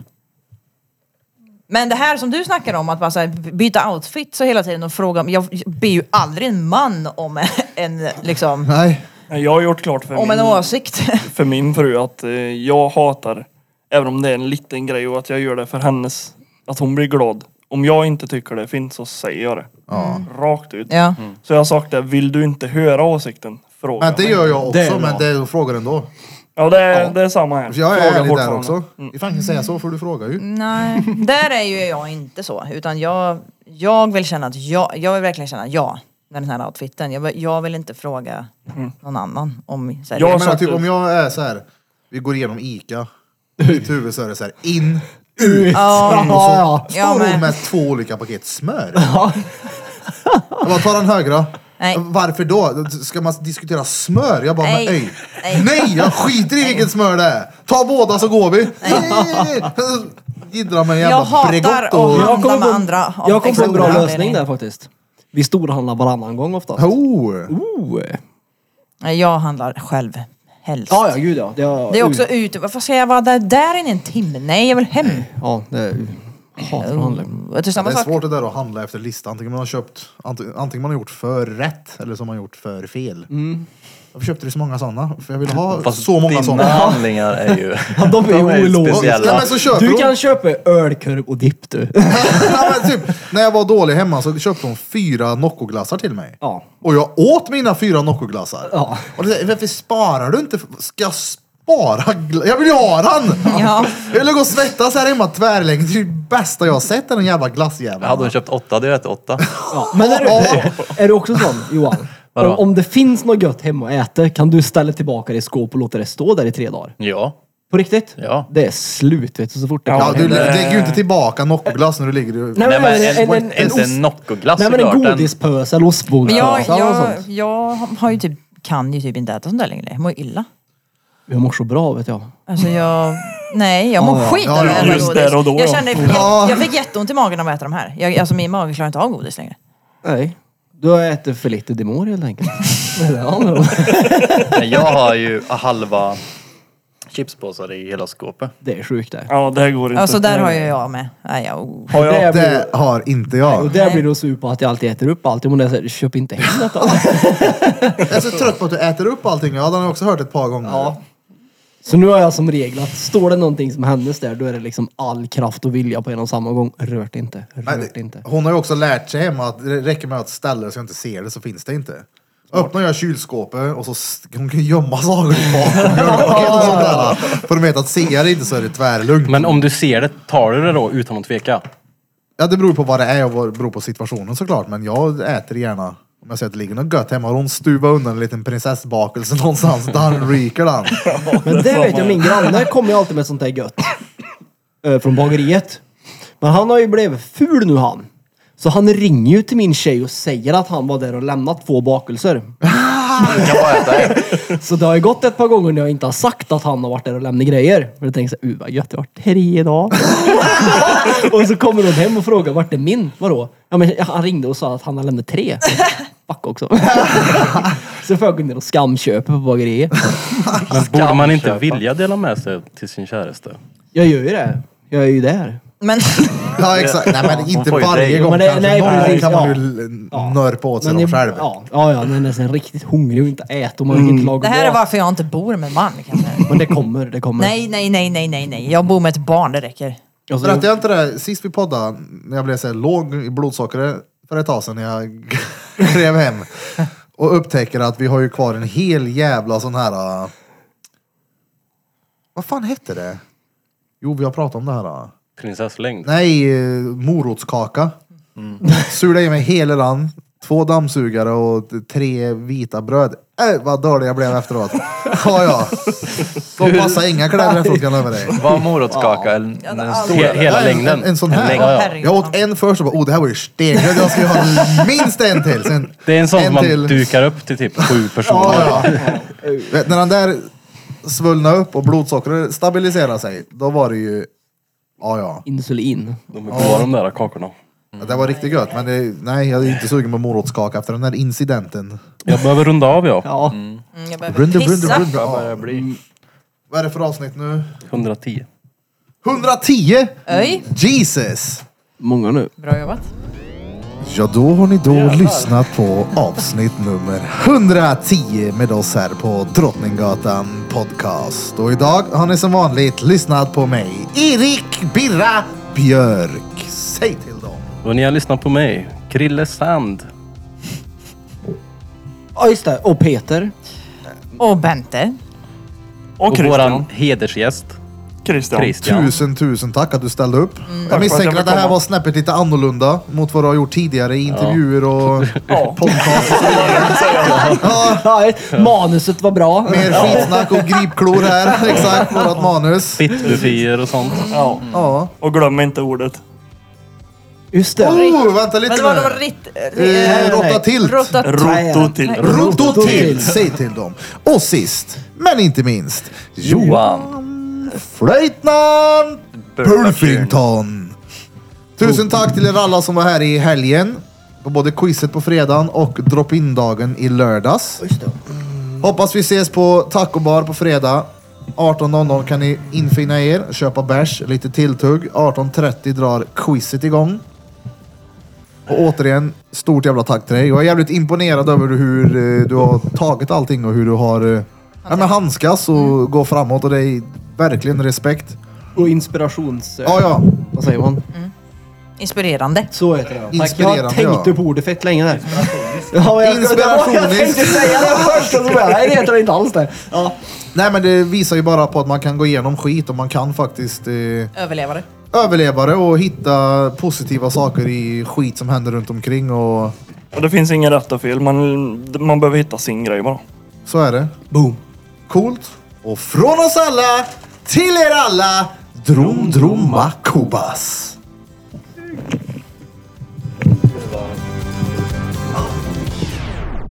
[SPEAKER 2] Men det här som du snackar om, att bara så här byta outfit så hela tiden och fråga. om- Jag ber ju aldrig en man om en liksom...
[SPEAKER 3] Nej.
[SPEAKER 4] Jag har gjort klart för
[SPEAKER 2] Om en
[SPEAKER 4] min-
[SPEAKER 2] åsikt.
[SPEAKER 4] för min fru att eh, jag hatar, även om det är en liten grej och att jag gör det för hennes, att hon blir glad. Om jag inte tycker det är fint så säger jag det. Rakt ut.
[SPEAKER 2] ja.
[SPEAKER 5] Mm.
[SPEAKER 4] Så jag har sagt det, vill du inte höra åsikten? Fråga
[SPEAKER 3] Men det
[SPEAKER 4] mig.
[SPEAKER 3] gör jag också
[SPEAKER 5] Det är
[SPEAKER 3] men
[SPEAKER 5] bra.
[SPEAKER 3] det är frågar ändå.
[SPEAKER 4] Ja det är, det är samma här.
[SPEAKER 3] För jag är
[SPEAKER 4] Fråga
[SPEAKER 3] ärlig där
[SPEAKER 4] fortfarande.
[SPEAKER 3] också. Ifall jag kan säga så får du fråga ju.
[SPEAKER 2] Nej, där är ju jag inte så. Utan jag, jag vill känna att jag, jag vill verkligen känna ja med den här outfiten. Jag, vill- jag vill inte fråga
[SPEAKER 5] Mm.
[SPEAKER 2] någon annan om... Så här,
[SPEAKER 4] Jag
[SPEAKER 3] Jag menar
[SPEAKER 4] satt
[SPEAKER 3] typ
[SPEAKER 4] ut.
[SPEAKER 3] om jag är så här, vi går igenom Ica. I mitt huvud så är det så här, in, ut.
[SPEAKER 5] Ja, ja.
[SPEAKER 3] Står
[SPEAKER 2] Mm. Ja, men-
[SPEAKER 3] hon med två olika paket smör? Jag bara, ta den högra.
[SPEAKER 2] Nej.
[SPEAKER 3] Varför då? Ska man diskutera smör? Jag bara,
[SPEAKER 2] Nej.
[SPEAKER 3] men ej.
[SPEAKER 2] Nej.
[SPEAKER 3] Nej, jag skiter i vilket smör det är. Ta båda så går vi. Jiddrar med en
[SPEAKER 2] Jag
[SPEAKER 3] jävla
[SPEAKER 2] hatar
[SPEAKER 3] Bregott
[SPEAKER 2] att
[SPEAKER 3] och...
[SPEAKER 2] ha- Handla
[SPEAKER 5] kommer
[SPEAKER 2] med
[SPEAKER 5] på-
[SPEAKER 2] andra av
[SPEAKER 5] jag kom på en bra
[SPEAKER 2] exakta
[SPEAKER 5] lösning
[SPEAKER 2] anledning.
[SPEAKER 5] där faktiskt. Vi storhandlar varannan gång oftast.
[SPEAKER 3] Oh.
[SPEAKER 5] Oh.
[SPEAKER 2] Nej, Jag handlar själv helst.
[SPEAKER 5] Ja, ja, gud ja. Det, ja,
[SPEAKER 2] Det är också ute, varför ska jag vara där, där inne en timme? Nej, jag vill hem.
[SPEAKER 5] Ja, det är... Jag hatar att handla.
[SPEAKER 2] Vet du, samma
[SPEAKER 3] Det är
[SPEAKER 2] sak.
[SPEAKER 3] svårt det där att handla efter lista. Antingen man har köpt, ante- antingen man har gjort för rätt eller så har man gjort för fel.
[SPEAKER 5] Mm.
[SPEAKER 3] Varför köpte du så många sådana? För jag vill ha så många
[SPEAKER 10] dina
[SPEAKER 3] sådana.
[SPEAKER 10] handlingar är ju...
[SPEAKER 5] Ja, de är ju
[SPEAKER 10] speciella.
[SPEAKER 3] Ja,
[SPEAKER 5] ologiska.
[SPEAKER 3] men så köper
[SPEAKER 5] Du
[SPEAKER 3] de-
[SPEAKER 5] kan köpa ölkorv och dipp du.
[SPEAKER 3] ja, men typ, när jag var dålig hemma så köpte hon fyra Noccoglassar till mig.
[SPEAKER 5] Ja.
[SPEAKER 3] Och jag åt mina fyra Noccoglassar.
[SPEAKER 5] Ja.
[SPEAKER 3] Och det, varför sparar du inte? Ska jag spara? gla- Jag vill ju ha den!
[SPEAKER 2] Ja.
[SPEAKER 3] Jag vill gå och svettas här hemma tvärlänges. Det är det bästa jag har sett, den jävla glassjäveln.
[SPEAKER 10] Hade hon köpt åtta, det är rätt åtta.
[SPEAKER 5] Ja. Men är du, är du också sån, Johan?
[SPEAKER 10] Vadå?
[SPEAKER 5] Om, om det finns något gött hemma att äta, kan du ställa tillbaka det i skåp och låta det stå där i tre dagar?
[SPEAKER 10] Ja.
[SPEAKER 5] På riktigt?
[SPEAKER 10] Ja.
[SPEAKER 5] Det är slut vet du, så fort det
[SPEAKER 3] Ja,
[SPEAKER 5] kommer
[SPEAKER 3] du
[SPEAKER 5] hem.
[SPEAKER 3] lägger ju inte tillbaka Noccoglass när du ligger i...
[SPEAKER 5] Nej,
[SPEAKER 10] Nej,
[SPEAKER 5] men,
[SPEAKER 10] men
[SPEAKER 5] en, en, en, en,
[SPEAKER 10] Inte en
[SPEAKER 5] ost-
[SPEAKER 10] Noccoglass
[SPEAKER 5] Nej men
[SPEAKER 10] såklart.
[SPEAKER 5] en
[SPEAKER 10] Den-
[SPEAKER 5] godispöse eller
[SPEAKER 2] Men jag,
[SPEAKER 5] ostbågspöse eller
[SPEAKER 2] jag,
[SPEAKER 5] sånt.
[SPEAKER 2] jag har ju typ, kan ju typ inte äta sånt där längre. Jag mår illa.
[SPEAKER 5] Jag mår så bra vet jag.
[SPEAKER 2] Alltså jag... Nej, jag mår
[SPEAKER 5] Ja, ja.
[SPEAKER 2] skit
[SPEAKER 3] Ja,
[SPEAKER 2] av
[SPEAKER 3] ja,
[SPEAKER 2] att äta
[SPEAKER 4] just där och då,
[SPEAKER 2] Jag,
[SPEAKER 4] ja.
[SPEAKER 2] kände,
[SPEAKER 3] Ja.
[SPEAKER 2] jag, jag fick jätteont i magen av att äta de här. Jag, alltså min mage klarar inte av godis längre.
[SPEAKER 5] Nej. Du har ätit för lite Dimor helt enkelt. Det är det han har.
[SPEAKER 10] Men jag har ju halva chipspåsar i hela skåpet.
[SPEAKER 5] Det är sjukt det.
[SPEAKER 4] Ja, det här går inte.
[SPEAKER 2] Alltså där har ju jag med. Nej, jag, oh.
[SPEAKER 4] Har jag?
[SPEAKER 5] Det blir,
[SPEAKER 3] Det har inte
[SPEAKER 5] och
[SPEAKER 3] jag.
[SPEAKER 5] där blir du sur på att jag alltid äter upp allt. Men det är så här, köp inte hem detta.
[SPEAKER 3] Jag är så trött på att du äter upp allting. Ja, den har jag också hört ett par gånger.
[SPEAKER 5] Så nu har jag som regel att står det någonting som hennes där, då är det liksom all kraft och vilja på en och samma gång. Rört inte,
[SPEAKER 3] Nej,
[SPEAKER 5] rört
[SPEAKER 3] det-
[SPEAKER 5] inte.
[SPEAKER 3] Hon har ju också lärt sig hemma att det räcker med att ställa det så jag inte ser det så finns det inte. Öppnar jag kylskåpet och så st- hon kan gömma saker i bakgrunden och sånt där. För de vet att ser jag det inte så är det tvärlugnt.
[SPEAKER 9] Men om du ser det, tar du det då utan att tveka?
[SPEAKER 3] Ja, det beror på vad det är och vad det beror på situationen såklart. Men jag äter gärna om jag ser att det ligger något gött hemma. Har hon stuvat undan en liten prinsessbakelse någonstans, den ryker den.
[SPEAKER 5] Men det vet jag, min granne kommer ju alltid med sånt där gött. Eh, Från bageriet. Men han har ju blivit ful nu han. Så han ringer ju till min tjej och säger att han var där och lämnat två bakelser.
[SPEAKER 10] Kan bara äta en.
[SPEAKER 5] Så det har ju gått ett par gånger när jag inte har sagt att han har varit där och lämnat grejer. Men jag tänker såhär, uh vad gött, jag har varit tre dagar. och så kommer hon hem och frågar, vart är min? Vadå? Ja men han ringde och sa att han har lämnat tre. Fuck också. så får jag gå ner och skamköpa på bageriet.
[SPEAKER 9] Men borde man inte vilja dela med sig till sin käraste?
[SPEAKER 5] Jag gör ju det. Jag är ju där.
[SPEAKER 2] Men
[SPEAKER 3] Ja exakt. Nej men inte
[SPEAKER 10] får ju
[SPEAKER 3] varje
[SPEAKER 10] dig.
[SPEAKER 3] gång
[SPEAKER 5] Men det-
[SPEAKER 3] kanske.
[SPEAKER 5] nej,
[SPEAKER 3] Någon gång
[SPEAKER 5] precis,
[SPEAKER 3] kan man
[SPEAKER 5] ja.
[SPEAKER 3] ju l- nörpa åt sig dem
[SPEAKER 5] jag-
[SPEAKER 3] själv. Mm.
[SPEAKER 5] ja, ja, ja, men är är riktigt hungrig och inte äter och man orkar inte
[SPEAKER 2] det
[SPEAKER 5] laga
[SPEAKER 2] här är
[SPEAKER 5] mat.
[SPEAKER 2] varför jag inte bor med en man. kan jag säga.
[SPEAKER 5] Men det kommer, det kommer.
[SPEAKER 2] Nej, nej, nej, nej, nej, nej. Jag bor med ett barn, det räcker.
[SPEAKER 5] Alltså,
[SPEAKER 3] Berättade jag inte det sist vi poddade, när jag blev så här låg i blodsockret för ett tag sedan när jag klev hem och upptäcker att vi har ju kvar en hel jävla sån här... äh, Vad fan hette det? Jo, vi har pratat om det här. äh.
[SPEAKER 9] Prinsesslängd?
[SPEAKER 3] Nej, äh, morotskaka.
[SPEAKER 9] Mm.
[SPEAKER 3] Sula i mig hela den, två dammsugare och tre vita bröd. Äh, vad dålig jag blev efteråt. Ja, ja. De passar inga kläder efteråt kan jag lova dig.
[SPEAKER 10] Var morotskaka en, en stor...
[SPEAKER 9] He hela
[SPEAKER 3] Ja, en-
[SPEAKER 9] längden?
[SPEAKER 3] En, en sån här.
[SPEAKER 9] längd. Ja, ja.
[SPEAKER 2] Herregud.
[SPEAKER 3] Jag åt en först och bara, oh det här var ju stegröd, jag ska ju ha minst en till. Sen,
[SPEAKER 9] Det är en sån som man
[SPEAKER 3] till.
[SPEAKER 9] dukar upp till typ sju personer.
[SPEAKER 3] Ja, ja. Vet, när den där svullnade upp och blodsockret stabiliserade sig, då var det ju, ja ja.
[SPEAKER 5] Insulin.
[SPEAKER 9] De är goda de där kakorna.
[SPEAKER 3] Det var riktigt gött, men det, nej jag är ju inte sugen på morotskaka efter den där incidenten.
[SPEAKER 9] Jag behöver runda av jag.
[SPEAKER 5] Ja.
[SPEAKER 2] Mm, Jag behöver pissa.
[SPEAKER 3] runda. Ja. Mm. Vad är det för avsnitt nu?
[SPEAKER 9] 110.
[SPEAKER 3] 110!
[SPEAKER 2] Oj,
[SPEAKER 3] Jesus!
[SPEAKER 5] Många nu.
[SPEAKER 2] bra jobbat.
[SPEAKER 3] Ja, då har ni då lyssnat på avsnitt nummer 110 med oss här på Drottninggatan Podcast. Och idag har ni som vanligt lyssnat på mig, Erik Birra Björk. Säg till dem.
[SPEAKER 9] Och ni har lyssnat på mig, Krille Sand.
[SPEAKER 5] Ja, just det. Och Peter.
[SPEAKER 2] Och Bente.
[SPEAKER 4] Och
[SPEAKER 9] Och våran
[SPEAKER 4] Christian.
[SPEAKER 9] hedersgäst,
[SPEAKER 4] Christian.
[SPEAKER 9] Christian.
[SPEAKER 3] Tusen, tusen tack att du ställde upp. jag
[SPEAKER 4] för att jag
[SPEAKER 3] misstänker
[SPEAKER 4] fick
[SPEAKER 3] att det här
[SPEAKER 4] komma.
[SPEAKER 3] var snäppet lite annorlunda mot vad du har gjort tidigare i intervjuer och
[SPEAKER 4] Ja.
[SPEAKER 3] podcast. Ah.
[SPEAKER 5] Ja, manuset var bra.
[SPEAKER 3] Mer skitsnack och gripklor här. Exakt, vårat manus.
[SPEAKER 9] Fittbufier och sånt.
[SPEAKER 4] Ja.
[SPEAKER 3] Ja.
[SPEAKER 4] Och glöm inte ordet.
[SPEAKER 5] Just det.
[SPEAKER 3] Oh, vänta lite
[SPEAKER 2] Men det var
[SPEAKER 3] nu.
[SPEAKER 2] då ritt...
[SPEAKER 3] Eh,
[SPEAKER 2] eh,
[SPEAKER 3] Råtta tilt.
[SPEAKER 2] Råtta
[SPEAKER 4] Roto till.
[SPEAKER 2] Nej.
[SPEAKER 3] Rototill, säg till dem. Och sist, men inte minst,
[SPEAKER 10] Johan.
[SPEAKER 3] Flöjtnant Pulfington. Tusen tack till er alla som var här i helgen. På både quizet på fredagen och drop-in-dagen i lördags.
[SPEAKER 5] Just det.
[SPEAKER 3] Hoppas vi ses på Taco Bar på fredag. 18.00 kan ni infinna er, köpa bärs, lite tilltugg. 18.30 drar quizet igång. Och återigen, stort jävla tack till dig. Jag är jävligt imponerad över hur eh, du har tagit allting och hur du har eh, ja, men handskas och går framåt. Och det är verkligen respekt.
[SPEAKER 5] Och inspirations...
[SPEAKER 3] Ja, ja.
[SPEAKER 5] Vad säger man?
[SPEAKER 2] Inspirerande.
[SPEAKER 5] Så heter det. Tack, jag
[SPEAKER 3] Inspirerande,
[SPEAKER 5] tänkte
[SPEAKER 3] ja.
[SPEAKER 5] på ordet fett länge där. Ja, jag,
[SPEAKER 3] Inspirationist.
[SPEAKER 5] Jag tänkte säga det första som jag... Nej, det heter det inte alls det. Ja.
[SPEAKER 3] Nej men det visar ju bara på att man kan gå igenom skit och man kan faktiskt eh,
[SPEAKER 2] Överlevare.
[SPEAKER 3] överleva det och hitta positiva saker i skit som händer runt omkring och
[SPEAKER 4] Och det finns ingen rätt och fel. Man, man behöver hitta sin grej bara.
[SPEAKER 3] så är det.
[SPEAKER 5] Boom.
[SPEAKER 3] Coolt. Och från oss alla till er alla, Drom Droma Kobas.